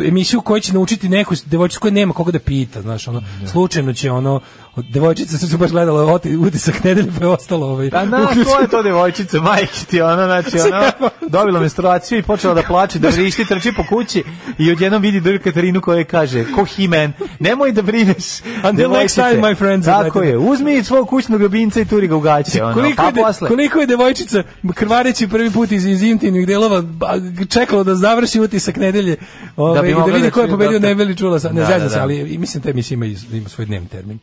Speaker 5: emisiju koja će naučiti neku devojčicu koja nema koga da pita, znaš, ono slučajno će ono od- devojčica se baš gledala oti- utisak nedelje pa je ostalo ovaj. <laughs>
Speaker 6: Pa na,
Speaker 5: uključeno.
Speaker 6: ko je to devojčica, majke ti, ona,
Speaker 5: <laughs>
Speaker 6: znači, ona dobila menstruaciju i počela da plače, da vrišti, trči po kući i odjednom vidi Dr. Katarinu koja kaže, ko he-man, nemoj da brineš,
Speaker 5: <laughs> Until next
Speaker 6: devojčice."
Speaker 5: time, my friends. Znači,
Speaker 6: Tako je, uzmi svog kućnog ljubimca i turi ga u gaće, ono,
Speaker 5: koliko,
Speaker 6: pa
Speaker 5: je, de-
Speaker 6: posle.
Speaker 5: koliko je devojčica krvareći prvi put iz, iz intimnih delova ba- čekalo da završi utisak nedelje ovaj,
Speaker 6: bi
Speaker 5: i da
Speaker 6: mogla
Speaker 5: vidi
Speaker 6: da
Speaker 5: ko je
Speaker 6: čuje
Speaker 5: pobedio
Speaker 6: doktor.
Speaker 5: ne bi li čula sa, ne
Speaker 6: Da,
Speaker 5: zezam
Speaker 6: da,
Speaker 5: se,
Speaker 6: da.
Speaker 5: ali i mislim te emisija ima, iz- ima svoj dnevni termin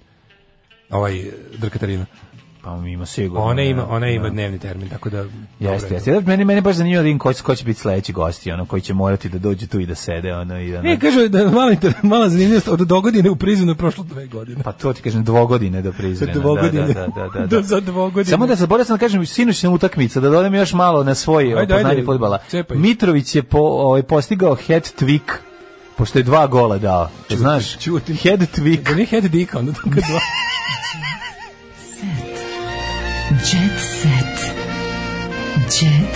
Speaker 5: ovaj eh, Drkatarina
Speaker 6: Pa on ima sigurno.
Speaker 5: ona
Speaker 6: ne,
Speaker 5: ima, ona ima
Speaker 6: da.
Speaker 5: dnevni termin tako da dobro je.
Speaker 6: Jeste, jeste. Ja, Meni, meni baš zanimljivo da vidim ko će, ko će biti sledeći gosti, ono, koji će morati da dođu tu i da sede, ono, i da...
Speaker 5: Ne, kažu da je mala, inter- mala zanimljivost od dogodine u prizinu je prošlo dve godine.
Speaker 6: Pa to ti kažem, dvogodine do Prizrena.
Speaker 5: Za dvogodine.
Speaker 6: Da,
Speaker 5: <laughs>
Speaker 6: da, da, da, da.
Speaker 5: Do- za dvogodine.
Speaker 6: Samo da zaboravim sam da kažem, sinoć na utakmica, da dodam još malo na svoj
Speaker 5: Ajde,
Speaker 6: ajde, poznanje
Speaker 5: ajde,
Speaker 6: fudbala.
Speaker 5: cepaj.
Speaker 6: Mitrović je po, ovaj, postigao head tweak, pošto je dva gola dao. Čuti, znaš, čuti. head tweak.
Speaker 5: Da nije head dika, onda to kad
Speaker 6: <laughs>
Speaker 5: dva.
Speaker 4: Jet set. Jet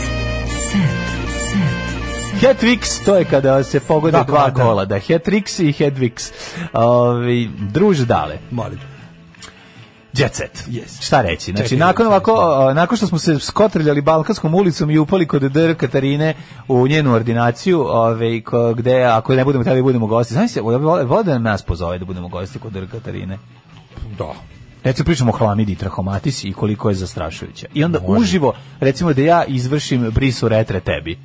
Speaker 4: set.
Speaker 6: Head tweaks, to je kada se pogode
Speaker 5: Dva
Speaker 6: dva,
Speaker 5: komada.
Speaker 6: gola, da. Head tricks i head wicks. Ovi, druž dale.
Speaker 5: Molim.
Speaker 6: Jet set.
Speaker 5: Yes.
Speaker 6: Šta reći? Znači,
Speaker 5: Čekaj,
Speaker 6: nakon,
Speaker 5: čekaj,
Speaker 6: ovako, a, nakon što smo se skotrljali Balkanskom ulicom i upali kod Dr. Katarine u njenu ordinaciju, ove, ko, gde, ako ne budemo tada budemo gosti, znači se, vode da nas pozove da budemo gosti kod Dr. Katarine.
Speaker 5: Da.
Speaker 6: Recimo pričamo o hlamidi i trahomatisi i koliko je zastrašujuća. I onda uživo, recimo da ja izvršim brisu retre tebi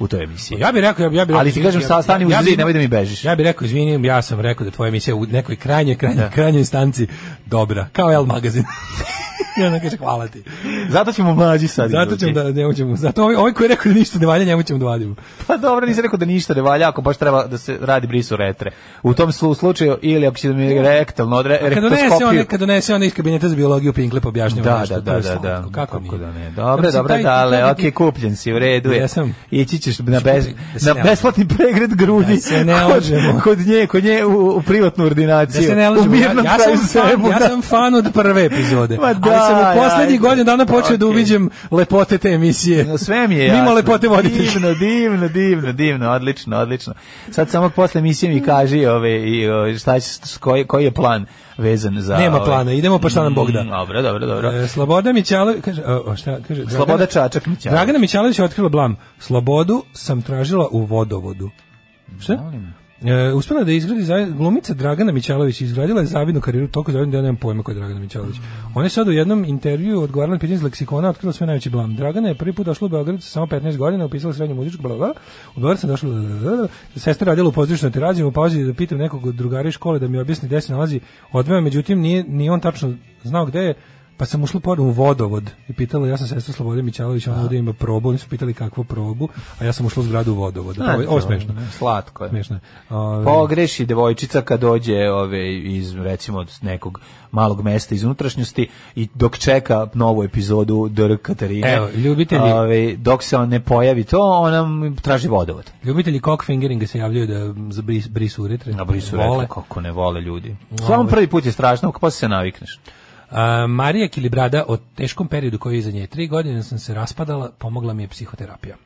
Speaker 6: u toj emisiji.
Speaker 5: Ja bih rekao, ja bih ja bi rekao,
Speaker 6: Ali ti kažem,
Speaker 5: izvini, ja-
Speaker 6: stani uz
Speaker 5: ja bi-
Speaker 6: zid, nemoj da mi bežiš.
Speaker 5: Ja bih rekao, izvini, ja sam rekao da tvoja emisija u nekoj krajnjoj, krajnjoj, krajnjoj instanci dobra, kao L
Speaker 6: <laughs>
Speaker 5: magazin. I onda kaže, hvala ti.
Speaker 6: Zato ćemo mlađi sad.
Speaker 5: Zato ćemo
Speaker 6: izvući.
Speaker 5: da ne uđemo. Zato ovaj, ovaj koji je rekao da ništa ne valja, njemu ćemo da vadimo.
Speaker 6: Pa dobro, nisi rekao da ništa ne valja, ako baš treba da se radi brisu retre. U tom slu- slučaju, ili ako će da mi rektalno odre,
Speaker 5: Kad donese on,
Speaker 6: rektoskopiju.
Speaker 5: kad donese on iz kabineta za biologiju Pinklep objašnjava
Speaker 6: Da,
Speaker 5: nešto,
Speaker 6: da,
Speaker 5: to je
Speaker 6: da, da,
Speaker 5: slatko,
Speaker 6: da.
Speaker 5: Kako nije?
Speaker 6: da ne.
Speaker 5: Ja
Speaker 6: Dobro,
Speaker 5: sam
Speaker 6: dobro,
Speaker 5: taj-
Speaker 6: dale,
Speaker 5: taj-
Speaker 6: okej, kupljen si, u redu je.
Speaker 5: Jesam.
Speaker 6: Ići ćeš na, bez,
Speaker 5: da se
Speaker 6: na
Speaker 5: ne
Speaker 6: besplatni pregled grudi.
Speaker 5: Da se ne
Speaker 6: kod,
Speaker 5: lažemo.
Speaker 6: kod nje, kod nje u, u privatnu
Speaker 5: Da
Speaker 6: ordinaciju.
Speaker 5: se ne
Speaker 6: u
Speaker 5: lažemo, ja,
Speaker 6: mirnom
Speaker 5: ja,
Speaker 6: kraju
Speaker 5: sam fan, ja
Speaker 6: Zemuna.
Speaker 5: sam fan od prve epizode.
Speaker 6: <laughs> Ma
Speaker 5: ali sam
Speaker 6: da,
Speaker 5: u poslednjih
Speaker 6: ajde.
Speaker 5: godinu dana počeo da
Speaker 6: Okej.
Speaker 5: uviđem lepote te emisije.
Speaker 6: Na sve mi je
Speaker 5: <laughs> Mimo
Speaker 6: jasno.
Speaker 5: lepote voditeljke.
Speaker 6: Divno, divno, divno, divno, odlično, odlično. Sad samo posle emisije mi kaži ove, i, o, šta će, s- koji, koji je plan vezan za...
Speaker 5: Nema
Speaker 6: ove-
Speaker 5: plana, idemo pa šta nam Bog da.
Speaker 6: Mm, Dobro, dobro, dobro.
Speaker 5: E, Sloboda Mićalović, kaže, a, a, šta, kaže, Dragana-
Speaker 6: Sloboda Čačak mi će.
Speaker 5: Dragana Mićalović je otkrila blam. Slobodu sam tražila u vodovodu. Šta? E, uspela da izgradi za, glumica Dragana Mićalović izgradila je zavidnu karijeru, toliko zavidnu da ja nemam pojma ko je Dragana Mićalović. Ona je sad u jednom intervju odgovarala na pitanje iz leksikona, otkrila svoj najveći blam. Dragana je prvi put došla u Beograd sa samo 15 godina, upisala srednju muzičku, bla, bla, bla. U Beograd sam došla, bla, bla, bla. sestra radila u pozorišnoj terazi, u pauzi da pitam nekog od drugara iz škole da mi objasni gde se nalazi. Odveo, me, međutim, nije, nije on tačno znao gde je, pa sam ušla pored u vodovod i pitala, ja sam sestra Slobode Mićalović, ona ovdje ima probu, oni su pitali kakvu probu, a ja sam ušla u zgradu vodovoda. Pa, ovo, je- ovo je smešno.
Speaker 6: Slatko je.
Speaker 5: Smešno je. Ove,
Speaker 6: Pogreši devojčica kad dođe ove, iz recimo od nekog malog mesta iz unutrašnjosti i dok čeka novu epizodu Dr. Katarine.
Speaker 5: Evo, ljubitelji-
Speaker 6: Ove, dok se on ne pojavi to, ona m- traži vodovod.
Speaker 5: Ljubitelji cockfingeringa se javljaju da za bris, bris uretre.
Speaker 6: Na brisu
Speaker 5: Vole.
Speaker 6: rekla kako ne vole ljudi. Samo prvi put je strašno, pa se navikneš.
Speaker 5: A, Marija Kilibrada o teškom periodu koji je iza nje. Tri godine sam se raspadala, pomogla mi je psihoterapija.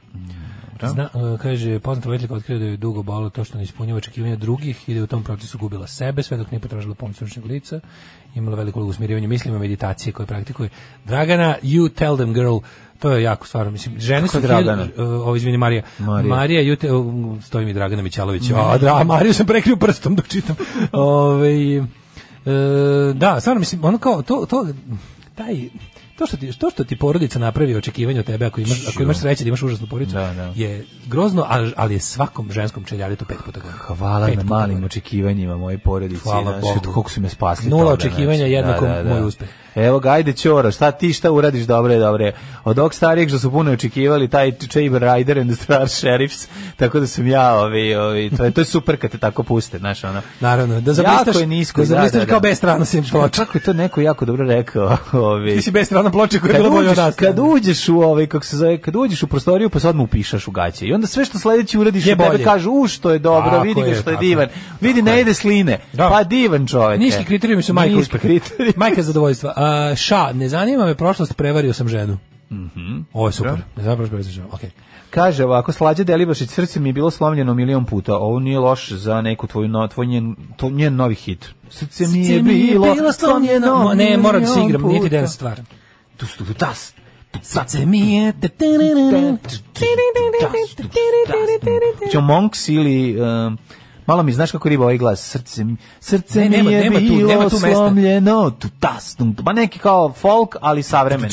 Speaker 5: Zna, e, kaže, poznata roditeljka otkrila da je dugo bolo to što ne ispunjava očekivanja drugih i da je u tom procesu gubila sebe, sve dok nije potražila pomoć stručnog lica. Imala veliku ulogu u smirivanju mislima, meditacije koje praktikuje. Dragana, you tell them girl, to je jako stvarno, mislim, žene
Speaker 6: Kako
Speaker 5: su...
Speaker 6: je Dragana?
Speaker 5: hiljadu- e, ovo, izvini, Marija.
Speaker 6: Marija.
Speaker 5: Marija, you tell, stoji mi Dragana Mićalović, a, dra, a Mariju sam prekrio prstom dok
Speaker 6: <laughs>
Speaker 5: čitam. Ove, e, da, stvarno, mislim, ono kao, to, to, taj, to što ti to što ti porodica napravi očekivanje od tebe ako imaš ako imaš sreće da imaš užasnu porodicu je grozno, ali, ali je svakom ženskom čeljaretu pet puta gore.
Speaker 6: Hvala na malim očekivanjima moje porodice.
Speaker 5: Hvala
Speaker 6: znaš,
Speaker 5: Bogu.
Speaker 6: od Koliko su me spasli.
Speaker 5: Nula
Speaker 6: toga,
Speaker 5: očekivanja
Speaker 6: znači.
Speaker 5: jednako moj uspeh.
Speaker 6: Evo ga, ajde Ćora, šta ti šta uradiš, dobre, dobre. Od ovog starijeg što su puno očekivali, taj Chamber Rider and the Star Sheriffs, tako da sam ja, ovi, ovi, to, je, to je super kad te tako puste,
Speaker 5: <laughs>
Speaker 6: znaš, ono.
Speaker 5: Naravno, da zablistaš,
Speaker 6: Jako je nisko,
Speaker 5: da zablistaš
Speaker 6: da, da, da.
Speaker 5: kao bez strana sim
Speaker 6: <laughs>
Speaker 5: ploča.
Speaker 6: Kako je to neko jako dobro rekao? Ovi.
Speaker 5: Ti si bez strana ploče koja je
Speaker 6: Kad
Speaker 5: bila bolja od
Speaker 6: uđeš,
Speaker 5: nas.
Speaker 6: kad uđeš u ovaj kako se zove, kad uđeš u prostoriju pa sad mu upišaš u gaće. I onda sve što sledeći uradiš
Speaker 5: Je
Speaker 6: je tebe
Speaker 5: bolje.
Speaker 6: kažu u što je dobro,
Speaker 5: Tako
Speaker 6: vidi ga
Speaker 5: je,
Speaker 6: što je
Speaker 5: tako
Speaker 6: divan.
Speaker 5: je.
Speaker 6: Vidi ne jede sline. Pa divan čovjek.
Speaker 5: Niški kriterijumi su majka
Speaker 6: Niški
Speaker 5: uspeha. <laughs> Majka zadovoljstva. A, ša, ne zanima me prošlost, prevario sam ženu.
Speaker 6: Mhm.
Speaker 5: Ovo je super.
Speaker 6: Dobro.
Speaker 5: Ne zanima me prošlost, prevario sam ženu. Okay.
Speaker 6: Kaže ovako, slađa Delibašić, srce mi je bilo slomljeno milion puta, ovo nije loš za neku tvoju, no, tvoj njen, to, njen novi hit. Srce mi je bilo slomljeno
Speaker 5: Ne, moram da se
Speaker 6: milion
Speaker 5: igram, nije ti
Speaker 6: puta.
Speaker 5: dan stvar.
Speaker 6: Tu stu tu tas.
Speaker 5: Srce mi je...
Speaker 6: Ćo Monks ili... um, malo mi znaš kako riba ovaj glas. Srce, mi- srce
Speaker 5: Ne,
Speaker 6: mi
Speaker 5: nema-
Speaker 6: je
Speaker 5: nema tu-
Speaker 6: bilo
Speaker 5: nema tu mesta.
Speaker 6: slomljeno. Tu tas. tum, tum. Ma neki kao folk, ali savremen.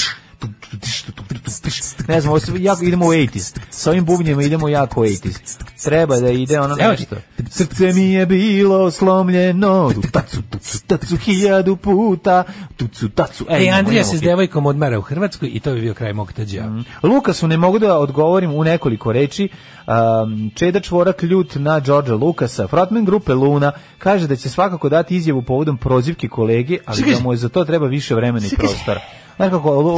Speaker 6: Ne znam, ovo se jako idemo u 80s. Sa ovim bubnjima idemo jako u 80s. Treba da ide ono
Speaker 5: Evo ti.
Speaker 6: nešto. Srce mi je bilo slomljeno. Tu tacu, tucu, tacu, hiljadu puta. Tucu, tacu. Ej,
Speaker 5: E,
Speaker 6: nemoj,
Speaker 5: Andrija
Speaker 6: nemoj.
Speaker 5: se s devojkom odmara u Hrvatskoj i to bi bio kraj mog tađa.
Speaker 6: Mhm. Lukasu ne mogu da odgovorim u nekoliko reči. Um, Čeda Čvorak ljut na Đorđa Lukasa. Frotman grupe Luna kaže da će svakako dati izjavu povodom prozivke kolege, ali da mu je za to treba više vremena i prostora. Znaš kako, lu,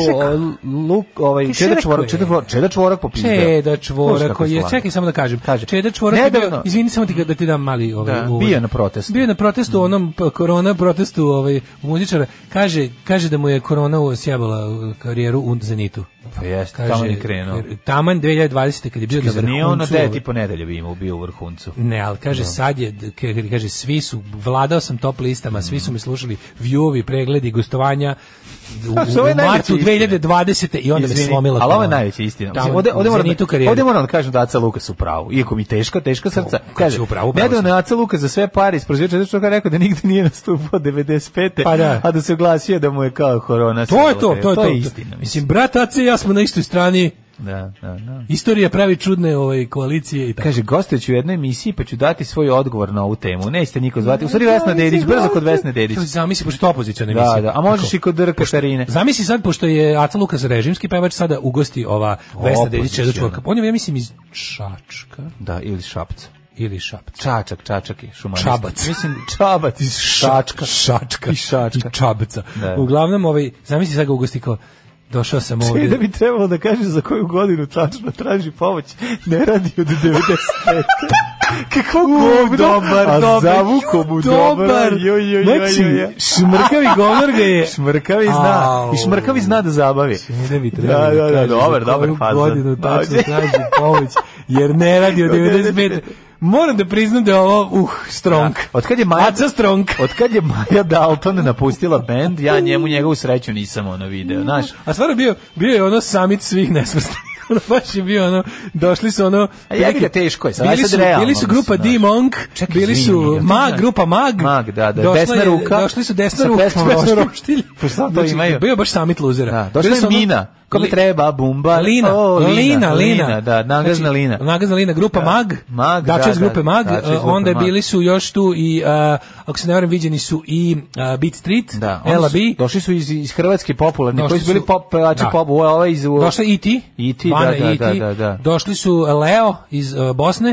Speaker 6: luk, ovaj,
Speaker 5: Šta je
Speaker 6: Čeda
Speaker 5: rekao
Speaker 6: Čvorak,
Speaker 5: je?
Speaker 6: Čeda Čvorak, Čeda Čvorak popizdeo.
Speaker 5: Čeda
Speaker 6: Znaš
Speaker 5: čvora
Speaker 6: kako
Speaker 5: koji je,
Speaker 6: slatko.
Speaker 5: čekaj samo da kažem, kaže, Čeda čvora
Speaker 6: Nedavno-
Speaker 5: je bio, izvini samo ti ga- da ti dam mali ovaj,
Speaker 6: Da,
Speaker 5: uvod.
Speaker 6: bio je na protestu. Mm.
Speaker 5: Bio je na protestu, onom p- korona protestu ovaj, muzičara, kaže, kaže da mu je korona sjebala u karijeru u Zenitu.
Speaker 6: Pa jeste, tamo je krenuo.
Speaker 5: jer- Taman 2020. kad je bio na
Speaker 6: Kaže, Nije ono
Speaker 5: vrhuncu.
Speaker 6: da je
Speaker 5: ovaj-
Speaker 6: ti ponedelje bi imao bio u vrhuncu.
Speaker 5: Ne, ali kaže sad je, d- k- k- kaže svi su, vladao sam top listama,
Speaker 6: Mm.
Speaker 5: svi su mi slušali viewovi, pregledi,
Speaker 6: <laughs>
Speaker 5: gostovanja u, u,
Speaker 6: Pa, što ovo je
Speaker 5: u
Speaker 6: najveća
Speaker 5: martu
Speaker 6: istina.
Speaker 5: 2020. i onda me
Speaker 6: Izvini,
Speaker 5: slomila.
Speaker 6: Ali ovo je
Speaker 5: korona.
Speaker 6: najveća istina.
Speaker 5: Da,
Speaker 6: Mislim, ovde, ovde,
Speaker 5: u
Speaker 6: moram,
Speaker 5: zenitu
Speaker 6: da,
Speaker 5: karijere.
Speaker 6: ovde moram da kažem da Aca Lukas u pravu. Iako mi teško, teško srca.
Speaker 5: kad si
Speaker 6: Kaže,
Speaker 5: u pravu, u pravu
Speaker 6: nedavno je Aca Lukas za sve pare isprozio četvrstvo što ga rekao da nigde nije nastupao 95.
Speaker 5: Pa da.
Speaker 6: a da se oglasio da mu je kao korona.
Speaker 5: To je to, to je to.
Speaker 6: istina.
Speaker 5: Mislim, brat Ace i ja smo na istoj strani.
Speaker 6: Da, da, da.
Speaker 5: Istorija pravi čudne ove koalicije i tako.
Speaker 6: Kaže, gostujući u jednoj emisiji, pa ću dati svoj odgovor na ovu temu. Nećete niko zvati. U stvari Vesna Dedić, brzo kod Vesne Dedić.
Speaker 5: To Zamisli, pošto je to opozicijona emisija.
Speaker 6: Da, da. A možeš
Speaker 5: Tako.
Speaker 6: i kod Dr. Katarine.
Speaker 5: Zamisli sad, pošto je Aca Lukas režimski pevač, sada ugosti ova Vesna Dedić
Speaker 6: Opoziciona.
Speaker 5: Čeda Čvorka. On je, ja mislim, iz Čačka
Speaker 6: Da, ili Šapca.
Speaker 5: ili Šapca.
Speaker 6: Čačak, Čačak je šumarista.
Speaker 5: Čabac.
Speaker 6: Mislim, Čabac iz Šačka.
Speaker 5: <laughs> Šačka.
Speaker 6: I Šačka.
Speaker 5: I Čabca.
Speaker 6: Da.
Speaker 5: Uglavnom, ovaj, zamisli sad ga ugosti kao, došao sam
Speaker 6: Sve da
Speaker 5: ovdje.
Speaker 6: bi trebalo da kaže za koju godinu tačno traži pomoć, ne radi od 95.
Speaker 5: <laughs>
Speaker 6: Kako govno,
Speaker 5: dobar,
Speaker 6: a
Speaker 5: dobar,
Speaker 6: zavuko mu
Speaker 5: ju,
Speaker 6: dobro,
Speaker 5: dobar.
Speaker 6: joj, joj, joj,
Speaker 5: Znači,
Speaker 6: joj, joj.
Speaker 5: šmrkavi govnar ga je-
Speaker 6: šmrkavi zna,
Speaker 5: Au. Znači,
Speaker 6: i šmrkavi zna da zabavi.
Speaker 5: Ne bi trebalo
Speaker 6: Da, da, da,
Speaker 5: kaže
Speaker 6: dobar,
Speaker 5: za
Speaker 6: dobar
Speaker 5: koju
Speaker 6: faza.
Speaker 5: Godinu tačno
Speaker 6: Dobar.
Speaker 5: traži pomoć, jer ne radi od 95. Moram da priznam da je ovo, uh, strong.
Speaker 6: Od kad je Maja,
Speaker 5: Aca strong.
Speaker 6: od kad je Maja Dalton napustila bend, ja njemu njegovu sreću nisam ono video, znaš.
Speaker 5: A stvarno bio, bio je ono samit svih nesvrstanih. <laughs> ono baš je bio ono, došli su ono...
Speaker 6: A jebi ga, teško je, sad, aj
Speaker 5: Bili
Speaker 6: sad
Speaker 5: su,
Speaker 6: realno,
Speaker 5: bili su grupa
Speaker 6: mislim, znaš.
Speaker 5: D-Monk, bili
Speaker 6: izvini,
Speaker 5: su
Speaker 6: jel to
Speaker 5: Mag,
Speaker 6: znaš?
Speaker 5: grupa Mag.
Speaker 6: Mag, da, da,
Speaker 5: došla
Speaker 6: desna
Speaker 5: je-
Speaker 6: ruka
Speaker 5: Došli su desna
Speaker 6: sa
Speaker 5: ruka,
Speaker 6: pesmom
Speaker 5: desna <laughs>
Speaker 6: Roštilj.
Speaker 5: roštilj.
Speaker 6: Pa šta to
Speaker 5: Znači,
Speaker 6: imaju?
Speaker 5: Bio je baš samit luzera.
Speaker 6: Da, došla
Speaker 5: Bili su
Speaker 6: je
Speaker 5: ono-
Speaker 6: Mina. Ko bi
Speaker 5: Li-
Speaker 6: treba? Bumba.
Speaker 5: Lina,
Speaker 6: O,
Speaker 5: Lina, Lina,
Speaker 6: Da, nagazna
Speaker 5: Znači,
Speaker 6: Lina.
Speaker 5: Nagazna Lina, grupa
Speaker 6: Da.
Speaker 5: Mag,
Speaker 6: Mag,
Speaker 5: Dača
Speaker 6: da,
Speaker 5: iz
Speaker 6: da,
Speaker 5: grupe Mag,
Speaker 6: Dača iz
Speaker 5: e,
Speaker 6: grupe
Speaker 5: onda
Speaker 6: Mag.
Speaker 5: bili su još tu i, e, ako se ne varam, viđeni su i e, Beat Street,
Speaker 6: Da, oni
Speaker 5: LAB,
Speaker 6: su- Došli su iz, iz Hrvatske popularni,
Speaker 5: Došli
Speaker 6: koji su bili
Speaker 5: su-
Speaker 6: pop, pevači
Speaker 5: da.
Speaker 6: pop, ovo je iz...
Speaker 5: Došla je E.T.
Speaker 6: E.T., da,
Speaker 5: Vana
Speaker 6: da,
Speaker 5: E.T..
Speaker 6: da, da, da.
Speaker 5: Došli su eh, Leo iz e, Bosne.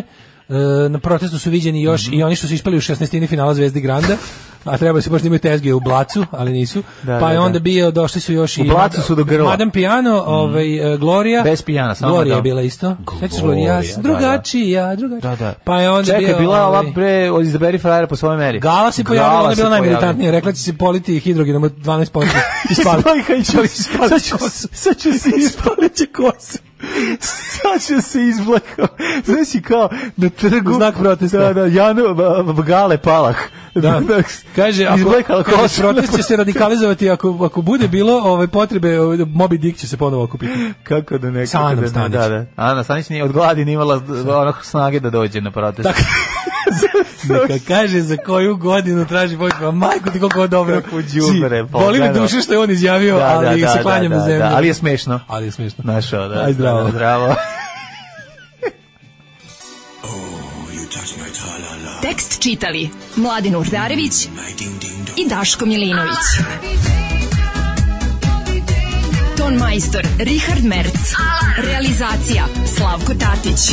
Speaker 5: e, na protestu su viđeni još
Speaker 6: Mhm.
Speaker 5: i oni što su ispali u 16. finala Zvezdi Granda. A trebali su baš da imaju tezge u Blacu, ali nisu.
Speaker 6: Da,
Speaker 5: pa
Speaker 6: da,
Speaker 5: je
Speaker 6: da.
Speaker 5: onda bio, došli su još
Speaker 6: U
Speaker 5: i...
Speaker 6: Blacu su do grla. Mhm.
Speaker 5: Madame Piano, ovaj, e, Gloria.
Speaker 6: Bez Pijana, samo
Speaker 5: Gloria
Speaker 6: Madame.
Speaker 5: je bila isto. Sećaš Gloria?
Speaker 6: Gloria,
Speaker 5: Ja
Speaker 6: da,
Speaker 5: sam
Speaker 6: da.
Speaker 5: drugačija, drugačija.
Speaker 6: Da, da.
Speaker 5: Pa je onda
Speaker 6: Čekaj,
Speaker 5: bio...
Speaker 6: bila je ova
Speaker 5: ovaj,
Speaker 6: bre, od izaberi frajera po svojoj meri.
Speaker 5: Gala se pojavila,
Speaker 6: Gala
Speaker 5: ona je
Speaker 6: se
Speaker 5: bila
Speaker 6: pojavila. <laughs>
Speaker 5: najmilitantnija. Rekla će se politi hidrogenom od 12% i spali.
Speaker 6: Spali, ću- Sad ću, sad ću se ispaliti kosu. Sad ću se izblakao. Znaš i kao na trgu.
Speaker 5: U znak protesta.
Speaker 6: Da, da, Janu, v- v- gale palah. <laughs>
Speaker 5: Da. Kaže, ako
Speaker 6: izblakala
Speaker 5: kaže,
Speaker 6: kosu.
Speaker 5: protest će se radikalizovati ako, ako bude bilo ove potrebe, ovaj, Moby Dick će se ponovo
Speaker 6: <laughs>
Speaker 5: okupiti.
Speaker 6: Kako da ne,
Speaker 5: Sa Anom
Speaker 6: kako da ne,
Speaker 5: Stanić.
Speaker 6: da, da. Ana Stanić nije od gladi nije imala d- ono snage da dođe na protest.
Speaker 5: Tako. Neka kaže za koju godinu traži Božić, pa majko ti koliko je dobro.
Speaker 6: Kako đubre,
Speaker 5: Či, Boli me
Speaker 6: pogledaj.
Speaker 5: duša što je on izjavio,
Speaker 6: Da,
Speaker 5: ali
Speaker 6: da,
Speaker 5: se
Speaker 6: da,
Speaker 5: klanjam
Speaker 6: da,
Speaker 5: na zemlju.
Speaker 6: da, ali je smešno.
Speaker 5: Ali je smešno.
Speaker 6: Našao, da.
Speaker 5: Aj, zdravo.
Speaker 6: Da, zdravo.
Speaker 4: Tekst čitali Mladin Urdarević i Daško Milinović. Ton majstor Richard Merc. Realizacija Slavko Tatić.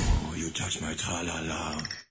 Speaker 4: 10.